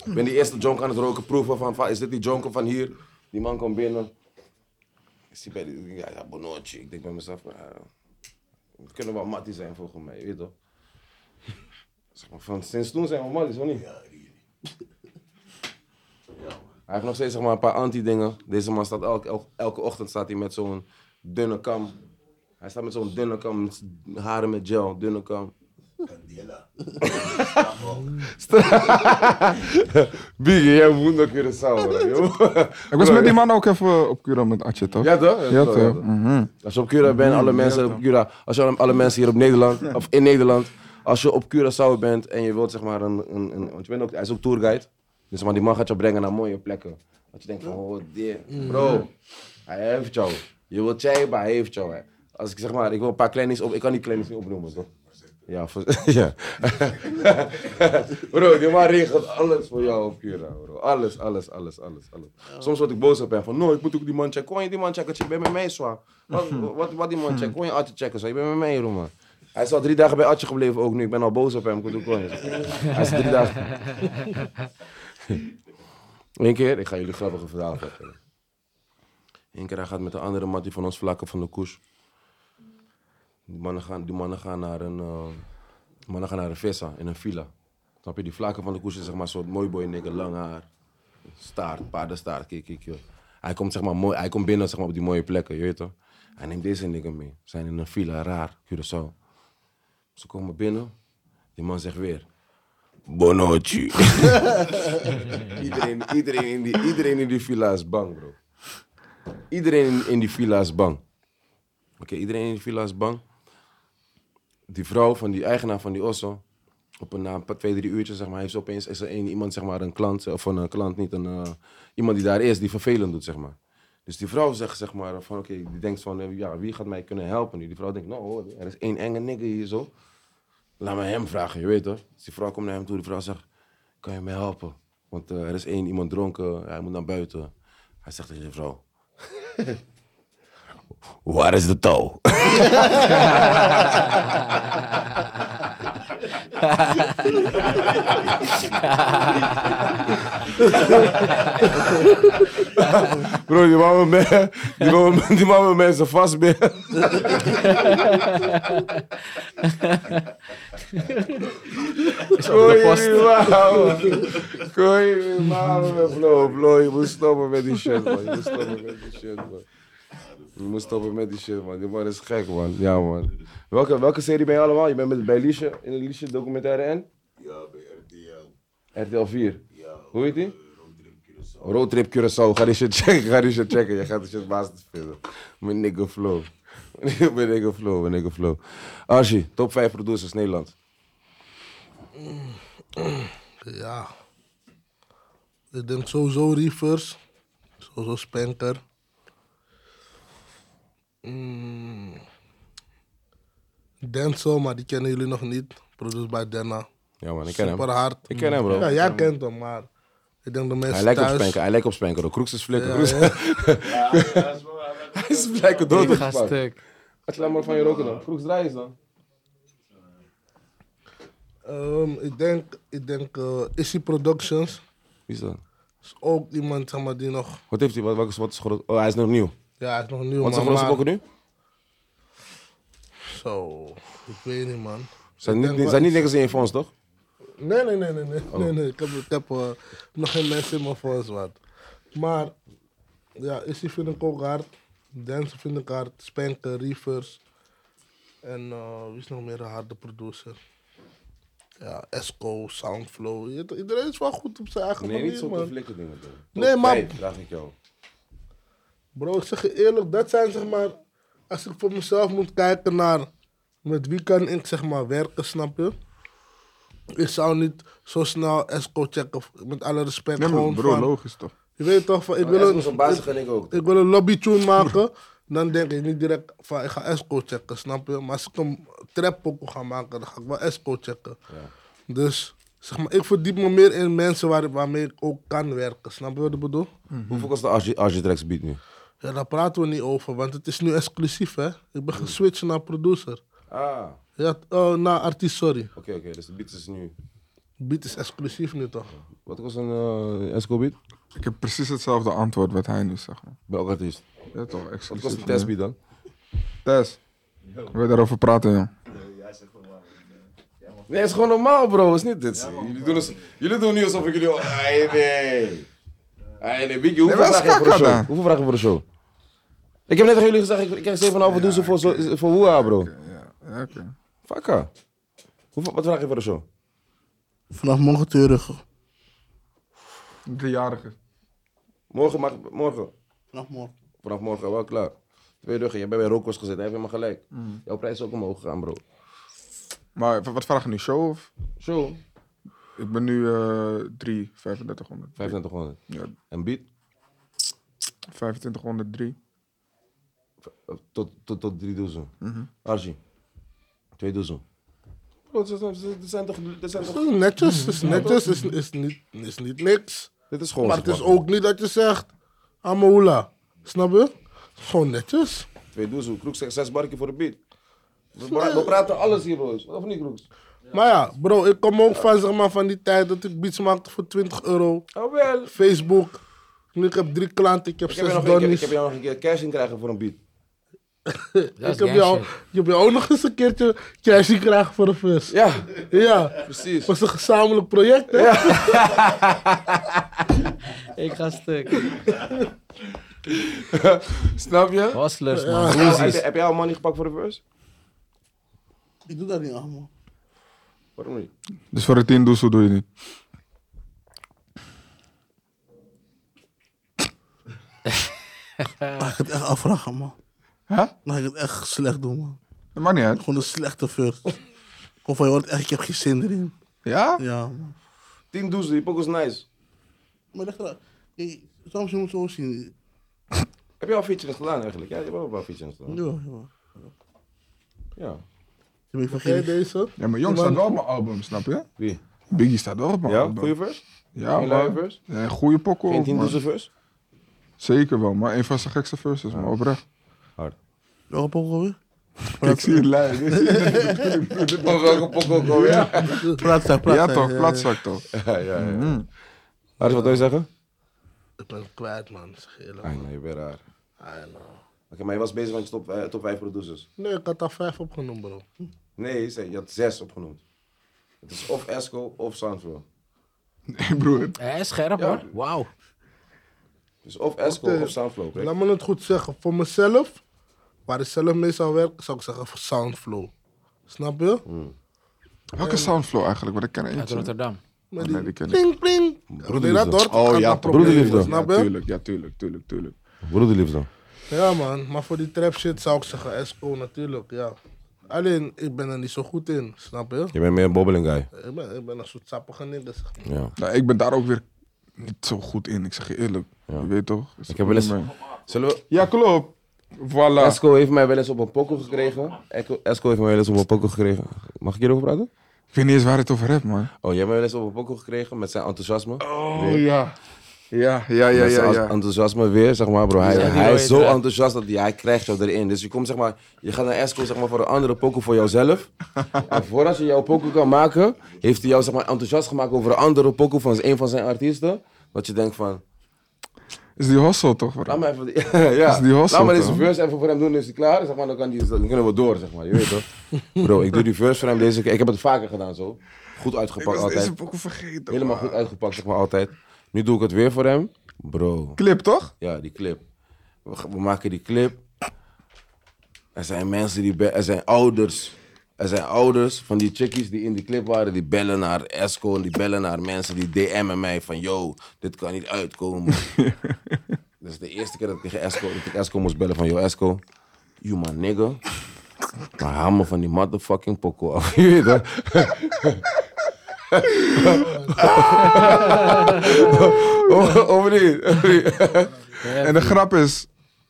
Ik ben die eerste jonk aan het roken proeven van, van, is dit die jonker van hier? Die man komt binnen. Ik zie bij die, ja, ja, Bonoci. Ik denk bij mezelf, ja, het kunnen wel matties zijn volgens mij, je weet toch? Zeg maar, van, sinds toen zijn we matties, of niet? Hij heeft nog steeds zeg maar, een paar anti-dingen. Deze man staat elke, el- elke ochtend staat hij met zo'n dunne kam. Hij staat met zo'n dunne kam, met s- haren met gel, dunne kam. Biggie, jij moet naar Curaçao, bro, joh.
Ik was met die man ook even op Cura met Atje, toch?
Ja toch?
Ja, toch? Mhm.
Als je op Cura bent, alle mensen op Cura, als je alle mensen hier op Nederland, of in Nederland, als je op Curaçao bent en je wilt zeg maar een, een, een- want je bent ook, hij is ook tourguide, dus zeg maar, die man gaat je brengen naar mooie plekken. Dat je denkt van, oh dear, bro, hij heeft jou. Je wilt jij, maar hij heeft jou. Hè. Als ik zeg maar, ik wil een paar kleinies op, ik kan die kleinies niet opnoemen toch? Ja, voor, ja. bro, die man regelt alles voor jou op Cura, bro. Alles, alles, alles, alles, alles. Soms word ik boos op hem van, no, ik moet ook die man checken. Kon je die man checken? Je bent met mij, zwaar. Wat, wat, wat die man checken? Kon je Atje checken? Zo? Je bent met mij, bro, man. Hij is al drie dagen bij Atje gebleven ook nu. Ik ben al boos op hem. Ik moet ook gewoon. Hij is drie dagen. Eén keer, ik ga jullie grappige verhaal vertellen. Eén keer, hij gaat met de andere mattie van ons vlakken van de koers. Die mannen gaan, die mannen gaan naar een... eh, die mannen gaan naar een vissa in een villa. Snap je? Die vlakken van de koers is zeg maar een soort mooi boy nigger, lang haar. Staart, paardenstaart, kijk, kijk, joh. Hij komt, zeg maar, mooi, hij komt binnen zeg maar, op die mooie plekken, je weet toch? Hij neemt deze nigger mee. Ze zijn in een villa, raar, Curaçao. Ze komen binnen, die man zegt weer... Bonocci. iedereen, iedereen, in die, iedereen in die villa is bang, bro. Iedereen in, in die villa is bang. Oké, iedereen in die villa is bang. Die vrouw van die eigenaar van die osso, op een, na een paar, twee, drie uurtjes, zeg maar, heeft ze opeens is er een, iemand, zeg maar, een klant, of een eh, klant niet, een, eh, iemand die daar is, die vervelend doet, zeg maar. Dus die vrouw zegt, zeg maar, van oké, die denkt van, eh, ja, wie gaat mij kunnen helpen nu? Die vrouw denkt, nou, hoor, er is één enge nigger hier zo. Laat me hem vragen, je weet toch? Dus die vrouw komt naar hem toe, die vrouw zegt, kan je mij helpen? Want eh, er is één iemand dronken, hij moet naar buiten. Hij zegt tegen die vrouw, waar is de touw? Bro, die man met, me- die man met, die man met mensen vast ben. Gooi je mouwen. Gooi je mouwen met flow, flow. Je moet stoppen met die shit, man. Je moet stoppen met die shit, man. Je moet stoppen met die shit, man. Die man is gek, man. Ja, man. Welke, welke serie ben je allemaal? Je bent met, bij Liesje, in de Liesje documentaire en? Ja, bij RTL. RTL 4? Ja. Hoe heet die? Roadtrip Curaçao, ga die shit checken, ga die shit checken. Je gaat die shit baas vinden. Mijn nigga flow. Mijn nigga flow, mijn nigga flow. Archie, top 5 producers Nederland.
Ja. Ik denk sowieso Reefers. Sowieso Spanker. Mm. Denzel, maar die kennen jullie nog niet. Produced by Denna.
Ja man, ik ken
Super
hem.
hard.
Ik ken hem bro.
Ja, jij kent hem, maar ik denk de mensen
Hij lijkt op
thuis...
Spanker, hij lijkt op Spanker. Kroeks is flikker. Kroeks- Hij is blijkbaar dood
Ik ga
gepakt.
stuk.
Wat laat maar van je roken dan. Kroeks draai eens dan.
Ehm, ik denk, ik denk eh, Issy Productions.
Wie is dat?
Is ook iemand zeg maar, die nog.
Wat heeft hij? Wat, wat, is- wat is groot? Oh, hij is nog nieuw.
Ja, hij is nog nieuw.
Wat is
man,
zijn grootste
maar-
pokken nu?
Zo, ik weet niet, man.
Zijn
Ik
niet,
denk
ni-
wel
zijn niet
iets-
niks in je fonds, toch?
Nee, nee, nee, nee. nee,
Oh.
nee, nee. Ik heb, ik heb eh, nog geen mensen in mijn volgens wat. Maar, ja, Issy vind ik ook hard. Dance vind ik hard. Spanker, Reefers. En eh, wie is nog meer een harde producer? Ja, Esco, Soundflow. Ieder- Iedereen is wel goed op zijn eigen
Nee,
manier,
niet zo
man.
conflicten dingen doen.
Nee,
Tot
maar-
tijd, Vraag ik jou.
Bro, ik zeg je eerlijk, dat zijn zeg maar. Als ik voor mezelf moet kijken naar met wie kan ik zeg maar werken, snap je? Ik zou niet zo snel Esco checken, of- met alle respect.
Nee, maar
gewoon
bro,
van-
logisch toch?
Je weet toch, van, ik,
Wil
wil
Esmos
een,
een baas
ik,
gun ik ook.
ik wil een lobbytune maken. Dan denk ik niet direct van ik ga Esco checken, snap je? Maar als ik een trappokoe ga maken, dan ga ik wel Esco checken. Dus zeg maar, ik verdiep me meer in mensen waar, waarmee ik ook kan werken, snap je wat ik bedoel?
Hoeveel kost de Argi- Argitrax beat nu?
Ja, daar praten we niet over, want het is nu exclusief, hè? Ik ben geswitcht naar producer.
Ah,
Ja, t- oh, naar artiest, sorry.
oké, oké. Dus de beat is nu...
Beat is exclusief nu toch?
Wat kost een eh, Esco beat?
Ik heb precies hetzelfde antwoord wat hij nu zegt. man.
Bij elk artiest.
Ja toch,
Wat kost een
exclusief.
testbeat dan?
Tess, wil je daarover praten, joh?
Nee, het is gewoon normaal, bro. Is niet dit. jullie, doen als- jullie doen nu alsof ik jullie. Ai, nee. Ai, nee. Biggie, hoeveel
Nee, maar
vragen heb je voor
dat is
een
kaka
show?
dan.
Hoeveel vragen voor de show? Ik heb net tegen jullie gezegd, ik ik krijg 7,5 ja, douze voor, zo- voor Woeha, bro.
Ja, oké.
Fakka. Hoeveel, wat vraag je voor de show?
Vanaf morgen terug.
Driejarige.
Morgen mag. Morgen.
Vanaf morgen.
Vanaf morgen wel klaar. Twee ruggen, je bent bij Rokos gezet, hij heeft helemaal gelijk. Jouw prijs is ook omhoog gegaan, bro.
Maar wat vraag je nu, show of?
Show?
Ik ben nu eh 3, 3500.
2500.
Ja,
En beat?
2503.
Tot, tot, tot drie dozen.
Mhm.
Archie, twee dozen. Bro, dit zijn- dit zijn toch... Dit, zijn
Het
toch,
is netjes, het is netjes, is, is, niet, is niet niks.
dit is gewoon...
Maar het is
zeg maar,
ook niet dat je zegt, Amaula. Snap je? Het is gewoon netjes.
Twee dozen. Kroeks zegt zes barken voor de beat. We, pra- we praten alles hier, broers. Of niet, Kroeks?
Maar ja, bro, ik kom ook van, zeg maar, van die tijd dat ik beats maakte voor 20 euro.
Oh wel.
Facebook. Nu ik heb drie klanten, ik heb
Ik heb,
zes
jou nog, ik, heb, ik
donnies.
heb jou nog een keer cash in krijgen voor een beat.
Dat is
Ik heb jou,
gang shit.
je hebt jou ook nog eens een keertje cash gekregen voor de vis.
Ja,
Ja.
precies.
was een gezamenlijk project, hè?
Ik ga stuk.
Snap je?
Hustlers, man.
Heb
Hoezies.
je- Heb jij al money gepakt voor de verse?
Ik doe dat niet aan, man.
Waarom niet?
Dus voor de 10 doezel doe je niet.
Laat ik het echt afvragen, man.
Huh?
Laat ik het echt slecht doen, man.
Dat maakt niet uit.
Gewoon een slechte flirt. Of van, je hoort echt, ik heb geen zin erin.
Ja?
Ja, man.
Tien dozen, die pok is nice.
Maar leg eraan. Kijk, soms je moet zo zien.
Heb je al features gedaan eigenlijk? Ja, je hebt ook wel features gedaan.
Ja, ja.
Ja.
Ik
Ken
ben
je
vergeten.
deze?
Ja, maar jong staat wel op mijn album, snap je?
Wie?
Biggie staat wel op mijn
Ja,
album.
goede verse?
Ja,
Geen
man.
luie verse?
Ja, goede pokkel.
Geen tien
man.
dozen verse?
Zeker wel, maar een van zijn gekste verses, maar oprecht.
Hard.
Welke pokoe weer?
Ik zie het lijn.
Welke pok ook alweer? Ja,
Platza,
Ja
platza.
toch, platzak toch.
ja, Mhm. ja. Aris, wat wil je zeggen?
Ik ben het kwijt, man. Zeg je eerlijk.
Ah, nee, je bent raar. Oké,
Ah, nou.
maar je was bezig met je top, eh, top 5 producers.
Nee, ik had daar vijf opgenomen, bro.
Nee, je, zei, je had 6 opgenoemd. Het is of Esco of Soundflow.
Hey, broer.
Hij is scherp, hoor. Wauw.
Dus of Esco
Oké.
of Soundflow. oké?
Laat me het goed zeggen. Voor mezelf, waar ik zelf mee zou werken, zou ik zeggen voor Soundflow. Snap je?
Mm. Welke soundflow eigenlijk? Want ik ken er
Uit
eentje.
Rotterdam.
Met
nee, die ken ik. Oh,
pling, pling. Broederliefde. Dat hoort, ik had dat probleem,
broederliefde.
Snap
Ja,
je?
tuurlijk, ja, tuurlijk, tuurlijk, tuurlijk.
Broederliefde.
Ja, man. Maar voor die trap shit zou ik zeggen Esco, natuurlijk, ja. Alleen, ik ben er niet zo goed in, snap je?
Je bent meer een bobbeling guy.
Ik ben, ik ben een soort sappige nigger, zeg maar.
Ja.
Nou, ik ben daar ook weer niet zo goed in, ik zeg je eerlijk. Je weet toch?
Ik heb wel eens... Zullen we... Ah.
Ja, klopt. Voilà.
Esco heeft mij wel eens op een pokkel gekregen. Esco- Esco heeft mij wel eens op een pokkel gekregen. Mag ik hierover praten?
Ik weet niet eens waar het over hebt, man.
Oh, jij hebt mij wel eens op een pokkel gekregen met zijn enthousiasme.
Oh ja. Ja, ja, ja,
Met
ja.
zijn
ja.
enthousiasme weer, zeg maar, bro. Hij,
Ja, die
hij is
rode
zo
draad.
enthousiast dat hij, hij krijgt jou erin. Dus je komt, zeg maar, je gaat naar Esco, zeg maar, voor een andere poker voor jouzelf. en voordat je jouw poker kan maken, heeft hij jou, zeg maar, enthousiast gemaakt over een andere poker van een van zijn artiesten. Dat je denkt van,
Is die hustle toch? bro?
laat maar even, die- ja,
Is Dus die hustle,
laat maar deze
toch?
verse even voor hem doen, is hij klaar? Zeg maar, dan, kan die, dan kunnen we door, zeg maar, je weet toch? Bro, ik doe die verse voor hem deze keer, ik heb het vaker gedaan zo. Goed
Ik
uitgepakt
was
altijd.
deze pokoe vergeten.
Helemaal
man.
goed uitgepakt, zeg maar, altijd. Nu doe ik het weer voor hem. Bro,
Clip toch?
ja, die clip. We, g- we maken die clip. Er zijn mensen die... be- Er zijn ouders. Er zijn ouders van die chickies die in die clip waren. Die bellen naar Esco en die bellen naar mensen. Die DM'en mij van... Yo, dit kan niet uitkomen. dat is de eerste keer dat ik tegen Esco, dat ik Esco moest bellen van... Yo, Esco. You my nigga. Maar haal me van die motherfucking poko af. Je weet dat. Of of niet? Of niet?
En de grap is,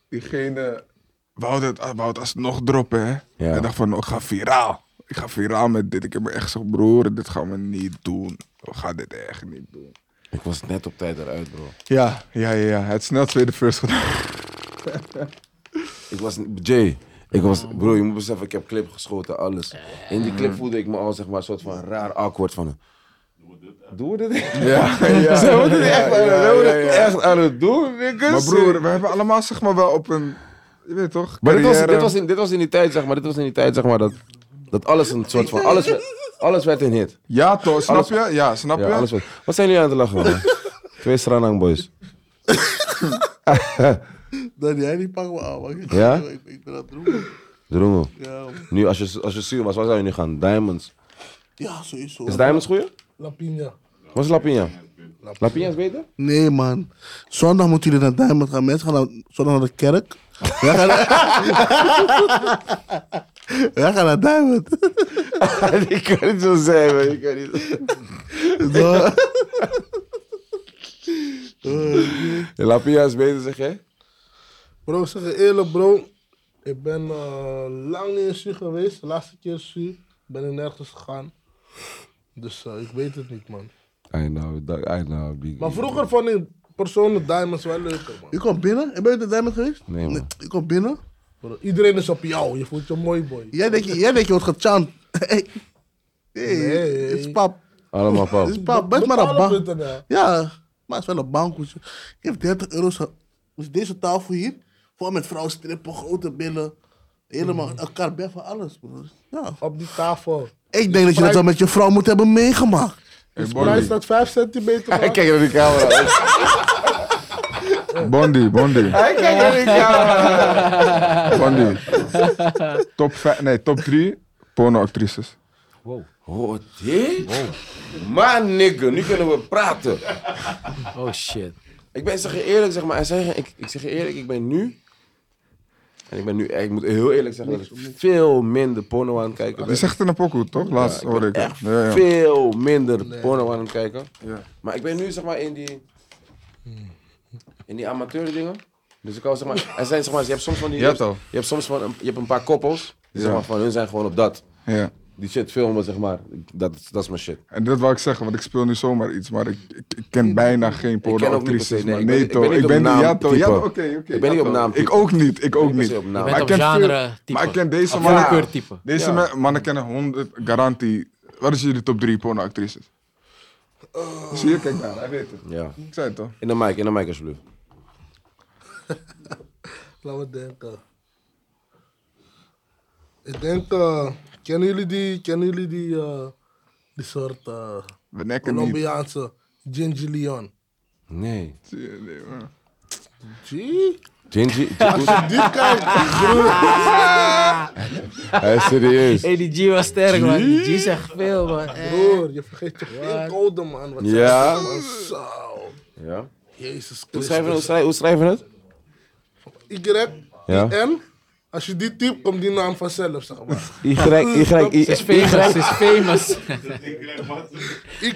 diegene wou het, wou het alsnog droppen, hè? Hij dacht van, "Oh, ik ga viraal. Ik ga viraal met dit. Ik heb me echt gezegd, broer, dit gaan we niet doen. We gaan dit echt niet doen.
Ik was net op tijd eruit, bro.
Ja, ja, ja. ja. Hij had snel tweede first gedaan.
Ik was, Jay, ik was, bro, je moet beseffen, ik heb clip geschoten, alles. In die clip voelde ik me al, zeg maar, een soort van raar awkward van... Doen we dit echt?
Ja, ja.
Zijn we dit echt aan- zijn we dit
ja, ja.
echt aan het doen, niggas?
Maar broer, we hebben allemaal zeg maar wel op een, je weet toch,
Maar dit was,
carrière-
dit, was in, dit was in die tijd, zeg maar, dit was in die tijd, zeg maar, dat, dat alles een soort van, alles, werd- alles werd een hit.
Ja, toch, snap
Alles-
je? Ja, snap
Ja,
je?
alles werd. Wat zijn jullie aan het lachen, man? Twee Stranang boys.
Dan jij die pak me aan, man. Ik-
Ja?
Ik, ik ben aan het roepen.
Drongo.
Ja, man.
Nu, als je, als je zuur was, waar zou je nu gaan? Diamonds.
ja, sowieso.
Is Diamonds goeie?
La Pina.
Wat is Lapinha? Lapinha is beter?
Nee, man. Zondag moeten jullie naar Diamond gaan. Mensen gaan naar, zondag naar de kerk. Wij gaan naar, Wij gaan naar Diamond.
Ik kan niet zo zijn, man. Ik kan niet zo-
Zo.
Lapinha is beter, zeg je?
Bro, ik zeg je eerlijk, bro. Ik ben eh, lang niet in Su geweest. De laatste keer in Su ben ik nergens gegaan. Dus eh, ik weet het niet, man.
I know, dog, I know. Big,
Maar vroeger vond ik personen Diamonds wel leuker, man.
Je komt binnen? Ben je naar Diamond geweest?
Nee, man.
Je komt binnen?
Bro, iedereen is op jou. Je voelt je mooi, boy.
Jij denkt, jij denkt je wordt gechant. Hey. Hey,
Nee.
het is pap.
Allemaal pap.
Het is pap. Best maar een
Bepaalde
bank.
punten, ja.
Ja, maar het is wel een bankhoedje. Ik heb 30 euro. zo- Dus deze tafel hier, vol met vrouwenstrippen, grote billen. Helemaal elkaar bij van alles, broer. Ja.
Op die tafel.
Ik denk dat je dat wel met je vrouw moet hebben meegemaakt.
Hey,
Hij
Bondi,
staat 5 centimeter.
Hij
man.
kijkt naar die camera.
Bondi, Bondi,
Hij kijkt naar die camera.
Bondi. Top 5, nee, top 3 pornoactrices.
Hoor dit? Maar nigga, nu kunnen we praten.
Oh shit.
Ik ben, zeg je eerlijk, zeg maar. en Zeg, ik, ik zeg je eerlijk, ik ben nu... En ik ben nu, ik moet heel eerlijk zeggen, dat ik veel minder porno aan het kijken
Die
ben.
zegt in een pokoe, toch? Laatst
Ja, ik
hoorde ik.
ben
het.
echt
Ja, ja.
veel minder porno aan het kijken.
Ja.
Maar ik ben nu zeg maar in die, in die amateur dingen. Dus ik hou zeg maar, er zijn zeg maar, je hebt soms van die,
Ja,
je, hebt,
toch?
je hebt soms van, een, je hebt een paar koppels. Die zeg
Ja.
maar van hun zijn gewoon op dat.
Ja.
Die shit filmen zeg maar. Ik- Dat, dat is mijn shit.
En dat wil ik zeggen, want ik speel nu zomaar iets, maar ik, ik, ik ken bijna geen
ook niet per
pornoactrices.
se, nee,
maar
ik ben-
Nee,
ik
toch?
ben niet op
Ik ben de
naam
Jato.
type.
Jato, oké, oké.
Ik ben niet
Jato.
op naam
Ik
type.
ook niet, ik ook
Ik ben
niet.
zo op naam.
Je
Maar
bent
ik
op
ken veel-
genre type.
Maar ik ken deze
Of
mannen.
Voorkeurtype.
Deze
Ja.
ma- mannen kennen 100 garantie. Wat is jullie top 3 pornoactrices?
Eh.
Zie je, kijk daar, hij weet het.
Ja.
Ik zei het toch?
In de mic, in de mic alsjeblieft.
Laten we denken. Ik denk, eh, kennen jullie die, kennen jullie die, eh, die soort eh,
We nekken niet.
Colombiaanse Ginger Leon?
Nee.
Zie je, nee, man.
Zie?
Gingy, Gingy.
Die kijk,
Hij is serieus.
Hey, die G was sterk, man. Die G zegt veel, man. Eh.
broer, je vergeet je geen code, man. Wat zijn
Ja.
dat, man? Zo.
Ja.
Jezus
Hoe schrijven we
Christus.
het? Hoe schrijven we het?
Y,
Ja.
I, N. Als je die typt, komt die naam vanzelf, zeg maar.
Y, Y,
Ze is famous, ze is famous.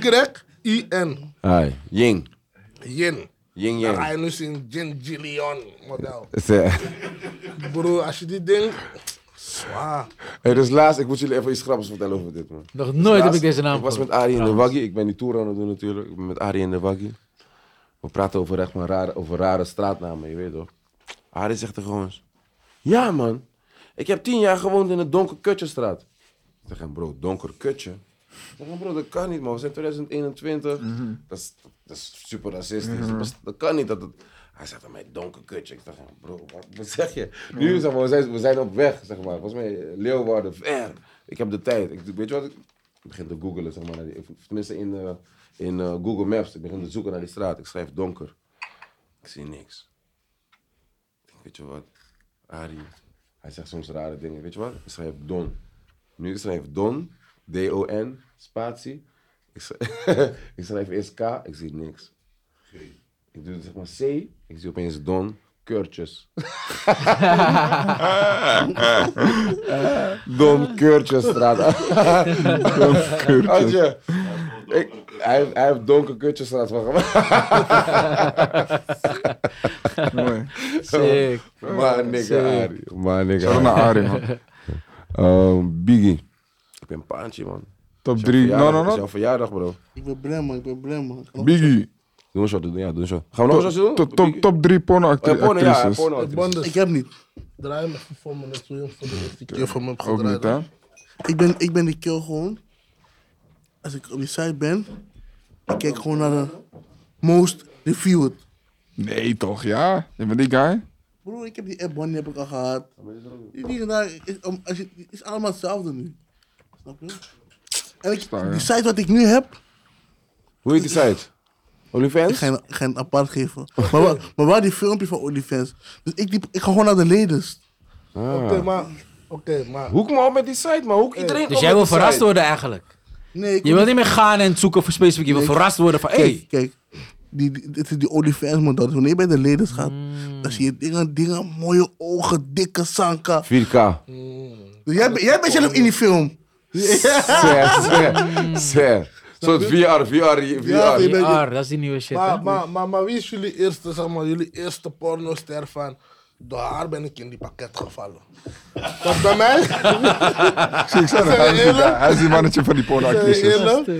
Y, I, N.
Hi. Ying.
Yin.
Ying,
Dan ga
yang. eh,
je nu zien Ginger Leon model.
Ze-
Broer, als je die denkt, zwaar.
Hey, dus laatst, ik moet jullie even iets grappigs vertellen over dit, man.
Nog nooit heb ik deze naam
Ik was met
gehoord.
Arie in de Waggy. Ik ben die tour aan het doen natuurlijk. Ik ben met Arie in de Waggy. We praten over echt maar rare, over rare straatnamen, je weet toch? Arie zegt er gewoon eens, Ja man, ik heb tien jaar gewoond in de Donker Kutjestraat. Ik zeg hem, bro, Donker Kutje? Ik zeg, bro, dat kan niet, man. We zijn 2021. dat, is, dat is super racistisch. Dat best- Dat kan niet. Dat het... Hij zegt aan mij, donker kutje. Ik dacht, bro, wat, wat zeg je? Nu, zeg maar, we zijn, we zijn op weg, zeg maar. Volgens mij, eh, Leeuwarden, ver. Ik heb de tijd. Ik, weet je wat? Ik begin te googelen, zeg maar. naar die- of Tenminste, in, eh, in eh, Google Maps. Ik begin te zoeken naar die straat. Ik schrijf donker. Ik zie niks. Ik denk, weet je wat, Arie, hij zegt soms rare dingen. Weet je wat, ik schrijf Don. Nu ik schrijf Don, D-O-N, spatie. Ik schrijf, ik schrijf eerst K, ik zie niks. Ik doe zeg maar C, ik zie opeens Don, keurtjes. Don Keurtjesstraat. Don Keurtjes. Ik, hij, hij heeft Don Keurtjesstraat van gemaakt.
Mooi.
Sick.
Maar nigga, Arie. Maar nigga,
Shout-out naar Arie, man. Eh,
Ehm, Biggie. Ik ben paantje, man.
Top 3. No,
Verjaardag,
no,
Het is
no.
jouw verjaardag, bro.
Ik ben blij, man. Ik ben blij, man. Ik kan-
Biggie.
Doe een shot, doe, ja, doe een shot. Gaan we nog een shot doen?
Top, top, top,
Biggie?
top 3
Oh, ja, porno, ja,
porno-actrices.
porno.
Het banden.
Ik heb niet.
Draai me even voor me, net zo je hem voor de eerste keer van me hebt
Ook niet,
gedraaid.
hè?
hè.
Ik ben, ik ben die kill gewoon. Als ik op die site ben, ik kijk gewoon naar de most reviewed.
Nee, toch? Ja? Je bent die guy?
Broer, ik heb die app, one die heb ik al gehad. Die dingen daar is, om- als je, is allemaal hetzelfde nu. Snap je? En ik,
Sta, ja.
die site wat ik nu heb,
Hoe heet die site?
ik
OnlyFans?
ga je, ik ga je een apart geven. Maar, waar- maar waar die filmpje van OnlyFans? Dus ik, die, ik ga gewoon naar de leden.
Oké, maar. Oké, maar.
Hoek me op met die site, man. Hoek iedereen op
Dus jij
met
wil
die
verrast
site.
worden eigenlijk?
Nee, ik
Je wilt niet meer gaan en zoeken voor specifiek. Je wil verrast worden van,
Kijk,
hey,
kijk. Die, die, dit is die OnlyFans model. Dus wanneer je bij de leden gaat,
Hmm.
dan zie je dingen, dingen, mooie ogen, dikke zanka.
4K.
Dus jij, bent- jij bent zelf in die film.
Ser, ser, ser. Soort VR, VR,
Ja,
VR.
je bent-
VR, dat is die nieuwe shit. hè?
Maar,
dus.
maar, maar, maar wie is jullie eerste, zeg maar, jullie eerste pornoster van... Door haar ben ik in die pakket gevallen. Tot bij
Zie,
mij?
ik zei het, hij is die guy. Hij is die mannetje van die
Zijn we
porno-actrices.
eerlijk?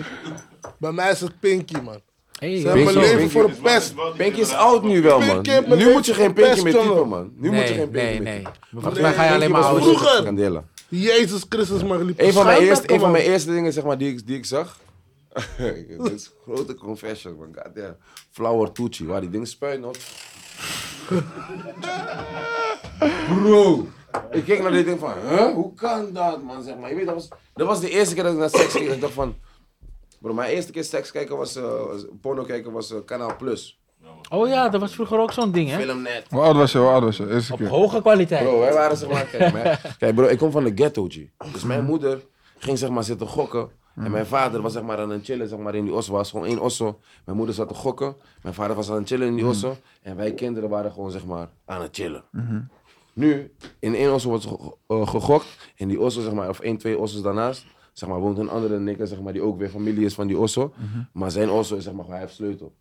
Bij mij is het Pinky, man.
Hey,
Ze hebben mijn
Pinky,
leven
Pinky
voor de pest.
Pinky is oud nu wel, man.
Pinky heeft me
Nu moet je
leuk
geen Pinky
verpest,
meer
jongen.
typen, man. Nu moet je geen
Nee, nee,
Pinky
nee.
meer
Maar volgens mij ga je alleen maar
was
ouder.
vroeger.
worden.
Candela.
Jezus Christus, maar liep
Een van mijn
Schaam
eerste,
dat,
een van
man.
mijn eerste dingen zeg maar, die, ik, die ik zag. Dit is een grote confession, man. God damn. Flower Tucci, waar die ding spuit nog. Bro! Ik keek naar dit ding van, huh? hoe kan dat, man? Zeg maar. Je weet, dat, was, dat was de eerste keer dat ik naar seks keek. Ik dacht van, bro, mijn eerste keer seks kijken was, eh, was- porno kijken was eh, Kanaal Plus.
Oh ja, dat was vroeger ook zo'n ding, hè?
Filmnet.
Hoe oud was je? Hoe oud was je? Eerste keer.
Hoge kwaliteit.
Bro, wij waren zeg maar. Kijk, mijn- kijk bro, ik kom van de ghetto, G. Dus mijn moeder ging zeg maar zitten gokken. En mijn vader was zeg maar aan het chillen zeg maar, in die osso. was gewoon één osso. Mijn moeder zat te gokken. Mijn vader was aan het chillen in die osso. En wij kinderen waren gewoon zeg maar aan het chillen. Nu, in één osso wordt ge- eh, gegokt. En die osso, zeg maar, of één, twee ossos daarnaast. Zeg maar, woont een andere nikker, zeg maar, die ook weer familie is van die osso. Maar zijn osso is zeg maar, hij heeft sleutel.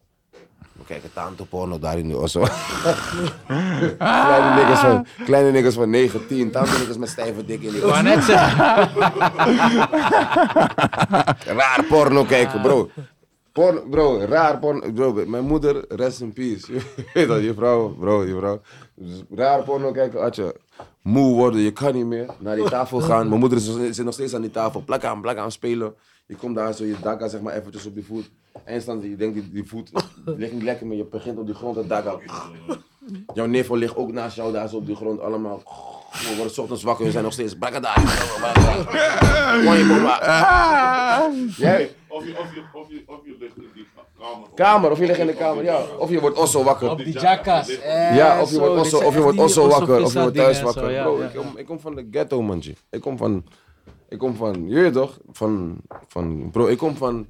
We kijken tante porno daar in die osso. Kleine niggers van, kleine niggers van 19, tante niggers met stijve dik in die
Ik wou net zeggen.
Raar porno kijken, bro. Porno, bro, raar porno. Bro, mijn moeder, rest in peace. Je weet dat, je vrouw, bro, je vrouw. Dus raar porno kijken, atje. Moe worden, je kan niet meer. Naar die tafel gaan. Mijn moeder is- zit nog steeds aan die tafel. Plak aan, plak aan, spelen. Je komt daar zo, je daka zeg maar eventjes op die voet. Eindstand, je denkt, die, die voet ligt niet lekker meer. Je begint op die grond te daka. Jouw nevel ligt ook naast jou daar zo op die grond. Allemaal. We worden 's ochtends wakker, we zijn nog steeds. Brakada. Kon je mama. Jij?
Of je, of, je, of, je, of je ligt in die kamer.
Kamer, of je ligt in de kamer, ja. Of je wordt osso wakker.
Die Eh, jackas.
Ja, of je wordt osso, of je wordt osso wakker, of je wordt thuis wakker. Bro, ik kom, ik kom van de ghetto, manje. Ik kom van, ik kom van, je weet toch? Van, van, bro, ik kom van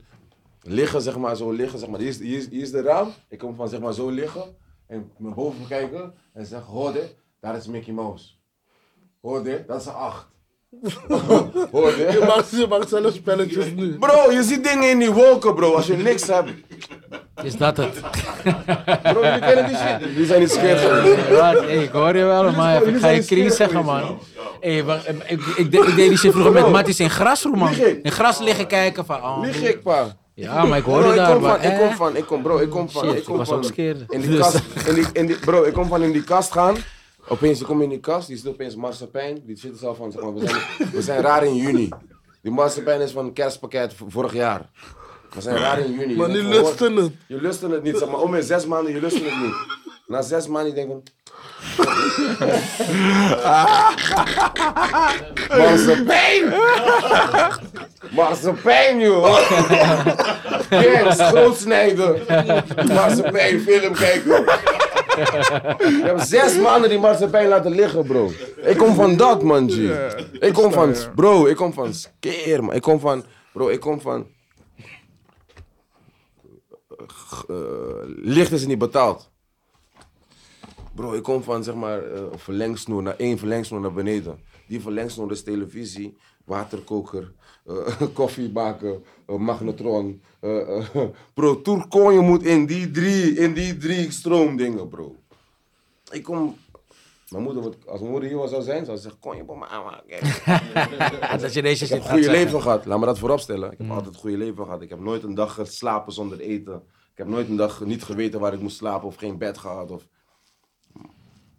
liggen, zeg maar, zo liggen, zeg maar. Hier is, hier is, hier is de raam. Ik kom van, zeg maar, zo liggen en naar boven kijken en zeg, hoorde, daar is Mickey Mouse. Hoorde, dat is een acht.
Je
hoorde.
maakt, je maakt zelf spelletjes nu.
Bro, je ziet dingen in die wolken, bro, als je niks hebt.
Is dat het?
Bro, jullie kennen die shit. Die zijn niet scherp.
Wat? Hey, ik hoor je wel, maar ik ga je crisis zeggen, man. Hey, wacht, eh, ik, ik, de- ik deed die shit vroeger met Matties in gras, broer, man.
Lieg ik?
In gras liggen kijken van... Oh,
Lieg ik, pa.
Ja, maar ik
Bro,
hoorde
ik
daar,
kom
maar...
van, ik kom
eh,
van, ik kom, bro, ik kom van,
Shit,
ik kom
ik was
van.
omskeerd.
In die
Dus-
kast, in die, in die, bro, ik kom van in die kast gaan. dus Opeens, ik kom in die kast, die zit opeens marsepein. Die zit er zo van, zeg maar, we zijn, we zijn raar in juni. Die marsepein is van een kerstpakket v- vorig jaar. We zijn raar in juni.
Maar
Je
nu
denkt van,
lusten
wat?
het.
Je lusten het niet, zeg maar. Om in zes maanden, je lusten het niet. Na zes maanden, denk ik van... Marsepein! Marsepein, joh! Kerst, groot snijden. Marsepein, film kijken. Je hebt zes maanden die marsepein laten liggen, bro. Ik kom van dat, man, G. Ik kom van, bro, ik kom van skeer, man. Ik kom van, bro, ik kom van... G- eh, licht is niet betaald. Bro, ik kom van, zeg maar, eh, verlengsnoer naar één verlengsnoer naar beneden. Die verlengsnoer is televisie, waterkoker, eh, koffiebaken, eh, magnetron. eh, eh, bro, Tour je moet in die drie, in die drie stroomdingen, bro. Ik kom... Mijn moeder, wordt- als mijn moeder hier zou zijn, zou ze zeggen, kon je bij me aanmaken?
dat je deze
Ik heb Mm. een
shit gaat
goede
zeggen.
leven gehad. Laat me dat vooropstellen. Ik heb altijd een goede leven gehad. Ik heb nooit een dag geslapen zonder eten. Ik heb nooit een dag niet geweten waar ik moest slapen of geen bed gehad. Of...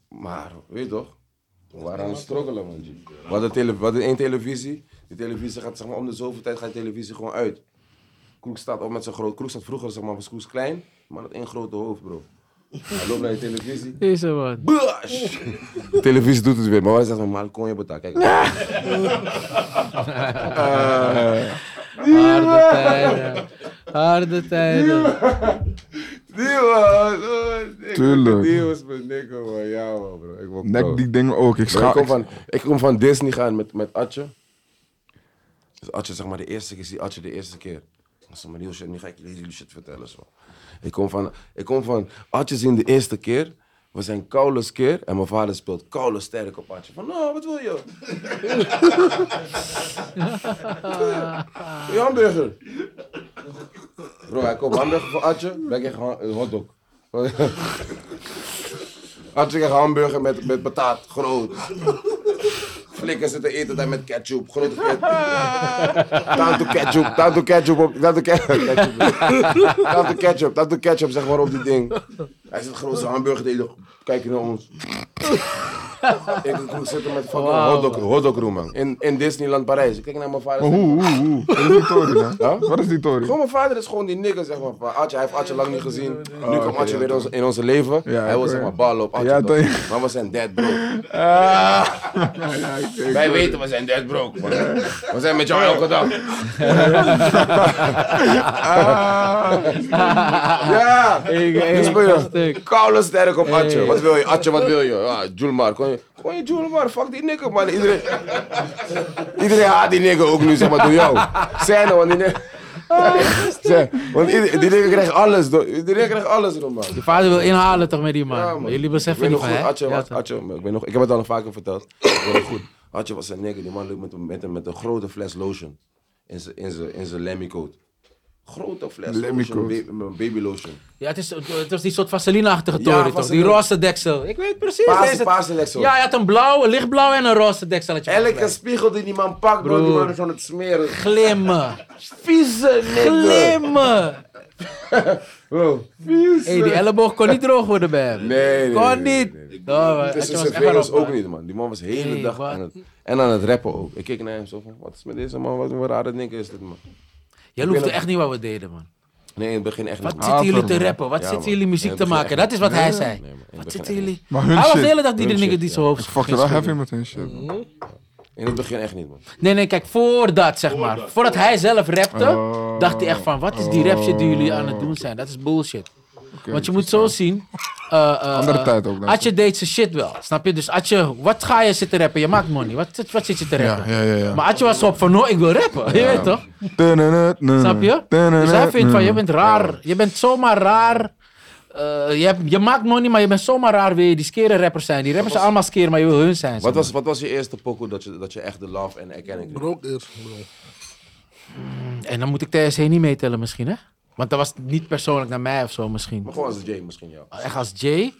Maar, weet je toch? We waren aan het struggelen, man. G. We hadden, tele- we hadden één televisie. Die televisie gaat, zeg maar, om de zoveel tijd gaat de televisie gewoon uit. Kroek staat op met zijn groot... Kroek staat vroeger, zeg maar, was Kroes klein. Maar dat één grote hoofd, bro. Hij loopt naar de televisie.
Deze man.
Bush! De televisie doet het weer, maar wij zeggen van Malcom je betaalt. Kijk.
Harde tijden. Harde tijden.
Die was, oh, ik-
Tuurlijk.
Die was mijn nek, man. Ja, man, bro. Ik word koud.
Nek die dingen ook.
Bro,
Ik
ik,
schaam
Oh. kom van, ik kom van Disney gaan met, met Atje. Dus Atje, zeg maar, de eerste keer, zie Atje de eerste keer. Ik zeg maar, shit, nu ga ik jullie shit vertellen, zo. Ik kom van, ik kom van Atje zien de eerste keer. We zijn koude keer en mijn vader speelt koude sterk op Atje. Van, nou, wat wil je? Wil je hamburger? Bro, hij koopt hamburger voor Atje. Ben ik gewoon een hotdog. Atje krijgt hamburger met, met patat, groot. Flikker zitten eten daar met ketchup, grote ketchup. Tanto ketchup, tanto ketchup op, tanto ke- ketchup. Tanto ketchup, tanto ketchup, zeg maar op die ding. Hij zit groot zijn hamburger te eten, kijken naar ons. Ik ik zit er met fucking hotdog, hotdogroom, man. In, in Disneyland Parijs. Ik kijk naar mijn vader.
Oeh, oeh, oeh. Wat is die tory, man?
Huh?
Wat is die tory?
Gewoon mijn vader is gewoon die nigger, zeg maar. van Atje, hij heeft Atje lang niet gezien.
Oh,
nu komt Atje weer in ons- in onze leven.
Ja,
hij wil
oké.
zeg maar ballen op Atje.
Ja,
toch?
toch? Ah.
maar we zijn dead bro.
Ja, ja, ik- ik-
Wij weten, we zijn dead bro. man. We zijn met jou elke dag. ja!
Hey,
Nu
Dus
speel je
stuk.
koude sterk op Atje. Wat wil je? Atje, wat wil je? Ja, Julmar. Kon je, kon je Julmar? Fuck die nigger, man. Iedereen, iedereen haat die nigger ook nu, zeg maar, door jou. Zijn want die nigger...
Ah,
Zeg, want ieder- die nigger krijgt alles, door- die nigger krijgt alles, door, man.
Je vader wil inhalen toch met die man.
Ja, man.
Jullie beseffen
ik
niet
weet
van
nog
hè?
goed, Atje,
Ja,
was-
toch?
Atje, maar ik, weet nog, ik heb het al vaker verteld. Ik weet nog goed. Atje was een nigger, die man liep met, een- met, een- met een grote fles lotion. In zijn- in zijn- In zijn lemmycoat. Grote fles
Lemmy
lotion,
coat.
ba- baby lotion.
Ja, het is, het was die soort vaseline-achtige
Ja,
toren, toch?
vaseline.
Die roze deksel. Ik weet precies.
Paarse-
deze-
paarse deksel.
Ja, hij had een blauw, een lichtblauw en een roze dekseltje.
Elke spiegel die die man pakt, bro, die
Broer.
man is aan het smeren.
Glimmen.
Vieze nigger.
Glimmen.
Bro, vieze.
Hé, die elleboog kon niet droog worden bij hem.
Nee, nee,
Kon
nee,
niet.
nee, nee.
Oh, man,
Tussen
Atje was
zijn
echt
vingers
erop, man.
ook niet, man. Die man was de hele
Nee,
dag
wat?
aan het, en aan het rappen ook. Ik keek naar hem zo van, wat is met deze man? Wat een rare ding is dit, man.
Jij
ben
loefde
een-
echt niet wat we deden, man.
Nee, in het begin echt
Wat
niet. man.
zitten jullie te
man.
rappen? Wat
Ja,
zitten
man.
jullie muziek
Nee,
te
dat begin
maken? Dat is wat hij zei.
Nee, man. Ik
Wat
begin
zitten
echt
jullie...
Maar hun
Hij was de
shit.
hele dag die de
Hun
nigger
shit,
die
ja.
zijn hoofd
Fuck je
ging
wel
schudden.
heavy met hun shit, man.
In het begin echt niet, man.
Nee, nee, kijk, voordat zeg maar. Voordat hij zelf rapte,
Oh.
dacht hij echt van: wat is die rap shit die jullie aan het doen zijn? Dat is bullshit. Want je moet zo zien. eh, eh,
Andere
eh,
tijd ook, dan.
Atje deed zijn shit wel, snap je? Dus Atje, wat ga je zitten rappen? Je maakt money. Wat, wat zit je te
Ja,
rappen?
ja, ja. ja.
Maar Atje was op van, no, ik wil rappen. Je weet toch? Snap je?
Mm.
Dus hij vindt van, je bent raar. Je bent zomaar raar. Eh, je, hebt- je maakt money, maar je bent zomaar raar weer. Die skere rappers zijn. Die rappers zijn allemaal skeren, maar je wil hun zijn.
Wat was, wat was je eerste pokoe dat je, dat je echt de love en erkenning kreeg?
Rook eerst, bro.
En dan moet ik TSC niet meetellen misschien, hè? Want dat was niet persoonlijk naar mij of zo misschien.
Maar gewoon als Jay misschien, ja.
Echt als Jay,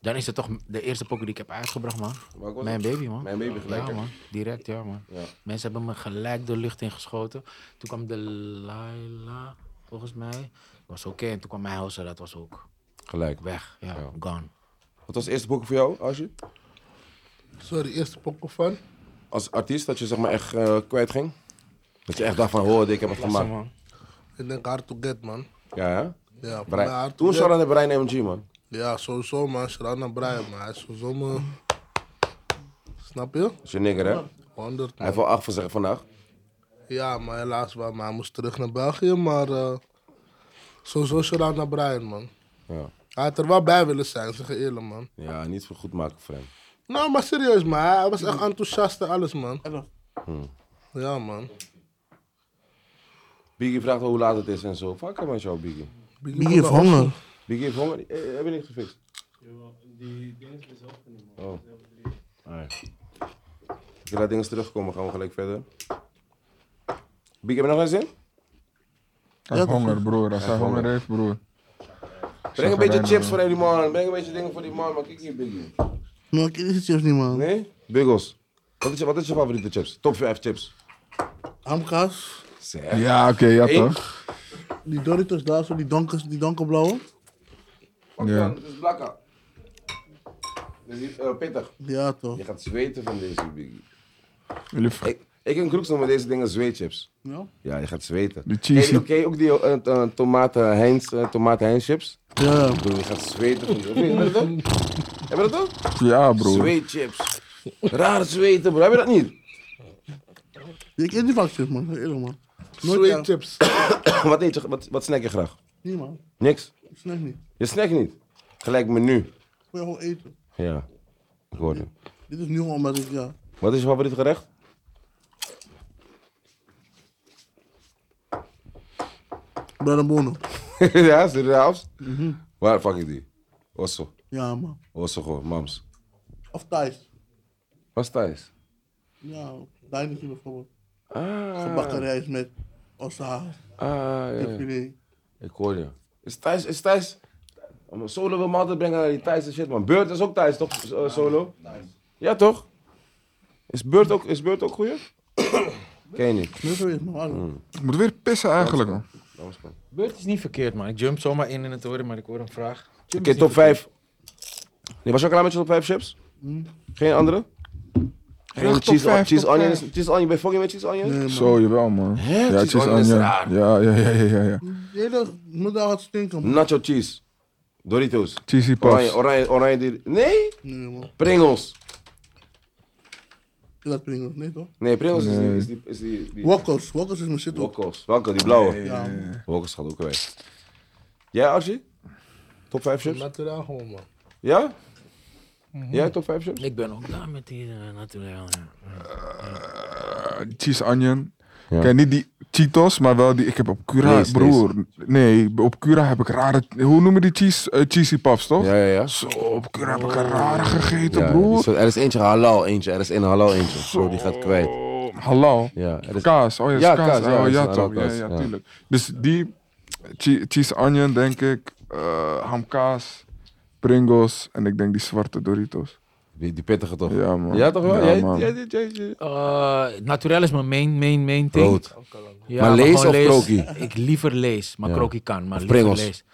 dan is het toch de eerste poker die ik heb uitgebracht, man.
Maar ik was-
Mijn baby, man.
Mijn baby gelijk.
Ja,
hè.
man. Direct, ja, man. Mensen hebben me gelijk de lucht ingeschoten. Toen kwam de Laila, volgens mij. Was oké. En toen kwam mijn house, dat was ook
Gelijk.
weg. Ja,
Ja.
gone.
Wat was de eerste pokoe voor jou, Asje?
Sorry, eerste pokken van.
Als artiest, dat je zeg maar echt eh, kwijt ging? Dat je echt dacht van, hoor, ik heb het
Lastig,
gemaakt.
man.
Ik denk hard to get, man.
Ja, hè?
Ja, voor mij
Brian.
hard
Toen
to
zou
get.
aan de Brian MG, man.
Ja, sowieso, man. Shout-out naar Brian, man. Hij is sowieso mijn... Snap je?
Dat is je nigger, hè?
100,
Hij heeft
man.
wel acht voor zich vandaag.
Ja, maar helaas, wel, maar hij moest terug naar België, maar... eh, sowieso shout-out naar Brian, man.
Ja.
Hij had er wel bij willen zijn, zeg je eerlijk, man.
ja, niet voor goed maken voor hem.
Nou, maar serieus, man. Hij hij was echt enthousiast en alles, man. Hm. Ja, man.
Biggie vraagt wel hoe laat het is en zo. Fuck hem met jou, Biggie.
Biggie heeft honger.
Biggie heeft honger. Eh, eh, heb je niet Oh. gefixt? Jawel, die ding is opgenomen. Oh. Ik laat dingen terugkomen, gaan we gelijk verder. Biggie, heb je nog eens in?
Hij heeft honger, broer. Als hij honger heeft, broer.
Breng een beetje
Chagrijnig,
chips
man.
voor die man. Breng een beetje dingen voor die man, maar kijk hier, Biggie.
Nou, ik eet die chips niet, man.
Nee? Biggles. Wat is, je- wat is je favoriete chips? Top 5 chips.
Hamkaas.
Zeg.
Ja, oké, ja
Eén.
toch?
Die Doritos daar, zo, die, donkers, die donkerblauwe.
Ja.
Het is blakka. Dit is eh, pittig.
Ja, toch.
Je gaat zweten van deze, Biggie.
Jullie ver-
Ik, ik en Kroeks noemen deze dingen zweetchips.
Ja?
Ja, je gaat zweten.
De cheesy-
Ken je- ken je ook die eh, t- eh, tomaten Heinz, eh, tomaten Heinz chips?
Ja.
Broer, je gaat zweten. van die- Of niet? Heb je dat ook? Heb je dat ook?
Ja, broer.
Zweetchips. Raar zweten, bro. Heb je dat niet?
Ik eet niet vaak chips, man. Zeg Eerlijk, man. Nooit
Sweet
ja.
chips.
wat, eet je, wat, wat snack je graag?
Nee, man.
Niks?
Ik snack niet.
Je snackt niet? Gelijk menu.
Ik wil gewoon eten.
Ja, ik hoorde.
Dit is nu gewoon omdat ik, ja.
Wat is je favoriet gerecht?
Bread and bonen.
ja, Surinaams?
Mhm.
Waar pak ik die? Osso.
Ja, man.
Osso gewoon, mams.
Of Thais.
Wat is thuis?
Ja, Dynasty bijvoorbeeld. Gebakken
Ah,
rijst met ossa,
ah ja.
filet.
Ik hoor je. Is Thijs, is Thijs... Om solo wil me altijd brengen naar die Thijs en shit, man. Beurt is ook Thijs, toch? S- eh, solo? Ja, toch? Is Beurt ook, is Beurt ook goeie? Ken je niet.
Nu geweest, man.
Ik moet weer pissen eigenlijk, man.
Beurt is niet verkeerd, man. Ik jump zomaar in in het horen, maar ik hoor een vraag.
Oké, top 5. Nee, was je al klaar met je top 5 chips? Geen andere? Geen
Hmm. top
cheese,
vijf,
cheese
top
onion?
vijf.
is- Cheese onion, ben je fucking met cheese onion?
Zo, jawel, man. Ja,
cheese onion is raar.
Ja, ja, ja, ja, ja, ja.
De hele middag gaat stinken, man.
Nacho cheese. Doritos.
Cheesy
Oranje,
puffs.
oranje, oranje. die- Nee?
Nee, man.
Pringles.
Ik laat Pringles, nee toch?
Nee, Pringles is die... Is die, is die, die
Wokkels, wokkels is mijn shit ook.
Wokkels. Welke? Die blauwe?
Ja, man.
Wokkels gaat ook weg. Jij, Archie? Top 5 chips?
Materiaal gewoon, man.
Ja?
Mhm.
Jij top 5 chips?
Ik ben ook daar met die eh, natuurlijk. ja.
Eh, Cheese onion.
Ja.
Kijk, niet die Cheetos, maar wel die... Ik heb op Cura,
Lees,
broer. Nee, op Cura heb ik rare... Hoe noemen die cheese, eh, cheesy puffs, toch?
Ja, ja, ja.
Zo, op Cura heb ik een rare gegeten,
ja die
broer.
soort- er is eentje halal, eentje. Er is een halal, eentje. Zo, die gaat kwijt.
Halal.
Ja, er is...
Kaas, oh ja,
Ja,
is kaas.
kaas, ja,
oh,
is
ja,
een
toch. Ja,
rauwkaas,
ja,
ja.
tuurlijk. Dus die che- cheese onion, denk ik, eh, hamkaas, Pringles en ik denk die zwarte Doritos.
Die, die pittige toch?
Ja, man.
Ja, toch wel?
Ja,
jij,
man.
jij, jij, jij- jij-
Eh, naturel is mijn main, main, main thing.
Brood.
Ja,
Maar lees
gewoon
of krokie?
Ik liever lees, maar
Ja.
krokie kan. Maar
Of
liever
Pringles.
lees.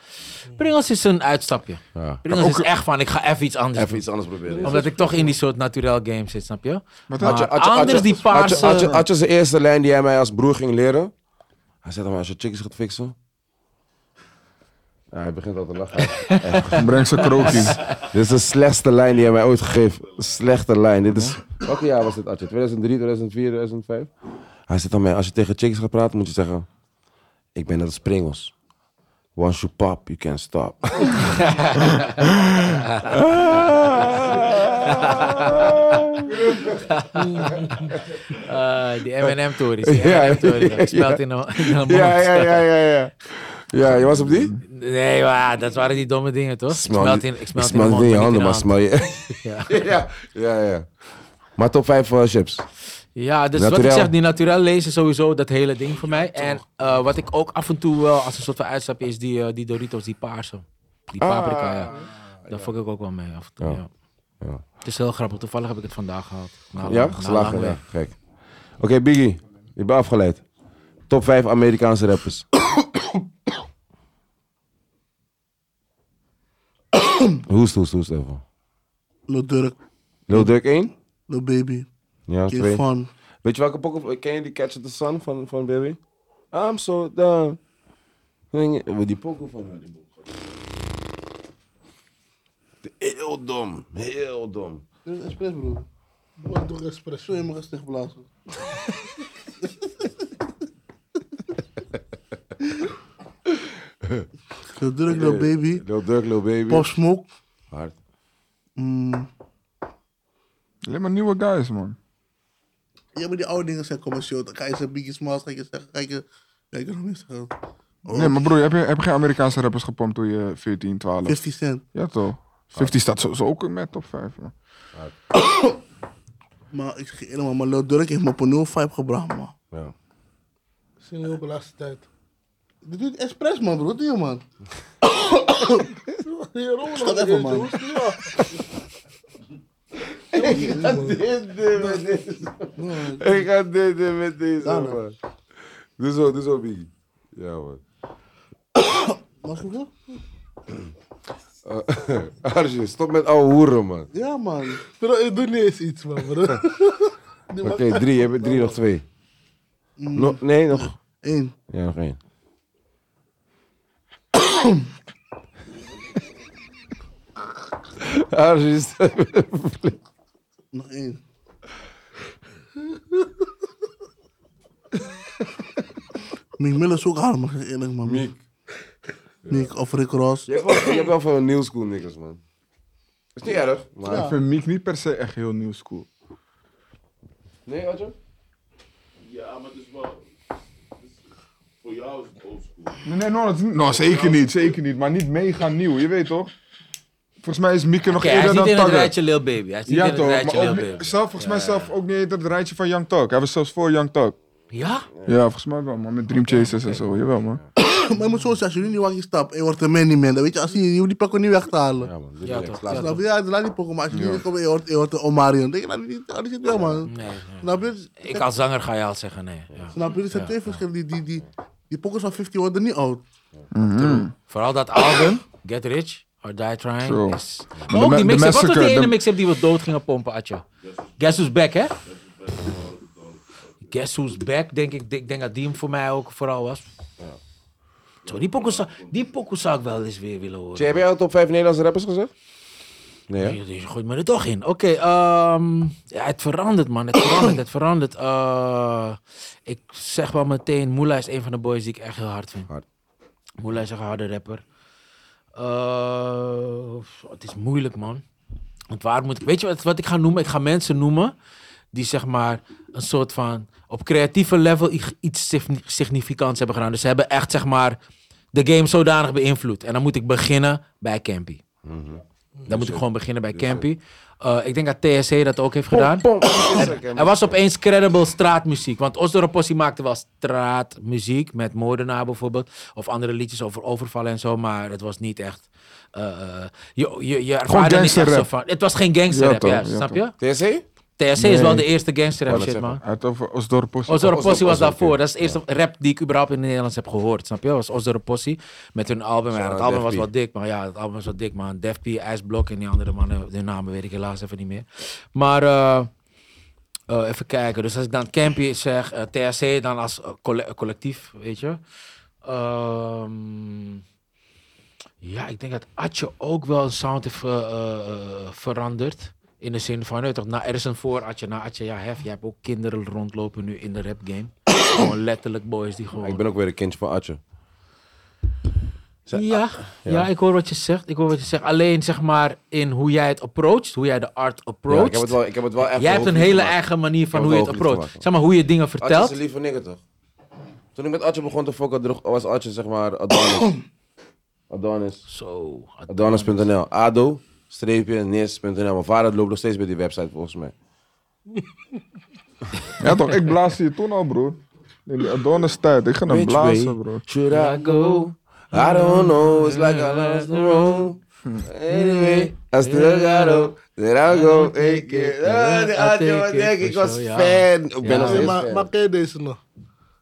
Pringles is een uitstapje.
Ja.
Pringles is echt van, ik ga even iets anders
Even
doen.
iets anders proberen.
Omdat ik toch in die soort naturel games zit, snap je? Maar,
Had je- had je- had je-
anders die
had je-
paarse...
Had je- had je zijn eerste lijn die hij mij als broer ging leren? Hij zei dan maar, als je chickies gaat fixen... Ja, hij begint al te lachen.
Breng ze krokies.
Dit is de slechtste lijn die hij mij ooit gegeven. Slechte lijn. Dit is... Welk jaar was dit, Adje? 2003, 2004, 2005? Hij zegt aan mij, als je tegen chicks gaat praten, moet je zeggen... Ik ben net als Pringles. Once you pop, you can't stop.
Eh, die M&M tories. Die
Oh. Ja,
M&M tories.
ja,
Ik
ja.
smelt in de, in de mond.
ja, ja, ja, ja, ja. Ja, je was op die?
Nee, maar dat waren die domme dingen, toch? Ik smelt in, ik smelt in, de mond,
het in je
maar
handen,
niet
maar
de
smel je... Ja. ja, ja, Maar top 5 chips.
Ja, dus wat
Naturel.
ik zeg, die naturel lezen is sowieso dat hele ding voor mij. En eh, wat ik ook af en toe wel als een soort van uitstapje is die, eh, die Doritos, die paarse. Die paprika, ja.
Ah,
Daar fuck ik ook wel mee af en toe,
Ah. Ja.
ja.
Ja.
Het is heel grappig, toevallig heb ik het vandaag gehad. Na
Ja,
lang- na Oh, nou, lang
geslagen, ja.
weg.
Gek. Oké, Biggie. Je bent afgeleid. Top 5 Amerikaanse rappers. hoest, hoest, hoest even.
Lil Durk,
Lil Durk 1?
Lil Baby,
Ja,
Kid
2.
Fun,
Weet je welke pokken? Ken je die Catch the Sun van, van Baby? I'm so down. Oh, Die pokken van haar, die pokken. Heel dom, heel dom.
Dit is Dus expres, bro. Doe maar toch expres. Zo in mijn gezicht blazen. Lil Durk, Lil Baby,
Lil Durk, Lil Baby.
Pop Smoke.
Hard.
Mm.
Alleen maar nieuwe guys, man.
Ja, maar die oude dingen zijn commercieel. Dan ga je zeggen Biggie Smalls, ga je zeggen, ga je... Ja, ik kan nog meer zeggen.
Nee, maar broer, heb je, heb je geen Amerikaanse rappers gepompt toen je 14, 12?
50 Cent.
Ja, toch? 50 staat sowieso ook in mijn top 5, man.
Maar ik zeg je helemaal, maar Lil Durk heeft me op een nieuwe vibe gebracht, man.
Ja.
Sinds op de laatste tijd. Dit doet expres, man, bro. Wat doe je, man? Schat even, man.
Ik ga dit doen met deze,
Daarna.
man. Doe zo, doe zo, Biggie. Ja, man.
Mag ik dat?
Eh, Arjen, stop met ouwe hoeren, man.
Ja, man. Bro, ik doe niet eens iets, man, bro. Die
Oké,
man-
drie. Heb je drie, nog twee. Nog- nee, nog...
Eén.
Ja, nog één. Arjen, stop met-
Nog één. Mick Miller is ook hard, maar eerlijk, man. Mick. Mick of Rick Ross.
Je hebt wel- je hebt wel van een new school niggas, man. Is niet erg, maar...
Ik vind Meek niet per se echt heel nieuw school.
Nee, Arjen?
Ja, maar het is wel. het is- Voor jou is het oldschool.
Nee, nee, no, dat is niet- no, zeker niet, zeker niet. Maar niet mega nieuw, je weet toch? Volgens mij is Mieke nog
Oké, hij
eerder
is niet
dan
in het
Tagger.
rijtje Lil Baby. Hij is niet
Ja
in het
toch,
rijtje
maar
Lil
ook,
Baby.
niet- zelf, volgens mij zelf ook niet in het rijtje van Young Talk. Hij was zelfs voor Young Talk.
Ja?
Ja, volgens mij wel man, met Dream Chasers en zo, jawel man.
Maar je moet zo zeggen, als je nu niet wakker stapt en je wordt een man, niet man. Dan weet je, als je, je moet die pakken niet weg te halen.
Ja, man.
Ja, toch. Ja,
Snap
toch.
je? Ja, laat die pokken, maar als je niet komt en je wordt- je wordt een Omarion. Denk je, laat die niet, laat die zit wel, man.
Nee, nee.
Snap je?
Ik als zanger ga je al zeggen nee. ja.
Snap je? Er zijn twee verschillen. Die, die, die, die pokkers van 50 worden niet oud.
Vooral dat album, Get Rich or Die Trying.
Zo.
Is...
De
Maar ook
ma-
die
de
mix-up. Wat was die
massacre,
ene
de-
mix-up die we dood gingen pompen, Atje? Guess Who's Back, hè? Guess Who's Back, denk ik. Ik denk dat die hem voor mij ook vooral was. Zo, die pokoe zou, die pokoe zou ik wel eens weer willen horen.
Heb jij al top 5 Nederlandse rappers gezegd? Nee, hè?
Je gooit me er toch in. Oké, ehm, ja, het verandert, man. Het verandert, het verandert. Eh, ik zeg wel meteen, Moela is een van de boys die ik echt heel hard vind.
Hard.
Moela is een harde rapper. Eh, het is moeilijk, man. Want waar moet ik... Weet je wat, wat ik ga noemen? Ik ga mensen noemen die zeg maar een soort van... op creatieve level i- iets signi- significants hebben gedaan. Dus ze hebben echt zeg maar de game zodanig beïnvloed. En dan moet ik beginnen bij Campy. Dan moet ik gewoon beginnen bij Campy. Eh, ik denk dat TSC dat ook heeft gedaan. Er was opeens credible straatmuziek. Want Osdorp Possie maakte wel straatmuziek. Met moordenaar bijvoorbeeld. Of andere liedjes over overvallen en zo. Maar het was niet echt... eh, eh, je, je, je ervaarde niet echt zo
gangsterrap.
van... Het was geen gangsterrap,
Ja,
ja,
toch, ja,
snap
toch.
je?
TSC?
TSC is
Nee.
wel de eerste gangsterrap
Wou dat
shit,
zeggen.
man.
Hij had over Osdorp Possie.
Osdorp
Osdorp
Possie was
Possie,
daarvoor.
oké.
Dat is de eerste rap die ik überhaupt in het Nederlands heb gehoord. Snap je? was Osdorp Possie met hun album. Ja,
Shout-out
het album
Def
was
P.
wel dik, maar ja, het album was wel dik, man. Def P, IJsblok en die andere mannen, hun namen weet ik helaas even niet meer. Maar eh, eh, even kijken. Dus als ik dan Campy zeg, eh, THC dan als eh, colle- collectief, weet je. Ehm, ja, ik denk dat Atje ook wel een sound heeft eh, eh, eh, veranderd. In de zin van, nee, toch, na, er is een voor Atje, na Atje, ja, hef. Jij hebt ook kinderen rondlopen nu in de rap game. gewoon letterlijk boys die gewoon...
Ik ben ook weer een kindje van Atje. Ze- Ah,
Ja, ja. ik hoor wat je zegt. Ik hoor wat je zegt. Alleen zeg maar in hoe jij het approacht, hoe jij de art
Ja,
approacht.
ik heb het wel, ik heb het wel echt
jij hebt een
hoofdlied
hele
gemaakt.
eigen manier van
Ik heb
hoe je
het
het
wel hoofdlied
approacht.
gemaakt,
Zeg maar hoe je dingen
Atje is
vertelt.
een lieve nigger, toch? Toen ik met Atje begon te fokken, droeg- was Atje zeg maar Adonis. Adonis.
Zo. ad-
Adonis.nl. Ado, streepje, nis.nl. Mijn vader loopt nog steeds bij die website volgens mij.
Ja toch, ik blaasde je toen al broer. In die Adonis tijd, ik ga hem
Which
blazen
way
broer.
Should I go? I don't know, it's like I lost the road. Anyway, I
Hm.
still got hope that I'll go take it. Ah, die Atje was denk ik, ik was
Ja.
fan. Ik ben nog
Hey,
steeds
maar, maar
fan.
ken je deze nog?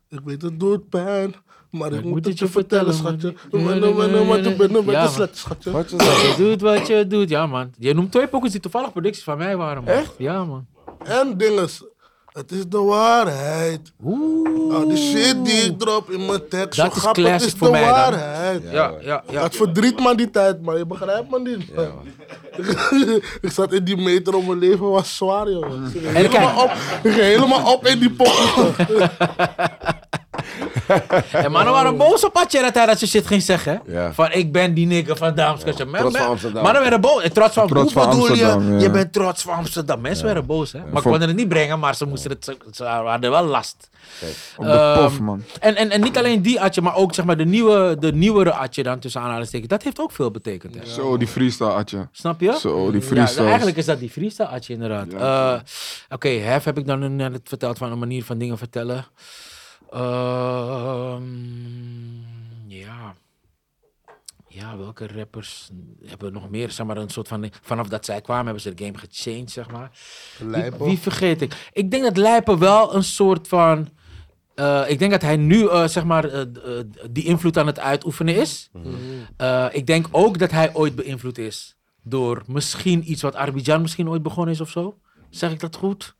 Ik weet het doet pijn, maar ik, moet,
moet
het je vertellen, schatje.
man.
Wanneer, wanneer, wanneer,
Ja,
wanneer, wanneer,
man.
slet, schatje.
Wat je zegt.
Je doet wat je doet. Ja, man. Je noemt twee pokus die toevallig producties van mij waren. Man. Echt? Ja, man.
En dinges. Het is de waarheid. Oeh. die shit die ik drop in mijn tekst.
Dat
zo
is
grap, het
classic
is
voor
de
mij dan.
waarheid.
Ja, ja, ja.
Dat verdriet me die tijd, man. Je begrijpt me niet. man. ik zat in die meter om mijn leven was zwaar, joh. Ik ging
En
helemaal
kijk,
op, ik ging helemaal op in die pokken.
en mannen
Oh.
waren boos op Atje dat hij dat soort shit ging zeggen.
Ja.
Van ik ben die nigger van Damskutje.
trots van Amsterdam.
Mannen werden boos. Eh, Trots van,
Trots
hoe
van
bedoel je?
Amsterdam, ja.
Je bent trots van Amsterdam. Mensen werden boos. Hè? Maar ik
Voor-
kon het niet brengen, maar ze, moesten het, ze, ze hadden wel last.
Op de
Ehm,
pof, man.
En, en, en niet alleen die Atje, maar ook zeg maar, de, nieuwe, de nieuwere Atje dan tussen aanhalingstekens. Dat heeft ook veel betekend. Hè?
Zo, die freestyle atje.
Snap je?
Zo, die
Ja,
freestyles.
eigenlijk is dat die freestyle atje inderdaad.
Ja.
Eh, Oké, Hef heb ik dan nu net verteld van een manier van dingen vertellen. Ehm, ja. Ja, welke rappers hebben nog meer, zeg maar, een soort van... Vanaf dat zij kwamen hebben ze de game gechanged, zeg maar. Wie,
Lijpo.
wie vergeet ik? Ik denk dat Lijpen wel een soort van... eh, ik denk dat hij nu, eh, zeg maar, eh, d- eh, die invloed aan het uitoefenen is.
Mhm.
Eh, ik denk ook dat hij ooit beïnvloed is door misschien iets wat Arbidjan misschien ooit begonnen is of zo. Zeg ik dat goed?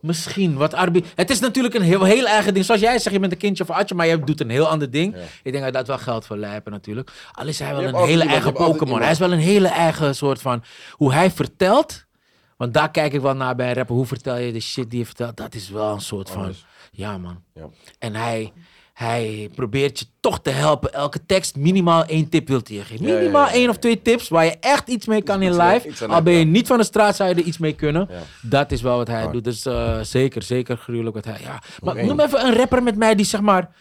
Misschien wat Arbi. Het is natuurlijk een heel, heel eigen ding. Zoals jij zegt, je bent een kindje van Atje, maar jij doet een heel ander ding. Ik denk dat dat wel geldt voor Lijpen natuurlijk. Al is hij wel
hebt
een hele
altijd iemand,
eigen
je hebt altijd
Pokémon.
iemand.
Hij is wel een hele eigen soort van. Hoe hij vertelt. Want daar kijk ik wel naar bij rappen. Hoe vertel je de shit die je vertelt? Dat is wel een soort van. Ja, man.
Ja.
En hij, hij probeert je toch te helpen. Elke tekst, minimaal één tip wilt hij je geven.
Ja, ja,
Minimaal
ja,
één of twee tips waar je echt iets mee kan in
iets aan- iets
live.
aan
Al
hebben,
ben je
ja.
niet van de straat, zou je er iets mee kunnen. Dat is wel wat hij
Hard.
doet. Dus eh, zeker, zeker gruwelijk wat hij... Ja. Maar
Oké.
noem even een rapper met mij die zeg maar...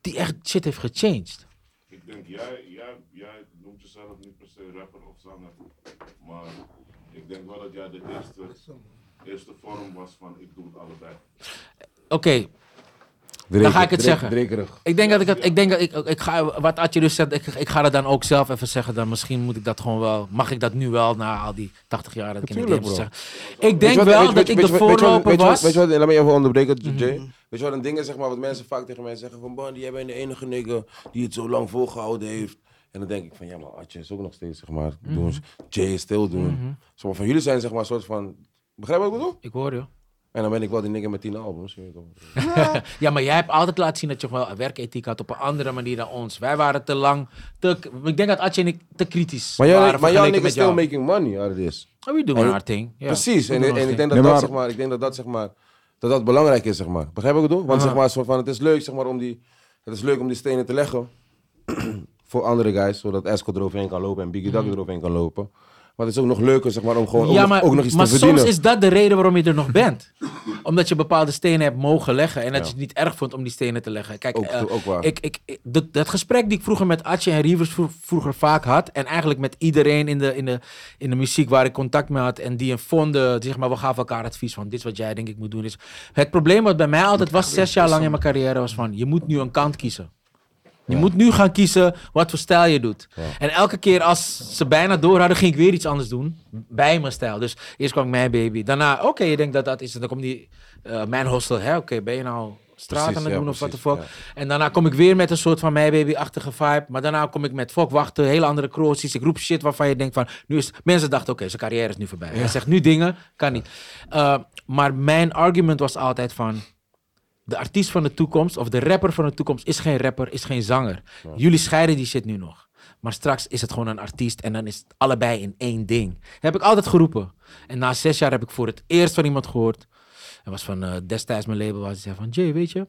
Die echt shit heeft gechanged.
Ik denk, jij, jij, jij noemt jezelf niet per se rapper of zanger. Maar ik denk wel dat jij de eerste, eerste vorm was van ik doe het allebei.
Oké, Dan ga ik het zeggen.
Drekerig.
ik denk dat ik het... Ik denk dat ik, ik ga, wat Adje dus zegt, ik, ik ga dat dan ook zelf even zeggen. Dan misschien moet ik dat gewoon wel... Mag ik dat nu wel na al die 80 jaar dat ik in de
Natuurlijk,
game zit
bro.
zeggen? Ik denk wel dat ik de voorloper was.
Weet je wat, laat me even onderbreken, Jay.
Mhm.
Weet je wat een ding is, zeg maar, wat mensen vaak tegen mij zeggen van... Bon, jij bent de enige nigger die het zo lang volgehouden heeft. En dan denk ik van, ja, maar Atje is ook nog steeds, zeg maar,
Mhm.
doen. Jay is stil doen. Sommige van jullie zijn, zeg maar, een soort van... Begrijp je wat ik bedoel?
Ik hoor je.
En dan ben ik wel die nigger met tien albums. je weet toch.
Ja, maar jij hebt altijd laten zien dat je wel een werkethiek had op een andere manier dan ons. Wij waren te lang, te, ik denk dat Atje en ik te kritisch
Maar jouw,
waren
maar jouw nigger
vergeleken met
still
jou.
making money out of this.
Oh, we doen
En-
our thing. Ja,
Precies,
we
en,
doen
en
our
ik
thing.
denk dat
Nee,
dat,
maar-
zeg maar, ik denk dat dat, zeg maar, dat dat belangrijk is, zeg maar. Begrijp ik het bedoel? Want zeg maar, soort van, het is leuk, zeg maar, om die, het is leuk om die stenen te leggen voor andere guys, zodat Esco eroverheen kan lopen en Biggie Duck eroverheen kan lopen. Maar het is ook nog leuker, zeg maar, om gewoon ook,
Mhm. ja,
nog-
maar,
ook nog iets
maar
te verdienen.
soms is dat de reden waarom je er nog bent. Omdat je bepaalde stenen hebt mogen leggen. En dat je het niet erg vond om die stenen te leggen. Kijk,
Ook-
eh,
ook waar.
Ik, ik, ik- dat, dat gesprek die ik vroeger met Atje en Rivers vro- vroeger vaak had. En eigenlijk met iedereen in de, in, de, in de muziek waar ik contact mee had. En die een vonden. die Zeg maar, we gaven elkaar advies van dit is wat jij denk ik moet doen. Is. Het probleem wat bij mij altijd was, zes jaar lang in mijn carrière, was van je moet nu een kant kiezen. Je moet nu gaan kiezen wat voor stijl je doet. En elke keer als ze bijna door hadden, ging ik weer iets anders doen. Bij mijn stijl. Dus eerst kwam ik mijn baby. Daarna, oké, je denkt dat dat is. Dan komt die eh, mijn hostel. hè, Oké, ben je nou straat
Precies,
aan het
ja,
doen of wat de
precies,
fuck? En daarna kom ik weer met een soort van mijn baby-achtige vibe. Maar daarna kom ik met fuck wachten, hele andere crossies. Ik roep shit waarvan je denkt van, nu is... Mensen dachten, oké, zijn carrière is nu voorbij. Hij zegt nu dingen, kan niet. Eh, maar mijn argument was altijd van, de artiest van de toekomst of de rapper van de toekomst is geen rapper, is geen zanger. Jullie scheiden die shit nu nog. Maar straks is het gewoon een artiest en dan is het allebei in één ding. Dat heb ik altijd geroepen. En na zes jaar heb ik voor het eerst van iemand gehoord. En was van eh, destijds mijn label waar ze zei van... Jay, weet je,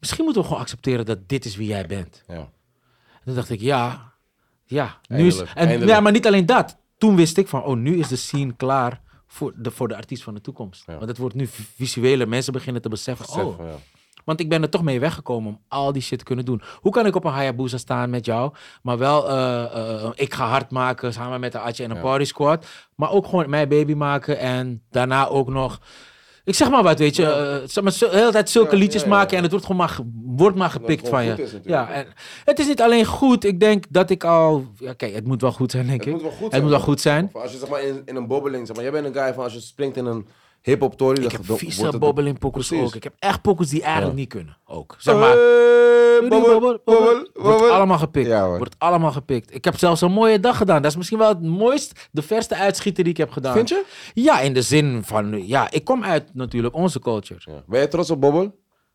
misschien moeten we gewoon accepteren dat dit is wie jij bent.
Ja.
En toen dacht ik, ja, ja. Nu is,
Eindelijk,
en,
eindelijk.
ja, maar niet alleen dat. Toen wist ik van, oh, nu is de scene klaar voor de, voor de artiest van de toekomst. Want het wordt nu visueler. Mensen beginnen te beseffen,
Besef,
oh,
ja.
want ik ben er toch mee weggekomen om al die shit te kunnen doen. Hoe kan ik op een Hayabusa staan met jou, maar wel eh, eh, ik ga hard maken samen met de Atje en een party squad. Maar ook gewoon mijn baby maken en daarna ook nog... Ik zeg maar wat, weet je. eh, zeg maar, zo- de hele tijd zulke
Ja,
liedjes
ja, ja,
maken
ja.
en het wordt gewoon maar, ge- wordt maar
het
gepikt
gewoon
van je.
goed is natuurlijk.
ja, en het is niet alleen goed. Ik denk dat ik al... Ja, kijk, het moet wel goed zijn, denk
Het
ik.
moet wel goed
het
zijn.
moet wel goed zijn.
Of als je zeg maar in, in een bobbeling, zeg maar, jij bent een guy van als je springt in een hip-hop tory.
Ik
dat
heb
dan wordt
vieze
het-
bobbel in pokus
Precies.
ook. Ik heb echt pokus die eigenlijk niet kunnen. Ook.
Eh,
Zeg
Hey,
maar.
bobbel,
Bobbel,
bobbel,
Wordt
bobbel.
allemaal gepikt.
Ja, hoor.
Wordt allemaal gepikt. Ik heb zelfs een mooie dag gedaan. Dat is misschien wel het mooist, de verste uitschieter die ik heb gedaan.
Vind je?
Ja, in de zin van... Ja, ik kom uit natuurlijk onze culture.
Ja. Ben je trots op bobbel?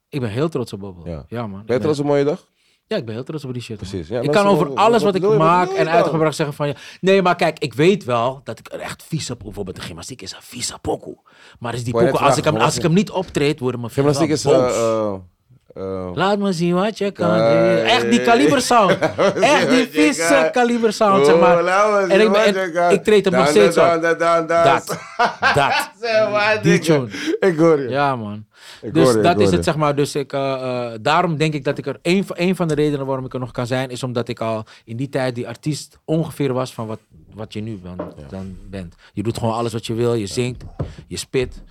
Ik ben heel trots op Bobbel.
Ja.
Ja, man.
Ben je
Ik ben-
trots op mooie dag?
ja, ik ben heel trots op die shit. man.
Precies, ja,
ik
mensen
kan over
wel-
alles
wat
wat ik
wil je- wat
maak
wil je
en
dan?
uitgebracht zeggen van... Ja, nee, maar kijk, ik weet wel dat ik er echt vies op... Bijvoorbeeld de gymnastiek is een vieze pokoe. Maar is die
Wou je
pokoe,
net
als,
vragen,
ik hem,
wat
als
is-
ik hem niet optreed, worden mijn fans
Gymnastiek
wel
is... eh,
boos.
eh, eh,
Laat me zien wat je kan.
Nee.
Echt die kaliber sound. Echt die
Wat je
vieze
kan.
kaliber sound,
Oh,
zeg maar.
laat me
En
zien
ik, ben-
wat
en
je kan.
ik treed hem nog
Dan,
steeds
dan,
op.
dan, dan, dan.
Dat. Dat.
Zeg maar,
Die
dikke.
tune.
Ik hoor je.
Ja, man.
Ik
dus
hoor je, ik
dat
hoor
is
je.
het, zeg maar. Dus ik, eh, eh, daarom denk ik dat ik er... Een, van- een van de redenen waarom ik er nog kan zijn... is omdat ik al in die tijd die artiest ongeveer was... van wat, wat je nu dan, dan bent. Je doet gewoon alles wat je wil. Je zingt, je spit.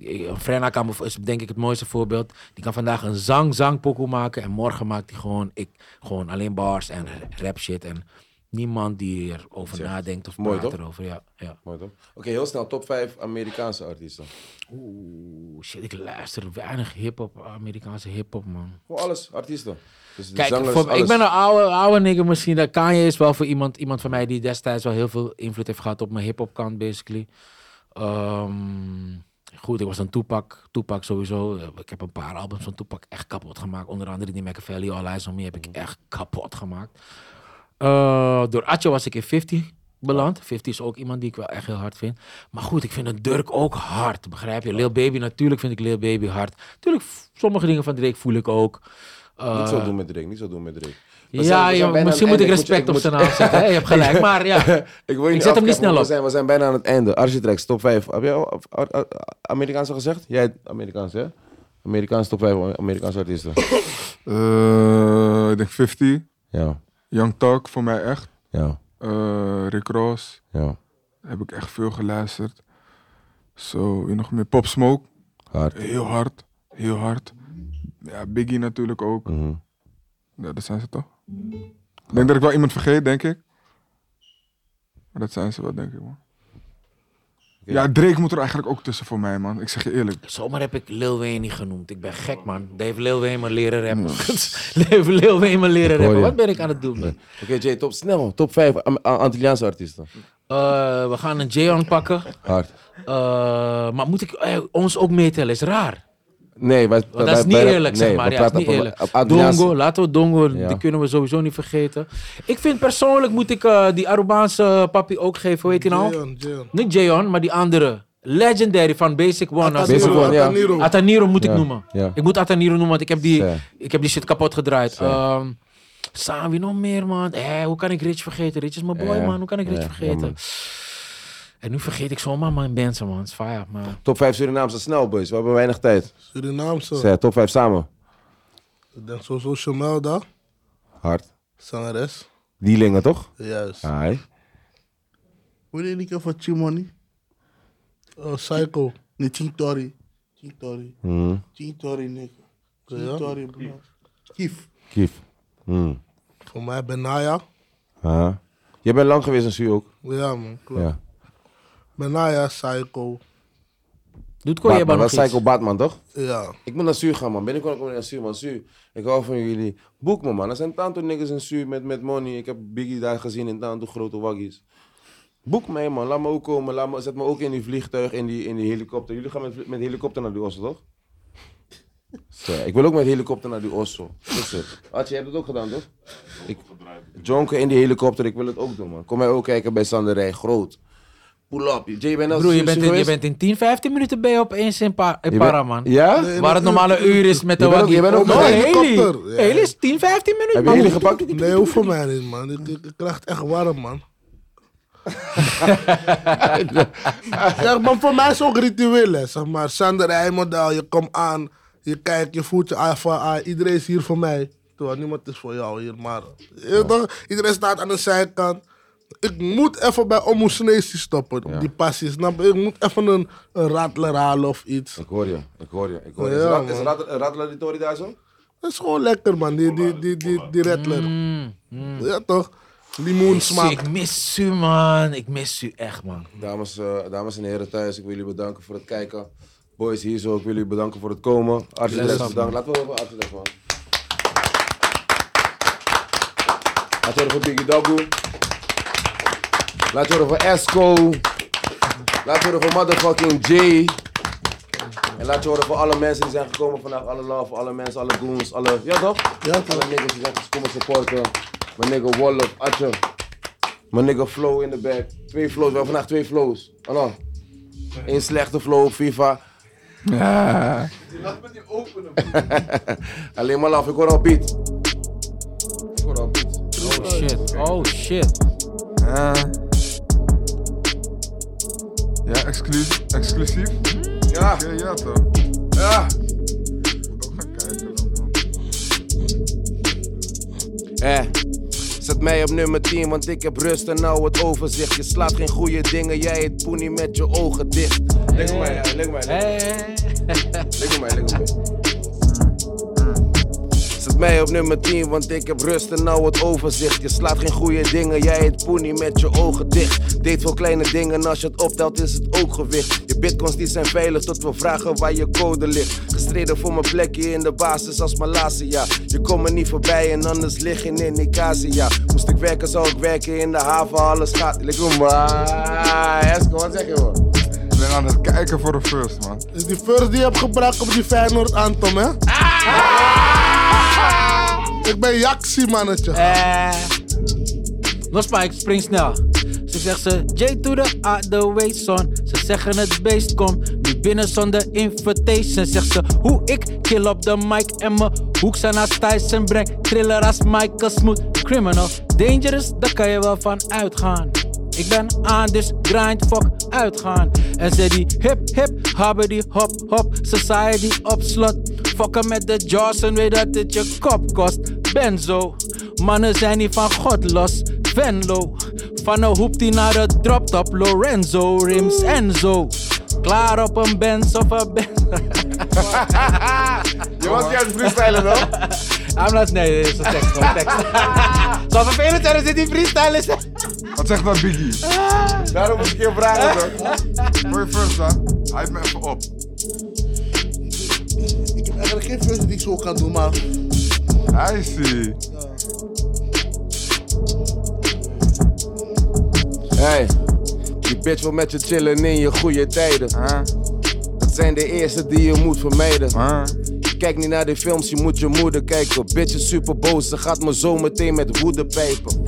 Eh, Frenna kan, bev- is denk ik het mooiste voorbeeld. Die kan vandaag een zang zang pokoe maken... en morgen maakt hij gewoon, ik, gewoon alleen bars en rap shit. En niemand die erover nadenkt of
Mooi,
praat
toch?
erover. Ja, ja.
Mooi toch? Oké, heel snel. Top 5 Amerikaanse artiesten.
Oeh, shit, ik luister weinig hip-hop, Amerikaanse hip-hop, man.
Gewoon alles. Artiesten. Dus de
Kijk,
zangers,
voor- ik
alles.
ben een oude, oude nigger misschien. Dat Kanye is wel voor iemand, iemand van mij die destijds wel heel veel invloed heeft gehad op mijn hip-hop kant, basically. Ehm, goed, ik was een Tupac. Tupac sowieso. Eh, Ik heb een paar albums van Tupac echt kapot gemaakt. Onder andere die Machiavelli, All Eyes On Me
Mm.
heb ik echt kapot gemaakt. Eh, door Atje was ik in 50 beland. 50 is ook iemand die ik wel echt heel hard vind. Maar goed, ik vind een Durk ook hard, begrijp je? Lil Baby, natuurlijk vind ik Lil Baby hard. Natuurlijk, f- sommige dingen van Drake voel ik ook. Eh,
Niet zo doen met Drake, niet zo doen met Drake. We zijn-
ja,
we zijn
ja,
bijna
misschien
aan
moet
het
ik
einde.
respect op
moet-
zijn naam zetten. hè? Je hebt gelijk, maar ja.
Ik, wil je
Ik zet hem
afkappen,
niet snel
want
op.
We zijn, we zijn bijna aan het einde. Architects, top 5. Heb jij al af- a- a- Amerikaans al gezegd? Jij hebt Amerikaans, hè? Amerikaans top 5 Amerikaanse artiesten.
Eh, ik denk 50.
ja,
Young Talk voor mij echt.
ja,
Eh, Rick Ross.
ja.
Heb ik echt veel geluisterd. Zo, wie nog meer? Pop Smoke.
Hard.
Heel hard. Heel hard. Ja, Biggie natuurlijk ook.
Mhm.
Ja, dat zijn ze toch? Ik denk dat ik wel iemand vergeet, denk ik. Maar dat zijn ze wel, denk ik, man. Ja, Drake moet er eigenlijk ook tussen voor mij, man. Ik zeg je eerlijk.
Zomaar heb ik Lil Wayne niet genoemd. Ik ben gek, man. Dat heeft Lil Wayne maar leren rappen. Dat heeft Lil Wayne maar leren
hoor
rappen.
je.
Wat ben Hmm. ik aan het doen, man?
Oké, Jay, top, snel. Top 5 Antilliaanse artiesten.
Eh, we gaan een J-on pakken.
Hard.
Eh, maar moet ik eh, ons ook meetellen? Is raar.
Nee, wij,
Want Oh, dat is niet eerlijk, zeg maar. Ja, dat is niet eerlijk. Dongo, laten we Dongo,
Ja.
die kunnen we sowieso niet vergeten. Ik vind persoonlijk moet ik eh, die Arubaanse papi ook geven. Hoe heet hij nou?
Jeon, Jeon.
Niet Jayon, maar die andere. Legendary van Basic One. als-
Basic One, ja.
Ataniro.
Ataniro moet ik
Ja,
noemen.
ja.
Ik moet Ataniro noemen, want ik heb die,
Fair.
ik heb die shit kapot gedraaid. Ehm Sam, wie nog meer, man? Eh, hoe kan ik Rich vergeten? Rich is mijn boy,
Ja,
man. Hoe kan ik Rich
ja,
vergeten?
ja, man.
en nu vergeet ik zomaar mijn mensen, man. Het is fire, maar...
Top 5 Surinaamse snel, boys. We hebben weinig tijd.
Surinaamse.
Zeg, top 5 samen.
Ik denk sowieso Shamelda.
Hard.
Zangeres.
Die lingen, toch?
Juist.
Hai.
Hoe deed ik even Chimoni?
Oh, Psycho.
Nee, Chintori. Chintori.
Mm.
Chintori, nigga.
Ja.
Chintori, bro. Kief.
Kief. Mm.
Voor mij Benaya.
Ah. Jij bent lang geweest in Su ook.
Ja, man. Klopt.
Ja.
Benaya, Psycho.
Doet Koye
Batman,
maar
dat
nog
zei ik op
iets.
Batman, toch?
Ja.
Ik moet naar Suur gaan, man. Binnenkort kom ik naar Suur, man. Suur, ik hou van jullie. Boek me, man. Er zijn tanto niggas in Suur met, met money. Ik heb Biggie daar gezien in tanto grote waggies. Boek mij, man. Laat me ook komen. Laat me, zet me ook in die vliegtuig, in die, in die helikopter. Jullie gaan met, met helikopter naar die Osso, toch? Zo, ik wil ook met helikopter naar die Osso. Is het. Archie, jij hebt het ook gedaan, toch? Ik, jonken in die helikopter. Ik wil het ook doen, man. Kom mij ook kijken bij Sanderij. Groot. Pull up. Jay, je bent naar
Broer, je
Suur
bent, in, je
geweest?
bent in 10, 15 minuten ben je opeens in, pa in
Je bent-
Para, man.
Ja?
Waar het normale uur is met de
Je bent ook-
waggie.
je bent ook
Oh,
met een
Haley.
helikopter. Ja.
Haley is 10, 15 minuten.
Heb je
man.
jullie gepakt?
Nee, hoeft voor mij niet, man. Ik, ik, ik krijg het echt warm, man. zeg maar, voor mij is het ook ritueel, hè. Zeg maar, Sander Heijmodel, je komt aan, je kijkt, je voelt je af van, ah, iedereen is hier voor mij. Terwijl niemand is voor jou hier, maar... Je weet toch? Iedereen staat aan de zijkant. Ik moet even bij Omo Sneesie stoppen, die passie, snap je? Ik moet even een, een rattler halen of iets.
Ik hoor je, ik hoor je, ik hoor je.
Ja,
Is Rad- is
man.
Rad- Radler die Tory daar zo?
Mm,
Dat is gewoon lekker, man, die, die, die, die, die rattler. Ja, toch? Limoen
Ik,
smaak.
mis u, man. Ik mis u echt, man.
Dames, eh, dames en heren thuis, ik wil jullie bedanken voor het kijken. Boys hier zo, ik wil jullie bedanken voor het komen. Artsen,
up,
bedankt. Laten we horen, Artsen, man. Laten we horen voor Biggie Dagoe. Laten we horen voor Esco. Laten we horen voor motherfucking Jay. En laten we horen voor alle mensen die zijn gekomen vandaag. Alle love, alle mensen, alle goons, alle... Ja toch? Ja, alle niggas die zijn komen supporten. Mijn nigga Wallop, Atje. Mijn nigga Flow in de back. Twee flows, we hebben vandaag twee flows. Hallo. Eén slechte flow op FIFA.
Ja.
Alleen maar laf, ik hoor al beat. Ik hoor al beat.
Oh shit. Oh shit.
Ja, ja exclusief. exclusief? Ja. ja toch. Ja. Moet ook gaan kijken dan, man.
Eh. Zet mij op nummer 10, want ik heb rust en nou het overzicht. Je slaat geen goede dingen, jij het poenie met je ogen dicht. Lik op mij, lik op mij, lik
Hey.
op mij, lik op mij. Zet mij op nummer 10, want ik heb rust en nou het overzicht. Je slaat geen goede dingen, jij het poenie met je ogen dicht. Deed veel kleine dingen, als je het optelt is het ook gewicht. Je bitcoins die zijn veilig, tot we vragen waar je code ligt. Gestreden voor mijn plekje in de basis als Malasia. Je komt me niet voorbij en anders lig je in Nicasia. Moest ik werken, zou ik werken in de haven, alles gaat. Lik op mij. Esco, wat zeg je man?
Ik ben aan het kijken voor een first, man.
Is Dus die first die je hebt gebruikt op die Feyenoord anthem, hè?
Ah!
Ik ben Jaxi, mannetje.
Eh. Nosma, ik spring snel. Ze zegt ze, J to the A, the way son. Ze zeggen het beest kom nu binnen zonder invitation. Zegt ze, hoe ik kill op de mic en me hoek zijn als Tyson breng. Thriller als Michael Smooth, criminal. Dangerous, daar kan je wel van uitgaan. Ik ben aan, dus grind, fuck, uitgaan. En ze die hip, hip, hebben die hop, hop. Society op slot. Fokken met de Johnson, weet dat het je kop kost. Benzo, mannen zijn niet van God los. Venlo, van een hoep die naar de drop top. Lorenzo, rims Enzo. Klaar op een Benz of een Benz.
Je was niet aan het freestylen wel?
I'm not, nee, nee, is een tekst, gewoon tekst. Zo vervelend zijn als dit die freestyle is.
Wat zegt dat Biggie?
Daarom moet ik je vragen toch?
Mooie first, hè? Hij heeft me even op.
Ik heb eigenlijk geen first die ik zo kan doen, maar...
Hij zie.
Hey, die bitch wil met je chillen in je goede tijden.
Huh?
Dat zijn de eerste die je moet vermijden.
Huh?
Kijk niet naar die films, je moet je moeder kijken. Bitch is super boos, ze gaat me zo meteen met woede pijpen.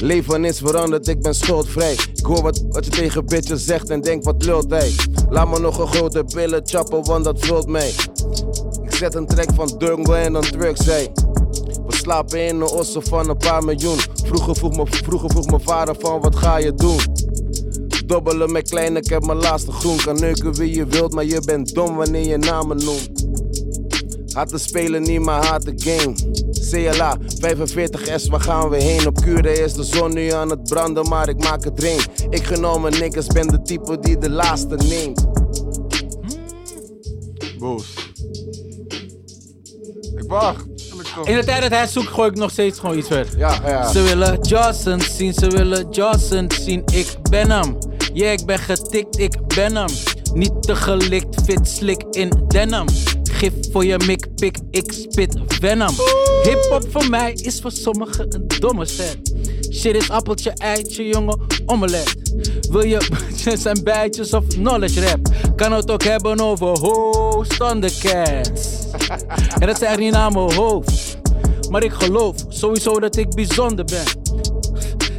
Leven is veranderd, ik ben schuldvrij. Ik hoor wat, wat je tegen bitches zegt en denk wat lult hij. Laat me nog een grote billen chappen, want dat vult mij. Ik zet een track van Dungo en dan druk zij. We slapen in een ossen van een paar miljoen. Vroeger vroeg, me, vroeger vroeg mijn vader van wat ga je doen? Dobbelen met klein, ik heb mijn laatste groen. Kan neuken wie je wilt, maar je bent dom wanneer je namen noemt. Haat de spelen niet, maar haat de game. CLA 45S, waar gaan we heen? Op Cure is de zon nu aan het branden, maar ik maak het rain. Ik genomen niks, ben de type die de laatste neemt.
Boos. Ik wacht. Eerlijk toch?
In de tijd dat hij zoekt, gooi ik nog steeds gewoon iets verder.
Ja, ja.
Ze willen Johnson zien, ze willen Johnson zien. Ik ben hem. Ja, ik ben getikt, ik ben hem. Niet te gelikt, fit slik in denim. Gif voor je mikpik, ik spit venom. Hip-hop voor mij is voor sommigen een domme set. Shit is appeltje, eitje, jongen, omelet. Wil je bitches en bijtjes of knowledge rap? Kan het ook hebben over host cats. En dat zijn echt niet naar mijn hoofd. Maar ik geloof sowieso dat ik bijzonder ben.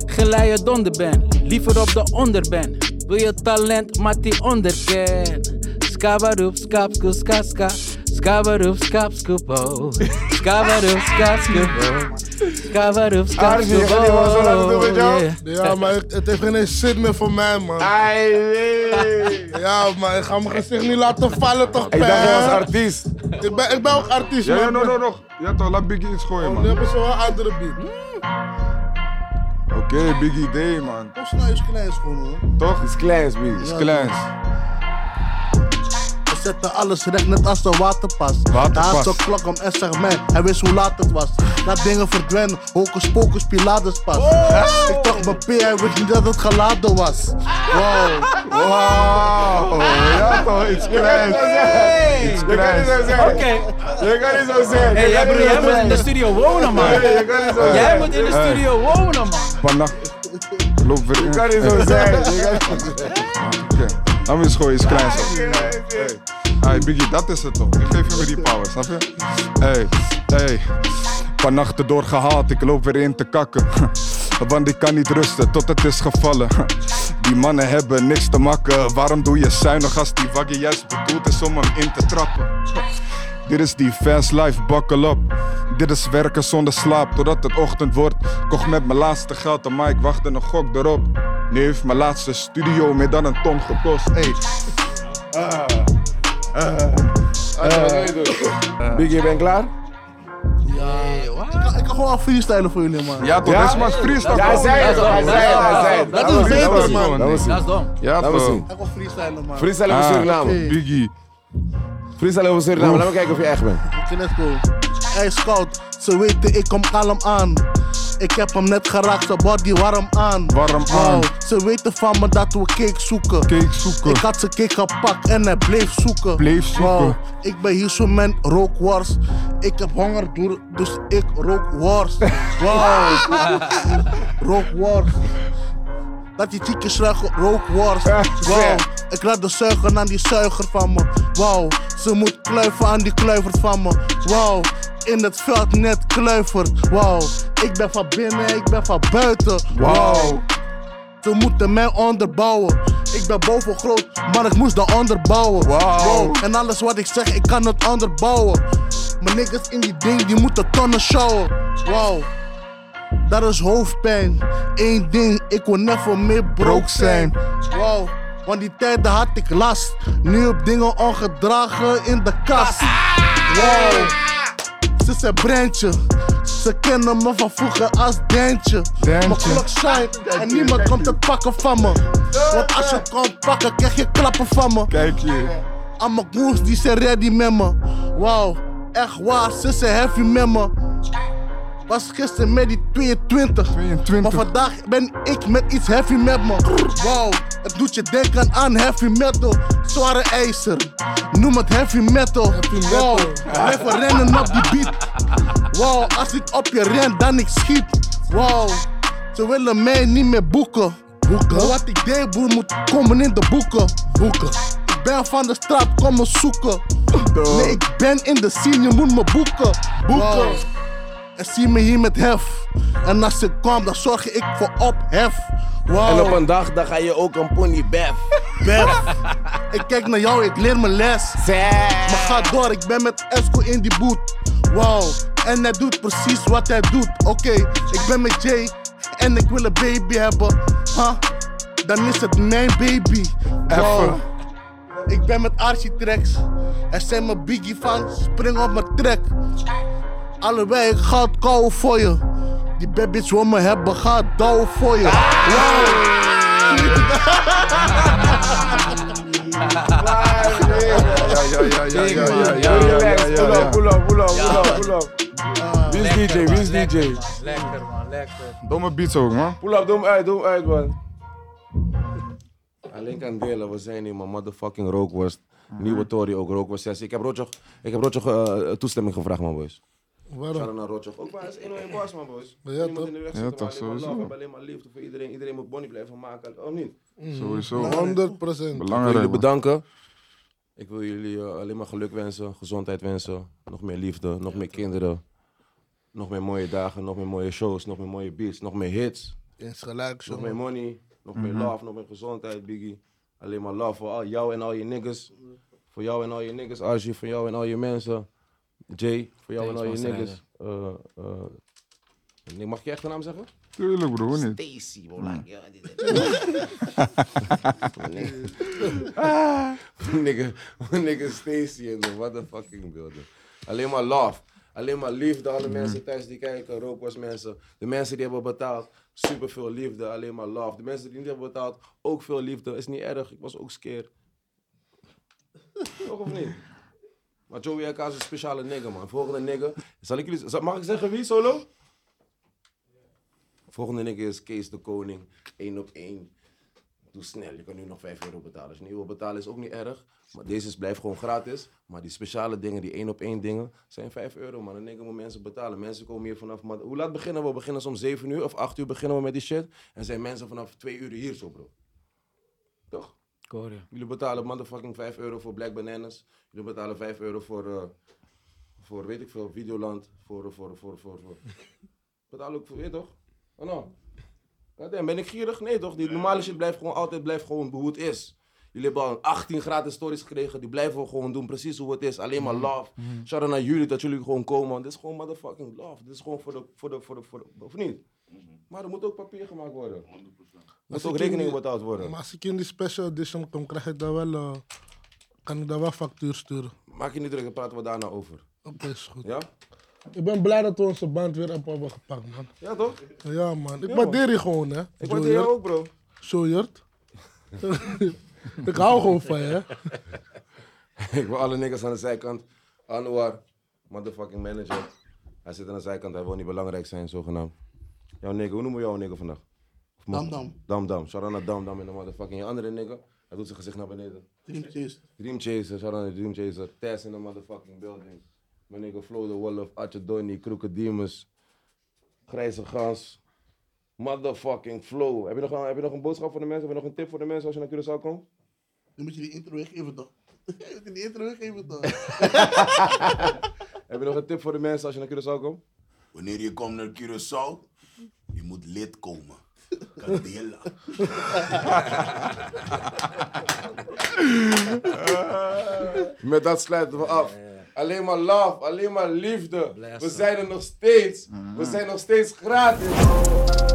Geleid donder ben, liever op de onder ben. Wil je talent, maar die onderken. Skabaroep, skapsko, skaska. Skabaroep, skapskoepo. Skabaroep, skapskoepo. Skabaroep,
Aardig, je gaat niet wel zo lang doen
Oh,
skapskoepo.
met jou.
oh, Yeah.
Ja, maar ik- het heeft geen eens zin meer voor mij, man. Ja, maar ik ga mijn gezicht niet laten vallen, toch,
Ik dacht, je was
pijn.
artiest.
Ik ben, ik ben ook artiest,
Ja, ja,
man.
no, no, no. Ja toch, laat Biggie iets gooien,
Oh,
Nu
man.
hebben ze wel een andere beat.
Oké, Biggie D, man.
Toch snel is klein schoon, hoor.
Toch?
Iets kleins, man.
Is kleins.
Als
zetten alles recht, net als de waterpas.
Waterpas.
Daar is de klok om en zeg mij, hij wist hoe laat het was. Laat dingen verdwijnen, hocus pocus pilatus pas. Ik trok mijn P, hij wist niet dat het geladen was. Wow,
Wauw, ja toch, iets kleins. Iets Ah, kleins.
Oké.
Je kan niet zo zeggen.
Hey,
je
jij,
kan
broer,
niet zo
jij moet in de
zeggen.
studio wonen, man.
Hey, Je kan niet zo
Jij
zeggen.
moet in de studio wonen, man.
Panda, loop weer in. Eh. Ah,
Ik kan niet zo zijn. Ah, Ik kan-
Oké, laten we eens gooien, iets kleins. op. Hey, Biggie, dat is het toch. Ik geef je die power, snap je? Hey, hey. Vannacht erdoor gehaald, ik loop weer in te kakken. Want ik kan niet rusten tot het is gevallen. Die mannen hebben niks te makken. Waarom doe je zuinig als die waggie juist bedoeld is om hem in te trappen? Dit is die fast life, buckle up. Dit is werken zonder slaap, totdat het ochtend wordt. Kocht met mijn laatste geld, maar ik wachtte een gok erop. Nu heeft mijn laatste studio meer dan een ton gekost. Hey,
Biggie, je bent klaar?
ik kan gewoon freestylen voor jullie man.
Ja, toch,
Ja?
dit is maar freestyle.
Ja, hij zei het, hij zei het, hij zei het.
Dat
is
was-
beter,
dat was
man.
gewoon
Laten we
niet.
zien.
Dat is dom.
Ja,
Laten we
toch.
zien.
Ik kan freestylen man.
Freestyle over
Ah.
Suriname.
Biggie.
Freestyle over Suriname. Laten we kijken of je echt bent.
Kinesco. Ijskoud, ze weten ik kom kalm aan. Ik heb hem net geraakt, ze body warm aan.
Warm aan.
ze weten van me dat we cake zoeken.
Cake zoeken.
Ik had ze cake gepakt en hij bleef zoeken.
Bleef zoeken.
Wauw, ik ben hier zo mijn rookworst. Ik heb honger, doer- dus ik rook worst. Wow. rookworst. Dat die tiekjes zeggen rookworst. Wow. Ik laat de zuigen aan die zuiger van me. Wow. Ze moet kluiven aan die kluivert van me. Wow. In het veld net kluivert. Wow. Ik ben van binnen, ik ben van buiten.
Wauw.
Ze moeten mij onderbouwen. Ik ben boven groot, maar ik moest dat onderbouwen.
Wauw.
En alles wat ik zeg, ik kan het onderbouwen. Mijn niggas in die ding, die moeten tonnen showen. Wow. Dat is hoofdpijn. Eén ding, ik wil never meer broke zijn. Wow. Want die tijden had ik last. Nu op dingen ongedragen in de kast. Wow. Ze zijn brandje. Ze kennen me van vroeger als Dentje.
Dentje.
Mijn klok shine en niemand komt het pakken van me. Want als je komt pakken, krijg je klappen van me.
Kijk je.
Aan mijn goons, die zijn ready met me. Wow, echt waar, ze zijn heavy met me. Was gisteren met die 22.
22.
Maar vandaag ben ik met iets heavy met me. Wow, het doet je denken aan heavy metal. Zware ijzer, noem het heavy metal. Wow, even rennen op die beat. Wow, als ik op je ren, dan ik schiet. Wow, ze willen mij niet meer boeken. Boeken? wat ik deed, broer, moet komen in de boeken. Boeken. Ik ben van de straat, kom me zoeken. Nee, ik ben in de scene, je moet me boeken. Boeken. En zie me hier met hef. En als ik kom, dan zorg ik voor ophef. Wow.
En op een dag, dan ga je ook een pony bef.
Bef. ik kijk naar jou, ik leer mijn les. Maar ga door, ik ben met Esco in die boot. Wow, en hij doet precies wat hij doet. Oké, ik ben met Jay en ik wil een baby hebben. Huh? Dan is het mijn baby. Wow.
Effe.
Ik ben met Architrex. Er zijn mijn biggie van, spring op mijn trek. Allebei, ik ga het kouden voor je. Die baby's wil me hebben, ga het douwen voor je. Wow.
Ja, ja, ja, ja, ja, ja, ja,
Relax,
ja,
pull
ja,
up, pull
ja.
up, pull up, pull up, pull up. Wie is DJ, wie is DJ?
Lekker, man. Lekker.
Domme beats ook, man.
Pull up, doe hem uit, doe hem uit, man.
Alleen kan delen, we zijn hier, mijn motherfucking rookworst. Nieuwe Tory ook, rookworst 6. Ik heb Rotjoch, ik heb Rotjoch eh, toestemming gevraagd, man, boys.
Waarom?
Shout-out naar Rotjoch. Ook maar, hij is één een boss, man, boys.
Ja,
Niemand
toch?
in de weg
Ja,
zitten,
toch,
maar alleen maar
sowieso.
love, we hebben alleen maar liefde voor iedereen. Iedereen moet Bonnie blijven maken, of niet?
Sowieso.
100 procent.
Ik wil
Belangrijk,
jullie
man.
bedanken. Ik wil jullie eh, alleen maar geluk wensen, gezondheid wensen. Nog meer liefde, nog meer kinderen. Nog meer mooie dagen, nog meer mooie shows, nog meer mooie beats, nog meer hits.
Eens gelijk,
Nog meer
jongen.
money, nog meer love, nog meer gezondheid, Biggie. Alleen maar love voor al jou en al je niggas. Voor jou en al je niggas, Archie, voor jou en al je mensen. Jay, voor jou en
Thanks,
al je
man,
niggas. Eh, eh, Nick, mag ik je echt de naam zeggen?
Tuurlijk, bro, hoe niet?
Stacy, bro. Like, ja, dit- dit-
nigga, nigga Stacy in the motherfucking building. Alleen maar love. Alleen maar liefde, alle mensen thuis die kijken, Rookwas mensen. De mensen die hebben betaald, super veel liefde, alleen maar love. De mensen die niet hebben betaald, ook veel liefde. Is niet erg, ik was ook skeer. Toch of niet? Maar Joey AK is een speciale nigger, man. Volgende nigger. Zal ik jullie, zal- mag ik zeggen wie, solo? Volgende nigger is Kees de Koning. 1 op 1. Doe snel, je kan nu nog 5 euro betalen. Als je niet wil betalen is ook niet erg. Maar deze is, blijft gewoon gratis. Maar die speciale dingen, die 1 op 1 dingen, zijn 5 euro, man. Een nigger moet mensen betalen. Mensen komen hier vanaf. Maar hoe laat beginnen we? We beginnen om 7 uur of 8 uur beginnen we met die shit. En zijn mensen vanaf 2 uur hier zo, bro. Toch?
Korea.
Jullie betalen motherfucking 5 euro voor Black Bananas. Jullie betalen 5 euro voor, eh, voor weet ik veel, Videoland. Voor, voor, voor, voor, voor. Betaal ook voor, weet je toch? Oh no. Goddamn, ben ik gierig? Nee toch? Die normale shit blijft gewoon altijd blijft gewoon hoe het is. Jullie hebben al 18 gratis stories gekregen. Die blijven we gewoon doen, precies hoe het is. Alleen maar love. Shout out naar jullie dat jullie gewoon komen. want Dit is gewoon motherfucking love. Dit is gewoon voor de, voor de, voor de, voor de of niet? Maar er moet ook papier gemaakt worden. Er moet
ik
ook
in
rekening
die-
betaald worden.
Maar als ik in die special edition kom, krijg ik daar wel, eh, kan ik daar wel factuur sturen.
Maak je niet druk, dan praten we daarna over.
Oké, is goed.
Ja?
Ik ben blij dat we onze band weer op hebben gepakt, man.
Ja toch?
Ja, man. Ik
Ja,
waardeer je gewoon, hè.
Ik word hier ook, bro.
Sojert. ik hou gewoon van je, hè.
ik wil alle niggas aan de zijkant. Anwar, motherfucking manager. Hij zit aan de zijkant, hij wil niet belangrijk zijn, zogenaamd. Jouw nigger, hoe noemen we jouw nigger vandaag? Of morgen?
Dam.
Dam Dam. Shout out naar Dam Dam en de motherfucking je andere nigger. Hij doet zijn gezicht naar beneden.
Dream Chase.
Dream Chaser, shout out naar Dream Chaser. Tess in de motherfucking building. Mijn nigger Flo de Wolf, Atje Donnie, Kroeke Demons. Grijze Gans. Motherfucking Flow. Heb je, nog een, heb je nog een boodschap voor de mensen? Heb je nog een tip voor de mensen als je naar Curaçao komt?
Dan moet je die intro weggeven toch? Je moet die intro weggeven toch?
Heb je nog een tip voor de mensen als je naar Curaçao komt?
Wanneer je komt naar Curaçao, je moet lid komen. Candela.
Met dat sluiten we af. Alleen maar love, alleen maar liefde.
Bless
we
her. Mhm.
zijn er nog steeds. We zijn nog steeds gratis.